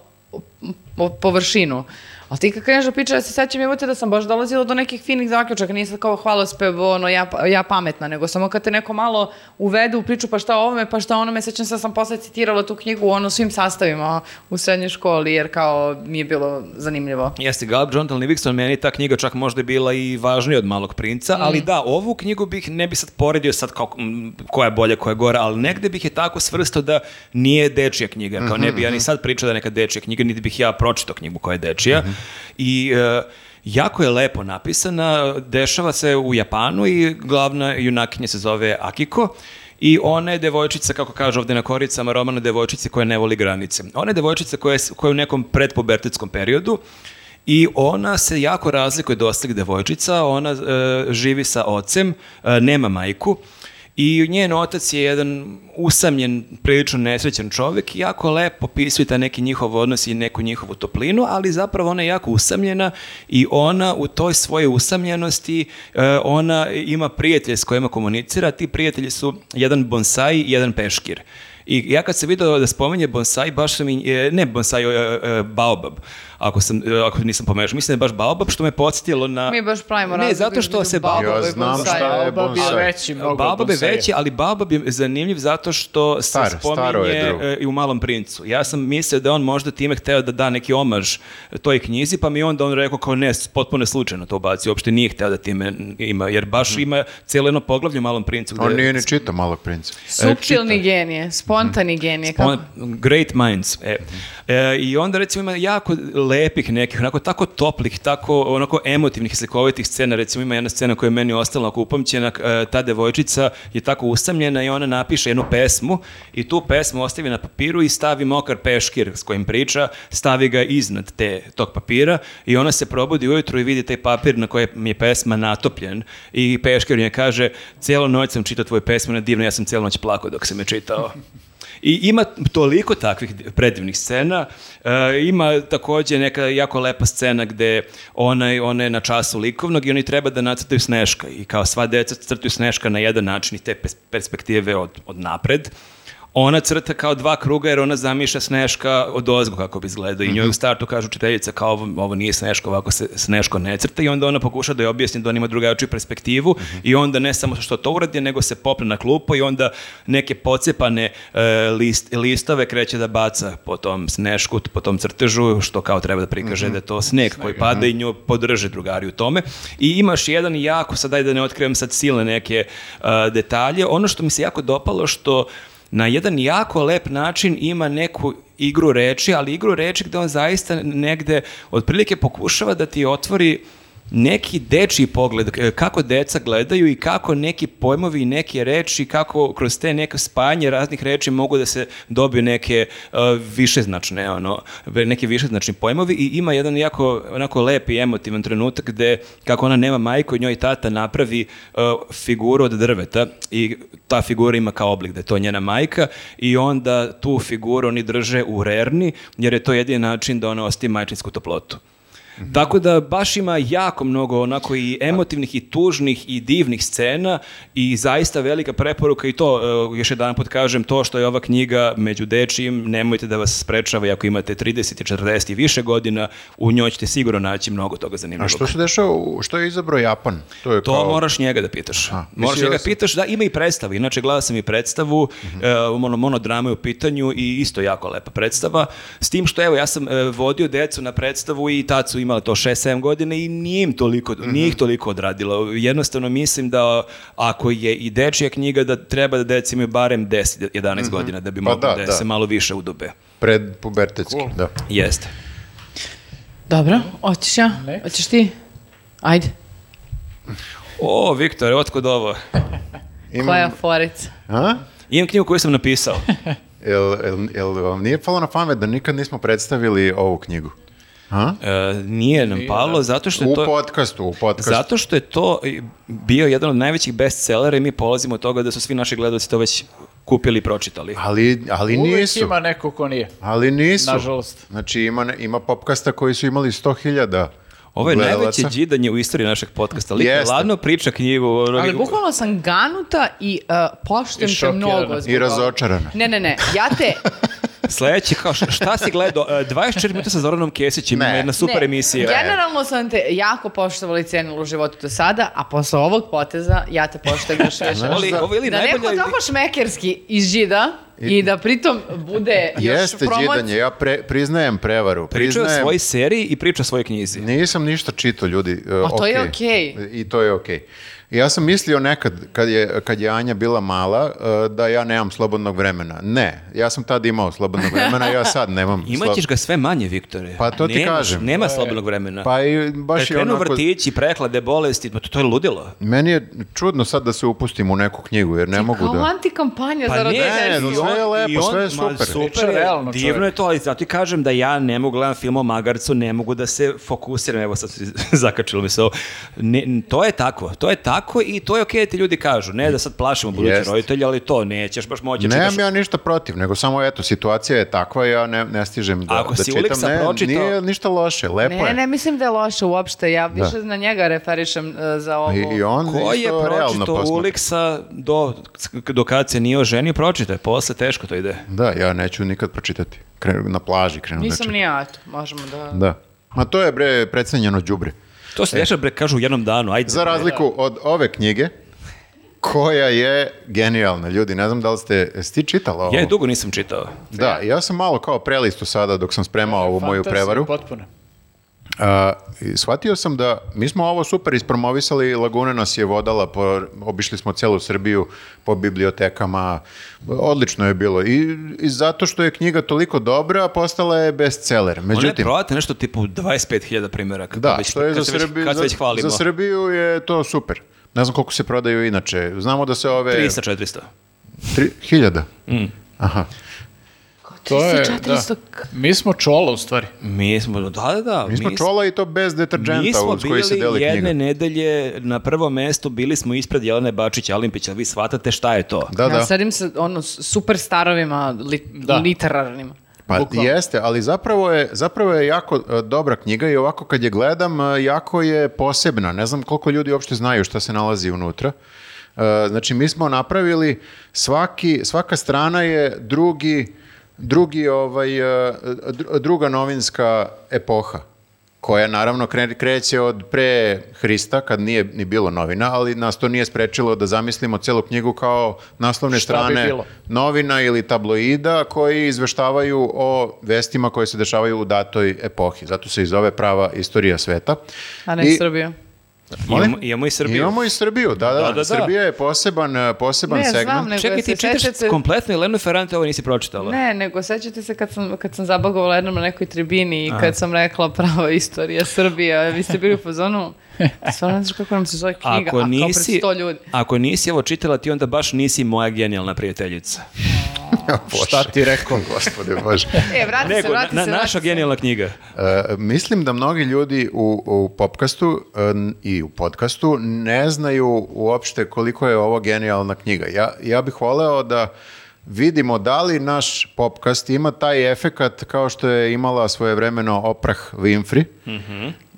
Speaker 2: po- površinu. A ti kad kreneš da pričaš, ja se sećam jebote da sam baš dolazila do nekih finih zaključaka, nisam kao hvalospev, ono, ja, pa- ja pametna, nego samo kad te neko malo uvede u priču, pa šta o ovome, pa šta o onome, sećam se da sam posle citirala tu knjigu, ono, svim sastavima u srednjoj školi, jer kao mi je bilo zanimljivo.
Speaker 4: Jeste, Gallup, Jonathan Livingston, meni ta knjiga čak možda je bila i važnija od Malog princa, ali da, ovu knjigu bih, ne bi sad poredio sad kao, mm, koja je bolja, koja je gora, ali negde bih je tako svrstao da nije dečija knjiga, kao ne bi ja ni sad pričao da je neka dečija knjiga, niti bih ja pročitao knjigu koja je dečija. I e, jako je lepo napisana, dešava se u Japanu i glavna junakinja se zove Akiko, I ona je devojčica, kako kaže ovde na koricama, romana devojčice koja ne voli granice. Ona je devojčica koja je, s- koja je u nekom predpubertetskom periodu i ona se jako razlikuje od ostalih devojčica. Ona e, živi sa ocem, e, nema majku i njen otac je jedan usamljen, prilično nesrećan čovjek i jako lepo opisuje taj neki njihov odnos i neku njihovu toplinu, ali zapravo ona je jako usamljena i ona u toj svojoj usamljenosti e, ona ima prijatelje s kojima komunicira, ti prijatelji su jedan bonsai i jedan peškir. I ja kad sam vidio da spomenje bonsai, baš sam i, e, ne bonsai, e, e, baobab, ako, sam, e, ako nisam pomešao, mislim da je baš baobab, što me podsjetilo na...
Speaker 2: Mi baš pravimo
Speaker 4: Ne,
Speaker 2: razliku
Speaker 4: zato što
Speaker 2: između
Speaker 4: se baobab...
Speaker 2: baobaba
Speaker 3: Ja
Speaker 2: i
Speaker 3: znam
Speaker 2: bonsaija.
Speaker 3: šta je
Speaker 1: Baobab je
Speaker 3: bonsai.
Speaker 1: veći mnogo od
Speaker 4: Baobab Znači, je
Speaker 1: bonsaija.
Speaker 4: veći, ali Baobab je zanimljiv zato što se
Speaker 3: Star, staro je
Speaker 4: spominje
Speaker 3: drvo.
Speaker 4: e, i u Malom princu. Ja sam mislio da je on možda time hteo da da neki omaž toj knjizi, pa mi onda on rekao kao ne, potpuno je slučajno to bacio, uopšte nije hteo da time ima, jer baš ima cijelo jedno poglavlje u Malom princu.
Speaker 3: Mhm. On
Speaker 4: gde-
Speaker 3: nije ni čitao malog princa.
Speaker 2: Suptilni genije,
Speaker 4: Mm.
Speaker 2: spontani genije. Kako?
Speaker 4: On, great minds. E. E, I onda recimo ima jako lepih nekih, onako tako toplih, tako onako emotivnih i slikovitih scena. Recimo ima jedna scena koja je meni ostala onako upamćena, e, ta devojčica je tako usamljena i ona napiše jednu pesmu i tu pesmu ostavi na papiru i stavi mokar peškir s kojim priča, stavi ga iznad te, tog papira i ona se probudi ujutru i vidi taj papir na kojem je pesma natopljen i peškir nje kaže, cijelo noć sam čitao tvoju pesmu, ona je divna, ja sam cijelu noć plakao dok sam je čitao. I ima toliko takvih predivnih scena. E, ima takođe neka jako lepa scena gde ona, ona je na času likovnog i oni treba da nacrtaju Sneška. I kao sva deca crtaju Sneška na jedan način i te pers- perspektive od, od napred. Ona crta kao dva kruga jer ona zamišlja Sneška od ozgo kako bi izgledao i njoj u startu kažu učiteljica kao ovo, ovo nije Sneško, ovako se Sneško ne crta i onda ona pokuša da je objasni da on ima drugačiju perspektivu i onda ne samo što to uradi, nego se popne na klupu i onda neke pocepane e, list, listove kreće da baca po tom Snešku, po tom crtežu, što kao treba da prikaže da je to sneg koji pada i nju podrže drugari u tome. I imaš jedan jako, sad daj da ne otkrivam sad silne neke e, detalje, ono što mi se jako dopalo što na jedan jako lep način ima neku igru reči, ali igru reči gde on zaista negde otprilike pokušava da ti otvori neki dečiji pogled, e, kako deca gledaju i kako neki pojmovi i neke reči, kako kroz te neke spajanje raznih reči mogu da se dobiju neke e, višeznačne, ono, neki višeznačni pojmovi i ima jedan jako onako lep i emotivan trenutak gde kako ona nema majku, njoj tata napravi e, figuru od drveta i ta figura ima kao oblik da je to njena majka i onda tu figuru oni drže u rerni jer je to jedini način da ona ostavi majčinsku toplotu. Tako da baš ima jako mnogo onako i emotivnih i tužnih i divnih scena i zaista velika preporuka i to, e, još jedan put kažem, to što je ova knjiga među dečijim, nemojte da vas sprečava i ako imate 30, 40 i više godina, u njoj ćete sigurno naći mnogo toga
Speaker 3: A
Speaker 4: zanimljivog.
Speaker 3: što se dešava, u- što je izabrao Japan? To je
Speaker 4: To
Speaker 3: kao...
Speaker 4: moraš njega da pitaš. moraš
Speaker 3: mislio
Speaker 4: njega
Speaker 3: sam- Mhm.
Speaker 4: pitaš, da ima i predstavu. Inače, gledao sam i predstavu, e, ono, monodrama je u pitanju i isto jako lepa predstava. S tim što, evo, ja sam e, vodio decu na predstavu i tad su imale to 6-7 godina i nije im toliko,
Speaker 3: Mhm.
Speaker 4: nije ih toliko odradilo. Jednostavno mislim da ako je i dečija knjiga da treba da deci imaju barem 10-11 godina da bi
Speaker 3: Pa
Speaker 4: mogli da,
Speaker 3: da, da.
Speaker 4: se malo više udube.
Speaker 3: Pred pubertetski, da.
Speaker 4: Jeste.
Speaker 2: Dobro, hoćeš ja?
Speaker 1: Next.
Speaker 2: Hoćeš ti? Ajde.
Speaker 4: O, Viktor, otkud ovo?
Speaker 3: Imam-
Speaker 2: Koja forica?
Speaker 3: A?
Speaker 4: Imam knjigu koju sam
Speaker 3: *laughs*
Speaker 4: napisao.
Speaker 3: Jel, jel, jel vam nije palo na pamet da nikad nismo predstavili ovu knjigu? A?
Speaker 4: E, nije nam
Speaker 3: da.
Speaker 4: palo, zato što je
Speaker 3: U
Speaker 4: to...
Speaker 3: podcastu, u podcastu.
Speaker 4: Zato što je to i, bio jedan od najvećih bestsellera i mi polazimo od toga da su svi naši gledalci to već kupili i pročitali.
Speaker 3: Ali, ali
Speaker 1: Uvijek
Speaker 3: nisu.
Speaker 1: ima neko ko nije.
Speaker 3: Ali nisu.
Speaker 1: Nažalost.
Speaker 3: Znači ima, ne- ima popkasta koji su imali 100.000
Speaker 4: Ovo je
Speaker 3: gledalaca.
Speaker 4: najveće džidanje u istoriji našeg podcasta. Lik
Speaker 3: Jeste.
Speaker 4: ladno priča knjigu. ono-
Speaker 2: Ali bukvalno sam ganuta i uh, poštujem
Speaker 1: I
Speaker 2: te mnogo
Speaker 1: šokirana.
Speaker 2: zbog
Speaker 3: I
Speaker 2: ovoga.
Speaker 3: razočarana.
Speaker 2: Ne, ne, ne, ja
Speaker 4: *laughs*
Speaker 2: te,
Speaker 4: Sledeći, kao š- šta
Speaker 2: *laughs*
Speaker 4: si gledao? E, 24 minuta sa Zoranom Kesićem,
Speaker 3: Ne.
Speaker 4: ima jedna super
Speaker 2: Ne,
Speaker 4: emisija.
Speaker 2: Generalno sam te jako poštovala i cijenila u životu do sada, a posle ovog poteza ja te poštujem još više.
Speaker 4: Ovo li- *laughs* ovo je ili
Speaker 2: da neko
Speaker 4: najbolja-
Speaker 2: tako šmekerski izžida i, da pritom bude još
Speaker 3: Jeste
Speaker 2: promoc-
Speaker 3: džidanje, ja pre- priznajem prevaru.
Speaker 4: Priča o
Speaker 3: priznajem,
Speaker 4: svojoj seriji i priča o svojoj knjizi.
Speaker 3: Nisam ništa čitao, ljudi. e,
Speaker 2: A to je
Speaker 3: okej.
Speaker 2: okej.
Speaker 3: I to je okej. Ja sam mislio nekad, kad je, kad je Anja bila mala, e, da ja nemam slobodnog vremena. Ne, ja sam tad imao slobodnog vremena, ja sad nemam.
Speaker 4: *laughs* Imaćeš
Speaker 3: slo-
Speaker 4: ga sve manje, Viktore.
Speaker 3: Pa to ti
Speaker 4: Nemaš-
Speaker 3: kažem.
Speaker 4: Nema slobodnog vremena.
Speaker 3: Pa i baš
Speaker 4: Kad
Speaker 3: je
Speaker 4: E, krenu
Speaker 3: onako...
Speaker 4: vrtići, prehlade, bolesti, ma to, to je ludilo.
Speaker 3: Meni je čudno sad da se upustim u neku knjigu, jer ne mogu
Speaker 2: Kao
Speaker 3: da...
Speaker 2: antikampanja za
Speaker 4: ne,
Speaker 2: roditelje.
Speaker 3: ne,
Speaker 4: Pa i
Speaker 3: sve je
Speaker 4: on-
Speaker 3: lepo,
Speaker 4: i on-
Speaker 3: sve je
Speaker 4: ma,
Speaker 3: super.
Speaker 1: Priča
Speaker 4: je,
Speaker 1: realno,
Speaker 4: divno
Speaker 1: čovjek.
Speaker 4: je to, ali zato ti kažem da ja ne mogu gledam film o magarcu, ne mogu da se fokusiram, evo sad se *laughs* zakačilo mi se ovo. Ne, n- to je tako, to je tako i to je okej da ti ljudi kažu, ne da sad plašimo buduće
Speaker 3: Jest.
Speaker 4: roditelje, ali to nećeš baš moći da
Speaker 3: Nemam
Speaker 4: čitaš.
Speaker 3: ja ništa protiv, nego samo eto, situacija je takva, ja ne, ne stižem da,
Speaker 4: Ako si
Speaker 3: da čitam.
Speaker 4: Uliksa
Speaker 3: ne,
Speaker 4: pročitao-
Speaker 3: Nije ništa loše, lepo
Speaker 2: Ne,
Speaker 3: je.
Speaker 2: ne, mislim da je loše uopšte, ja više na njega referišem e, za ovo.
Speaker 3: Da. I, I on
Speaker 4: Ko je
Speaker 3: isto realno
Speaker 4: pročito
Speaker 3: posmatra.
Speaker 4: Uliksa do, do kad se nije oženio, pročito je, posle teško to ide.
Speaker 3: Da, ja neću nikad pročitati. Krenu, na plaži krenu
Speaker 2: Nisam
Speaker 3: da
Speaker 2: ni ja, eto, možemo da...
Speaker 3: čitam. Da. Ma to je bre precenjeno đubre.
Speaker 4: To se dešava, bre, kažu u jednom danu, ajde.
Speaker 3: E. Za razliku od ove knjige koja je genijalna. Ljudi, ne znam da li ste jesi ti čitala ovo.
Speaker 4: Ja je dugo nisam čitao.
Speaker 3: Da, ja sam malo kao prelistu sada dok sam spremao ovu moju
Speaker 1: Fantazija
Speaker 3: prevaru.
Speaker 1: Potpuno.
Speaker 3: A, i shvatio sam da mi smo ovo super ispromovisali, Laguna nas je vodala, po, obišli smo celu Srbiju po bibliotekama, odlično je bilo. I, i zato što je knjiga toliko dobra, postala je bestseller.
Speaker 4: Ona je
Speaker 3: Međutim,
Speaker 4: prodata nešto tipu 25.000 primjeraka.
Speaker 3: Da,
Speaker 4: kad već-
Speaker 3: što je za
Speaker 4: kad se već-
Speaker 3: Srbiju,
Speaker 4: kad se
Speaker 3: za,
Speaker 4: već hvalimo.
Speaker 3: za Srbiju je to super. Ne znam koliko se prodaju inače. Znamo da se ove...
Speaker 4: 300, 400.
Speaker 3: Tri- hiljada.
Speaker 4: Mm.
Speaker 3: Aha.
Speaker 1: To je,
Speaker 2: 300-400
Speaker 1: da. Mi smo čolo u stvari.
Speaker 4: Mi smo, da, da, da.
Speaker 3: Mi smo
Speaker 4: mi
Speaker 3: čola i to bez
Speaker 4: smo- mi
Speaker 3: deterđenta
Speaker 4: smo
Speaker 3: uz koji se
Speaker 4: bili
Speaker 3: deli
Speaker 4: jedne
Speaker 3: knjiga.
Speaker 4: nedelje na prvom mestu, bili smo ispred Jelene Bačić Alimpića, vi shvatate šta je to.
Speaker 3: Da,
Speaker 2: Ja
Speaker 3: da.
Speaker 2: sedim sa ono, s- super starovima, li-
Speaker 1: Da.
Speaker 2: literarnima.
Speaker 3: Pa
Speaker 1: Bukvalno.
Speaker 3: jeste, ali zapravo je, zapravo je jako e, dobra knjiga i ovako kad je gledam, e, jako je posebna. Ne znam koliko ljudi uopšte znaju šta se nalazi unutra. E, znači, mi smo napravili, svaki, svaka strana je drugi, drugi ovaj, e, dru- druga novinska epoha koja naravno kre- kreće od pre Hrista, kad nije ni bilo novina, ali nas to nije sprečilo da zamislimo celu knjigu kao naslovne
Speaker 1: Šta bi
Speaker 3: strane
Speaker 1: bilo?
Speaker 3: novina ili tabloida koji izveštavaju o vestima koje se dešavaju u datoj epohi. Zato se i zove prava istorija sveta.
Speaker 2: A ne
Speaker 3: I-
Speaker 2: Srbiju.
Speaker 3: Da, Molim?
Speaker 4: Imamo, imamo i Srbiju.
Speaker 3: Imamo i Srbiju, da, da.
Speaker 4: Da, da, da.
Speaker 3: Srbija je poseban, e, poseban
Speaker 2: Ne,
Speaker 3: segment.
Speaker 2: znam, nego
Speaker 4: Čekaj,
Speaker 2: se
Speaker 4: ti čitaš
Speaker 2: sećate-
Speaker 4: kompletno Jelenu Ferrante, ovo nisi pročitala.
Speaker 2: Ne, nego sećate se kad sam, kad sam zabagovala jednom na nekoj tribini i kad sam rekla prava istorija Srbije, a vi ste bili u fazonu, stvarno ne znaš kako nam se zove knjiga,
Speaker 4: Ako
Speaker 2: a kao pred
Speaker 4: nisi,
Speaker 2: sto ljudi.
Speaker 4: ako nisi ovo čitala, ti onda baš nisi moja genijalna prijateljica.
Speaker 3: *laughs* Bože.
Speaker 1: Šta ti rekao?
Speaker 3: *laughs* Gospode Bože.
Speaker 2: E, vrati se,
Speaker 4: Nego,
Speaker 2: vrati
Speaker 4: na-
Speaker 2: se. vrati
Speaker 4: naša
Speaker 2: se.
Speaker 4: genijalna knjiga.
Speaker 3: E, mislim da mnogi ljudi u, u popkastu e, n- i u podcastu ne znaju uopšte koliko je ovo genijalna knjiga. Ja, ja bih voleo da vidimo da li naš popkast ima taj efekat kao što je imala svojevremeno Oprah Winfrey,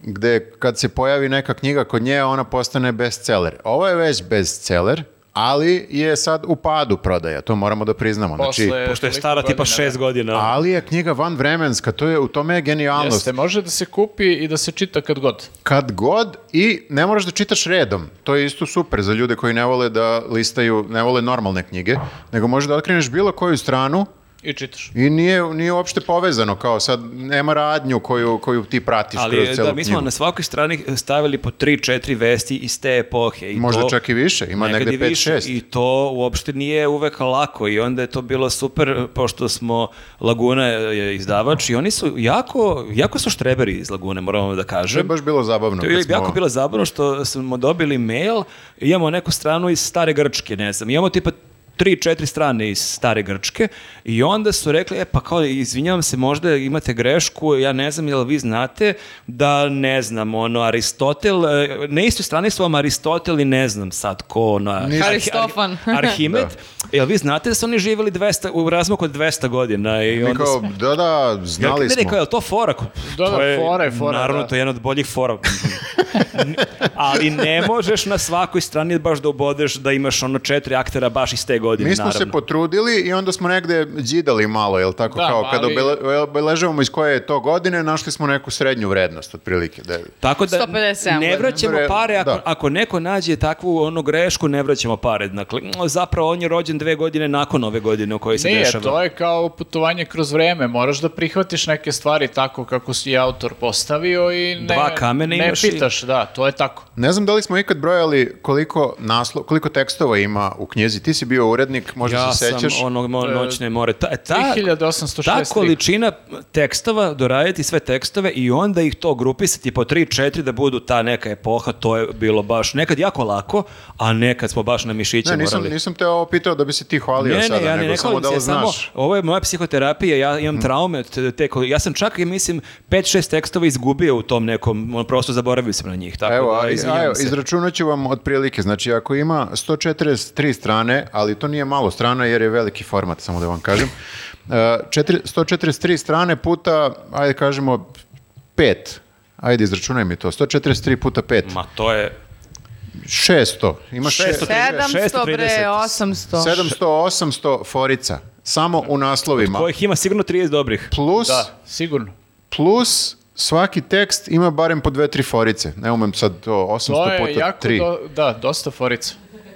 Speaker 3: gde kad se pojavi neka knjiga kod nje, ona postane bestseller. Ovo je već bestseller, ali je sad u padu prodaja, to moramo da priznamo. Znači,
Speaker 1: Posle
Speaker 4: Pošto je
Speaker 1: toliko
Speaker 4: stara tipa
Speaker 1: godina,
Speaker 3: da.
Speaker 4: šest godina.
Speaker 3: ali je knjiga vanvremenska, to je, u tome je
Speaker 1: da.
Speaker 3: genijalnost.
Speaker 1: Jeste, može da se kupi i da se čita kad god.
Speaker 3: Kad god i ne moraš da čitaš redom. To je isto super za ljude koji ne vole da listaju, ne vole normalne knjige, nego možeš da otkreneš bilo koju stranu
Speaker 1: i čitaš.
Speaker 3: I nije, nije uopšte povezano, kao sad nema radnju koju, koju ti pratiš kroz
Speaker 4: Ali
Speaker 3: celu
Speaker 4: da, mi smo
Speaker 3: knjigu.
Speaker 4: na svakoj strani eh, stavili po 3-4 vesti iz te epohe. I
Speaker 3: Možda
Speaker 4: to,
Speaker 3: čak i više, ima
Speaker 4: Nekad
Speaker 3: negde
Speaker 4: i više.
Speaker 3: 5-6.
Speaker 4: I to uopšte nije uvek lako i onda je to bilo super, eh, pošto smo Laguna je izdavač i oni su jako, jako su štreberi iz Lagune, moramo da
Speaker 3: To je
Speaker 4: kažem.
Speaker 3: baš bilo zabavno.
Speaker 4: To
Speaker 3: kad
Speaker 4: je
Speaker 3: smo-
Speaker 4: jako bilo zabavno što smo dobili mail, imamo neku stranu iz stare Grčke, ne znam, imamo tipa tri, četiri strane iz stare Grčke i onda su rekli, e pa kao, izvinjavam se, možda imate grešku, ja ne znam, jel vi znate da ne znam, ono, Aristotel, e, na istoj strani su vam Aristotel i ne znam sad ko, ono, Arhi-
Speaker 2: Aristofan.
Speaker 4: Arhi-
Speaker 3: *laughs*
Speaker 4: Arhimed, jel vi znate da su oni živjeli 200, u razmaku od 200 godina i onda
Speaker 3: Kao,
Speaker 4: smo...
Speaker 3: da, da, znali
Speaker 4: Meni je
Speaker 3: smo.
Speaker 4: kao, je li to fora? Ko-
Speaker 1: Da,
Speaker 4: to
Speaker 1: da, fora je fora,
Speaker 4: Naravno,
Speaker 1: da.
Speaker 4: to je jedna od boljih fora. *laughs* N- Ali ne možeš na svakoj strani baš da ubodeš da imaš ono četiri aktera baš iz te godine,
Speaker 3: Mi smo
Speaker 4: naravno.
Speaker 3: se potrudili i onda smo negde đidali malo, jel tako?
Speaker 1: Da,
Speaker 3: kao kada
Speaker 1: ali-
Speaker 3: obele- obeležavamo iz koje je to godine, našli smo neku srednju vrednost, otprilike. Da,
Speaker 4: Tako da
Speaker 2: 157
Speaker 4: ne
Speaker 2: godina.
Speaker 4: vraćamo
Speaker 3: Bre,
Speaker 4: pare, ako,
Speaker 3: da.
Speaker 4: ako neko nađe takvu ono grešku, ne vraćamo pare. Dakle, m, zapravo on je rođen dve godine nakon ove godine u kojoj se
Speaker 1: Nije,
Speaker 4: dešava.
Speaker 1: to je kao putovanje kroz vreme. Moraš da prihvatiš neke stvari tako kako si je autor postavio i ne,
Speaker 4: Dva kamena
Speaker 1: ne
Speaker 4: imaš i-
Speaker 1: pitaš. Da, to je tako.
Speaker 3: Ne znam da li smo ikad brojali koliko, naslo, koliko tekstova ima u knjizi. Ti si bio urednik, možda
Speaker 4: Ja
Speaker 3: se sećaš.
Speaker 4: sam ono mo- noćne more. Ta, e, ta,
Speaker 1: 3863.
Speaker 4: ta količina tekstova, doraditi sve tekstove i onda ih to grupisati po 3-4 da budu ta neka epoha, to je bilo baš nekad jako lako, a nekad smo baš na mišiće
Speaker 3: Ne, nisam,
Speaker 4: morali.
Speaker 3: nisam te ovo pitao da bi se ti hvalio
Speaker 4: Ne,
Speaker 3: sada,
Speaker 4: ne, ja ne,
Speaker 3: nego
Speaker 4: ne
Speaker 3: samo
Speaker 4: hvalim
Speaker 3: da
Speaker 4: se,
Speaker 3: li
Speaker 4: ja samo,
Speaker 3: znaš. Mhm.
Speaker 4: ovo je moja psihoterapija, ja imam traume od te, te ko- ja sam čak i mislim 5-6 tekstova izgubio u tom nekom, ono, prosto zaboravio sam na njih, tako
Speaker 3: Evo,
Speaker 4: da
Speaker 3: a-
Speaker 4: izvinjavam
Speaker 3: evo,
Speaker 4: se.
Speaker 3: izračunat ću vam otprilike. Znači, ako ima 143 strane, ali to nije malo strana jer je veliki format, samo da vam
Speaker 4: *laughs*
Speaker 3: kažem, e, četiri- 143 strane puta, ajde kažemo, 5. Ajde, izračunaj mi to. 143 puta 5.
Speaker 4: Ma to je
Speaker 3: 600. Ima 600.
Speaker 2: 700 bre,
Speaker 4: 630.
Speaker 2: 800.
Speaker 3: 700, 800 forica. Samo u naslovima.
Speaker 4: kojih ima sigurno 30 dobrih.
Speaker 3: Plus,
Speaker 1: Da, sigurno.
Speaker 3: plus svaki tekst ima barem po dve, tri forice. Ne umem sad to, 800
Speaker 1: To je
Speaker 3: puta
Speaker 1: jako,
Speaker 3: 3.
Speaker 1: do- da, dosta forica.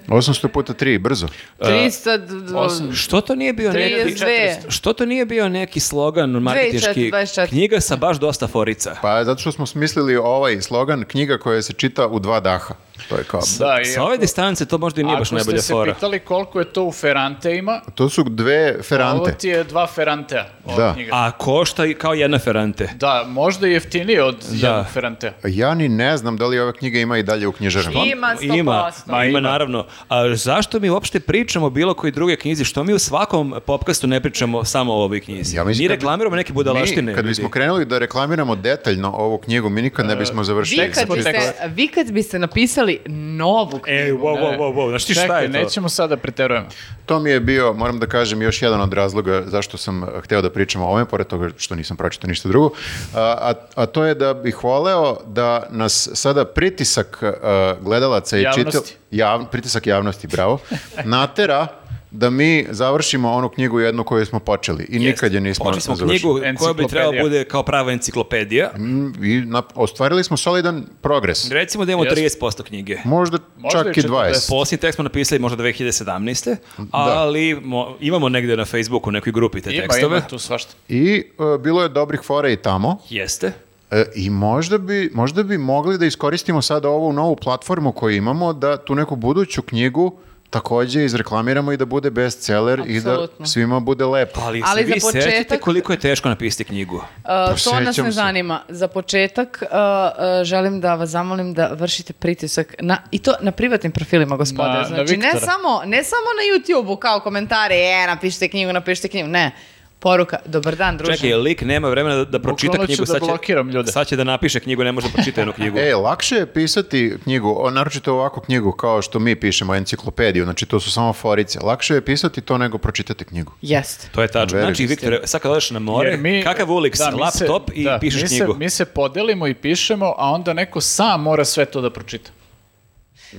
Speaker 3: 800 puta 3, brzo.
Speaker 1: E,
Speaker 2: 300...
Speaker 4: Pa Što to nije bio neki
Speaker 2: 32.
Speaker 4: Što to nije bio neki slogan marketinški
Speaker 2: 24.
Speaker 4: knjiga sa baš dosta forica.
Speaker 3: Pa zato što smo smislili ovaj slogan, knjiga koja se čita u dva daha. To je kao...
Speaker 1: Da, i
Speaker 4: Sa ove
Speaker 1: ako-
Speaker 4: distance to možda i nije baš
Speaker 1: Ako ste
Speaker 4: najbolja
Speaker 1: se
Speaker 4: fora.
Speaker 1: pitali koliko je to u Feranteima,
Speaker 3: To su dve
Speaker 1: ovo
Speaker 3: ferante.
Speaker 1: ti je dva Ferantea. ova
Speaker 3: Da.
Speaker 1: knjiga.
Speaker 4: A košta i kao jedna ferante.
Speaker 1: Da, možda i jeftinije od
Speaker 4: Da.
Speaker 1: jednog Ferantea.
Speaker 3: Ja ni ne znam da li ova knjiga ima i dalje u knjižarama.
Speaker 2: Ima 100%.
Speaker 4: Ima, ma ima, naravno. A zašto mi uopšte pričamo o bilo koji druge knjizi? Što mi u svakom popkastu ne pričamo samo o ovoj knjizi?
Speaker 3: Ja mislim
Speaker 4: mi
Speaker 3: kad bi-
Speaker 4: reklamiramo neke budalaštine.
Speaker 3: Mi, kad
Speaker 4: ljudi.
Speaker 3: bismo krenuli da reklamiramo detaljno ovu knjigu, mi nikad ne
Speaker 1: Da.
Speaker 3: bismo završili. Znači,
Speaker 2: Vi kad,
Speaker 1: Tekst-
Speaker 2: biste,
Speaker 1: tekst.
Speaker 2: vi kad biste napisali novu
Speaker 1: E,
Speaker 2: knjigu, E,
Speaker 4: Ej, E, wow, wow, wow, wow, znaš ti šta je to?
Speaker 1: nećemo sada da preterujemo.
Speaker 3: To mi je bio, moram da kažem, još jedan od razloga zašto sam eh, hteo da pričam o ovome, pored toga što nisam pročitao ništa drugo, a, a, a to je da bih voleo da nas sada pritisak eh, gledalaca i
Speaker 1: Javnosti.
Speaker 3: čitel... Jav, pritisak javnosti,
Speaker 4: *laughs*
Speaker 3: bravo, natera da mi završimo onu knjigu jednu koju smo počeli i nikad je nismo
Speaker 4: Počeli smo
Speaker 3: završili.
Speaker 4: knjigu koja bi trebala
Speaker 1: Enciklopedija.
Speaker 4: bude kao prava enciklopedija.
Speaker 3: Mm, I na- ostvarili smo solidan progres.
Speaker 4: Recimo da imamo
Speaker 1: Jeste.
Speaker 4: 30% knjige.
Speaker 3: Možda,
Speaker 1: Možda
Speaker 3: čak
Speaker 1: i
Speaker 3: i 20.
Speaker 1: 40.
Speaker 4: Posljednji tekst smo napisali možda 2017.
Speaker 3: Da.
Speaker 4: Ali mo- imamo negdje na Facebooku u nekoj grupi te
Speaker 1: Ima,
Speaker 4: tekstove.
Speaker 1: ima tu svašta.
Speaker 3: I eh, bilo je dobrih fora i tamo.
Speaker 4: Jeste.
Speaker 3: E, I možda bi, možda bi mogli da iskoristimo sad ovu novu platformu koju imamo, da tu neku buduću knjigu takođe izreklamiramo i da bude bestseller i da
Speaker 2: Apsolutno.
Speaker 3: svima bude lepo.
Speaker 4: Ali,
Speaker 2: Ali
Speaker 4: se vi
Speaker 2: za početak-
Speaker 4: sećate koliko je teško napisati knjigu.
Speaker 1: pa
Speaker 2: Uh, to nas
Speaker 3: Sjećam
Speaker 2: ne
Speaker 3: se.
Speaker 2: zanima. Za početak uh, uh, želim da vas zamolim da vršite pritisak na, i to na privatnim profilima gospode.
Speaker 1: Na- na
Speaker 2: znači, ne,
Speaker 1: Viktora.
Speaker 2: samo, ne samo na YouTube-u kao komentare, e, napišite knjigu, napišite knjigu. Ne, poruka, dobar dan, druže.
Speaker 4: Čekaj, lik nema vremena da, da pročita
Speaker 1: Bukvalno ću
Speaker 4: knjigu.
Speaker 1: da blokiram ljude.
Speaker 4: Sad će da napiše knjigu, ne može da pročita
Speaker 3: *laughs*
Speaker 4: jednu knjigu.
Speaker 3: E, lakše je pisati knjigu, o, naročito ovakvu knjigu kao što mi pišemo, enciklopediju, znači to su samo forice. Lakše je pisati to nego pročitati knjigu.
Speaker 2: Jeste.
Speaker 4: To je tačno.
Speaker 3: Verujem.
Speaker 4: Znači, Viktor, sad kad odeš na more,
Speaker 1: Jer mi-
Speaker 4: kakav ulik,
Speaker 1: da, mi se-
Speaker 4: laptop i
Speaker 1: da,
Speaker 4: pišeš
Speaker 1: mi se-
Speaker 4: knjigu.
Speaker 1: mi se podelimo i pišemo, a onda neko sam mora sve to da pročita.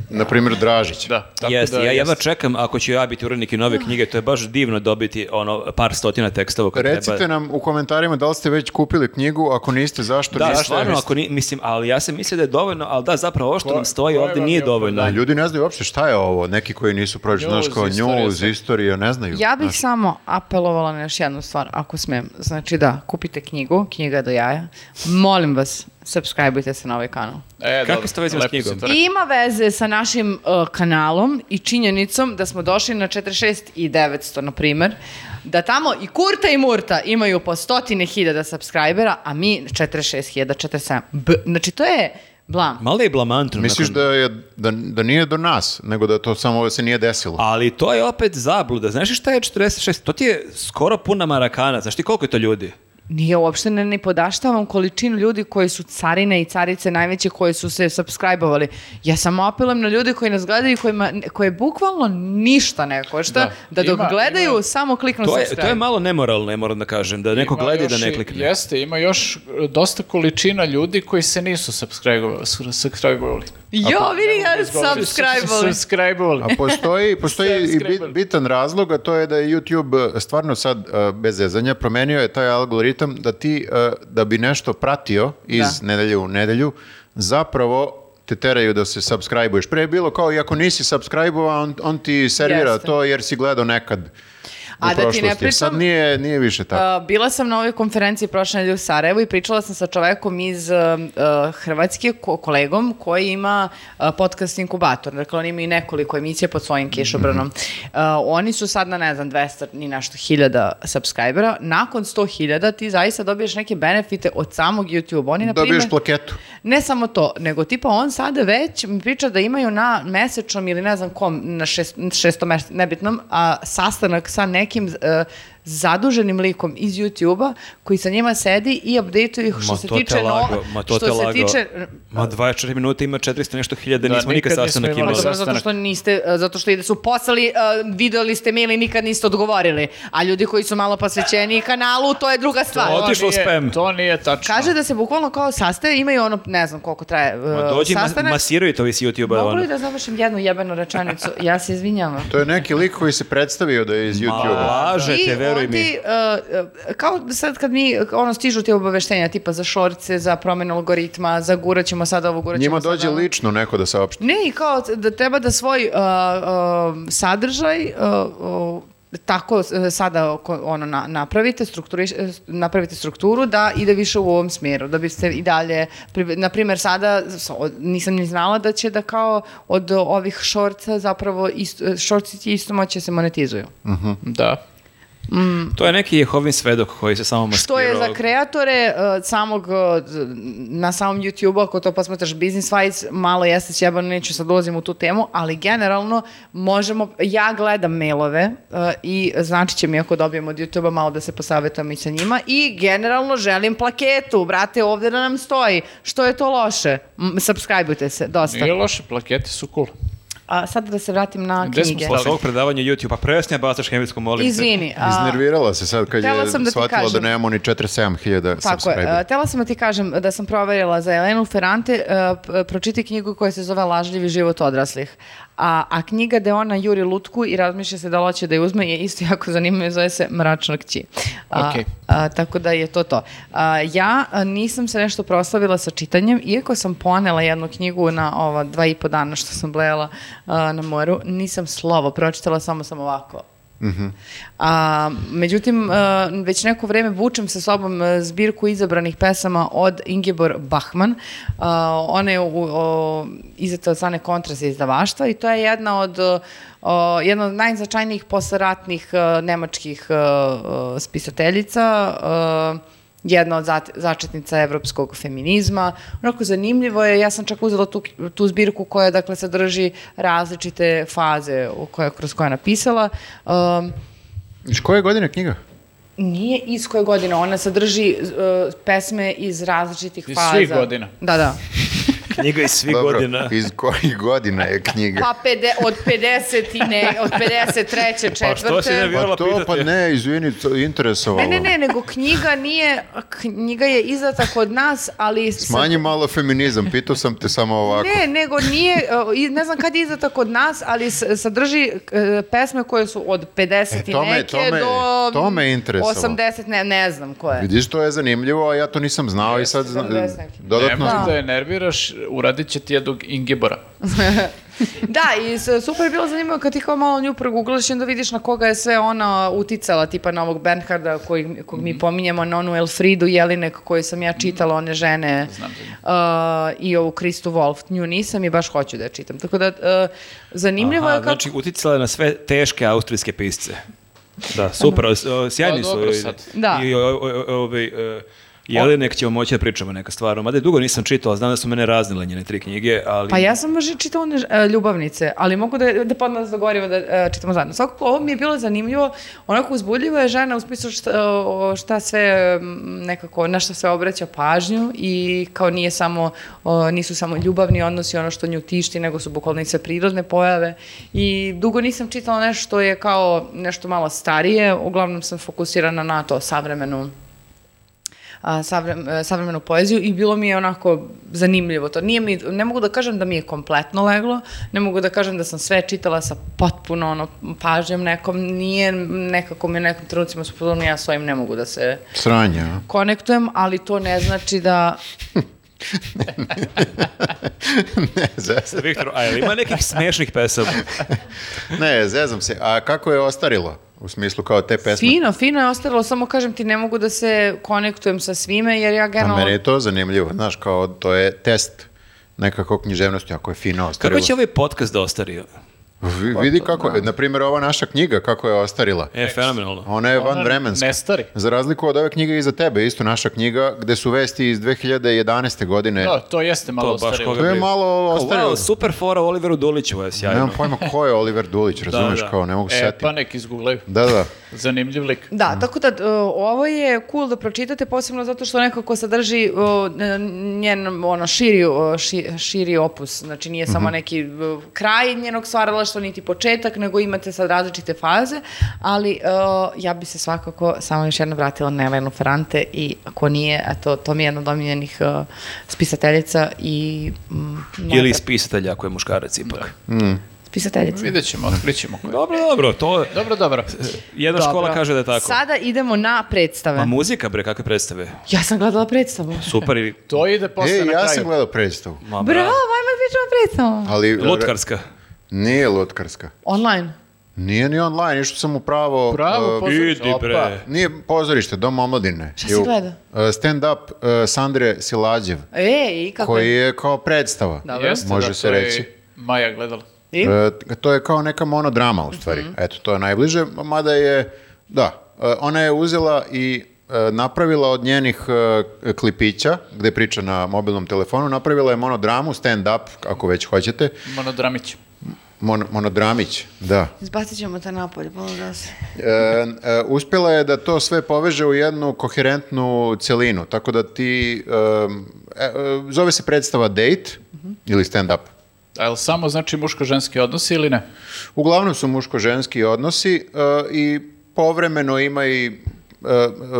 Speaker 3: na primjer Dražić.
Speaker 1: Da. tako
Speaker 4: Jeste,
Speaker 1: da
Speaker 4: ja jedva
Speaker 1: jeste.
Speaker 4: čekam ako ću ja biti urednik i
Speaker 2: Ah.
Speaker 4: nove knjige, to je baš divno dobiti ono par stotina tekstova koje treba.
Speaker 3: Recite nam u komentarima da li ste već kupili knjigu, ako niste, zašto
Speaker 4: Da,
Speaker 3: niste?
Speaker 4: stvarno, ako ni, mislim, ali ja sam mislio da je dovoljno, ali da, zapravo ovo što nam stoji
Speaker 1: koje
Speaker 4: ovdje
Speaker 1: vam
Speaker 4: nije
Speaker 1: je
Speaker 4: dovoljno.
Speaker 3: Da, ljudi ne znaju uopšte šta je ovo, neki koji nisu prođeni, znaš
Speaker 1: News,
Speaker 3: kao
Speaker 1: istorija,
Speaker 3: news,
Speaker 1: sve.
Speaker 3: istorija, ne znaju.
Speaker 2: Ja bih
Speaker 3: znaš.
Speaker 2: samo apelovala na još jednu stvar, ako smem. Znači da, kupite knjigu, knjiga je do jaja. Molim vas, subscribeujte se na ovaj kanal.
Speaker 1: E,
Speaker 4: Kako
Speaker 1: dobro,
Speaker 4: ste vezali s
Speaker 1: lepo si
Speaker 4: knjigom?
Speaker 1: to rekao.
Speaker 2: Ima veze sa našim uh, kanalom i činjenicom da smo došli na 46 i 900, na primer, da tamo i Kurta i Murta imaju po stotine hiljada subscribera, a mi 46 hiljada, 47. B. Znači, to je blam.
Speaker 4: Malo je i blamantno.
Speaker 3: Misliš
Speaker 4: nakon-
Speaker 3: da, je, da, da nije do nas, nego da to samo se nije desilo?
Speaker 4: Ali to je opet zabluda. Znaš šta je 46? To ti je skoro puna marakana. Znaš ti koliko je to ljudi?
Speaker 2: Nije uopšte ne, ne podaštavam količinu ljudi koji su carine i carice najveće koji su se subscribe-ovali. Ja samo apelujem na ljudi koji nas gledaju i kojima, koje bukvalno ništa ne košta,
Speaker 1: Da.
Speaker 2: da, dok
Speaker 1: Ima-
Speaker 2: gledaju
Speaker 1: ima-
Speaker 2: samo kliknu
Speaker 4: To je,
Speaker 2: subscribe.
Speaker 4: to je malo nemoralno, ja moram da kažem. Da neko
Speaker 1: Ima
Speaker 4: gleda i da
Speaker 1: još
Speaker 4: ne
Speaker 1: i-
Speaker 4: klikne.
Speaker 1: Jeste, ima još e, dosta količina ljudi koji se nisu subscribe-ovali. subscribe-ovali.
Speaker 2: Jo,
Speaker 4: pa,
Speaker 2: vidi ga,
Speaker 4: da
Speaker 2: subscribe-ovali.
Speaker 1: Subscribe-ovali.
Speaker 3: A
Speaker 2: *laughs*
Speaker 3: postoji, postoji i
Speaker 1: Subscriber.
Speaker 3: bit- bitan razlog, a to je da je YouTube e, stvarno sad e, bez zezanja promenio je taj algoritam da ti, e, da bi nešto pratio iz
Speaker 2: Da.
Speaker 3: nedelje u nedelju, zapravo te teraju da se subscribe-uješ. Pre je bilo kao i ako nisi subscribe-ovan, on, on ti servira
Speaker 2: Jeste.
Speaker 3: to jer si gledao nekad u
Speaker 2: A da ti ne
Speaker 3: prošlosti. Sad
Speaker 2: pričam-
Speaker 3: nije, nije više tako.
Speaker 2: Uh, bila sam na ovoj konferenciji prošle nedelje u Sarajevu i pričala sam sa čovekom iz uh, uh, Hrvatske, ko- kolegom koji ima uh, podcast Inkubator. Dakle, oni imaju nekoliko emisija pod svojim kišobranom.
Speaker 3: Mhm.
Speaker 2: Uh, oni su sad na, ne znam, 200 i nešto hiljada subscribera. Nakon 100 hiljada ti zaista dobiješ neke benefite od samog YouTube. Oni, E, na
Speaker 3: Dobiješ
Speaker 2: primer-
Speaker 3: plaketu.
Speaker 2: ne samo to, nego tipa on sada već mi priča da imaju na mesečnom ili ne znam kom, na šest, šestom, nebitnom, a, sastanak sa nekim e, zaduženim likom iz YouTube-a koji sa njima sedi i update-uje ih što
Speaker 4: Ma
Speaker 2: se
Speaker 4: to te
Speaker 2: tiče... no-
Speaker 4: lago, ma to
Speaker 2: što
Speaker 4: te
Speaker 2: se
Speaker 4: lago.
Speaker 2: tiče...
Speaker 4: Ma 24 minuta ima 400 nešto hiljada,
Speaker 1: Da,
Speaker 4: nismo
Speaker 1: nikad
Speaker 4: nikad
Speaker 1: nismo
Speaker 4: sastanak
Speaker 1: imali
Speaker 4: imali.
Speaker 2: Dobro, zato
Speaker 1: sastanak.
Speaker 2: što niste, e, zato što ide su poslali, uh, videoli ste mail i nikad niste odgovorili. A ljudi koji su malo posvećeniji kanalu, to je druga stvar.
Speaker 4: To Otišlo
Speaker 1: nije-
Speaker 4: spam.
Speaker 1: pa, To nije tačno.
Speaker 2: Kaže da se bukvalno kao sastaje, imaju ono, ne znam koliko traje e,
Speaker 4: Ma dođi, ma-
Speaker 2: sastanak.
Speaker 4: masiraju to ovi s YouTube-a.
Speaker 2: Mogu
Speaker 4: ono.
Speaker 2: li da završim jednu jebenu rečenicu? Ja se izvinjavam.
Speaker 3: *laughs* To je neki lik koji se predstavio da je iz YouTube-a.
Speaker 4: Lažete,
Speaker 2: I
Speaker 4: veruj
Speaker 2: oni,
Speaker 4: mi.
Speaker 2: uh, kao sad kad mi uh, ono, stižu te obaveštenja tipa za šorce, za promenu algoritma, za gurat ćemo sad ovo, gurat ćemo
Speaker 3: Njima
Speaker 2: sad
Speaker 3: dođe
Speaker 2: ovo.
Speaker 3: lično neko da saopšti.
Speaker 2: Ne, i kao da treba da svoj uh, uh, sadržaj uh, uh, tako uh, sada oko- ono na- napravite, strukturiš- eh, napravite strukturu da ide više u ovom smjeru, da biste i dalje, pri- na primjer sada s- o- nisam ni znala da će da kao od ovih šorca zapravo isto, šorci ti isto moće se monetizuju.
Speaker 1: Da.
Speaker 4: To je neki Jehovin svedok koji se samo maskirao.
Speaker 2: Što je za kreatore uh, samog, uh, z- na samom YouTube-u, ako to posmatraš Business Fights, malo jeste sjebano, neću sad ulazim u tu temu, ali generalno možemo, ja gledam mailove uh, i znači će mi ako dobijem od YouTube-a malo da se posavetujem i sa njima i generalno želim plaketu, brate, ovdje da nam stoji. Što je to loše? M, subscribeujte se, dosta.
Speaker 1: Nije loše, plakete su cool.
Speaker 2: A sad da se vratim na
Speaker 1: Gde smo
Speaker 2: knjige.
Speaker 1: stali?
Speaker 4: Posle ovog predavanja YouTube, pa presnja bacaš hemijsku, molim te. *laughs*
Speaker 2: Izvini. a-
Speaker 3: Iznervirala se sad kad
Speaker 2: Htjela
Speaker 3: je
Speaker 2: sam da ti
Speaker 3: shvatila da
Speaker 2: kažem.
Speaker 3: nemamo ni 47.000
Speaker 2: Tako je.
Speaker 3: subscribera.
Speaker 2: E, Htjela sam da ti kažem da sam proverila za Elenu Ferrante, e, p- pročiti knjigu koja se zove Lažljivi život odraslih. A, a knjiga gde ona juri lutku i razmišlja se da li hoće da je uzme je isto jako zanimljiva, zove se Mračna kći. A,
Speaker 1: Okej.
Speaker 2: a, tako da je to to. A, ja a, nisam se nešto proslavila sa čitanjem, iako sam ponela jednu knjigu na ova dva i po dana što sam blejala a, na moru, nisam slovo, pročitala samo sam ovako. A, međutim, e, već neko vreme vučem sa sobom e, zbirku izabranih pesama od Ingeborg Bachmann. A, ona je u, o, izdata od strane kontrasa izdavaštva i to je jedna od e, o, jedna od najznačajnijih posleratnih e, nemačkih e, e, spisateljica, e, jedna od zat- začetnica evropskog feminizma. Onako zanimljivo je, ja sam čak uzela tu, tu zbirku koja dakle sadrži različite faze u koje, kroz koje je napisala. Um,
Speaker 3: Iz koje godine knjiga?
Speaker 2: Nije iz koje godine, ona sadrži uh, pesme iz različitih
Speaker 1: Iz
Speaker 2: faza.
Speaker 1: svih godina.
Speaker 2: Da, da.
Speaker 4: Knjiga iz svih
Speaker 3: Dobro,
Speaker 4: godina.
Speaker 3: iz kojih godina je knjiga?
Speaker 2: Pa pede, od 50 i ne, od 53.
Speaker 4: Pa što si
Speaker 2: četvrte.
Speaker 4: ne- Viola,
Speaker 3: Pa to, pa
Speaker 4: pitate.
Speaker 3: ne, izvini, to je interesovalo.
Speaker 2: Ne, ne, ne, nego knjiga nije, knjiga je izdata kod nas, ali... sa-
Speaker 3: Smanji malo feminizam, pitao sam te samo ovako.
Speaker 2: Ne, nego nije, uh, i ne znam kad je izdata kod nas, ali s- sadrži uh, pesme koje su od 50
Speaker 3: E,
Speaker 2: i
Speaker 3: to me-
Speaker 2: neke
Speaker 3: to me-
Speaker 2: do
Speaker 3: to me interesovalo.
Speaker 2: 80, ne, ne znam koje.
Speaker 3: Vidiš, to je zanimljivo, a ja to nisam znao i sad zna-
Speaker 2: Jeste, jeste.
Speaker 3: dodatno...
Speaker 1: Nemoj da je nerviraš, uradit će ti jednog Ingibora.
Speaker 2: Da, i s- super je bilo zanimljivo kad ti kao malo nju proguglaš i onda vidiš na koga je sve ona uticala, tipa na ovog Bernharda koji, kog mi pominjemo, na onu Elfridu Jelinek koju sam ja čitala, one žene
Speaker 1: Znam
Speaker 2: uh, i ovu Kristu Wolf. Nju nisam i baš hoću da je čitam. Tako da, uh, zanimljivo
Speaker 4: Aha,
Speaker 2: je kako...
Speaker 4: znači uticala je na sve teške austrijske pisce. Da, super, o, o, sjajni
Speaker 1: Pa
Speaker 4: su.
Speaker 1: dobro
Speaker 4: i-
Speaker 1: sad.
Speaker 2: Da.
Speaker 4: I o- o- o- o- ovaj, e, Jelinek ćemo moći da pričamo neka stvar. Mada je dugo nisam čitao, znam da su mene raznile njene tri knjige, ali...
Speaker 2: Pa ja sam možda čitala one e, ljubavnice, ali mogu da, da pod nas dogovorimo da e, čitamo zajedno. Svakako, ovo mi je bilo zanimljivo, onako uzbudljivo je žena u smislu šta, o, šta sve m, nekako, na šta sve obraća pažnju i kao nije samo, o, nisu samo ljubavni odnosi ono što nju tišti, nego su bukvalno i sve prirodne pojave. I dugo nisam čitala nešto što je kao nešto malo starije, uglavnom sam fokusirana na to savremenu a, savrem, e, savremenu poeziju i bilo mi je onako zanimljivo to. Nije mi, ne mogu da kažem da mi je kompletno leglo, ne mogu da kažem da sam sve čitala sa potpuno ono, pažnjom nekom, nije nekako mi u nekom trenucima su podobno, ja svojim ne mogu da se
Speaker 3: Sranje, a? *laughs*
Speaker 2: konektujem, ali to ne znači da...
Speaker 3: ne, zezam.
Speaker 4: Viktor, a je li ima nekih smešnih pesama?
Speaker 3: ne, zezam se. A kako je ostarilo? U smislu kao te pesme?
Speaker 2: Fino, fino je ostalo, samo kažem ti ne mogu da se konektujem sa svime, jer ja
Speaker 1: E,
Speaker 3: A meni
Speaker 2: generalno...
Speaker 3: je to zanimljivo, znaš, kao to je test nekako književnosti, ako je fino ostarilo.
Speaker 4: Kako će ovaj podcast da ostari?
Speaker 3: Vi- Vidi kako, na primjer, ova naša knjiga, kako je ostarila.
Speaker 4: Da. E, fenomenalno.
Speaker 3: Ona je van
Speaker 1: Ne stari.
Speaker 3: Za razliku od ove knjige iza tebe, isto naša knjiga, gde su vesti iz 2011. godine.
Speaker 1: Da, to jeste malo
Speaker 4: To baš
Speaker 1: ostarilo.
Speaker 4: koga-
Speaker 3: to je malo
Speaker 4: Kao,
Speaker 3: ostarilo.
Speaker 4: wow, super fora Oliveru Duliću je sjajno.
Speaker 3: Nemam pojma ko je Oliver
Speaker 1: *laughs*
Speaker 3: Dulić, razumeš,
Speaker 4: da.
Speaker 3: kao ne mogu se
Speaker 1: E,
Speaker 3: setiti.
Speaker 1: pa nek izgooglaju.
Speaker 3: Da, da.
Speaker 1: Zanimljiv lik.
Speaker 2: Da, tako da e, ovo je cool da pročitate posebno zato što nekako sadrži o, n- njen ono širi o, ši- širi opus. Znači nije
Speaker 4: Mhm.
Speaker 2: samo neki e, kraj njenog stvaralaštva niti početak, nego imate sad različite faze, ali e, ja bi se svakako samo još jednom vratila na Elenu Ferrante i ako nije, eto to mi je jedna od omiljenih e, spisateljica i mm,
Speaker 4: Ili
Speaker 2: možda-
Speaker 4: iz pisatelja ako je muškarac ipak.
Speaker 2: spisateljica.
Speaker 1: Vidjet ćemo, otkrićemo ko je.
Speaker 4: Dobro, dobro, to...
Speaker 1: Dobro, dobro.
Speaker 4: Jedna škola
Speaker 2: Dobro.
Speaker 4: kaže da je tako.
Speaker 2: Sada idemo na predstave.
Speaker 4: Ma muzika, bre, kakve predstave?
Speaker 2: Ja sam gledala predstavu.
Speaker 4: Super i...
Speaker 1: To ide posle
Speaker 3: Ej,
Speaker 1: na
Speaker 3: E, ja
Speaker 1: kraju.
Speaker 3: sam gledao predstavu.
Speaker 4: Ma, bra.
Speaker 2: Bravo, ajmo da pričamo o predstavama.
Speaker 3: Ali,
Speaker 4: Lutkarska.
Speaker 3: Nije lutkarska.
Speaker 2: Online.
Speaker 3: Nije ni online, išao sam u pravo...
Speaker 1: Pravo
Speaker 3: uh,
Speaker 1: pozorište,
Speaker 4: idi,
Speaker 1: opa.
Speaker 4: bre.
Speaker 3: Nije pozorište, dom omladine.
Speaker 2: Šta si
Speaker 3: Ju-
Speaker 2: gledao?
Speaker 3: Uh, Stand up uh, Sandre Silađev,
Speaker 2: E, i kako
Speaker 3: koji
Speaker 2: je?
Speaker 3: je kao predstava,
Speaker 2: Dobro.
Speaker 1: Jeste,
Speaker 3: može
Speaker 1: da,
Speaker 3: se
Speaker 1: to je
Speaker 3: reći.
Speaker 1: Maja gledala.
Speaker 2: I?
Speaker 3: E, to je kao neka monodrama u stvari.
Speaker 2: Mhm.
Speaker 3: Eto, to je najbliže, mada je, da, e, ona je uzela i e, napravila od njenih e, klipića, gde priča na mobilnom telefonu, napravila je monodramu, stand-up, ako već hoćete,
Speaker 1: Monodramić.
Speaker 3: Mon- monodramić, da.
Speaker 2: Izbacit ćemo te napolje, bolo da se.
Speaker 3: E, e, uspjela je da to sve poveže u jednu koherentnu celinu, tako da ti, em, e, e, zove se predstava date ili stand-up.
Speaker 1: A jel samo znači muško-ženski odnosi ili ne?
Speaker 3: Uglavnom su muško-ženski odnosi e, i povremeno ima i e,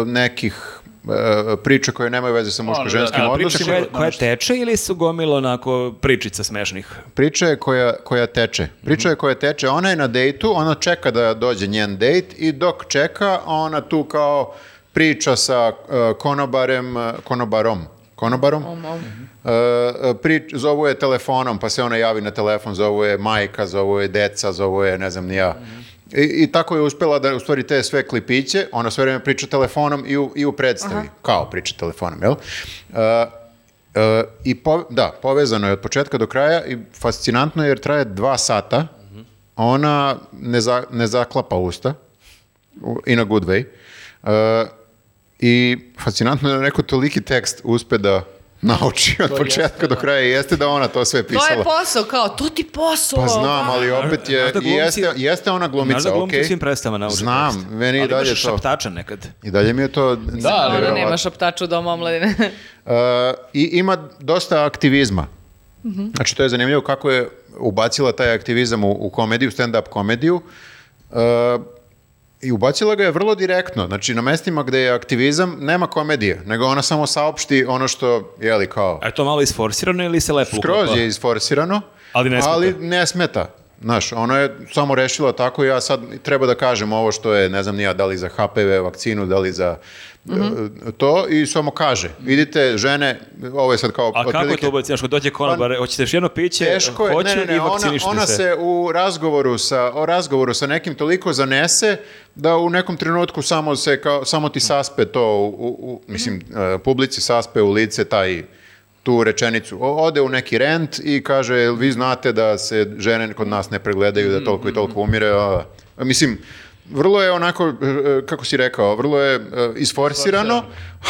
Speaker 3: nekih e, priča koje nemaju veze sa muško-ženskim
Speaker 4: A, priča
Speaker 3: odnosima.
Speaker 4: koja, koja teče ili su gomilo onako pričica smešnih?
Speaker 3: Priča je koja, koja teče. Priča je koja teče. Ona je na dejtu, ona čeka da dođe njen dejt i dok čeka, ona tu kao priča sa e, konobarem, e, konobarom. Konobarom? E, e, prič, zovu je telefonom, pa se ona javi na telefon, zovu je majka, zovu je deca, zovu je ne znam ni ja. I, I tako je uspjela da u stvari te sve klipiće, ona sve vrijeme priča telefonom i u, i u predstavi, kao priča telefonom, jel? E, E, I po- da, povezano je od početka do kraja i fascinantno je jer traje dva sata, ona ne, za- ne zaklapa usta, u- in a good way, E, i fascinantno je da neko toliki tekst uspe da nauči od početka do kraja i jeste da ona to sve
Speaker 2: To je
Speaker 3: pisala.
Speaker 2: posao, kao, to ti posao.
Speaker 3: Pa znam, ali opet je,
Speaker 4: Znaš da
Speaker 3: i jeste,
Speaker 4: glumci-
Speaker 3: jeste ona glumica,
Speaker 4: Znaš da glumci u
Speaker 3: okej.
Speaker 4: svim predstavama nauče
Speaker 3: Znam,
Speaker 4: tekst.
Speaker 3: meni i
Speaker 4: Ali
Speaker 3: dalje
Speaker 4: imaš
Speaker 3: to.
Speaker 4: šaptača nekad.
Speaker 3: I dalje mi je to...
Speaker 1: Da, ali
Speaker 2: Ono,
Speaker 3: nevjerovatno. Uh,
Speaker 2: nema šaptača u domu omladine.
Speaker 3: E, I ima dosta aktivizma. Znači, to je zanimljivo kako je ubacila taj aktivizam u, u komediju, stand-up komediju. E, I ubacila ga je vrlo direktno. Znači, na mestima gde je aktivizam, nema komedije, nego ona samo saopšti ono što, jeli, kao...
Speaker 4: A je to malo isforsirano ili se lepo
Speaker 3: Skroz
Speaker 4: uklapa?
Speaker 3: je isforsirano,
Speaker 4: pa. Ali ne smeta.
Speaker 3: ali ne smeta. Znaš, ona je samo rešila tako, ja sad treba da kažem ovo što je, ne znam ni ja, da li za HPV vakcinu, da li za
Speaker 4: Mhm.
Speaker 3: e, to, i samo kaže, vidite, žene, ovo je sad kao...
Speaker 4: A kako
Speaker 3: otprilike- Pa,
Speaker 4: to ubaciti? Znaš, kad dođe konobar, hoćete još jedno piće,
Speaker 3: Teško je,
Speaker 4: hoće
Speaker 3: ne, ne, ne,
Speaker 4: i
Speaker 3: ona,
Speaker 4: vakcinište
Speaker 3: ona
Speaker 4: se.
Speaker 3: se u razgovoru sa, o razgovoru sa nekim toliko zanese da u nekom trenutku samo, se kao, samo ti saspe to, u, u, u- mislim, e, publici saspe u lice taj tu rečenicu. O- ode u neki rent i kaže, "Jel vi znate da se žene kod nas ne pregledaju, da toliko i toliko
Speaker 4: Mm-hmm.
Speaker 3: umire. a?" A, mislim, vrlo je onako, e, e, kako si rekao, vrlo je e, isforsirano,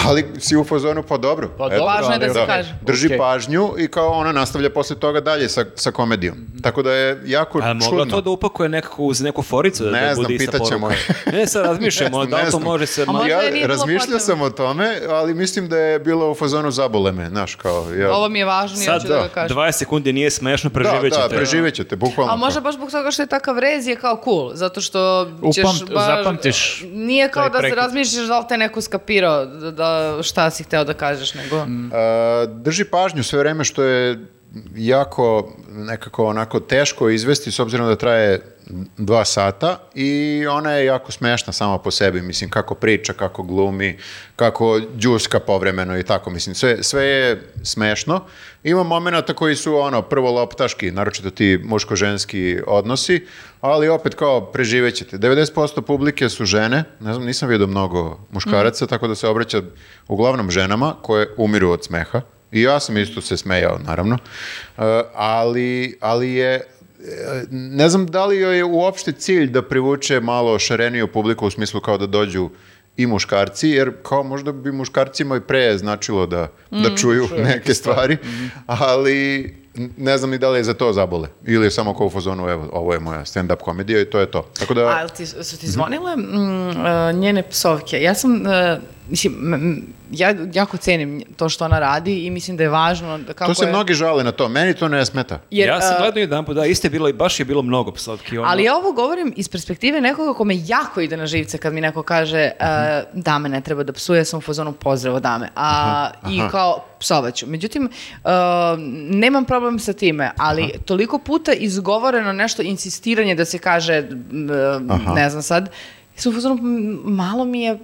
Speaker 3: ali si u fazonu pa dobro.
Speaker 1: Pa
Speaker 3: eto,
Speaker 1: dobro,
Speaker 2: Važno je da
Speaker 1: ali
Speaker 2: se
Speaker 1: ok.
Speaker 2: kaže.
Speaker 3: drži
Speaker 1: Okej.
Speaker 3: pažnju i kao ona nastavlja posle toga dalje sa, sa komedijom. Tako da je jako
Speaker 4: A je mogla
Speaker 3: čudno.
Speaker 4: to
Speaker 3: *laughs*
Speaker 4: da upakuje nekako uz neku foricu da,
Speaker 3: Ne
Speaker 4: da
Speaker 3: znam,
Speaker 4: bude ista
Speaker 3: pitaćemo
Speaker 4: poruka. Ne, sad razmišljam, ono,
Speaker 3: *laughs* Ne
Speaker 4: da li to
Speaker 3: znam.
Speaker 4: može se... malo-
Speaker 2: možda je nije
Speaker 3: Ja
Speaker 2: bilo
Speaker 3: razmišljao
Speaker 2: potrebno.
Speaker 3: sam o tome, ali mislim da je bilo u fazonu zabole me, znaš, kao... Ja,
Speaker 2: Ovo mi je važno i ja
Speaker 4: Sad,
Speaker 2: ću da ga kažem.
Speaker 4: 20 sekundi nije smešno,
Speaker 3: da,
Speaker 4: preživećete.
Speaker 3: da, preživećete, bukvalno.
Speaker 2: A možda
Speaker 3: to.
Speaker 2: baš zbog toga što je takav rez je kao cool, zato što ćeš
Speaker 1: Upamt-
Speaker 2: baš...
Speaker 1: zapamtiš
Speaker 2: Nije kao
Speaker 1: taj
Speaker 2: da se
Speaker 1: prekid.
Speaker 2: razmišljaš da li te neko skapirao, da, da- šta si hteo da kažeš, nego...
Speaker 3: A, drži pažnju sve vreme što je jako nekako onako teško izvesti s obzirom da traje dva sata i ona je jako smešna sama po sebi, mislim kako priča, kako glumi, kako đuska povremeno i tako, mislim sve, sve je smešno. Ima momenata koji su ono prvo loptaški, naročito ti muško-ženski odnosi, ali opet kao preživećete. 90% publike su žene, ne znam, nisam vidio mnogo muškaraca, tako da se obraća uglavnom ženama koje umiru od smeha. I ja sam isto se smejao, naravno. E, ali, ali je, e, ne znam da li joj je uopšte cilj da privuče malo šareniju publiku u smislu kao da dođu i muškarci, jer kao možda bi muškarcima i pre značilo da,
Speaker 2: Mm.
Speaker 3: da čuju neke stvari,
Speaker 2: Mhm.
Speaker 3: ali n- ne znam ni da li je za to zabole. Ili je samo kao u fazonu, evo, ovo je moja stand-up komedija i to je to. Tako da,
Speaker 2: A, jel ti, su ti zvonile mm, e, njene psovke? Ja sam, e, mislim, m- m- ja jako cenim to što ona radi i mislim da je važno da kako
Speaker 3: to se
Speaker 2: je...
Speaker 3: mnogi žale na to. Meni to ne smeta.
Speaker 2: jer,
Speaker 4: ja sam
Speaker 2: e,
Speaker 4: gledao jedan put, da, isto je bilo, i baš je bilo mnogo psovki. Ono.
Speaker 2: Ali ja ovo govorim iz perspektive nekoga kome jako ide na živce kad mi neko kaže e, dame ne treba da psuje, sam u fazonu pozdravo dame. A, I kao psovaću. Međutim, e, nemam problem sa time, ali toliko puta izgovoreno nešto, insistiranje da se kaže, m, e,
Speaker 3: Aha.
Speaker 2: ne znam sad, sam u fazonu, m, malo mi je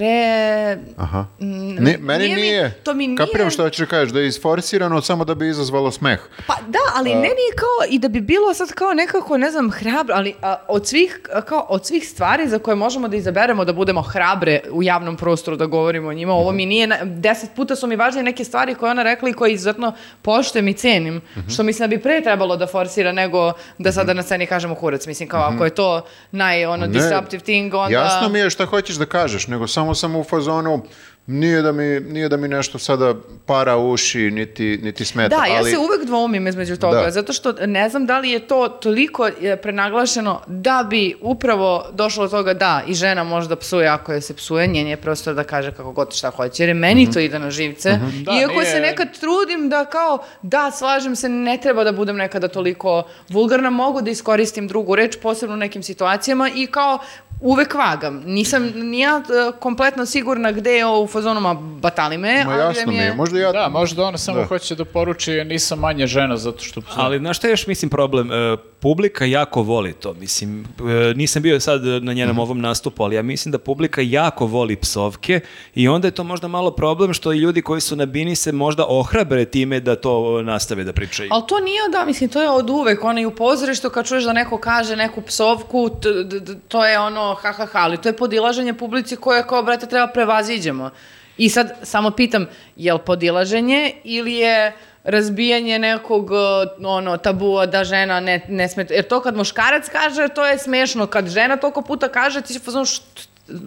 Speaker 2: pre...
Speaker 3: Aha.
Speaker 2: Mm,
Speaker 3: Ne, meni
Speaker 2: nije
Speaker 3: nije.
Speaker 2: mi- to mi nije-
Speaker 3: Kapiram što hoćeš da kažeš, da je isforsirano samo da bi izazvalo smeh.
Speaker 2: Pa da, ali meni je kao i da bi bilo sad kao nekako, ne znam, hrabro, ali a, od, svih, a, kao, od svih stvari za koje možemo da izaberemo da budemo hrabre u javnom prostoru da govorimo o njima, ovo
Speaker 3: Mhm.
Speaker 2: mi nije, na- deset puta su mi važnije neke stvari koje je ona rekla i koje izuzetno poštujem i cenim,
Speaker 3: Mhm.
Speaker 2: što mislim da bi pre trebalo da forsira nego da sada na sceni kažemo kurac, mislim kao ako je to naj, ono,
Speaker 3: Mhm. Ne,
Speaker 2: disruptive thing, onda...
Speaker 3: Jasno mi je šta hoćeš da kažeš, nego samo sam u fazonu nije da mi, nije da mi nešto sada para uši, niti, niti smeta.
Speaker 2: Da, ja
Speaker 3: ali,
Speaker 2: se uvek dvoumim između toga,
Speaker 3: Da.
Speaker 2: zato što ne znam da li je to toliko e, prenaglašeno da bi upravo došlo do toga da i žena može da psuje ako je se psuje, njen je prostor da kaže kako god šta hoće, jer je meni
Speaker 3: Mhm.
Speaker 2: to ide na živce.
Speaker 1: Da,
Speaker 2: Iako
Speaker 1: nije-
Speaker 2: se nekad trudim da kao, da, slažem se, ne treba da budem nekada toliko vulgarna, mogu da iskoristim drugu reč, posebno u nekim situacijama i kao uvek vagam. Nisam ni ja e, kompletno sigurna gde je ovo u fazonoma batali me,
Speaker 3: Ma
Speaker 2: ali da
Speaker 3: jasno mi je, možda ja...
Speaker 1: Da, možda ona samo
Speaker 3: Da.
Speaker 1: hoće da poruči nisam manje žena zato što...
Speaker 4: Ali znaš šta je još, mislim, problem? E, publika jako voli to, mislim. e, nisam bio sad na
Speaker 2: Mhm.
Speaker 4: njenom ovom nastupu, ali ja mislim da publika jako voli psovke i onda je to možda malo problem što i ljudi koji su na bini se možda ohrabre time da to e, nastave da pričaju.
Speaker 2: Ali to nije da, mislim, to je od uvek, ono i u pozorištu kad čuješ da neko kaže neku psovku, t- d- d- to je ono ha ha ha, ali to je podilaženje publici koje kao, brate, treba prevaziđemo. I sad samo pitam, je li podilaženje ili je razbijanje nekog eh, ono tabua da žena ne, ne sme, jer to kad muškarac kaže to je smešno, kad žena toliko puta kaže ti si fazon što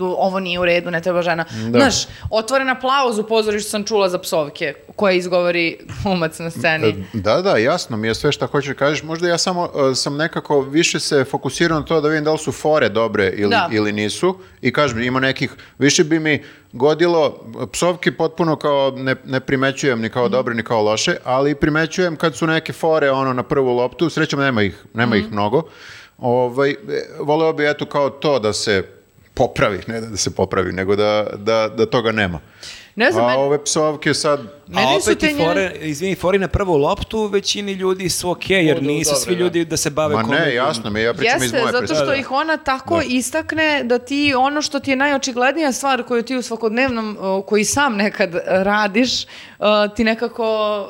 Speaker 2: ovo nije u redu, ne treba žena. Znaš, otvoren aplauz u pozorištu sam čula za psovke koje izgovori umac na sceni.
Speaker 3: Da, da, jasno mi je sve šta hoćeš da kažeš. Možda ja samo e, sam nekako više se fokusirao na to da vidim da li su fore dobre ili,
Speaker 2: Da.
Speaker 3: ili nisu. I kažem, ima nekih, više bi mi godilo, psovke potpuno kao ne, ne primećujem ni kao dobre ni kao loše, ali primećujem kad su neke fore ono na prvu loptu, srećom nema ih, nema ih mnogo. Ovaj, e, voleo bi eto kao to da se popravi, ne da se popravi, nego da, da, da toga nema.
Speaker 2: Ne znam,
Speaker 3: A
Speaker 2: meni-
Speaker 3: ove psovke sad,
Speaker 2: Meni
Speaker 4: A
Speaker 2: su
Speaker 4: opet
Speaker 2: te
Speaker 4: i fore, izvini, fore na prvu loptu većini ljudi su okej, jer
Speaker 1: Odu
Speaker 4: nisu
Speaker 1: dobre,
Speaker 4: svi
Speaker 1: da.
Speaker 4: ljudi da se bave
Speaker 3: Ma ne,
Speaker 4: komedijom.
Speaker 3: jasno mi, je, ja pričam iz
Speaker 2: Jeste,
Speaker 3: moje
Speaker 2: zato što ih ona tako istakne da ti ono što ti je najočiglednija stvar koju ti u svakodnevnom, uh, koji sam nekad uh, radiš, uh, ti nekako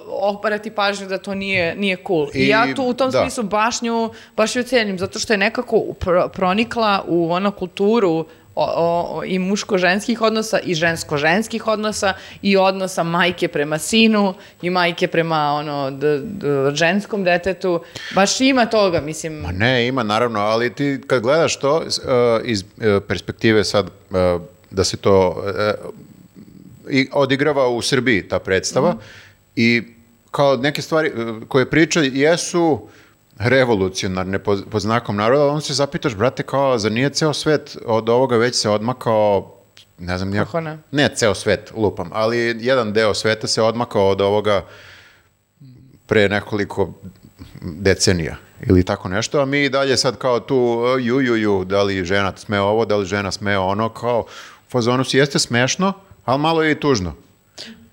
Speaker 2: oparati pažnju da to nije, nije cool. I,
Speaker 3: I-
Speaker 2: ja tu u tom
Speaker 3: da.
Speaker 2: smislu baš nju, baš ju cenim, zato što je nekako upro- pronikla u ono kulturu o- o- o- i muško-ženskih odnosa i žensko-ženskih odnosa i odnosa majke prema sinu i majke prema ono d- d- ženskom detetu. Baš ima toga, mislim.
Speaker 3: Pa ne, ima naravno, ali ti kad gledaš to s- e, iz e, perspektive sad e, da se to e, i odigrava u Srbiji ta
Speaker 2: Mhm.
Speaker 3: predstava i kao neke stvari e, koje priča jesu revolucionarne po, po znakom naroda, ali onda se zapitaš, brate, kao, za nije ceo svet od ovoga već se odmakao ne znam, nijak-
Speaker 2: Kako ne?
Speaker 3: ne ceo svet, lupam, ali jedan deo sveta se odmakao od ovoga pre nekoliko decenija ili tako nešto, a mi i dalje sad kao tu e, ju, ju, ju, da li žena sme ovo, da li žena sme ono, kao u fazonu si jeste smešno, ali malo je i tužno,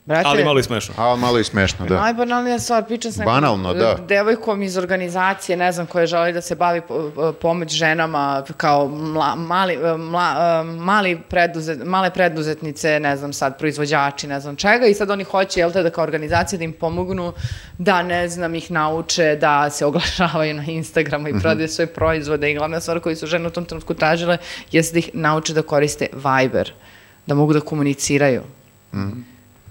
Speaker 2: Brate,
Speaker 4: Ali malo i smešno.
Speaker 3: ali malo i smešno, da.
Speaker 2: Najbanalnija stvar, pričam s nekom
Speaker 3: Banalno,
Speaker 2: eh,
Speaker 3: da.
Speaker 2: devojkom iz organizacije, ne znam, koja želi da se bavi po- po- pomoć ženama kao mla- mali, eh, mla- eh, mali preduzet, male preduzetnice, ne znam sad, proizvođači, ne znam čega i sad oni hoće, jel te, da kao organizacija da im pomognu, da ne znam, ih nauče, da se oglašavaju na Instagramu
Speaker 3: Mhm.
Speaker 2: i prodaju svoje proizvode i glavna stvar koju su žene u tom trenutku tražile jeste da ih nauče da koriste Viber, da mogu da komuniciraju.
Speaker 3: Mhm.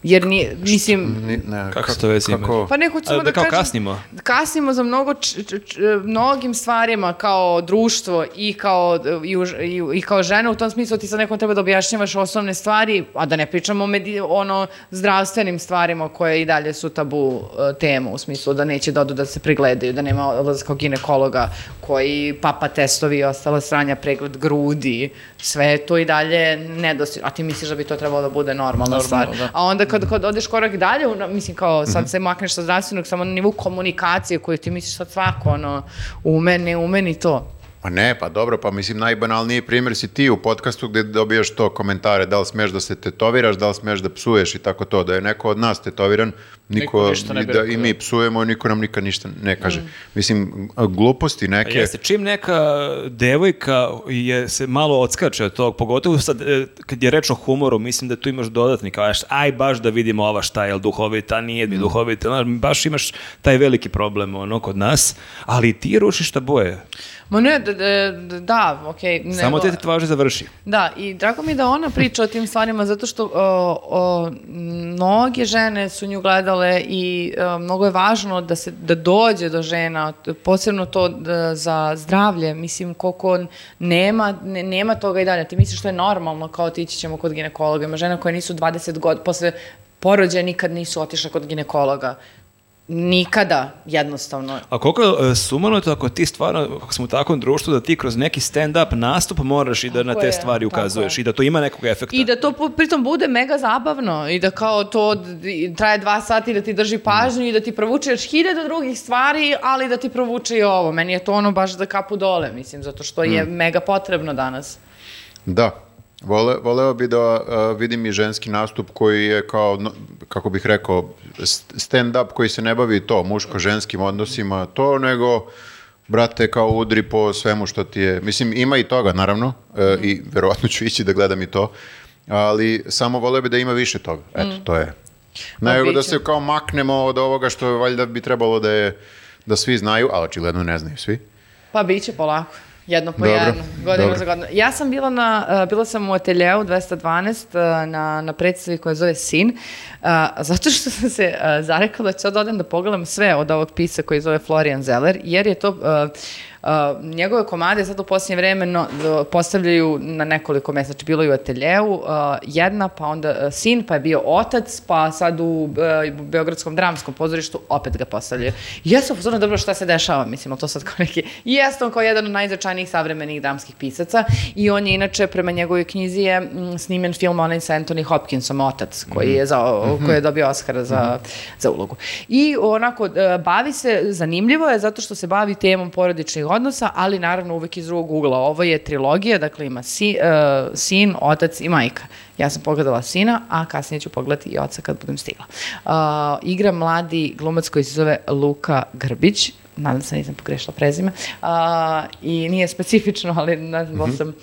Speaker 2: Jer nije, mislim,
Speaker 3: Ni- ne,
Speaker 4: Kako se to vezi ima?
Speaker 2: pa neko
Speaker 4: A,
Speaker 2: ćemo da,
Speaker 4: da kao
Speaker 2: kažem-
Speaker 4: kasnimo?
Speaker 2: Kasnimo za mnogo č- č- č- mnogim stvarima kao društvo i kao, i, u ž- i, u- i kao žena u tom smislu ti sad nekom treba da objašnjavaš osnovne stvari, a da ne pričamo o medi, ono zdravstvenim stvarima koje i dalje su tabu e, tema u smislu da neće da odu da se pregledaju, da nema odlazka kod ginekologa koji papa testovi i ostala sranja, pregled grudi, sve je to i dalje nedosti. A ti misliš da bi to trebalo da bude normalna stvar.
Speaker 1: da.
Speaker 2: A onda kad, kad odeš korak dalje, ono, mislim kao sad se makneš sa zdravstvenog, samo na nivou komunikacije koju ti misliš sad svako, ono, ume, ne ume ni to.
Speaker 3: Pa ne, pa dobro, pa mislim najbanalniji primjer si ti u podcastu gdje dobijaš to komentare, da li smeš da se tetoviraš, da li smeš da psuješ i tako to, da je neko od nas tetoviran, niko,
Speaker 1: Niko ništa ne bi
Speaker 3: da, i
Speaker 1: rekao,
Speaker 3: mi
Speaker 1: da.
Speaker 3: psujemo, niko nam nikad ništa ne kaže. Mislim, gluposti
Speaker 4: A
Speaker 3: neke,
Speaker 4: Pa Jeste, čim neka devojka je, se malo odskače od tog, pogotovo sad, e, kad je reč o humoru, mislim da tu imaš dodatni, kao, "Aš- aj baš da vidimo ova šta je, duhovita, nije
Speaker 1: Mm.
Speaker 4: mi duhovita, znaš, baš imaš taj veliki problem ono, kod nas, ali ti rušiš šta boje,
Speaker 2: Ma ne, da, da, da okej. nego-
Speaker 4: samo te te tvaže završi.
Speaker 2: Da, i drago mi je da ona priča o tim stvarima zato što o, o, mnoge žene su nju gledale i o, mnogo je važno da se da dođe do žena, t- posebno to da, za zdravlje, mislim koliko nema, ne- nema toga i dalje. Ti misliš što je normalno kao otići ćemo kod ginekologa, ima žena koje nisu 20 godina, posle porođaja nikad nisu otišle kod ginekologa. Nikada, jednostavno.
Speaker 4: A koliko je e, sumanuto ako ti stvarno, kako smo u takvom društvu, da ti kroz neki stand-up nastup moraš i da na
Speaker 2: Tako
Speaker 4: te
Speaker 2: je,
Speaker 4: stvari
Speaker 2: tako
Speaker 4: ukazuješ
Speaker 2: je.
Speaker 4: i da to ima nekog efekta.
Speaker 2: I da to pu- pritom bude mega zabavno i da kao to d- traje dva sata i da ti drži pažnju i da ti provuče još hiljadu drugih stvari, ali da ti provuče i ovo. Meni je to ono baš da kapu dole, mislim, zato što je mega potrebno danas.
Speaker 3: da. Vole, voleo bi da a, vidim i ženski nastup koji je kao, no, kako bih rekao, st- stand-up koji se ne bavi to, muško-ženskim odnosima, to, nego, brate, kao udri po svemu što ti je, mislim, ima i toga, naravno, e, i verovatno ću ići da gledam i to, ali samo voleo bi da ima više toga, eto, to je. Nego da
Speaker 2: biće.
Speaker 3: se kao maknemo od ovoga što valjda bi trebalo da je, da svi znaju, a očigledno ne znaju svi.
Speaker 2: Pa bit će polako. Jedno po
Speaker 3: Dobro,
Speaker 2: jedno, godinu
Speaker 3: dobro.
Speaker 2: za godinu. Ja sam bila na, uh, bila sam u ateljeu 212 uh, na, na predstavi koja se zove Sin, uh, zato što sam se e, uh, zarekala da ću sad odem da pogledam sve od ovog pisa koji se zove Florian Zeller, jer je to uh, a, njegove komade sad u posljednje vreme no- do- postavljaju na nekoliko mesta, znači bilo je u ateljevu, a, jedna, pa onda a, sin, pa je bio otac, pa sad u e, Beogradskom dramskom pozorištu opet ga postavljaju. I Ja sam pozorno dobro šta se dešava, mislim, ali to sad kao neki, jeste on kao jedan od najznačajnijih savremenih dramskih pisaca i on je inače prema njegovoj knjizi je mm, snimen film onaj sa Anthony Hopkinsom, otac, koji je, za, koji je dobio Oscara za, za ulogu. I onako, e, bavi se, zanimljivo je zato što se bavi temom porodičnih odnosa, ali naravno uvek iz drugog ugla. Ovo je trilogija, dakle ima si, e, sin, otac i majka. Ja sam pogledala sina, a kasnije ću pogledati i oca kad budem stigla. E, igra mladi glumac koji se zove Luka Grbić, nadam se da nisam pogrešila prezime, a, i nije specifično, ali nazvala sam,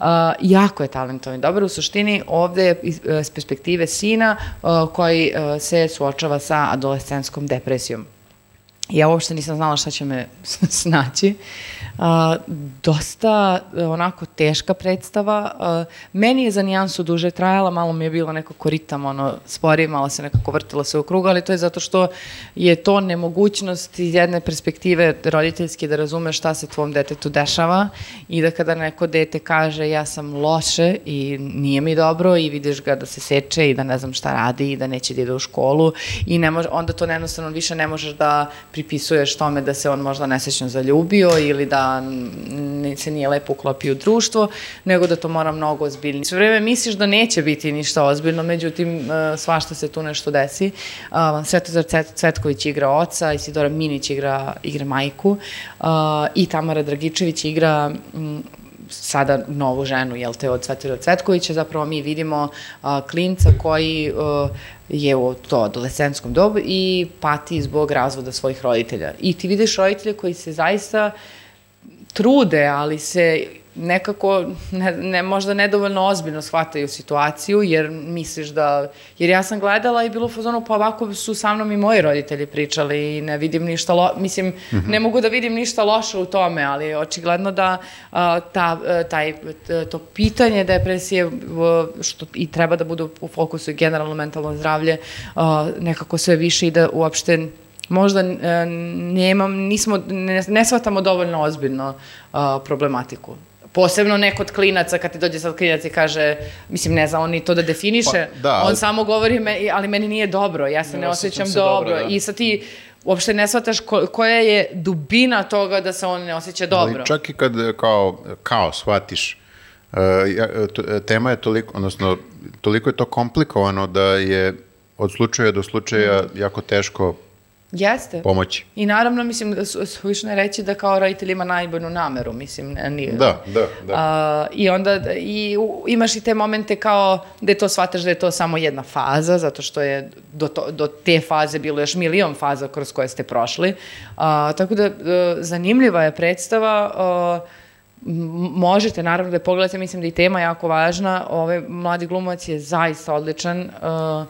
Speaker 2: a, jako je talentovan. Dobar, u suštini ovde je iz, e, s perspektive sina a, koji e, se suočava sa adolescenskom depresijom. Ja uopšte nisam znala šta će me *laughs* snaći. A, dosta e, onako teška predstava. A, meni je za nijansu duže trajala, malo mi je bilo neko koritam, ono, sporije, malo se nekako vrtilo se u krug, ali to je zato što je to nemogućnost iz jedne perspektive roditeljske da razume šta se tvom detetu dešava i da kada neko dete kaže ja sam loše i nije mi dobro i vidiš ga da se seče i da ne znam šta radi i da neće da ide u školu i ne može, onda to jednostavno više ne možeš da pripisuješ tome da se on možda nesećno zaljubio ili da n- se nije lepo uklopio u društvo, nego da to mora mnogo ozbiljnije. Sve vreme misliš da neće biti ništa ozbiljno, međutim e, svašta se tu nešto desi. Uh, Svetozar Cet- Cvetković igra oca, Isidora Minić igra, igra majku uh, i Tamara Dragičević igra mm, sada novu ženu, jel te, od Svetlana Cvetkovića, zapravo mi vidimo a, klinca koji a, je u to adolescenskom dobu i pati zbog razvoda svojih roditelja. I ti vidiš roditelje koji se zaista trude, ali se nekako ne, ne, možda nedovoljno ozbiljno shvataju situaciju jer misliš da, jer ja sam gledala i bilo u fazonu pa ovako su sa mnom i moji roditelji pričali i ne vidim ništa, lo, mislim ne mogu da vidim ništa loše u tome, ali očigledno da a, ta, e, taj, t- to pitanje depresije v- što i treba da bude u fokusu i generalno mentalno zdravlje a, nekako sve više i da uopšte možda e, nemam, nismo, ne, ne shvatamo dovoljno ozbiljno a, problematiku. Posebno ne kod klinaca, kad ti dođe sad klinac i kaže, mislim, ne zna on ni to da definiše,
Speaker 3: Pa, da, ali-
Speaker 2: on samo govori, me, ali meni nije dobro, ja se
Speaker 1: osjećam
Speaker 2: ne, osjećam,
Speaker 1: se
Speaker 2: dobro.
Speaker 1: dobro, da.
Speaker 2: I sad ti uopšte ne shvataš ko- koja je dubina toga da se on ne osjeća dobro.
Speaker 3: Ali čak i kad e, kao, kao shvatiš, e, ja- e, to- e, tema je toliko, odnosno, toliko je to komplikovano da je od slučaja do slučaja jako teško
Speaker 2: Jeste.
Speaker 3: pomoći.
Speaker 2: I naravno, mislim, da su- suvišno je reći da kao roditelj ima najbolju nameru, mislim, ne- nije.
Speaker 3: Da, da, da.
Speaker 2: A, I onda d- i u- imaš i te momente kao da to shvataš da je to samo jedna faza, zato što je do, to, do te faze bilo još milion faza kroz koje ste prošli. A, tako da e, zanimljiva je predstava. a, m- možete naravno da je pogledate, mislim da je i tema jako važna. Ovaj mladi glumac je zaista odličan. e, a,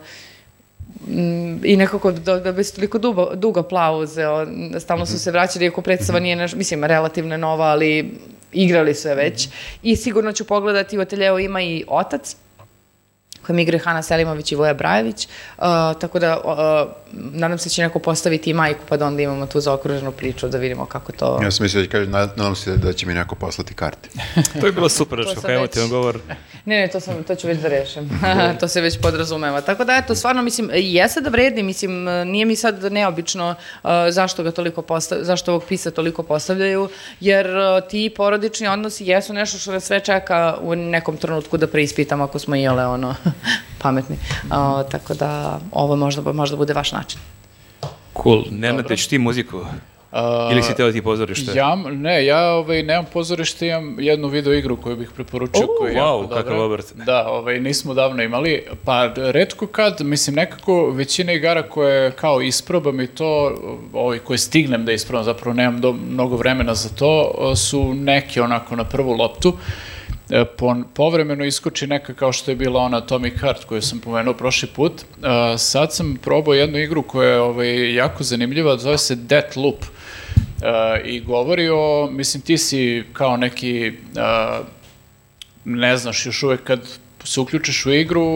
Speaker 2: Mm, i nekako do, da bez toliko dugo, dugo plauze, on, stalno su se vraćali, iako predstava nije naš, mislim, relativno je nova, ali igrali su je već. I sigurno ću pogledati, u ateljeu ima i otac, kojem igraju Hana Selimović i Voja Brajević, uh, tako da uh, nadam se će neko postaviti i majku, pa da onda imamo tu zaokruženu priču da vidimo kako to...
Speaker 3: Ja sam mislio da će kažem, nad- nadam se da će mi neko poslati karte.
Speaker 4: To je bilo super,
Speaker 2: To
Speaker 4: Daško,
Speaker 2: sam
Speaker 4: evo
Speaker 2: već-
Speaker 4: ti vam govor.
Speaker 2: Ne, ne, to, sam, to ću već *laughs* da rešim. to se već podrazumeva. Tako da, eto, stvarno, mislim, jeste da vredi, mislim, nije mi sad neobično uh, zašto ga toliko postavljaju, zašto ovog pisa toliko postavljaju, jer uh, ti porodični odnosi jesu nešto što nas sve čeka u nekom trenutku da preispitamo ako smo iole, ono, *laughs* pametni. Uh, tako da, ovo možda, možda bude vaš način.
Speaker 4: Cool. Nematiš ti muziku?
Speaker 1: A,
Speaker 4: Ili si teo da ti pozorište?
Speaker 1: Ja, ne, ja ovaj, nemam pozorište, imam jednu video igru koju bih preporučio.
Speaker 4: U,
Speaker 1: koja je
Speaker 4: wow,
Speaker 1: jako
Speaker 4: kakav
Speaker 1: dobra.
Speaker 4: obrt.
Speaker 1: Da, ovaj, nismo davno imali. Pa, redko kad, mislim, nekako većina igara koje kao isprobam i to, ovaj, koje stignem da isprobam, zapravo nemam do, mnogo vremena za to, su neke onako na prvu loptu. E, Po, povremeno iskoči neka kao što je bila ona Atomic Heart koju sam pomenuo prošli put. E, sad sam probao jednu igru koja je ovaj, jako zanimljiva, zove se Death Loop. E, I govori o, mislim ti si kao neki e, ne znaš još uvek kad se uključiš u igru,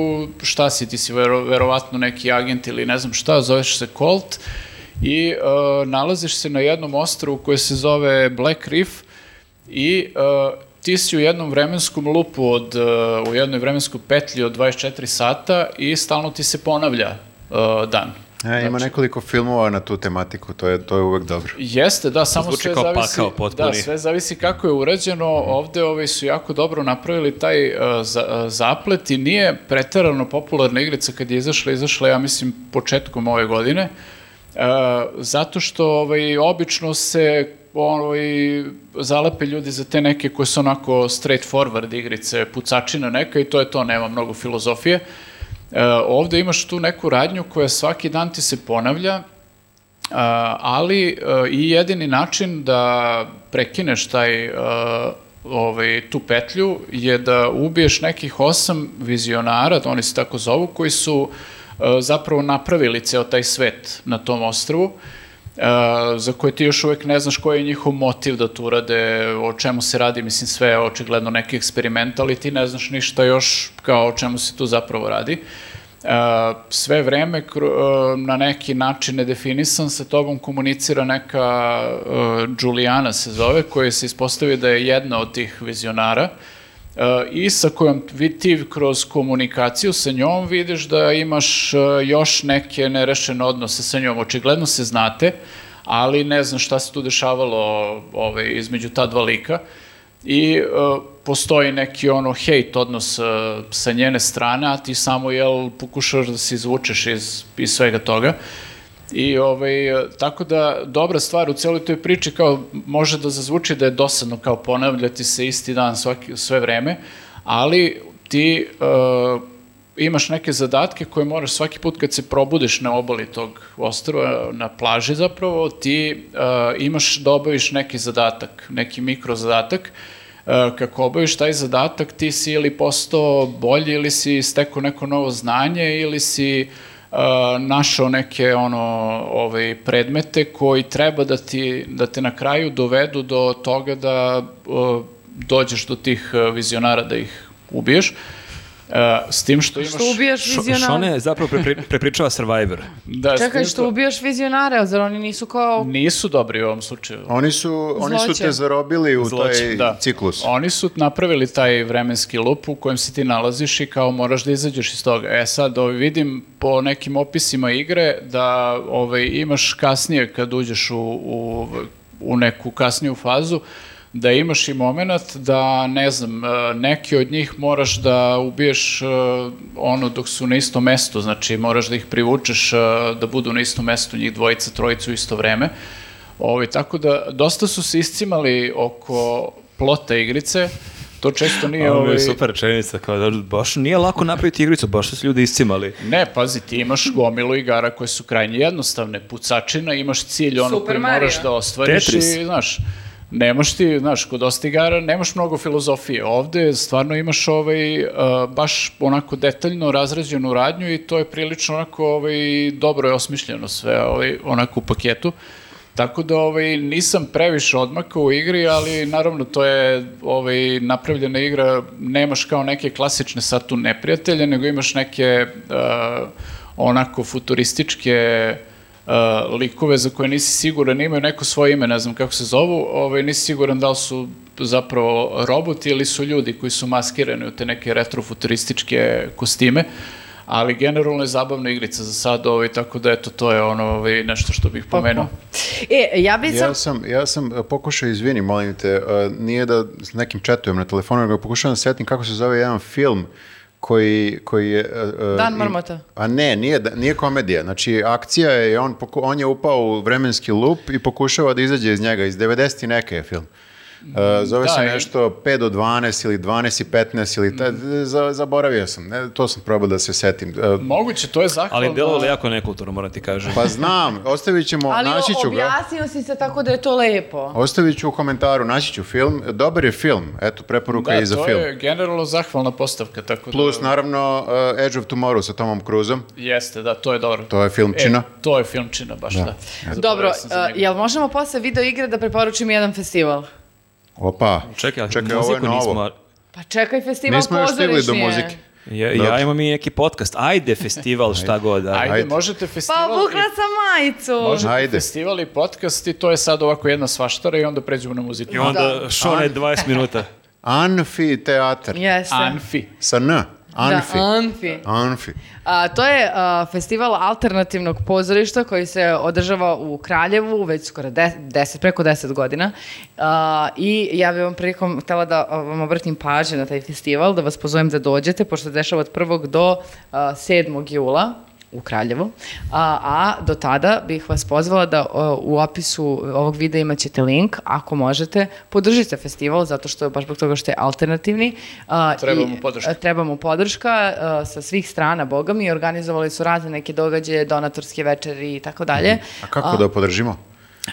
Speaker 1: šta si, ti si vero, verovatno neki agent ili ne znam šta, zoveš se Colt i e, nalaziš se na jednom ostrovu koje se zove Black Reef i uh, ti si u jednom vremenskom lupu od, uh, u jednoj vremenskoj petlji od 24 sata i stalno ti se ponavlja uh, dan.
Speaker 3: E, ima nekoliko filmova na tu tematiku, to je, to je uvek dobro.
Speaker 1: Jeste, da, samo
Speaker 4: Zvuči
Speaker 1: sve
Speaker 4: kao
Speaker 1: zavisi.
Speaker 4: pakao potpuni.
Speaker 1: Da, sve zavisi kako je urađeno. Ovde ovaj su jako dobro napravili taj uh, za- uh, zaplet i nije preterano popularna igrica kad je izašla, izašla ja mislim početkom ove godine. Uh, zato što ovaj obično se ovaj zalepe ljudi za te neke koje su onako straight forward igrice, pucačina neka i to je to, nema mnogo filozofije. Uh, ovde imaš tu neku radnju koja svaki dan ti se ponavlja Uh, ali uh, i jedini način da prekineš taj uh, ovaj, tu petlju je da ubiješ nekih osam vizionara, oni se tako zovu, koji su uh, zapravo napravili ceo taj svet na tom ostrvu, uh, za koje ti još uvek ne znaš koji je njihov motiv da to urade, o čemu se radi, mislim sve je očigledno neki eksperiment, ali ti ne znaš ništa još kao o čemu se tu zapravo radi. Uh, sve vreme kru- uh, na neki način nedefinisan sa tobom komunicira neka uh, Juliana se zove, koja se ispostavi da je jedna od tih vizionara uh, i sa kojom vi ti kroz komunikaciju sa njom vidiš da imaš uh, još neke nerešene odnose sa njom. Očigledno se znate, ali ne znam šta se tu dešavalo ovaj, između ta dva lika i uh, postoji neki ono hejt odnos uh, sa njene strane, a ti samo jel pokušaš da se izvučeš iz, iz svega toga. I ovaj, uh, tako da dobra stvar u celoj toj priči kao može da zazvuči da je dosadno kao ponavljati se isti dan svaki, sve vreme, ali ti uh, imaš neke zadatke koje moraš svaki put kad se probudiš na obali tog ostrva, na plaži zapravo, ti uh, imaš da obaviš neki zadatak, neki mikrozadatak. Uh, kako obaviš taj zadatak, ti si ili postao bolji, ili si stekao neko novo znanje, ili si uh, našao neke ono ovaj predmete koji treba da ti da te na kraju dovedu do toga da uh, dođeš do tih uh, vizionara da ih ubiješ. Uh, s tim što imaš...
Speaker 2: Što ubijaš vizionare?
Speaker 4: Šone zapravo
Speaker 2: *laughs*
Speaker 4: prepri- prepričava Survivor.
Speaker 1: Da, s
Speaker 2: Čekaj,
Speaker 1: tim
Speaker 2: što ubijaš vizionare, zar oni nisu kao...
Speaker 1: Nisu dobri u ovom slučaju.
Speaker 3: Oni su, oni su
Speaker 2: Zloće.
Speaker 3: te zarobili u
Speaker 4: Zloće,
Speaker 3: taj
Speaker 1: Da.
Speaker 3: ciklus.
Speaker 1: Oni su napravili taj vremenski lup u kojem se ti nalaziš i kao moraš da izađeš iz toga. E sad, ovaj, vidim po nekim opisima igre da ovaj, imaš kasnije kad uđeš u, u, u neku kasniju fazu, da imaš i moment da, ne znam, e, neki od njih moraš da ubiješ e, ono dok su na istom mestu, znači moraš da ih privučeš e, da budu na istom mestu njih dvojica, trojicu u isto vreme. Ovaj, tako da, dosta su se iscimali oko plota igrice, to često nije...
Speaker 4: Ovo
Speaker 1: Ovaj,
Speaker 4: je super rečenica, kao da baš nije lako napraviti igricu, baš su se ljudi iscimali.
Speaker 1: Ne, pazi, ti imaš gomilu igara koje su krajnje jednostavne, pucačina, imaš cilj ono
Speaker 5: Super
Speaker 1: koji
Speaker 5: Mario.
Speaker 1: moraš da ostvariš
Speaker 4: Tetris.
Speaker 1: i, znaš, nemaš ti, znaš, kod dosta igara nemaš mnogo filozofije. Ovde stvarno imaš ovaj, uh, baš onako detaljno razrađenu radnju i to je prilično onako ovaj, dobro je osmišljeno sve ovaj, onako u paketu. Tako da ovaj, nisam previše odmakao u igri, ali naravno to je ovaj, napravljena igra, nemaš kao neke klasične sad tu neprijatelje, nego imaš neke uh, onako futurističke uh, likove za koje nisi siguran, imaju neko svoje ime, ne znam kako se zovu, ovaj, nisi siguran da li su zapravo roboti ili su ljudi koji su maskirani u te neke retrofuturističke kostime, ali generalno je zabavna igrica za sad, ovaj, tako da eto, to je ono ovaj, nešto što bih
Speaker 3: Pa,
Speaker 1: pomenuo.
Speaker 2: E, ja bi sam...
Speaker 3: Ja sam, ja sam e, pokušao, izvini, molim te, e, nije da s nekim četujem na telefonu, nego pokušavam da se setim kako se zove jedan film koji, koji je... e, e,
Speaker 2: Dan
Speaker 3: im-
Speaker 2: marmota.
Speaker 3: a ne, nije, da- nije komedija. Znači, akcija je, i on, poku- on je upao u vremenski lup i pokušava da izađe iz njega. Iz 90 i neke je film. E, zove
Speaker 1: Da,
Speaker 3: se
Speaker 1: i-
Speaker 3: nešto 5 do 12 ili 12 i 15 ili ta,
Speaker 1: Mm.
Speaker 3: e, za- zaboravio sam. Ne, to sam probao da se setim. E,
Speaker 1: Moguće, to je zahvalno.
Speaker 4: Ali delovalo je jako nekulturno, moram ti kažem.
Speaker 3: pa znam, ostavit ćemo,
Speaker 2: Ali
Speaker 3: naći ću ga.
Speaker 2: objasnio si se tako da je to lepo.
Speaker 3: Ostavit ću u komentaru, naći ću film. Dobar je film, eto, preporuka je i za
Speaker 1: Da, to
Speaker 3: film.
Speaker 1: je generalno zahvalna postavka, tako
Speaker 3: Plus,
Speaker 1: da...
Speaker 3: naravno, uh, Edge of Tomorrow sa Tomom Cruzom.
Speaker 1: Jeste, da, to je dobro.
Speaker 3: To je filmčina.
Speaker 1: E, to je filmčina, baš da. Zaboravio
Speaker 2: Dobro,
Speaker 1: sam za
Speaker 2: e,
Speaker 1: njega.
Speaker 2: jel možemo posle video igre da preporučim jedan festival?
Speaker 3: Opa,
Speaker 4: Čekaj, ali
Speaker 3: Čekaj,
Speaker 4: Čekaj,
Speaker 3: ovo je
Speaker 4: muziku
Speaker 3: novo.
Speaker 4: nismo...
Speaker 2: Pa čekaj, festival
Speaker 3: Nismo još stigli do
Speaker 2: pozorišni je.
Speaker 3: muzike.
Speaker 4: Ja, ja imam i neki podcast. Ajde, festival, šta god. da.
Speaker 1: Ajde,
Speaker 3: Ajde.
Speaker 1: možete
Speaker 2: Pa
Speaker 1: festival...
Speaker 2: obukla
Speaker 1: i-
Speaker 2: sam majicu.
Speaker 1: Možete
Speaker 3: Ajde.
Speaker 1: festival i podcast i to je sad ovako jedna svaštara i onda pređemo na muziku. Da.
Speaker 4: I onda šone 20 minuta.
Speaker 3: Amfiteatar.
Speaker 2: Da, Jeste.
Speaker 1: Anfi.
Speaker 3: Sa N. Anfi.
Speaker 2: Da, Anfi.
Speaker 3: Anfi.
Speaker 2: A, to je a, festival alternativnog pozorišta koji se održava u Kraljevu već skoro de- deset, preko deset godina. A, I ja bih vam prilikom htela da a, vam obratim pažnju na taj festival, da vas pozovem da dođete, pošto se dešava od 1. do a, 7. jula u Kraljevu. A, a do tada bih vas pozvala da o, u opisu ovog videa imat ćete link, ako možete, podržite festival, zato što je baš zbog toga što je alternativni. A,
Speaker 1: Treba
Speaker 2: i-
Speaker 1: mu podrška.
Speaker 2: treba mu podrška e, sa svih strana, boga mi, organizovali su razne neke događaje, donatorske večeri i tako
Speaker 4: Mhm.
Speaker 2: dalje. Uh,
Speaker 3: A kako da podržimo?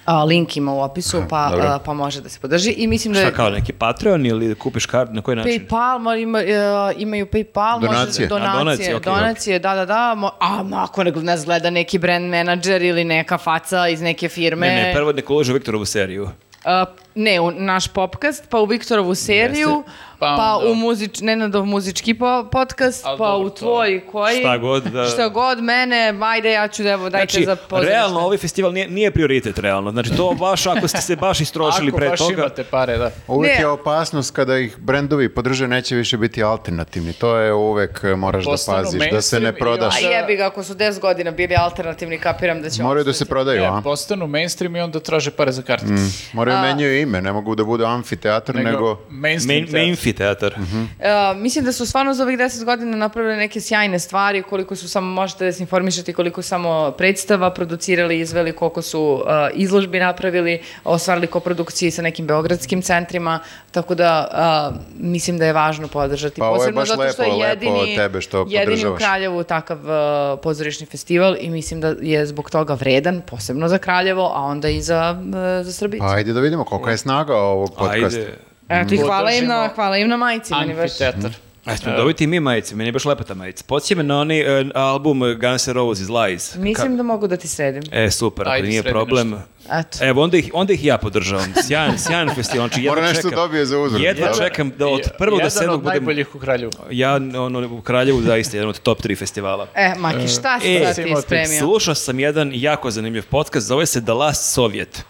Speaker 2: A, Link ima u opisu, pa,
Speaker 3: dobro.
Speaker 2: a, pa može da se podrži. I mislim da
Speaker 4: Šta
Speaker 2: je
Speaker 4: kao, neki Patreon ili kupiš kard, na koji način?
Speaker 2: PayPal, ma, ima, e, imaju PayPal,
Speaker 3: Donacije.
Speaker 2: može, donacije,
Speaker 4: A, donacije,
Speaker 2: donacije,
Speaker 4: okej,
Speaker 2: da, da, da, mo- a ma, ako ne, nas gleda neki brand menadžer ili neka faca iz neke firme.
Speaker 4: Ne, ne, prvo nek uloži u Viktorovu seriju.
Speaker 2: Uh, ne, u naš popkast, pa u Viktorovu seriju,
Speaker 1: Pa
Speaker 2: pa,
Speaker 1: onda-
Speaker 2: u muzič, Nenadov muzički po, podcast,
Speaker 1: Ali
Speaker 2: pa
Speaker 1: dobro,
Speaker 2: u
Speaker 1: to-
Speaker 2: tvoj koji.
Speaker 4: Šta god, da.
Speaker 2: Šta god mene, ajde ja ću da evo dajte
Speaker 4: Znači,
Speaker 2: za pozorište.
Speaker 4: realno, ovaj festival nije, nije prioritet, realno. Znači, to baš, ako ste se baš istrošili
Speaker 1: Ako
Speaker 4: pre
Speaker 1: baš
Speaker 4: toga...
Speaker 1: imate pare, da.
Speaker 3: Uvek
Speaker 2: Ne.
Speaker 3: je opasnost kada ih brendovi podrže, neće više biti alternativni. To je uvek e, moraš da
Speaker 1: Postanu
Speaker 3: paziš, da se ne
Speaker 1: mainstream i
Speaker 3: prodaš.
Speaker 2: A
Speaker 1: onda-
Speaker 2: jebi ga, ako su 10 godina bili alternativni, kapiram da će
Speaker 3: Moraju da se
Speaker 2: ostati.
Speaker 3: prodaju,
Speaker 1: E,
Speaker 3: a?
Speaker 1: postanu mainstream i onda traže pare za kartice.
Speaker 3: Moraju menjaju ime, ne mogu da budu amfiteatar, nego...
Speaker 1: mainstream.
Speaker 4: Main,
Speaker 1: teatr.
Speaker 4: Mainfi teatar.
Speaker 2: Uh, mislim da su stvarno za ovih 10 godina napravili neke sjajne stvari, koliko su samo, možete da se informišete, koliko samo predstava producirali, izveli, koliko su uh, izložbi napravili, ostvarili koprodukcije sa nekim beogradskim centrima, tako da uh, mislim da je važno podržati.
Speaker 3: Pa ovo je
Speaker 2: Posebno
Speaker 3: baš
Speaker 2: zato što
Speaker 3: lepo,
Speaker 2: je
Speaker 3: lepo
Speaker 2: jedini,
Speaker 3: od tebe što
Speaker 2: jedini u
Speaker 3: podržavaš.
Speaker 2: Kraljevu takav uh, pozorišni festival i mislim da je zbog toga vredan, posebno za Kraljevo, a onda i za, uh, za Srbiju.
Speaker 3: Pa ajde da vidimo kolika je snaga ovog podcasta.
Speaker 4: E. Ajde.
Speaker 2: Eto i hvala im, na,
Speaker 1: Podržimo
Speaker 2: hvala im na majici. meni baš-
Speaker 1: Amfiteatar.
Speaker 4: Ajde, smo dobiti i mi majice, meni je baš lepa ta majica. Podsjeća me na onaj e, album Guns N' Roses, Lies.
Speaker 2: Mislim da mogu da ti sredim.
Speaker 4: E, super, ako
Speaker 1: Ajde,
Speaker 4: nije
Speaker 1: sredi
Speaker 4: problem.
Speaker 2: Eto.
Speaker 4: Evo, onda ih, onda ih ja podržavam. Sjajan, sjajan festival. Znači, jedva
Speaker 3: Mora nešto
Speaker 4: čekam.
Speaker 3: dobije za uzor.
Speaker 4: Jedva
Speaker 3: Dobro.
Speaker 4: čekam da od prvog do
Speaker 1: Jedan
Speaker 4: sedmog
Speaker 1: od
Speaker 4: budem...
Speaker 1: najboljih u Kraljevu.
Speaker 4: Ja, ono, u Kraljevu zaista jedan od top tri festivala.
Speaker 2: E, Maki, šta si
Speaker 4: E,
Speaker 2: sad ti
Speaker 1: Simo, ti
Speaker 2: spremio?
Speaker 4: Slušao sam jedan jako zanimljiv podcast, zove se The Last Soviet.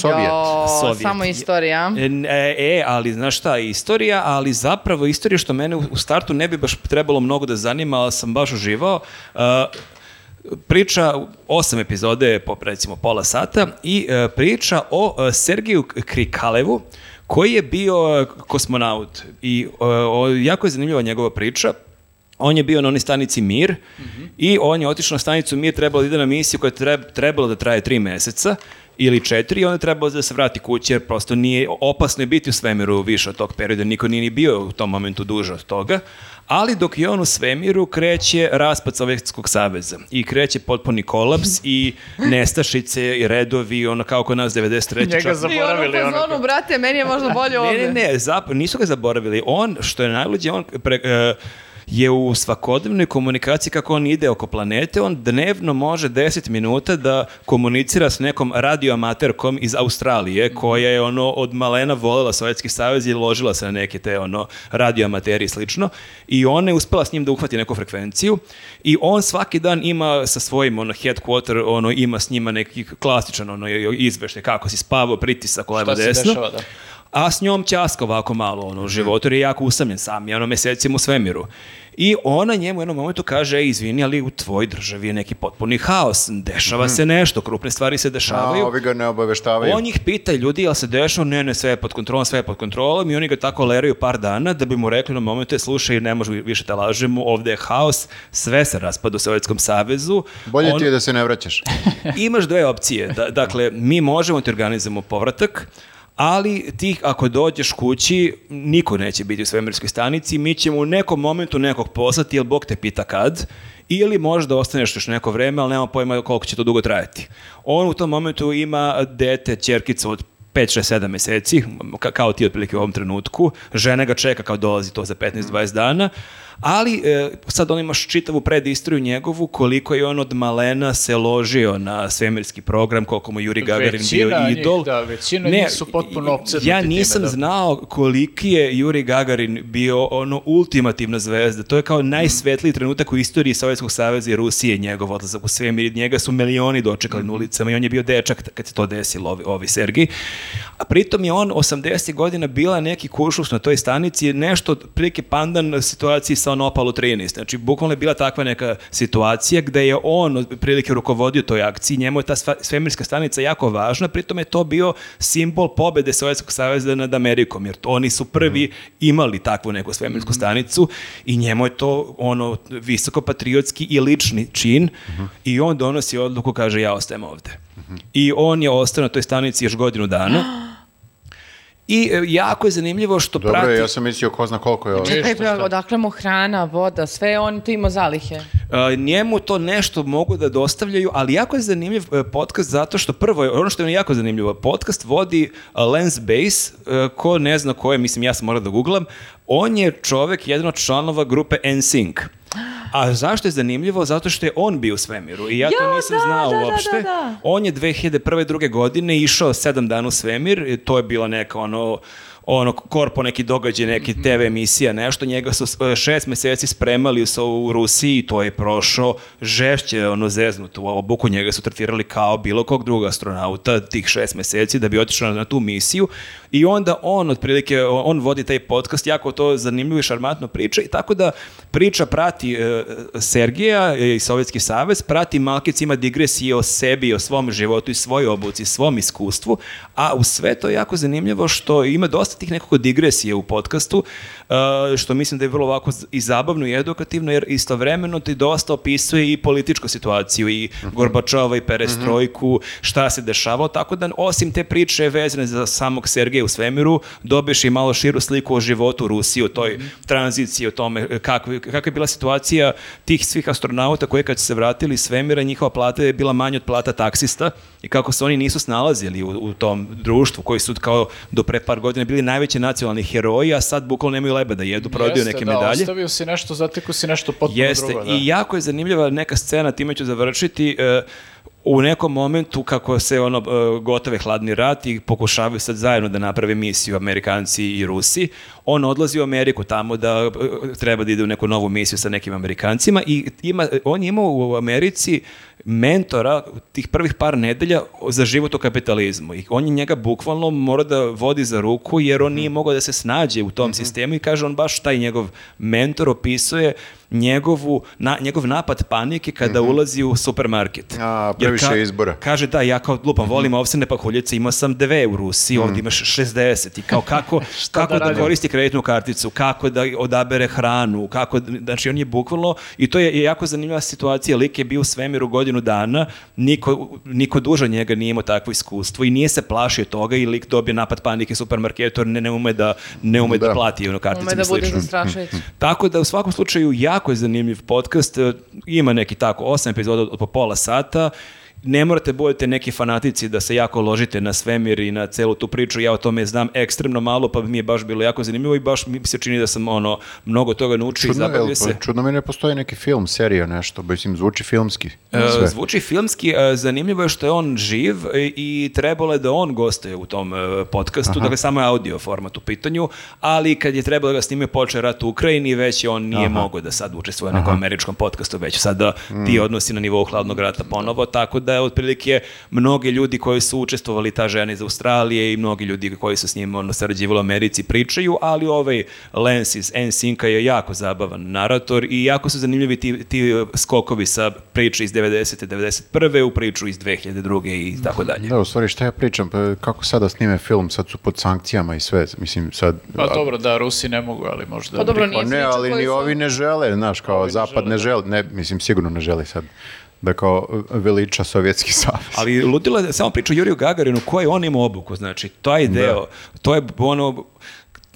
Speaker 3: Sovjet.
Speaker 2: Jo,
Speaker 4: Sovjet.
Speaker 2: Samo istorija.
Speaker 4: E, n- E, e, ali znaš šta, istorija, ali zapravo istorija što mene u, u startu ne bi baš trebalo mnogo da zanima, ali sam baš uživao. Uh, priča, osam epizode je po recimo pola sata i e, priča o e, Sergiju K- Krikalevu koji je bio e, kosmonaut i e, o, jako je zanimljiva njegova priča. On je bio na onoj stanici Mir i on je otišao na stanicu Mir, trebalo da ide na misiju koja je treb- trebalo da traje tri meseca ili četiri i onda je trebalo da se vrati kući jer prosto nije, opasno je biti u svemiru više od tog perioda, niko nije ni bio u tom momentu duže od toga. Ali dok je on u svemiru kreće raspad Sovjetskog saveza i kreće potpuni kolaps i nestašice i redovi, ono kao kod nas 93.
Speaker 1: Njega
Speaker 4: čak-
Speaker 2: I ono
Speaker 1: zaboravili.
Speaker 2: u
Speaker 1: ono
Speaker 2: fazonu, brate, meni je možda bolje ovdje.
Speaker 4: ne, ne, ne, zap- nisu ga zaboravili. On, što je najluđe, on pre- e, je u svakodnevnoj komunikaciji kako on ide oko planete, on dnevno može 10 minuta da komunicira s nekom radioamaterkom iz
Speaker 1: Mhm.
Speaker 4: Australije, koja je ono od malena volela Sovjetski savez i ložila se na neke te ono radioamateri i slično. I ona je uspela s njim da uhvati neku frekvenciju i on svaki dan ima sa svojim ono headquarter, ono ima s njima neki klasičan ono izveštaj kako si spavao, pritisak, levo,
Speaker 1: Šta se
Speaker 4: desno
Speaker 1: dešava, da.
Speaker 4: a s njom ćaska ovako malo ono,
Speaker 3: Mhm.
Speaker 4: u životu, jer je jako usamljen sam, je ono mesecima u svemiru. I ona njemu u jednom momentu kaže, "Ej, izvini, ali u tvoj državi je neki potpuni haos, dešava se nešto, krupne stvari se
Speaker 3: Mhm. A,
Speaker 4: dešavaju.
Speaker 3: ovi ga ne obaveštavaju.
Speaker 4: On ih pita ljudi, jel se dešava? Ne, ne, sve je pod kontrolom, sve je pod kontrolom i oni ga tako leraju par dana da bi mu rekli na momentu, "E, slušaj, ne možemo više da lažemo, ovde je haos, sve se raspada u Sovjetskom savezu.
Speaker 3: Bolje
Speaker 4: On-
Speaker 3: ti je da se ne vraćaš.
Speaker 4: *laughs* imaš dve opcije. Da, dakle, mi možemo ti organizamo povratak, ali ti ako dođeš kući, niko neće biti u svemirskoj stanici, mi ćemo u nekom momentu nekog poslati, jer Bog te pita kad, ili možda ostaneš još neko vreme, ali nema pojma koliko će to dugo trajati. On u tom momentu ima dete, čerkicu od 5, 6, 7
Speaker 1: Mhm.
Speaker 4: meseci, ka- kao ti otprilike u ovom trenutku. Žena ga čeka kao dolazi to za 15, 20 dana, Ali e, sad on imaš čitavu predistoriju njegovu, koliko je on od malena se ložio na svemirski program, koliko mu Juri Gagarin
Speaker 1: Većina
Speaker 4: bio
Speaker 1: njih,
Speaker 4: idol.
Speaker 1: da, većina njih su potpuno opsednuti
Speaker 4: Ja
Speaker 1: time,
Speaker 4: nisam
Speaker 1: da.
Speaker 4: znao koliki je Juri Gagarin bio ono ultimativna zvezda. To je kao najsvetliji trenutak u istoriji Sovjetskog saveza i Rusije njegov odlazak u svemir. i Njega su milioni dočekali na ulicama i on je bio dečak t- kad se to desilo ovi, ovi Sergij. A pritom je on 80. godina bila neki kušlus na toj stanici, nešto prilike pandan situaciji sa ono Apollo 13. Znači, bukvalno je bila takva neka situacija gde je on prilike rukovodio toj akciji, njemu je ta sva- svemirska stanica jako važna, pritom je to bio simbol pobede Sovjetskog saveza nad Amerikom, jer to- oni su prvi imali takvu neku svemirsku stanicu i njemu je to ono visoko patriotski i lični čin i on donosi odluku, kaže ja ostajem ovde. I on je ostao na toj stanici još godinu dana. I e, jako je zanimljivo što
Speaker 3: Dobro,
Speaker 4: prati...
Speaker 3: je, ja sam mislio ko zna koliko je ovo.
Speaker 2: Čekaj,
Speaker 1: Ništa,
Speaker 2: bre,
Speaker 1: šta?
Speaker 2: odakle mu hrana, voda, sve on tu imao zalihe.
Speaker 4: A, E, njemu to nešto mogu da dostavljaju, ali jako je zanimljiv e, podcast zato što prvo, je, ono što je jako zanimljivo, podcast vodi e, Lens Base, e, ko ne zna ko je, mislim ja sam morao da googlam, on je čovek, jedan od članova grupe NSYNC. A zašto je zanimljivo? Zato što je on bio u svemiru i ja to
Speaker 2: Ja,
Speaker 4: nisam
Speaker 2: da,
Speaker 4: znao
Speaker 2: da, da,
Speaker 4: uopšte.
Speaker 2: da, da.
Speaker 4: On je 2001. druge godine išao sedam dana u svemir, i to je bila neka ono ono korpo neki događaj, neki TV emisija, nešto, njega su e, šest meseci spremali su u Rusiji i to je prošao žešće, ono zeznuto u obuku, njega su tretirali kao bilo kog drugog astronauta tih šest meseci da bi otišao na tu misiju i onda on otprilike, o- on vodi taj podcast, jako to zanimljivo i šarmantno priča i tako da priča prati e, Sergeja e, i Sovjetski savez, prati Malkic ima digresije o sebi, o svom životu i svoj obuci, svom iskustvu, a u sve to je jako zanimljivo što ima dosta tih nekako digresije u podcastu, e, što mislim da je vrlo ovako z- i zabavno i edukativno, jer istovremeno ti dosta opisuje i političku situaciju i Gorbačova i perestrojku, šta se dešavao, tako da osim te priče vezane za samog Sergeja u svemiru, dobiješ i malo širu sliku o životu u Rusiji, o toj tranziciji, o tome kako, kako je bila situacija tih svih astronauta koji kad su se vratili iz svemira, njihova plata je bila manja od plata taksista i kako se oni nisu snalazili u, u tom društvu koji su kao do pre par godina bili najveći nacionalni heroji, a sad bukvalno nemaju leba da jedu, prodaju
Speaker 1: Jeste,
Speaker 4: neke
Speaker 1: da,
Speaker 4: medalje.
Speaker 1: Ostavio si nešto, zateku si nešto potpuno
Speaker 4: Jeste,
Speaker 1: drugo. Da.
Speaker 4: i jako je zanimljiva neka scena, time ću završiti, e, u nekom momentu kako se ono e, gotove hladni rat i pokušavaju sad zajedno da naprave misiju Amerikanci i Rusi, on odlazi u Ameriku tamo da e, treba da ide u neku novu misiju sa nekim Amerikancima i ima, on je imao u Americi mentora tih prvih par nedelja za život u kapitalizmu i on je njega bukvalno morao da vodi za ruku jer on
Speaker 3: Mhm.
Speaker 4: nije mogao da se snađe u tom sistemu i kaže on baš taj njegov mentor opisuje njegovu, na, njegov napad panike kada ulazi u supermarket.
Speaker 3: Mhm. A,
Speaker 4: Jer
Speaker 3: previše je izbora.
Speaker 4: Kaže, da, ja kao lupam, volim ovsene pahuljice, imao sam dve u Rusiji, ovdje imaš 60 i kao *laughs* kako, kako
Speaker 1: da
Speaker 4: Mhm. da,
Speaker 1: radim?
Speaker 4: koristi kreditnu karticu, kako da odabere hranu, kako, da- znači on je bukvalno, i to je jako zanimljiva situacija, lik je bio u svemiru godinu dana, niko, niko duža njega nije imao takvo iskustvo i nije se plašio toga i lik dobije napad panike u supermarketu jer ne, ne ume da, ne ume da. Mhm.
Speaker 3: Da.
Speaker 4: plati ono karticu
Speaker 2: Ume da bude zastrašujući.
Speaker 4: tako da u svakom slučaju jako je zanimljiv podcast, E, ima neki tako osam epizoda od, od po pola sata, ne morate budete neki fanatici da se jako ložite na svemir i na celu tu priču, ja o tome znam ekstremno malo pa mi je baš bilo jako zanimljivo i baš mi se čini da sam ono mnogo toga naučio i
Speaker 3: Čudno,
Speaker 4: zabavio
Speaker 3: je,
Speaker 4: se.
Speaker 3: čudno mi ne postoji neki film, serija, nešto, mislim, zvuči filmski.
Speaker 4: E,
Speaker 3: sve.
Speaker 4: Zvuči filmski, e, zanimljivo je što je on živ i, i trebalo je da on gostuje u tom e, podcastu, dakle samo je audio format u pitanju, ali kad je trebalo da ga snime počeo je rat u Ukrajini, već je on nije mogao da sad učestvuje na nekom američkom podcastu, već sada ti odnosi na nivou hladnog rata ponovo, tako da je otprilike mnogi ljudi koji su učestvovali, ta žena iz Australije i mnogi ljudi koji su s njim ono, sarađivali u Americi pričaju, ali ovaj Lens iz NSYNC-a je jako zabavan narator i jako su zanimljivi ti, ti e, skokovi sa priče iz 90. 91. u priču iz 2002. i tako dalje.
Speaker 3: Da, u stvari šta ja pričam, pa kako sada snime film, sad su pod sankcijama i sve, mislim sad...
Speaker 1: Pa dobro, da, Rusi ne mogu, ali možda...
Speaker 2: Pa dobro,
Speaker 1: bi-
Speaker 2: nije
Speaker 3: Pa ne,
Speaker 2: priča
Speaker 3: ali
Speaker 2: koju
Speaker 3: ni
Speaker 2: su-
Speaker 3: ovi ne žele, znaš, kao zapad ne želi, ne, mislim sigurno ne želi sad da kao veliča Sovjetski savez. *laughs*
Speaker 4: Ali ludilo je da samo priča o Juriju Gagarinu, koji je on imao obuku, znači, taj deo, to je ono,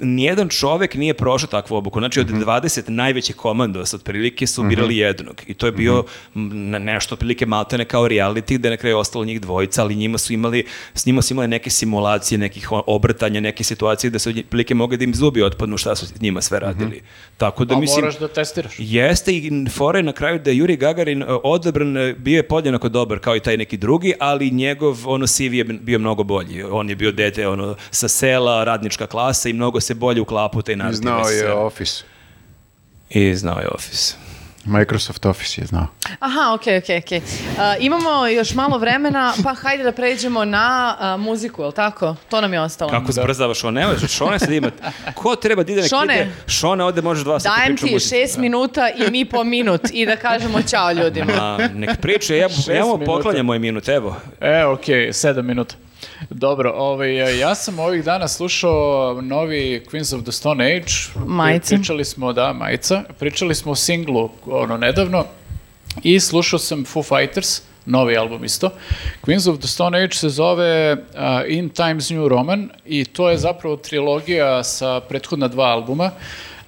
Speaker 4: nijedan čovek nije prošao takvu obuku. Znači, od 20 najvećih komandosa otprilike su birali jednog. I to je bio m, na- nešto otprilike maltene kao reality, gde je na kraju ostalo njih dvojica, ali njima su imali, s njima su imali neke simulacije, nekih o- obrtanja, neke situacije gde su otprilike mogli da im zubi otpadnu šta su s njima sve radili. Tako da,
Speaker 1: Pa
Speaker 4: mislim...
Speaker 1: moraš da testiraš.
Speaker 4: Jeste i fora je na kraju da je Juri Gagarin e, odabran, e, bio je podjednako dobar kao i taj neki drugi, ali njegov ono CV je bio mnogo bolji. On je bio dete ono, sa sela, radnička klasa i mnogo se bolje uklapa u taj narativ.
Speaker 3: Znao
Speaker 4: sa
Speaker 3: je
Speaker 4: sela.
Speaker 3: Office.
Speaker 4: I znao je Office.
Speaker 3: Microsoft Office je znao.
Speaker 2: Aha, okej, okej, okej. A, imamo još malo vremena, pa hajde da pređemo na a, muziku, je li tako? To nam je ostalo.
Speaker 4: Kako zbrzavaš, Šone? Evo, Šone sad ima... Ko treba da ide na
Speaker 2: Šone.
Speaker 4: knjige? Šone, ovde možeš dva sata
Speaker 2: Dajem
Speaker 4: priča Da. o
Speaker 2: ti
Speaker 4: muzici.
Speaker 2: šest minuta i mi po minut i da kažemo čao ljudima.
Speaker 4: A, nek priče, ja, ja mu
Speaker 1: minuta.
Speaker 4: poklanjam moj minut, evo.
Speaker 1: E, okej, sedam minuta. Dobro, ovaj, ja sam ovih dana slušao novi Queens of the Stone Age.
Speaker 2: Majice.
Speaker 1: Pričali smo, da, majica. Pričali smo o singlu, ono, nedavno. I slušao sam Foo Fighters, novi album isto. Queens of the Stone Age se zove a, In Times New Roman i to je zapravo trilogija sa prethodna dva albuma.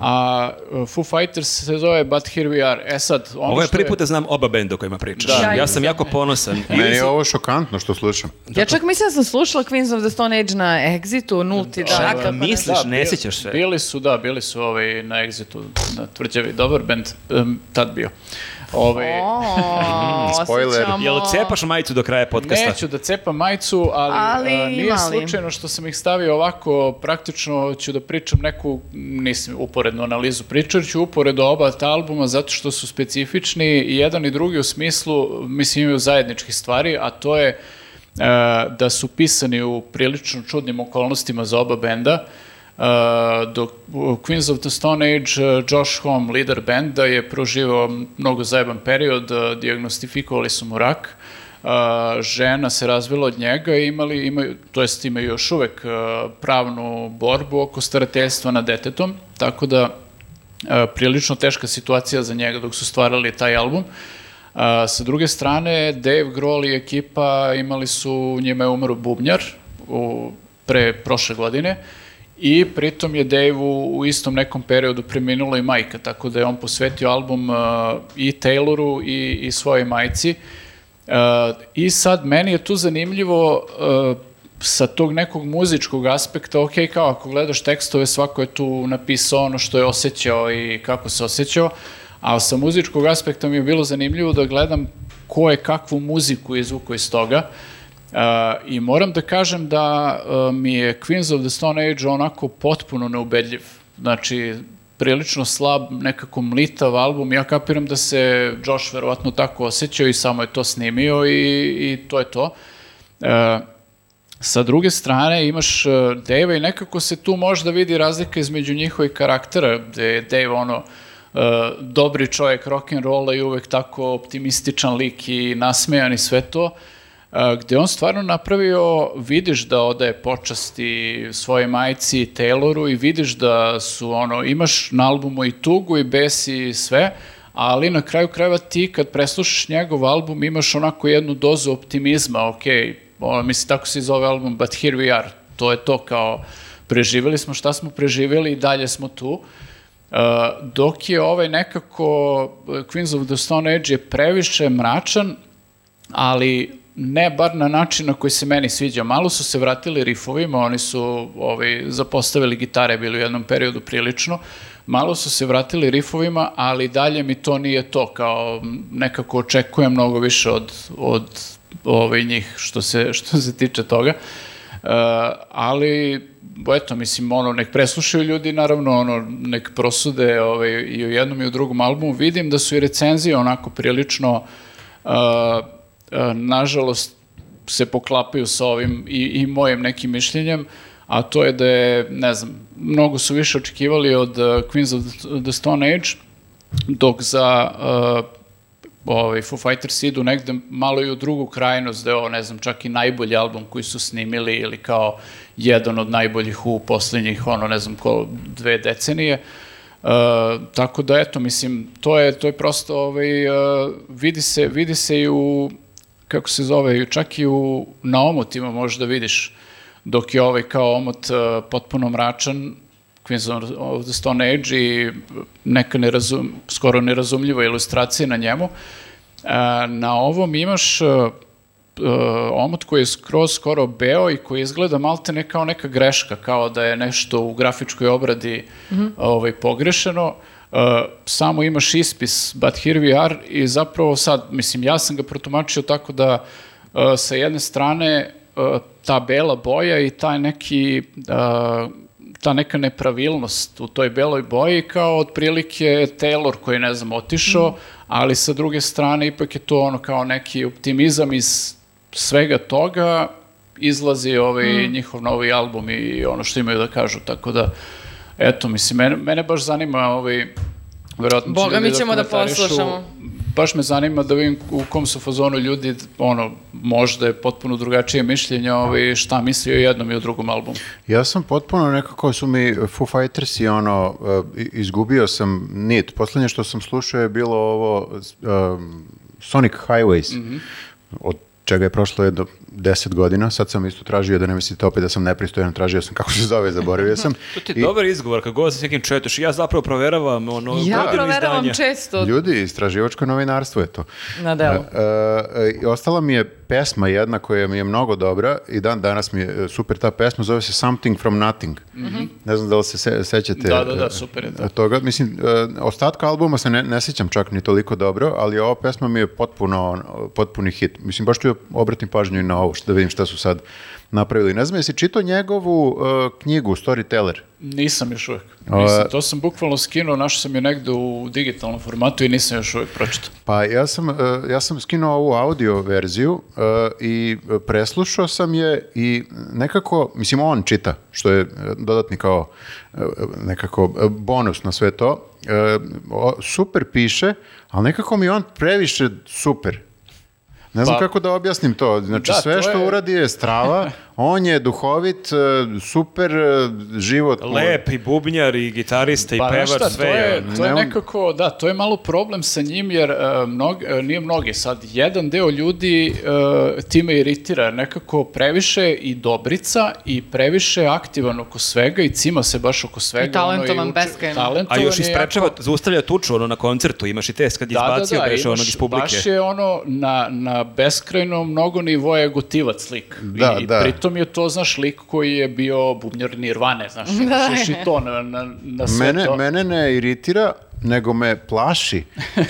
Speaker 1: A e, Foo Fighters se zove But Here We Are. E sad, ono
Speaker 4: Ovo je
Speaker 1: što
Speaker 4: prvi put da znam oba benda o kojima pričaš.
Speaker 1: Da.
Speaker 4: Ja sam jako ponosan.
Speaker 3: Meni je ovo šokantno što slušam.
Speaker 2: Ja čak mislim da sam slušala Queens of the Stone Age na Exitu, nulti dan.
Speaker 4: Čak
Speaker 2: tako da-
Speaker 4: misliš? ne
Speaker 1: bio-
Speaker 4: sjećaš se.
Speaker 1: Bili su, da, bili su ovaj, na Exitu, na tvrđavi, dobar band, em, tad bio.
Speaker 2: *laughs*
Speaker 1: Ovaj,
Speaker 2: O,
Speaker 3: Spoiler.
Speaker 2: osjećamo-
Speaker 4: Jel cepaš majicu do kraja podcasta?
Speaker 1: Neću da cepam majicu, ali,
Speaker 2: Ali
Speaker 1: a, nije
Speaker 2: ima li?
Speaker 1: slučajno što sam ih stavio ovako, praktično ću da pričam neku, nisam uporednu analizu, pričat ću uporedo oba ta albuma zato što su specifični i jedan i drugi u smislu, mislim imaju zajedničkih stvari, a to je e, da su pisani u prilično čudnim okolnostima za oba benda. Uh, dok u Queens of the Stone Age uh, Josh Homme, lider benda, je proživao mnogo zajeban period, uh, diagnostifikovali su mu rak, uh, žena se razvila od njega i imali, imaju, to jest imaju još uvek uh, pravnu borbu oko starateljstva nad detetom, tako da uh, prilično teška situacija za njega dok su stvarali taj album. A, sa druge strane, Dave Grohl i ekipa imali su, njima je umro bubnjar u, pre prošle godine i pritom je Dave u, u istom nekom periodu preminula i majka, tako da je on posvetio album a, i Tayloru i, i svojoj majci. Uh, I sad, meni je tu zanimljivo uh, sa tog nekog muzičkog aspekta, ok, kao ako gledaš tekstove, svako je tu napisao ono što je osjećao i kako se osjećao, ali sa muzičkog aspekta mi je bilo zanimljivo da gledam ko je kakvu muziku izvukao iz toga. Uh, I moram da kažem da uh, mi je Queens of the Stone Age onako potpuno neubedljiv. Znači, prilično slab, nekako mlitav album. Ja kapiram da se Josh verovatno tako osjećao i samo je to snimio i, i to je to. E, sa druge strane imaš e, Dave-a i nekako se tu možda vidi razlika između njihovih karaktera, gde je Dave ono e, dobri čovjek rock'n'rolla i uvek tako optimističan lik i nasmejan i sve to, e, gde on stvarno napravio, vidiš da odaje počasti svoje majci i Tayloru i vidiš da su ono, imaš na albumu i tugu i bes i sve, ali na kraju krajeva ti kad preslušaš njegov album imaš onako jednu dozu optimizma, ok, ono, mislim tako se i zove album But Here We Are, to je to kao preživjeli smo šta smo preživjeli i dalje smo tu. Uh, dok je ovaj nekako eh, Queens of the Stone Age je previše mračan, ali ne bar na način na koji se meni sviđa. Malo su se vratili rifovima, oni su ovaj, zapostavili gitare bili u jednom periodu prilično, malo su se vratili rifovima, ali dalje mi to nije to, kao m, nekako očekujem mnogo više od, od ovaj, njih što se, što se tiče toga. E, ali eto mislim ono nek preslušaju ljudi naravno ono nek prosude ovaj i u jednom i u drugom albumu vidim da su i recenzije onako prilično Uh, uh, nažalost se poklapaju sa ovim i, i mojim nekim mišljenjem, a to je da je, ne znam, mnogo su više očekivali od uh, Queens of the- the Stone Age, dok za uh, ovaj, Foo Fighters idu negde malo i u drugu krajnost, da je ovo, ne znam, čak i najbolji album koji su snimili ili kao jedan od najboljih u poslednjih, ono, ne znam, ko, dve decenije. Uh, tako da eto mislim to je to je prosto ovaj uh, vidi se vidi se i u kako se zove i čak i u na omotima možeš da vidiš dok je ovaj kao omot uh, potpuno e, mračan Queens of the Stone Age i neka nerazum, skoro nerazumljiva ilustracija na njemu. A, na ovom imaš a, uh, omot koji je skroz skoro beo i koji izgleda maltene kao neka greška, kao da je nešto u grafičkoj obradi ovaj, pogrešeno. Uh, samo imaš ispis But Here We Are i zapravo sad, mislim, ja sam ga protumačio tako da uh, sa jedne strane uh, ta bela boja i taj neki uh, ta neka nepravilnost u toj beloj boji kao otprilike Taylor koji je, ne znam, otišao, ali sa druge strane ipak je to ono kao neki optimizam iz svega toga izlazi ovaj
Speaker 2: Mm.
Speaker 1: njihov novi album i ono što imaju da kažu, tako da eto, mislim, mene, mene baš zanima ovaj, verovatno će
Speaker 2: Boga
Speaker 1: ljudi
Speaker 2: mi ćemo da
Speaker 1: komentarišu.
Speaker 2: poslušamo.
Speaker 1: Baš me zanima da vidim u kom su fazonu ljudi, ono, možda je potpuno drugačije mišljenje ovaj, šta misli o jednom i o drugom albumu.
Speaker 3: Ja sam potpuno nekako su mi Foo Fighters i ono, eh, i- izgubio sam nit. Poslednje što sam slušao je bilo ovo em, Sonic Highways,
Speaker 4: Mhm.
Speaker 3: od čega je prošlo jedno deset godina. Sad sam isto tražio da ne mislite opet da sam nepristojan, tražio sam kako se zove, zaboravio sam.
Speaker 4: *laughs* To ti je dobar izgovor, kad god se s nekim četeš, ja zapravo proveravam ono,
Speaker 2: Ja
Speaker 4: godinu
Speaker 2: proveravam
Speaker 4: izdanja.
Speaker 2: često.
Speaker 3: Ljudi, istraživačko novinarstvo je to.
Speaker 2: Na delu.
Speaker 3: E, e, i ostala mi je pesma jedna koja mi je mnogo dobra i dan danas mi je e, super ta pesma, zove se Something from Nothing. Ne znam da li se se sećate
Speaker 1: Mhm. Da, da, da,
Speaker 3: e,
Speaker 1: super je to.
Speaker 3: toga. Mislim, e, ostatka albuma se ne, ne sećam čak ni toliko dobro, ali ova pesma mi je potpuno, ono, potpuni hit. Mislim, baš tu je obratim pažnju i na ovo, što da vidim šta su sad napravili. Ne znam, jesi čitao njegovu e, knjigu Storyteller?
Speaker 1: Nisam još uvek.
Speaker 3: A-
Speaker 1: Nisam, to sam bukvalno skinuo, našao sam je negde u digitalnom formatu i nisam još uvek pročitao.
Speaker 3: Pa ja sam, eh, ja sam skinuo ovu audio verziju eh, i preslušao sam je i nekako, mislim on čita, što je eh, dodatni kao eh, nekako eh, bonus na sve to. Eh, o- Super piše, ali nekako mi je on previše super. Ne znam
Speaker 1: Pa-
Speaker 3: kako da objasnim to. Znači
Speaker 1: Da,
Speaker 3: sve
Speaker 1: to
Speaker 3: što
Speaker 1: je-
Speaker 3: uradi
Speaker 1: *laughs*
Speaker 3: je strava, on je duhovit, eh, super eh, život. mu-
Speaker 4: Lep i bubnjar i gitarista i
Speaker 1: Pa
Speaker 4: pevač,
Speaker 1: znaš šta,
Speaker 4: sve
Speaker 1: to je,
Speaker 4: je.
Speaker 1: to je
Speaker 3: Nemam-
Speaker 1: nekako, da, to je malo problem sa njim jer e, mnog, e, nije mnogi sad, jedan deo ljudi e, time iritira nekako previše i dobrica i previše aktivan oko svega i cima se baš oko svega. ono,
Speaker 2: talentovan,
Speaker 1: uče-
Speaker 2: beskrajno.
Speaker 4: A
Speaker 1: talentovan
Speaker 4: još
Speaker 1: je
Speaker 4: isprečava, zaustavlja tuču ono na koncertu, imaš i test kad je izbacio da,
Speaker 1: imaš-
Speaker 4: onog iz publike.
Speaker 1: Baš je ono na, na beskrajno mnogo nivoa je gotivac lik.
Speaker 3: Da,
Speaker 1: I
Speaker 3: da.
Speaker 1: pritom je to, znaš, lik koji je bio bubnjar Nirvane, *laughs* znaš, sluši to na, na, na Pa sve
Speaker 3: Da. Mene,
Speaker 1: to.
Speaker 3: mene ne iritira, nego me plaši.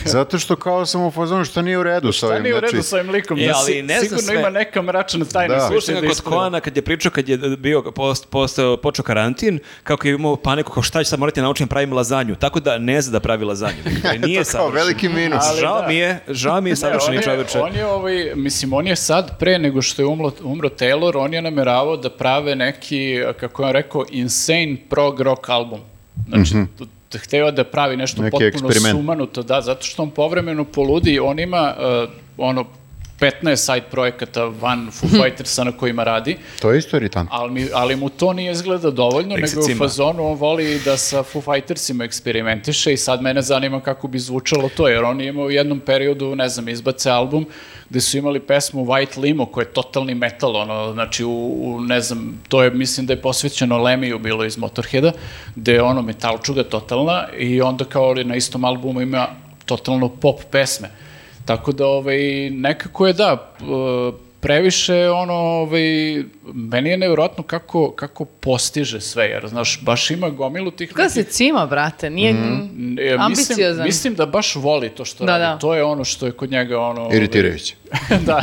Speaker 3: Zato što kao sam u fazonu što nije u redu sa ovim.
Speaker 1: Šta nije u redu
Speaker 3: znači,
Speaker 1: sa ovim likom?
Speaker 4: E,
Speaker 1: da
Speaker 4: ali
Speaker 1: si-
Speaker 4: ne znam
Speaker 1: sigurno
Speaker 4: sve.
Speaker 1: ima neka mračna tajna.
Speaker 3: Da.
Speaker 1: koju
Speaker 4: Slušam
Speaker 1: će
Speaker 4: ga kod
Speaker 1: iskriva.
Speaker 4: Koana kad je pričao kad je bio post, postao, počeo karantin, kako je imao paniku kao šta ću sad morati da naučim da pravim lazanju. Tako da ne zna da
Speaker 1: *laughs*
Speaker 4: pravi lazanju. Dakle,
Speaker 3: to
Speaker 4: Nije
Speaker 3: je kao
Speaker 4: savršen.
Speaker 3: veliki minus.
Speaker 1: Ali
Speaker 4: žao
Speaker 1: da.
Speaker 4: mi je, žao mi je
Speaker 1: *laughs* Ne, on
Speaker 4: savršeni
Speaker 1: je-
Speaker 4: čoveče.
Speaker 1: On je, ovaj, mislim, on je sad, pre nego što je umlo, umro Taylor, on je nameravao da prave neki, kako je on rekao, insane prog rock album. Znači,
Speaker 4: Mhm.
Speaker 1: t- t- hteo je da pravi nešto
Speaker 3: Neki
Speaker 1: potpuno
Speaker 3: eksperiment.
Speaker 1: sumanuto, da, zato što on povremeno poludi, on ima, eh, ono, 15 side projekata van
Speaker 4: *laughs*
Speaker 1: Foo Fightersa na kojima radi,
Speaker 3: To je isto iritantno.
Speaker 1: ali, mi, ali mu to nije izgleda dovoljno,
Speaker 4: Nek se
Speaker 1: nego je u
Speaker 4: cima.
Speaker 1: fazonu on voli da sa Foo Fightersima eksperimentiše i sad mene zanima kako bi zvučalo to, jer on je imao u jednom periodu, ne znam, izbace album gde su imali pesmu White Limo koja je totalni metal, ono, znači u, u ne znam, to je, mislim da je posvećeno Lemiju bilo iz Motorheada, gde je ono metalčuga totalna i onda kao ali na istom albumu ima totalno pop pesme. Tako da ovaj, nekako je da, p- previše ono, ovaj, meni je nevjerojatno kako, kako postiže sve, jer znaš, baš ima gomilu tih...
Speaker 2: Kada se cima, brate, nije...
Speaker 4: Mhm.
Speaker 1: N- e, mislim,
Speaker 2: ambiciozan.
Speaker 1: mislim da baš voli to što
Speaker 2: Da,
Speaker 1: radi.
Speaker 2: da.
Speaker 1: To je ono što je kod njega ono... ovaj,
Speaker 3: Iritirajuće.
Speaker 1: *laughs* da,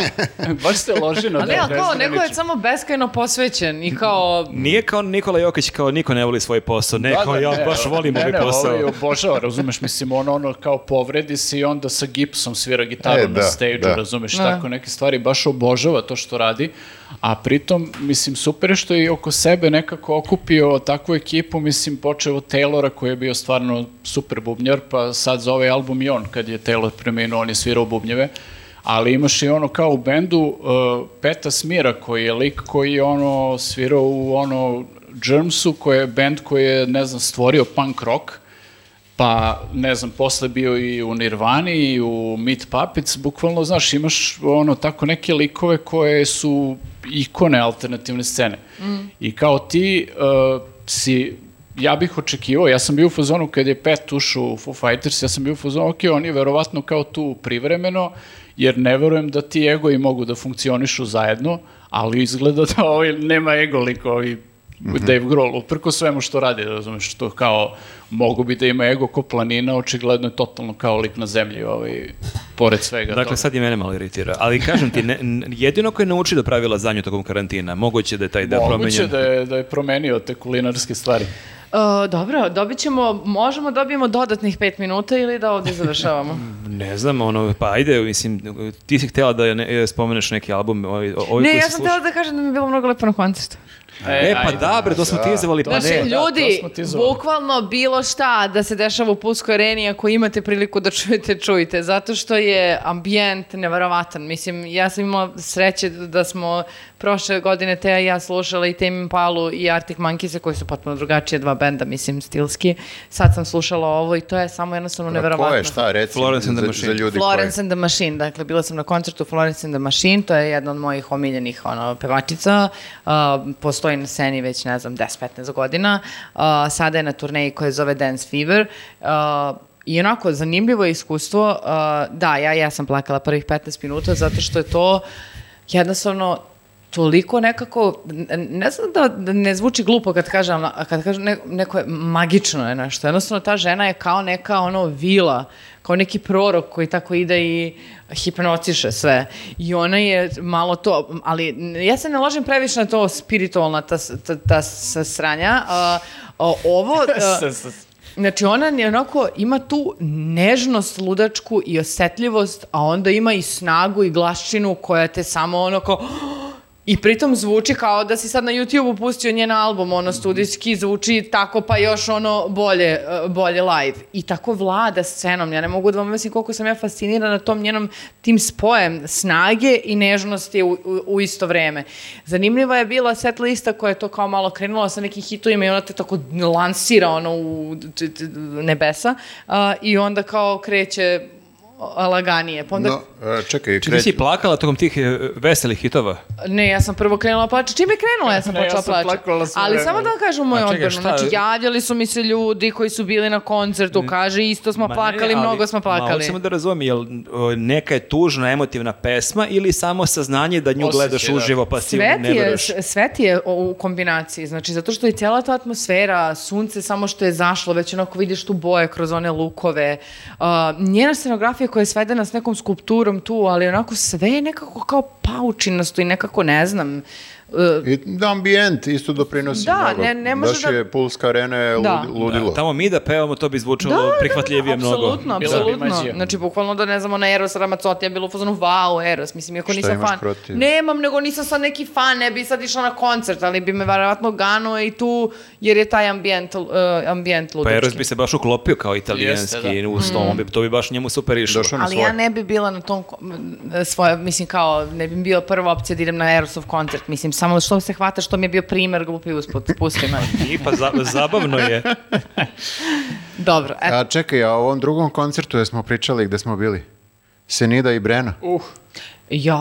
Speaker 1: baš se loži na
Speaker 2: A ne,
Speaker 1: to,
Speaker 2: ali kao, neko je
Speaker 1: bezgranično.
Speaker 2: samo beskrajno posvećen i
Speaker 4: *laughs*
Speaker 2: kao...
Speaker 4: Nije kao Nikola Jokić, kao niko ne voli svoj posao. Ne,
Speaker 1: Da,
Speaker 4: kao
Speaker 1: da,
Speaker 4: ja
Speaker 1: ne,
Speaker 4: baš volim
Speaker 1: ne,
Speaker 4: ovaj
Speaker 1: ne,
Speaker 4: posao.
Speaker 1: ovaj obožava, razumeš, mislim, on ono kao povredi se i onda sa gipsom svira gitaru
Speaker 3: E,
Speaker 1: na
Speaker 3: da,
Speaker 1: stage-u,
Speaker 3: da.
Speaker 1: razumeš,
Speaker 2: Da.
Speaker 1: tako neke stvari, baš obožava to što radi, a pritom, mislim, super je što je i oko sebe nekako okupio takvu ekipu, mislim, počeo od Taylora koji je bio stvarno super bubnjar, pa sad za ovaj album i on, kad je Taylor preminuo, on je svirao bubnjeve, ali imaš i ono kao u bendu uh, Peta Smira koji je lik koji je ono svirao u ono Germsu koji je bend koji je ne znam stvorio punk rock pa ne znam, posle bio i u Nirvani i u Meat Puppets, bukvalno, znaš, imaš ono, tako neke likove koje su ikone alternativne scene. I kao ti uh, eh, si ja bih očekivao, ja sam bio u fazonu kad je Pet ušao u Foo Fighters, ja sam bio u fazonu, ok, on je verovatno kao tu privremeno, jer ne verujem da ti egoji mogu da funkcionišu zajedno, ali izgleda da *laughs* ovaj nema ego lik ovi Dave Grohl, uprko svemu što radi, razumeš, što kao mogu bi da ima ego ko planina, očigledno je totalno kao lik na zemlji, ovaj, pored svega
Speaker 4: Dakle, sad i mene malo iritira. Ali kažem ti, ne, n- jedino ko je naučio da pravi lazanju tokom karantina, moguće da je taj deo
Speaker 1: Moguće
Speaker 4: promenjen.
Speaker 1: da je, da je promenio te kulinarske stvari.
Speaker 2: E, dobro, dobit ćemo, možemo da dobijemo dodatnih pet minuta ili da ovdje završavamo.
Speaker 4: Ne znam, ono, pa ajde, mislim, ti si htjela da ne, spomeneš neki album, ovi, ovi
Speaker 2: ne,
Speaker 4: koji
Speaker 2: ja
Speaker 4: se
Speaker 2: sam
Speaker 4: slušaju.
Speaker 2: htjela da kažem da mi je bilo mnogo lepo na koncertu.
Speaker 4: E, pa da, bre, to smo tizovali, pa
Speaker 2: Znači,
Speaker 4: ne.
Speaker 1: da, to
Speaker 2: ljudi,
Speaker 1: smo ti zvali.
Speaker 2: bukvalno bilo šta da se dešava u Pulskoj areni, ako imate priliku da čujete, čujte, zato što je ambijent nevarovatan. Mislim, ja sam imala sreće da smo prošle godine Teja i ja slušala i Tame Impalu i Arctic Monkeys, koji su potpuno drugačije dva benda, mislim, stilski. Sad sam slušala ovo i to je samo jednostavno
Speaker 3: A
Speaker 2: neverovatno.
Speaker 3: Pa Ko je, šta, reci
Speaker 4: Florence and the
Speaker 3: za,
Speaker 4: Machine.
Speaker 3: za ljudi
Speaker 2: Florence and the Machine, dakle, bila sam na koncertu Florence and the Machine, to je jedna od mojih omiljenih ono, pevačica, Uh, postoji na sceni već, ne znam, 10-15 godina, Uh, sada je na turneji koja se zove Dance Fever, Uh, I onako, zanimljivo je iskustvo, Uh, da, ja, ja sam plakala prvih 15 minuta, zato što je to jednostavno toliko nekako, n- ne znam da, da ne zvuči glupo kad kažem, a kad kažem ne- neko je, magično je nešto, jednostavno ta žena je kao neka ono vila, kao neki prorok koji tako ide i hipnotiše sve i ona je malo to, ali n- ja se ne ložim previše na to spiritualna ta, s- ta, ta s- sranja, a, a, ovo... a, Znači ona je onako ima tu nežnost ludačku i osjetljivost, a onda ima i snagu i glaščinu koja te samo ono kao i pritom zvuči kao da si sad na YouTube-u pustio njen album, ono studijski zvuči tako pa još ono bolje, e, bolje live. I tako vlada scenom, ja ne mogu da vam mislim koliko sam ja fascinirana tom njenom tim spojem snage i nežnosti u, u, u isto vreme. Zanimljiva je bila set lista koja je to kao malo krenula sa nekim hitovima i ona te tako lansira ono u t- t- nebesa a, i onda kao kreće laganije. Pa onda
Speaker 3: No, e, čekaj,
Speaker 4: Či ti
Speaker 3: kreći.
Speaker 4: si plakala tokom tih e, veselih hitova?
Speaker 2: Ne, ja sam prvo krenula plače. Čim je krenula, ja sam
Speaker 1: Ne, ja
Speaker 2: počela
Speaker 1: sam
Speaker 2: plače.
Speaker 1: plakala sve
Speaker 2: Ali
Speaker 1: vreme.
Speaker 2: samo da vam kažem moj
Speaker 4: A čekaj,
Speaker 2: odbranu.
Speaker 4: šta?
Speaker 2: Znači, javljali su mi se ljudi koji su bili na koncertu, kaže isto smo
Speaker 4: Ma ne,
Speaker 2: plakali,
Speaker 4: ali-
Speaker 2: mnogo smo
Speaker 4: Ma,
Speaker 2: plakali.
Speaker 4: hoću samo da razumijem, jel o, neka je tužna, emotivna pesma ili samo saznanje da nju
Speaker 1: Osjećaj,
Speaker 4: gledaš
Speaker 1: da.
Speaker 4: uživo pa si
Speaker 2: Sve
Speaker 4: ne
Speaker 2: ti, je,
Speaker 4: veruješ?
Speaker 2: sve ti je o- u kombinaciji, znači, zato što je cijela ta atmosfera, sunce samo što je zašlo, već onako vidiš tu boje kroz one lukove, uh, njena scenografija koja je svedena s nekom skulpturom tu, ali onako sve je nekako kao paučinasto i nekako ne znam, uh,
Speaker 3: I da ambijent isto doprinosi
Speaker 2: Da,
Speaker 3: mnogo.
Speaker 2: ne- ne može
Speaker 3: Baš
Speaker 2: da-
Speaker 3: je Pulska arena je
Speaker 2: Da.
Speaker 3: lud- ludilo.
Speaker 4: Da, tamo mi da pevamo, to bi zvučalo prihvatljivije mnogo.
Speaker 1: Bila
Speaker 2: Apsolutno,
Speaker 1: bi
Speaker 2: apsolutno.
Speaker 1: mađija.
Speaker 2: Znači, bukvalno da ne znamo na Eros Ramazzotti, ja bilo u fazonu, wow, Eros, mislim, iako
Speaker 3: Šta
Speaker 2: nisam
Speaker 3: imaš
Speaker 2: fan.
Speaker 3: protiv?
Speaker 2: Nemam, nego nisam sad neki fan, ne bi sad išla na koncert, ali bi me verovatno ganuo i tu, jer je taj ambijent, uh, ambijent
Speaker 4: Pa
Speaker 2: ludački.
Speaker 4: Eros bi se baš uklopio kao italijanski
Speaker 1: Jeste, da.
Speaker 4: uz to, on bi, to bi baš njemu super išlo.
Speaker 3: Mm. Došao na
Speaker 2: Ali
Speaker 3: svoje.
Speaker 2: ja ne bi bila na tom ko- m, svoje, mislim kao, ne bi bila prva opcija da idem na Erosov koncert, mislim, samo što se hvata što mi je bio primer glupi usput, pusti *laughs* me.
Speaker 4: I pa za- zabavno
Speaker 3: *laughs*
Speaker 4: je.
Speaker 2: Dobro, eto.
Speaker 3: A čekaj, a o ovom drugom koncertu gde smo pričali, gde smo bili? Senida i Brena.
Speaker 1: Uh,
Speaker 2: Ja,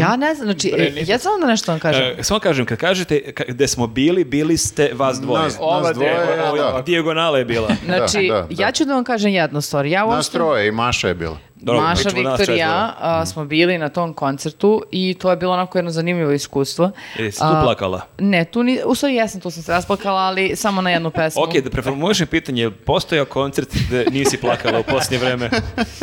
Speaker 2: ja ne znam, znači,
Speaker 1: Bre, nisam-
Speaker 2: ja znam da nešto vam kažem.
Speaker 4: E, samo kažem, kad kažete ka- gde smo bili, bili ste vas dvoje.
Speaker 3: Nas,
Speaker 1: Ova
Speaker 3: nas dvoje,
Speaker 1: dvoje,
Speaker 3: da.
Speaker 1: ovo je
Speaker 4: Ovo, Dijagonala je bila.
Speaker 2: Znači,
Speaker 3: da, da.
Speaker 2: ja ću da vam kažem jednu stvar. Ja
Speaker 3: Nas
Speaker 2: uopšte
Speaker 3: troje i Maša je bila.
Speaker 4: Dobro,
Speaker 2: Maša,
Speaker 4: pričamo nas
Speaker 2: Viktor i
Speaker 4: četvoro.
Speaker 2: ja a, smo bili na tom koncertu i to je bilo onako jedno zanimljivo iskustvo.
Speaker 4: E, si tu
Speaker 2: A,
Speaker 4: plakala?
Speaker 2: Ne, tu ni, u stvari jesam, tu sam se rasplakala, ali samo na jednu pesmu.
Speaker 4: Ok, da preformulašem pitanje, je li postojao koncert gde nisi plakala u posljednje vreme?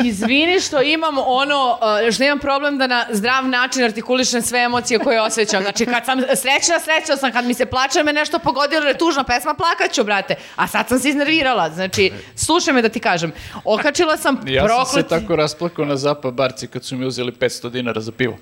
Speaker 2: Izvini što imam ono, a, što imam problem da na zdrav način artikulišem sve emocije koje osjećam. Znači, kad sam srećna, srećna sam, kad mi se plače me nešto pogodilo, jer je tužna pesma, plakaću, brate. A sad sam se iznervirala. Znači, slušaj me da ti kažem. Okačila sam
Speaker 1: ja sam se
Speaker 2: prokleti-
Speaker 1: tako rasplakao na zapa barci kad su mi uzeli 500 dinara za pivo.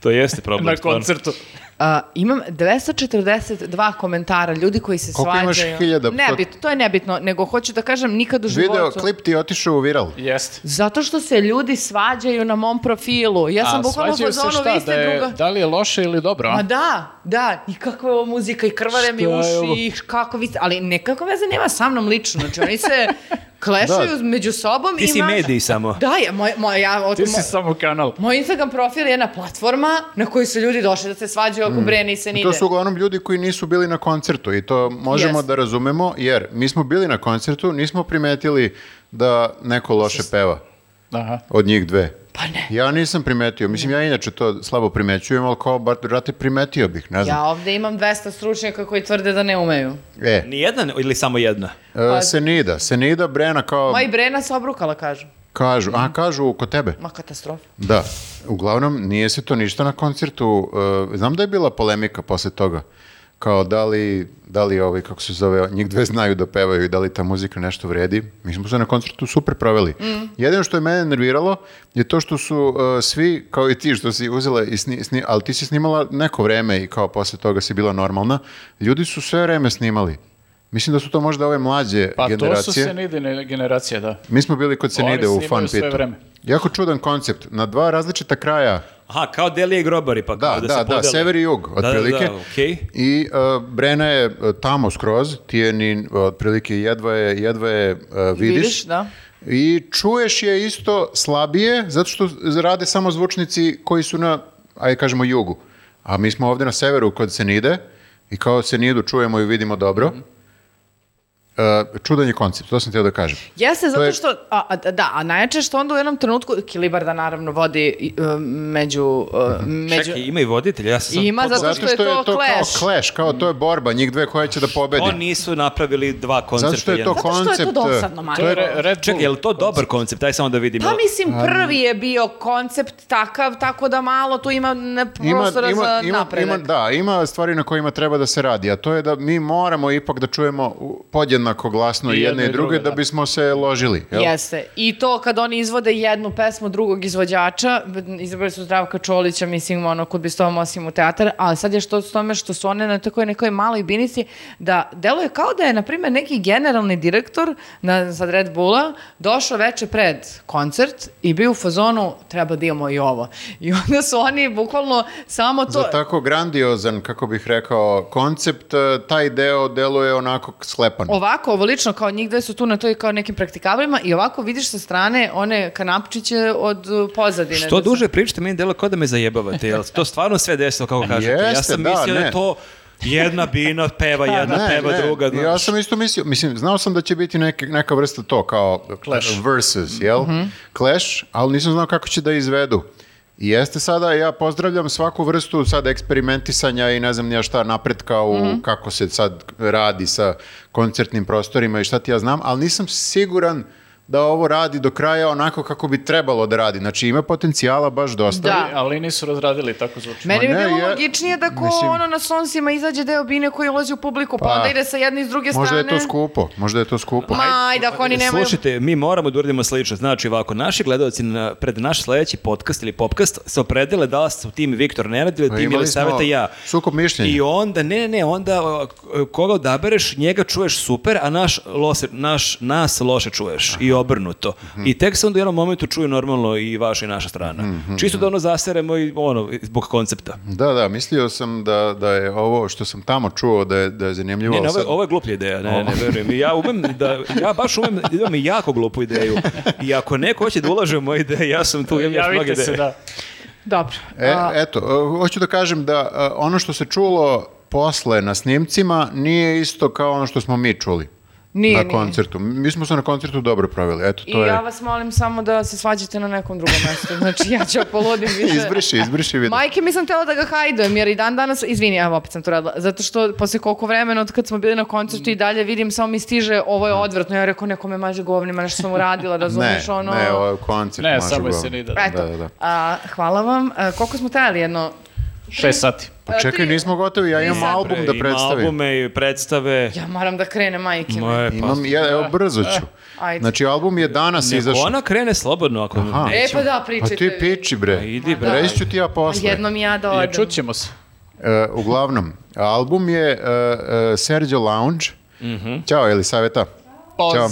Speaker 4: To jeste problem.
Speaker 1: Na
Speaker 4: stvarno.
Speaker 1: koncertu.
Speaker 2: A, imam 242 komentara ljudi koji se
Speaker 3: Koliko
Speaker 2: svađaju.
Speaker 3: imaš hiljada?
Speaker 2: Nebitno, to je nebitno, nego hoću da kažem nikad u životu.
Speaker 3: Video klip ti je otišao u viral.
Speaker 1: Jeste.
Speaker 2: Zato što se ljudi svađaju na mom profilu. Ja sam
Speaker 1: A
Speaker 2: bukvalno
Speaker 1: svađaju se šta,
Speaker 2: pozvano, vi ste
Speaker 1: da je,
Speaker 2: druga.
Speaker 1: Da li je loše ili dobro, a?
Speaker 2: Ma da, da, i kakva je ovo muzika i krvare mi
Speaker 1: Šta je ovo?
Speaker 2: uši, i kako vi ste, ali nekako veze nema sa mnom lično, znači oni se
Speaker 3: Da.
Speaker 2: klešaju među sobom.
Speaker 4: Ti
Speaker 2: i
Speaker 4: si
Speaker 2: mrača-
Speaker 4: mediji samo.
Speaker 2: Da, ja, moj, moj, ja,
Speaker 1: Ti
Speaker 2: otko-
Speaker 1: si samo kanal.
Speaker 2: moj Instagram profil je jedna platforma na koju su ljudi došli da se svađaju oko bre nisam ide.
Speaker 3: Mm. To su uglavnom ljudi koji nisu bili na koncertu i to možemo
Speaker 2: da. Jest.
Speaker 3: da razumemo jer mi smo bili na koncertu, nismo primetili da neko loše peva
Speaker 1: Aha.
Speaker 3: od njih dve.
Speaker 2: Pa ne.
Speaker 3: Ja nisam primetio, mislim ja inače to slabo primećujem, ali kao bar brate primetio bih, ne
Speaker 2: Ja
Speaker 3: znam.
Speaker 2: ovde imam 200 stručnjaka koji tvrde da ne umeju.
Speaker 3: E,
Speaker 4: Nijedna ili samo jedna?
Speaker 2: Pa-
Speaker 3: e, Senida, Senida Brena kao
Speaker 2: Ma i Brena se obrukala, kažu.
Speaker 3: kažu, a kažu kod tebe.
Speaker 2: Ma katastrofa.
Speaker 3: Da, uglavnom nije se to ništa na koncertu. e, znam da je bila polemika posle toga. Kao da li, da li ovi, kako se zove, njih dve znaju da pevaju i da li ta muzika nešto vredi. Mi smo se na koncertu super proveli. Jedino što je mene nerviralo je to što su e, svi, kao i ti što si uzela, i sni, sni- ali ti si snimala neko vreme i kao posle toga si bila normalna. Ljudi su sve vreme snimali. Mislim da su to možda ove mlađe
Speaker 1: Pa
Speaker 3: generacije.
Speaker 1: to su se nidine generacije, da.
Speaker 3: Mi smo bili kod Senide u
Speaker 1: snimaju
Speaker 3: fan
Speaker 1: sve
Speaker 3: pitu.
Speaker 1: vreme.
Speaker 3: Jako čudan koncept. Na dva različita kraja
Speaker 4: Aha, kao Delije i Grobari, pa
Speaker 3: Da,
Speaker 4: kao da,
Speaker 3: da,
Speaker 4: se
Speaker 3: da,
Speaker 4: podele.
Speaker 3: sever i jug, otprilike.
Speaker 4: Da, da, da, okej.
Speaker 3: I uh, Brena je uh, tamo skroz, ti je ni, uh, otprilike jedva je, jedva je uh, vidiš.
Speaker 2: Vidiš, da.
Speaker 3: I čuješ je isto slabije, zato što rade samo zvučnici koji su na, ajde kažemo, jugu. A mi smo ovde na severu kod Senide i kao Senidu čujemo i vidimo dobro.
Speaker 1: Mhm.
Speaker 3: Uh, čudan je koncept, to sam htio da kažem.
Speaker 2: Jeste,
Speaker 3: je-
Speaker 2: zato što, a, a, da, a najjače što onda u jednom trenutku, Kilibarda naravno vodi i, e, među, e, među
Speaker 4: Čekaj, ima i voditelj, ja sam...
Speaker 2: ima zato što, je to, clash.
Speaker 3: kao clash, kao to je borba njih dve koja će da pobedi.
Speaker 4: Oni nisu napravili dva koncerta.
Speaker 3: Zato što je to
Speaker 4: jedan.
Speaker 2: Zato što je to
Speaker 3: koncept... uh,
Speaker 2: dosadno, Mario.
Speaker 1: To je Re- Red
Speaker 4: Čekaj, je li to dobar koncept? Daj samo da vidim.
Speaker 2: Pa mislim, prvi je bio koncept takav, tako da malo tu ima ne, prostora za napredak.
Speaker 3: Ima, da, ima stvari na kojima treba da se radi, a to je da mi moramo ipak da čujemo u- podjednako glasno
Speaker 1: I
Speaker 3: i jedne i druge da. bismo se ložili. Jel?
Speaker 2: Jeste. I to kad oni izvode jednu pesmu drugog izvođača, b- izabrali su Zdravka Čolića, mislim, ono, kod bi s tom osim u teatar, ali sad je što s tome što su one na takoj nekoj maloj binici, da deluje kao da je, na primjer, neki generalni direktor na, sad Red Bulla došao veče pred koncert i bio u fazonu, treba da imamo i ovo. I onda su oni bukvalno samo to...
Speaker 3: Za tako grandiozan, kako bih rekao, koncept, eh, taj deo deluje onako sklepan.
Speaker 2: Ovako, ovo lično, kao njih dve su tu na toj kao nekim praktikablima i ovako vidiš sa strane one kanapčiće od uh, pozadine.
Speaker 4: Što
Speaker 2: da su-
Speaker 4: duže pričate, meni delo kao da me zajebavate. Jel to stvarno sve desilo kako kažete? ja
Speaker 3: Jeste,
Speaker 4: sam
Speaker 3: da,
Speaker 4: mislio da,
Speaker 3: ne.
Speaker 4: je to jedna bina
Speaker 3: *laughs*
Speaker 4: peva jedna,
Speaker 3: Ne,
Speaker 4: Pa da, peva
Speaker 3: ne,
Speaker 4: druga.
Speaker 3: ja
Speaker 4: znaš.
Speaker 3: sam isto mislio, mislim, znao sam da će biti neke, neka vrsta to, kao clash. versus, jel? Clash, ali nisam znao kako će da izvedu. I jeste sada, ja pozdravljam svaku vrstu sad eksperimentisanja i ne znam ni ja šta napretka u kako se sad radi sa koncertnim prostorima i šta ti ja znam, ali nisam siguran da ovo radi do kraja onako kako bi trebalo da radi. Znači ima potencijala baš dosta.
Speaker 2: Da.
Speaker 1: Ali nisu razradili, tako zvuči.
Speaker 2: Meni bi
Speaker 3: Ma ne,
Speaker 2: bilo
Speaker 3: ja-
Speaker 2: logičnije da ko
Speaker 3: mislim-
Speaker 2: ono na slonsima izađe deo bine koji ulazi u publiku, pa,
Speaker 3: Pa,
Speaker 2: onda ide sa jedne i s druge
Speaker 3: Možda
Speaker 2: strane.
Speaker 3: je to skupo, Pa, e, možda je to skupo.
Speaker 2: Ma, ajde, ako oni nemaju...
Speaker 4: Slušajte, mi moramo da uradimo slično. Znači ovako, naši gledalci na, pred naš sledeći podcast ili popkast se opredele da li su tim Viktor Nenad ili
Speaker 3: Pa
Speaker 4: tim
Speaker 3: imali
Speaker 4: ili
Speaker 3: smo
Speaker 4: savete ja.
Speaker 3: sukob mišljenja.
Speaker 4: I onda, ne, ne, ne, onda o, k- koga odabereš, njega čuješ super, a naš, lose, naš nas loše čuješ i obrnuto.
Speaker 3: Mhm.
Speaker 4: I tek se onda u jednom momentu čuje normalno i vaša i naša strana.
Speaker 3: Mhm.
Speaker 4: Čisto da ono zaseremo i ono, zbog koncepta.
Speaker 3: Da, da, mislio sam da, da je ovo što sam tamo čuo da je, da je zanimljivo.
Speaker 4: Ne, ne,
Speaker 3: ali
Speaker 4: ovo, je-
Speaker 3: sad-
Speaker 4: ovo je gluplja ideja, ne, ne, verujem. I Ja umem da, ja baš umem, imam i jako glupu ideju. I ako neko hoće da ulaže u moje ideje, ja sam tu, imam još mnoge
Speaker 1: Javite
Speaker 4: ideje.
Speaker 1: se, da.
Speaker 2: Dobro.
Speaker 3: E, eto, e, hoću da kažem da e, ono što se čulo posle na snimcima nije isto kao ono što smo mi čuli.
Speaker 2: Nije,
Speaker 3: na
Speaker 2: nije.
Speaker 3: koncertu. Mi smo se na koncertu dobro proveli. Eto,
Speaker 2: I
Speaker 3: to je.
Speaker 2: ja vas molim samo da se svađate na nekom drugom mestu. Znači, ja ću polodim više.
Speaker 3: *laughs* Izbriši, izbriši video.
Speaker 2: Majke, mi sam htjela da ga hajdujem, jer i dan danas, izvini, evo opet sam to radila, zato što posle koliko vremena od kad smo bili na koncertu i dalje vidim, samo mi stiže, ovo je odvratno, ja rekao, neko me maže govnima, nešto sam uradila,
Speaker 3: Mm. *laughs* ne,
Speaker 2: razumeš, ono...
Speaker 3: ne, ovo je koncert.
Speaker 1: Ne,
Speaker 3: može
Speaker 1: samo je
Speaker 3: uglavnom.
Speaker 1: Senida.
Speaker 2: Eto,
Speaker 3: Da, da, da.
Speaker 2: A, hvala vam. A, koliko smo trajali jedno?
Speaker 1: Šest sati.
Speaker 2: E,
Speaker 3: Pa čekaj, nismo gotovi, ja imam
Speaker 2: sata.
Speaker 3: album da
Speaker 4: Ima
Speaker 3: predstavim.
Speaker 4: albume i predstave.
Speaker 2: Ja moram da krenem, majke. mi.
Speaker 4: Moje, pa,
Speaker 3: Imam, ja, evo, brzo ću.
Speaker 2: Ajde.
Speaker 3: Znači, album je danas
Speaker 4: Nego
Speaker 3: izašao.
Speaker 4: ona krene slobodno ako
Speaker 3: Aha.
Speaker 2: E,
Speaker 4: nećemo.
Speaker 2: pa da,
Speaker 3: Pa
Speaker 2: pričajte. Pa
Speaker 3: ti piči, bre.
Speaker 4: Idi, bre.
Speaker 3: Reći ću ti ja posle.
Speaker 2: Jednom i ja da odem.
Speaker 1: I čućemo se.
Speaker 3: E, uglavnom, album je e, e, Sergio Lounge.
Speaker 4: Mhm.
Speaker 3: Ćao, Elisaveta. Ćao.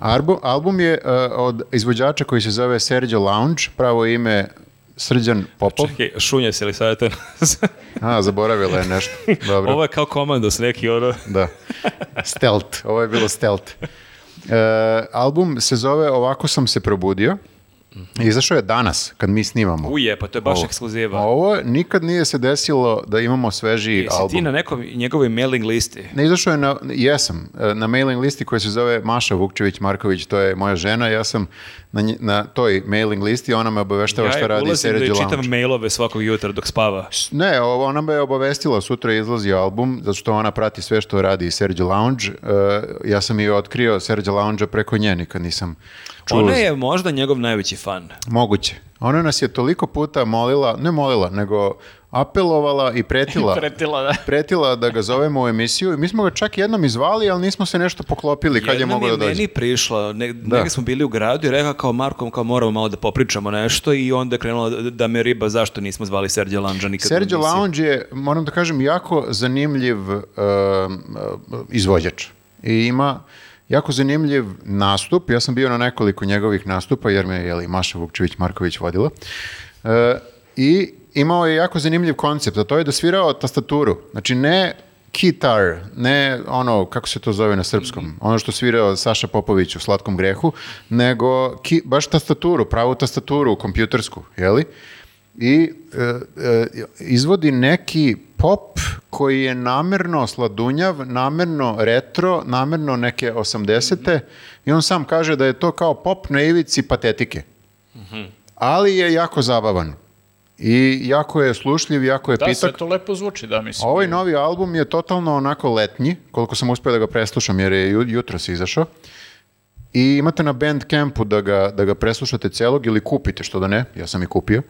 Speaker 3: Arbu- album je e, od izvođača koji se zove Sergio Lounge, pravo ime Srđan Popov.
Speaker 4: Čekaj, šunja se li savjeta? Znači-
Speaker 3: A, zaboravila je
Speaker 4: *laughs*
Speaker 3: nešto. *laughs* Dobro,
Speaker 4: Ovo je kao komandos neki, ono.
Speaker 3: da. Stealth, ovo je bilo stealth. E, album se zove Ovako sam se probudio. Izašao je danas, kad mi snimamo.
Speaker 4: Uje, pa to je Mhm. baš
Speaker 3: Ovo.
Speaker 4: ekskluziva.
Speaker 3: Ovo nikad nije se desilo da imamo svežiji
Speaker 4: Jesi ti
Speaker 3: album.
Speaker 4: na nekom njegovoj mailing listi?
Speaker 3: Ne izašao je na, jesam, e, na mailing listi koja se zove Maša Vukčević-Marković, to je moja žena, ja sam na, nje- na toj mailing listi, ona me obaveštava šta
Speaker 4: ja
Speaker 3: radi
Speaker 4: ulazim da
Speaker 3: Seredi
Speaker 4: joj
Speaker 3: Lounge.
Speaker 4: čitam mailove svakog jutra dok spava.
Speaker 3: Ne, ovo, ona me je obavestila, sutra izlazi album, zato što ona prati sve što radi Sergio Lounge. E, ja sam i otkrio Sergio Lounge preko nje, nikad nisam čuo.
Speaker 4: Ona je možda njegov najveći fan.
Speaker 3: Moguće. Ona nas je toliko puta molila, ne molila, nego apelovala i
Speaker 4: *laughs*
Speaker 3: pretila.
Speaker 1: Pretila, da.
Speaker 3: *laughs* pretila da ga zovemo u emisiju i mi smo ga čak jednom izvali, ali nismo se nešto poklopili kad je
Speaker 4: Jednom
Speaker 3: mogao da dođe. Da.
Speaker 4: meni prišla, ne, negdje smo bili u gradu i rekao kao Markom kao moramo malo da popričamo nešto i onda je krenula da, da me riba zašto nismo zvali Serđe Lanđa nikad. u
Speaker 3: Sergio
Speaker 4: emisiju.
Speaker 3: Lounge je, moram da kažem, jako zanimljiv um, uh, izvođač. I ima jako zanimljiv nastup. Ja sam bio na nekoliko njegovih nastupa, jer me je jeli, Maša Vukčević-Marković vodila. Uh, I imao je jako zanimljiv koncept, a to je da svirao tastaturu. Znači, ne kitar, ne ono, kako se to zove na srpskom, ono što svirao Saša Popović u Slatkom grehu, nego ki, baš tastaturu, pravu tastaturu, kompjutersku, jeli? i e, e, izvodi neki pop koji je namerno sladunjav, namerno retro, namerno neke 80-te i on sam kaže da je to kao pop na ivici patetike.
Speaker 1: Mhm.
Speaker 3: Ali je jako zabavan i jako je slušljiv, jako je
Speaker 1: Da, sve
Speaker 3: pitak.
Speaker 1: to lepo zvuči, da, mislim.
Speaker 3: Ovaj novi album je totalno onako letnji, koliko sam uspio da ga preslušam jer je ju- jutros izašao. I imate na Bandcampu da ga, da ga preslušate celog ili kupite, što da ne, ja sam i kupio.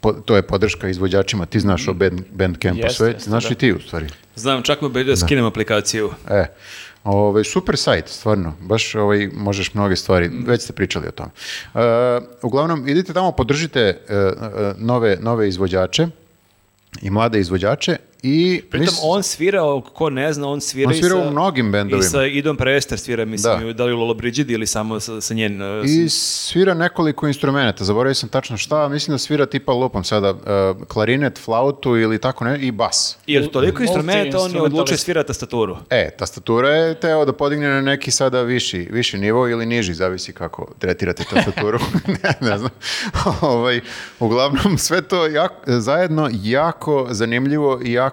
Speaker 3: Po- to je podrška izvođačima, ti znaš o band, Bandcampu
Speaker 1: Mm. Jeste,
Speaker 3: sve,
Speaker 1: jeste,
Speaker 3: znaš
Speaker 1: da.
Speaker 3: i ti u stvari.
Speaker 4: Znam, čak me bili da skinem aplikaciju.
Speaker 3: E, ovaj, super sajt, stvarno, baš ovaj, možeš mnoge stvari,
Speaker 1: Mm.
Speaker 3: već ste pričali o tome. E, uglavnom, idite tamo, podržite e, e, nove, nove izvođače i mlade izvođače i...
Speaker 4: Pritom,
Speaker 3: mis-
Speaker 4: on svira, ko ne zna, on svira,
Speaker 3: On svira
Speaker 4: i sa,
Speaker 3: u mnogim bendovima.
Speaker 4: I sa Idom Prester svira, mislim,
Speaker 3: Da.
Speaker 4: da, da li u Lolo ili samo sa, sa njen... uh,
Speaker 3: I svira nekoliko instrumenta, zaboravio sam tačno šta, mislim da svira tipa lupom sada, e, klarinet, flautu ili tako ne, i bas.
Speaker 4: I od toliko instrumenta on je
Speaker 1: Multi-instrumentalist.
Speaker 4: odlučio svira tastaturu.
Speaker 3: E, tastatura je teo da podigne na neki sada viši, viši nivo ili niži, zavisi kako tretirate tastaturu, *laughs* ne, ne znam. ovaj, uglavnom, sve to jak- zajedno jako zanimljivo i jako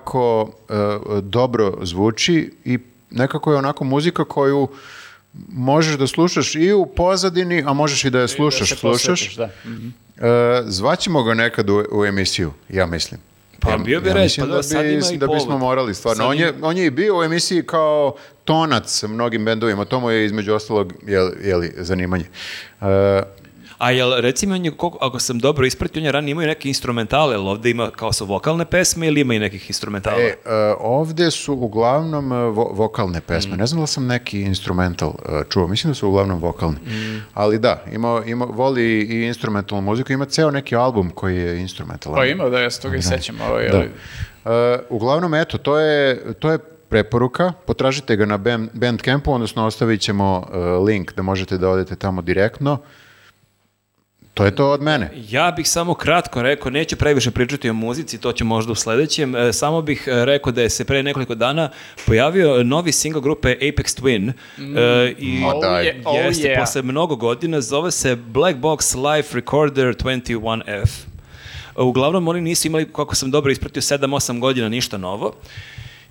Speaker 3: e, dobro zvuči i nekako je onako muzika koju možeš da slušaš i u pozadini, a možeš i da je slušaš,
Speaker 1: Da se
Speaker 3: slušaš.
Speaker 1: posvetiš, Da.
Speaker 3: E, zvaćemo ga nekad u, u emisiju, ja mislim.
Speaker 4: Pa bio bi red,
Speaker 3: mislim
Speaker 4: pa da, sad ima i
Speaker 3: da bismo
Speaker 4: povod.
Speaker 3: morali, stvarno.
Speaker 4: Sad
Speaker 3: On je, on je i bio u emisiji kao tonac mnogim bendovima, to mu je između ostalog jeli, jeli, zanimanje. E,
Speaker 4: A jel, recimo, on je, koliko- ako sam dobro ispratio, on je ranije imao i neke instrumentale, jel ovde ima kao su vokalne pesme ili ima i nekih instrumentala?
Speaker 3: e, e, ovde su uglavnom e, vo- vokalne pesme.
Speaker 4: Mm.
Speaker 3: Ne znam da li sam neki instrumental e, čuo, mislim da su uglavnom vokalni.
Speaker 4: Mm.
Speaker 3: Ali da, ima, ima, voli i instrumentalnu muziku, ima ceo neki album koji je instrumentalan.
Speaker 1: Pa ima, da, ja se toga i sećam. Ovaj,
Speaker 3: Da.
Speaker 1: ali-
Speaker 3: E, uglavnom, eto, to je, to je preporuka. Potražite ga na Bam- Bandcampu, odnosno ostavit ćemo e, link da možete da odete tamo direktno. To je to od mene.
Speaker 4: Ja bih samo kratko rekao, neću previše pričati o muzici, to ću možda u sledećem, e, samo bih e, rekao da je se pre nekoliko dana pojavio novi single grupe Apex Twin e, i
Speaker 3: Mm. Ma daj.
Speaker 1: je- oh
Speaker 4: jeste
Speaker 1: yeah.
Speaker 4: posle mnogo godina, zove se Black Box Live Recorder 21F. Uglavnom oni nisu imali, kako sam dobro ispratio, 7-8 godina ništa novo.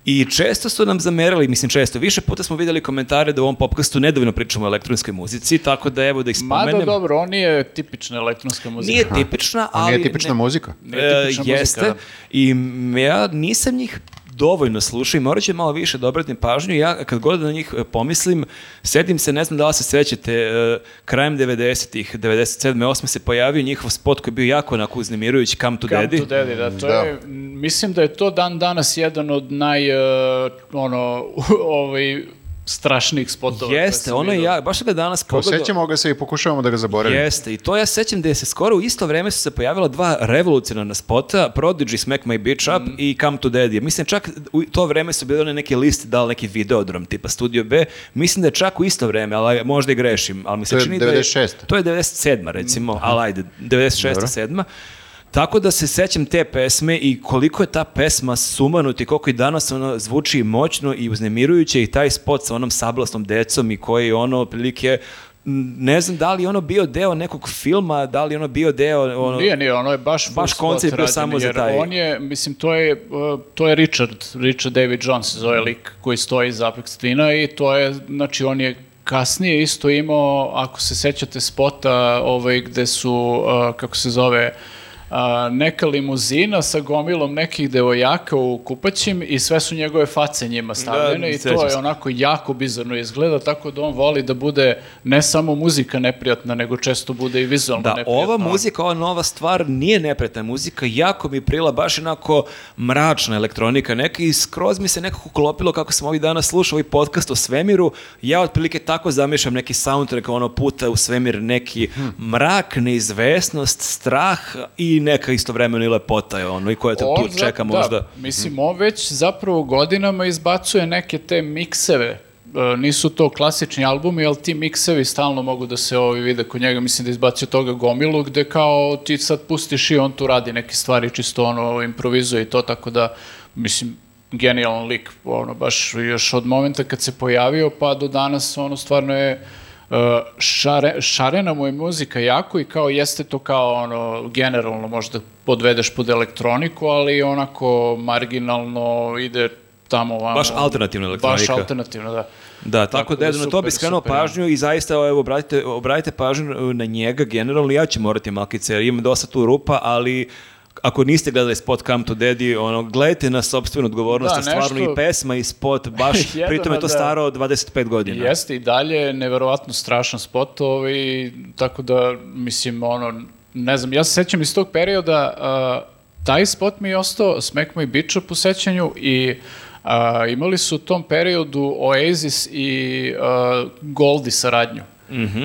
Speaker 4: I često su nam zamerali, mislim često, više puta smo vidjeli komentare da u ovom popkastu nedovoljno pričamo o elektronskoj muzici, tako da evo da ih
Speaker 1: Mada
Speaker 4: spomenem.
Speaker 1: dobro, on nije tipična elektronska muzika.
Speaker 4: Nije tipična,
Speaker 3: On
Speaker 4: ali...
Speaker 3: je tipična
Speaker 4: ne-
Speaker 3: muzika.
Speaker 1: Nije tipična
Speaker 4: E,
Speaker 1: muzika,
Speaker 4: jeste.
Speaker 1: da.
Speaker 4: I m- ja nisam njih dovoljno slušao i morat ću malo više da obratim pažnju. Ja kad god na njih e, pomislim, sedim se, ne znam da li se sećate, e, krajem 90-ih, 97. 8. se pojavio njihov spot koji je bio jako onako uznemirujući, Come to
Speaker 1: Come
Speaker 4: Daddy.
Speaker 1: to Daddy, da, to
Speaker 3: Da.
Speaker 1: je, mislim da je to dan danas jedan od naj, e, ono, *laughs* ovaj, strašnijih spotova. koje
Speaker 4: Jeste,
Speaker 1: sam
Speaker 4: ono je
Speaker 1: vidio.
Speaker 4: ja, baš sam ga danas pogledao.
Speaker 3: Osjećamo ga se i pokušavamo da ga zaboravimo.
Speaker 4: Jeste, i to ja sećam da je se skoro u isto vreme su se pojavila dva revolucionarna spota, Prodigy Smack My Bitch
Speaker 3: Mm.
Speaker 4: Up i Come to Daddy. Mislim, čak u to vreme su bile one neke liste, da li neki videodrom tipa Studio B, mislim da je čak u isto vreme, ali možda i grešim. Ali mi se
Speaker 3: To je
Speaker 4: čini da je-
Speaker 3: 96..
Speaker 4: to je 97. recimo, ali ajde, 96. 7. Tako da se sećam te pesme i koliko je ta pesma sumanuta i koliko i danas ono zvuči moćno i uznemirujuće i taj spot sa onom sablasnom decom i koji je ono otprilike m, ne znam da li je ono bio deo nekog filma, da li je ono bio deo... Ono,
Speaker 1: Nije, nije, ono je baš full
Speaker 4: Baš
Speaker 1: spot
Speaker 4: koncept bio
Speaker 1: rađen,
Speaker 4: samo za
Speaker 1: jer
Speaker 4: taj-
Speaker 1: On je, mislim, to je, uh, to je Richard, Richard David Jones se zove lik koji stoji iz Apex Twina i to je, znači on je kasnije isto imao, ako se sećate spota ovaj, gde su, uh, kako se zove, uh, neka limuzina sa gomilom nekih devojaka u kupaćim i sve su njegove face njima stavljene i
Speaker 4: Da, sećam
Speaker 1: to je
Speaker 4: se.
Speaker 1: onako jako bizarno izgleda, tako da on voli da bude ne samo muzika neprijatna, nego često bude i vizualno
Speaker 4: Da,
Speaker 1: neprijatna.
Speaker 4: ova muzika, ova nova stvar nije nepretna muzika, jako mi prila baš onako mračna elektronika neka i skroz mi se nekako uklopilo kako sam ovih dana slušao ovaj podcast o svemiru, ja otprilike tako zamišljam neki soundtrack ono puta u svemir, neki
Speaker 1: Hm.
Speaker 4: mrak, neizvesnost, strah i neka istovremeno i lepota je ono i koja te
Speaker 1: On
Speaker 4: tu
Speaker 1: za- da,
Speaker 4: čeka možda.
Speaker 1: mislim, on već zapravo godinama izbacuje neke te mikseve. E, nisu to klasični albumi, ali ti miksevi stalno mogu da se ovi vide kod njega. Mislim da izbacio toga gomilu gde kao ti sad pustiš i on tu radi neke stvari, čisto ono improvizuje i to, tako da mislim genijalan lik, ono baš još od momenta kad se pojavio pa do danas ono stvarno je Uh, šare, šarena mu je muzika jako i kao jeste to kao ono generalno možda podvedeš pod elektroniku, ali onako marginalno ide tamo ovamo.
Speaker 4: Baš alternativna elektronika.
Speaker 1: Baš alternativno, da.
Speaker 4: Da, tako,
Speaker 1: Tako
Speaker 4: da,
Speaker 1: da
Speaker 4: eto, na to bi
Speaker 1: super,
Speaker 4: skrenuo
Speaker 1: super.
Speaker 4: pažnju i zaista evo, obratite, obratite pažnju e, na njega generalno, ja ću morati malkice, jer imam dosta tu rupa, ali ako niste gledali spot Come to Daddy, ono, gledajte na sobstvenu
Speaker 1: Da,
Speaker 4: odgovornost, da, stvarno
Speaker 1: nešto-
Speaker 4: i pesma i spot,
Speaker 1: *laughs*
Speaker 4: baš,
Speaker 1: Jedno
Speaker 4: pritom je to
Speaker 1: da-
Speaker 4: staro 25 godina.
Speaker 1: Jeste i dalje neverovatno strašan spot ovaj, tako da mislim ono ne znam, ja se sećam iz tog perioda a, taj spot mi je ostao Smack My Bitch po sećanju i a, imali su u tom periodu Oasis i a, Goldie saradnju.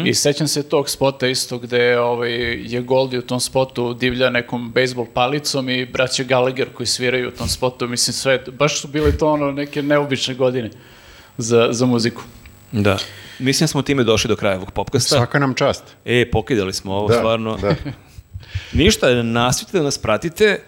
Speaker 1: I sećam se tog spota isto gde ovaj, je Goldie u tom spotu divlja nekom bejsbol palicom i braće Gallagher koji sviraju u tom spotu. Mislim sve, baš su bile to ono neke neobične godine za, za muziku.
Speaker 4: Da. Mislim da smo time došli do kraja ovog popkasta.
Speaker 3: Svaka nam čast.
Speaker 4: E, pokidali smo ovo,
Speaker 3: Da,
Speaker 4: stvarno.
Speaker 3: da.
Speaker 4: Ništa, nastavite da nas pratite,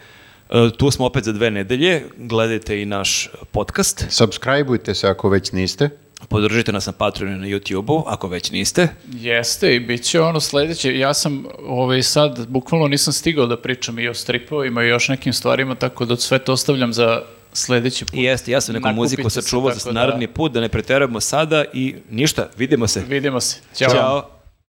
Speaker 4: E, tu smo opet za dve nedelje, gledajte i naš podcast.
Speaker 3: Subscribeujte se ako već niste.
Speaker 4: Podržite nas na Patreonu i na YouTubeu, ako već niste.
Speaker 1: Jeste i bit će ono sledeće. Ja sam ovaj, sad, bukvalno nisam stigao da pričam i o stripovima i još nekim stvarima, tako da sve to ostavljam za sledeći put.
Speaker 4: I jeste, ja sam neku
Speaker 1: Nakupite
Speaker 4: muziku
Speaker 1: se,
Speaker 4: sačuvao
Speaker 1: tako
Speaker 4: za
Speaker 1: da-
Speaker 4: naredni put, da ne preterujemo sada i ništa, vidimo se.
Speaker 1: Vidimo se.
Speaker 4: Ćao.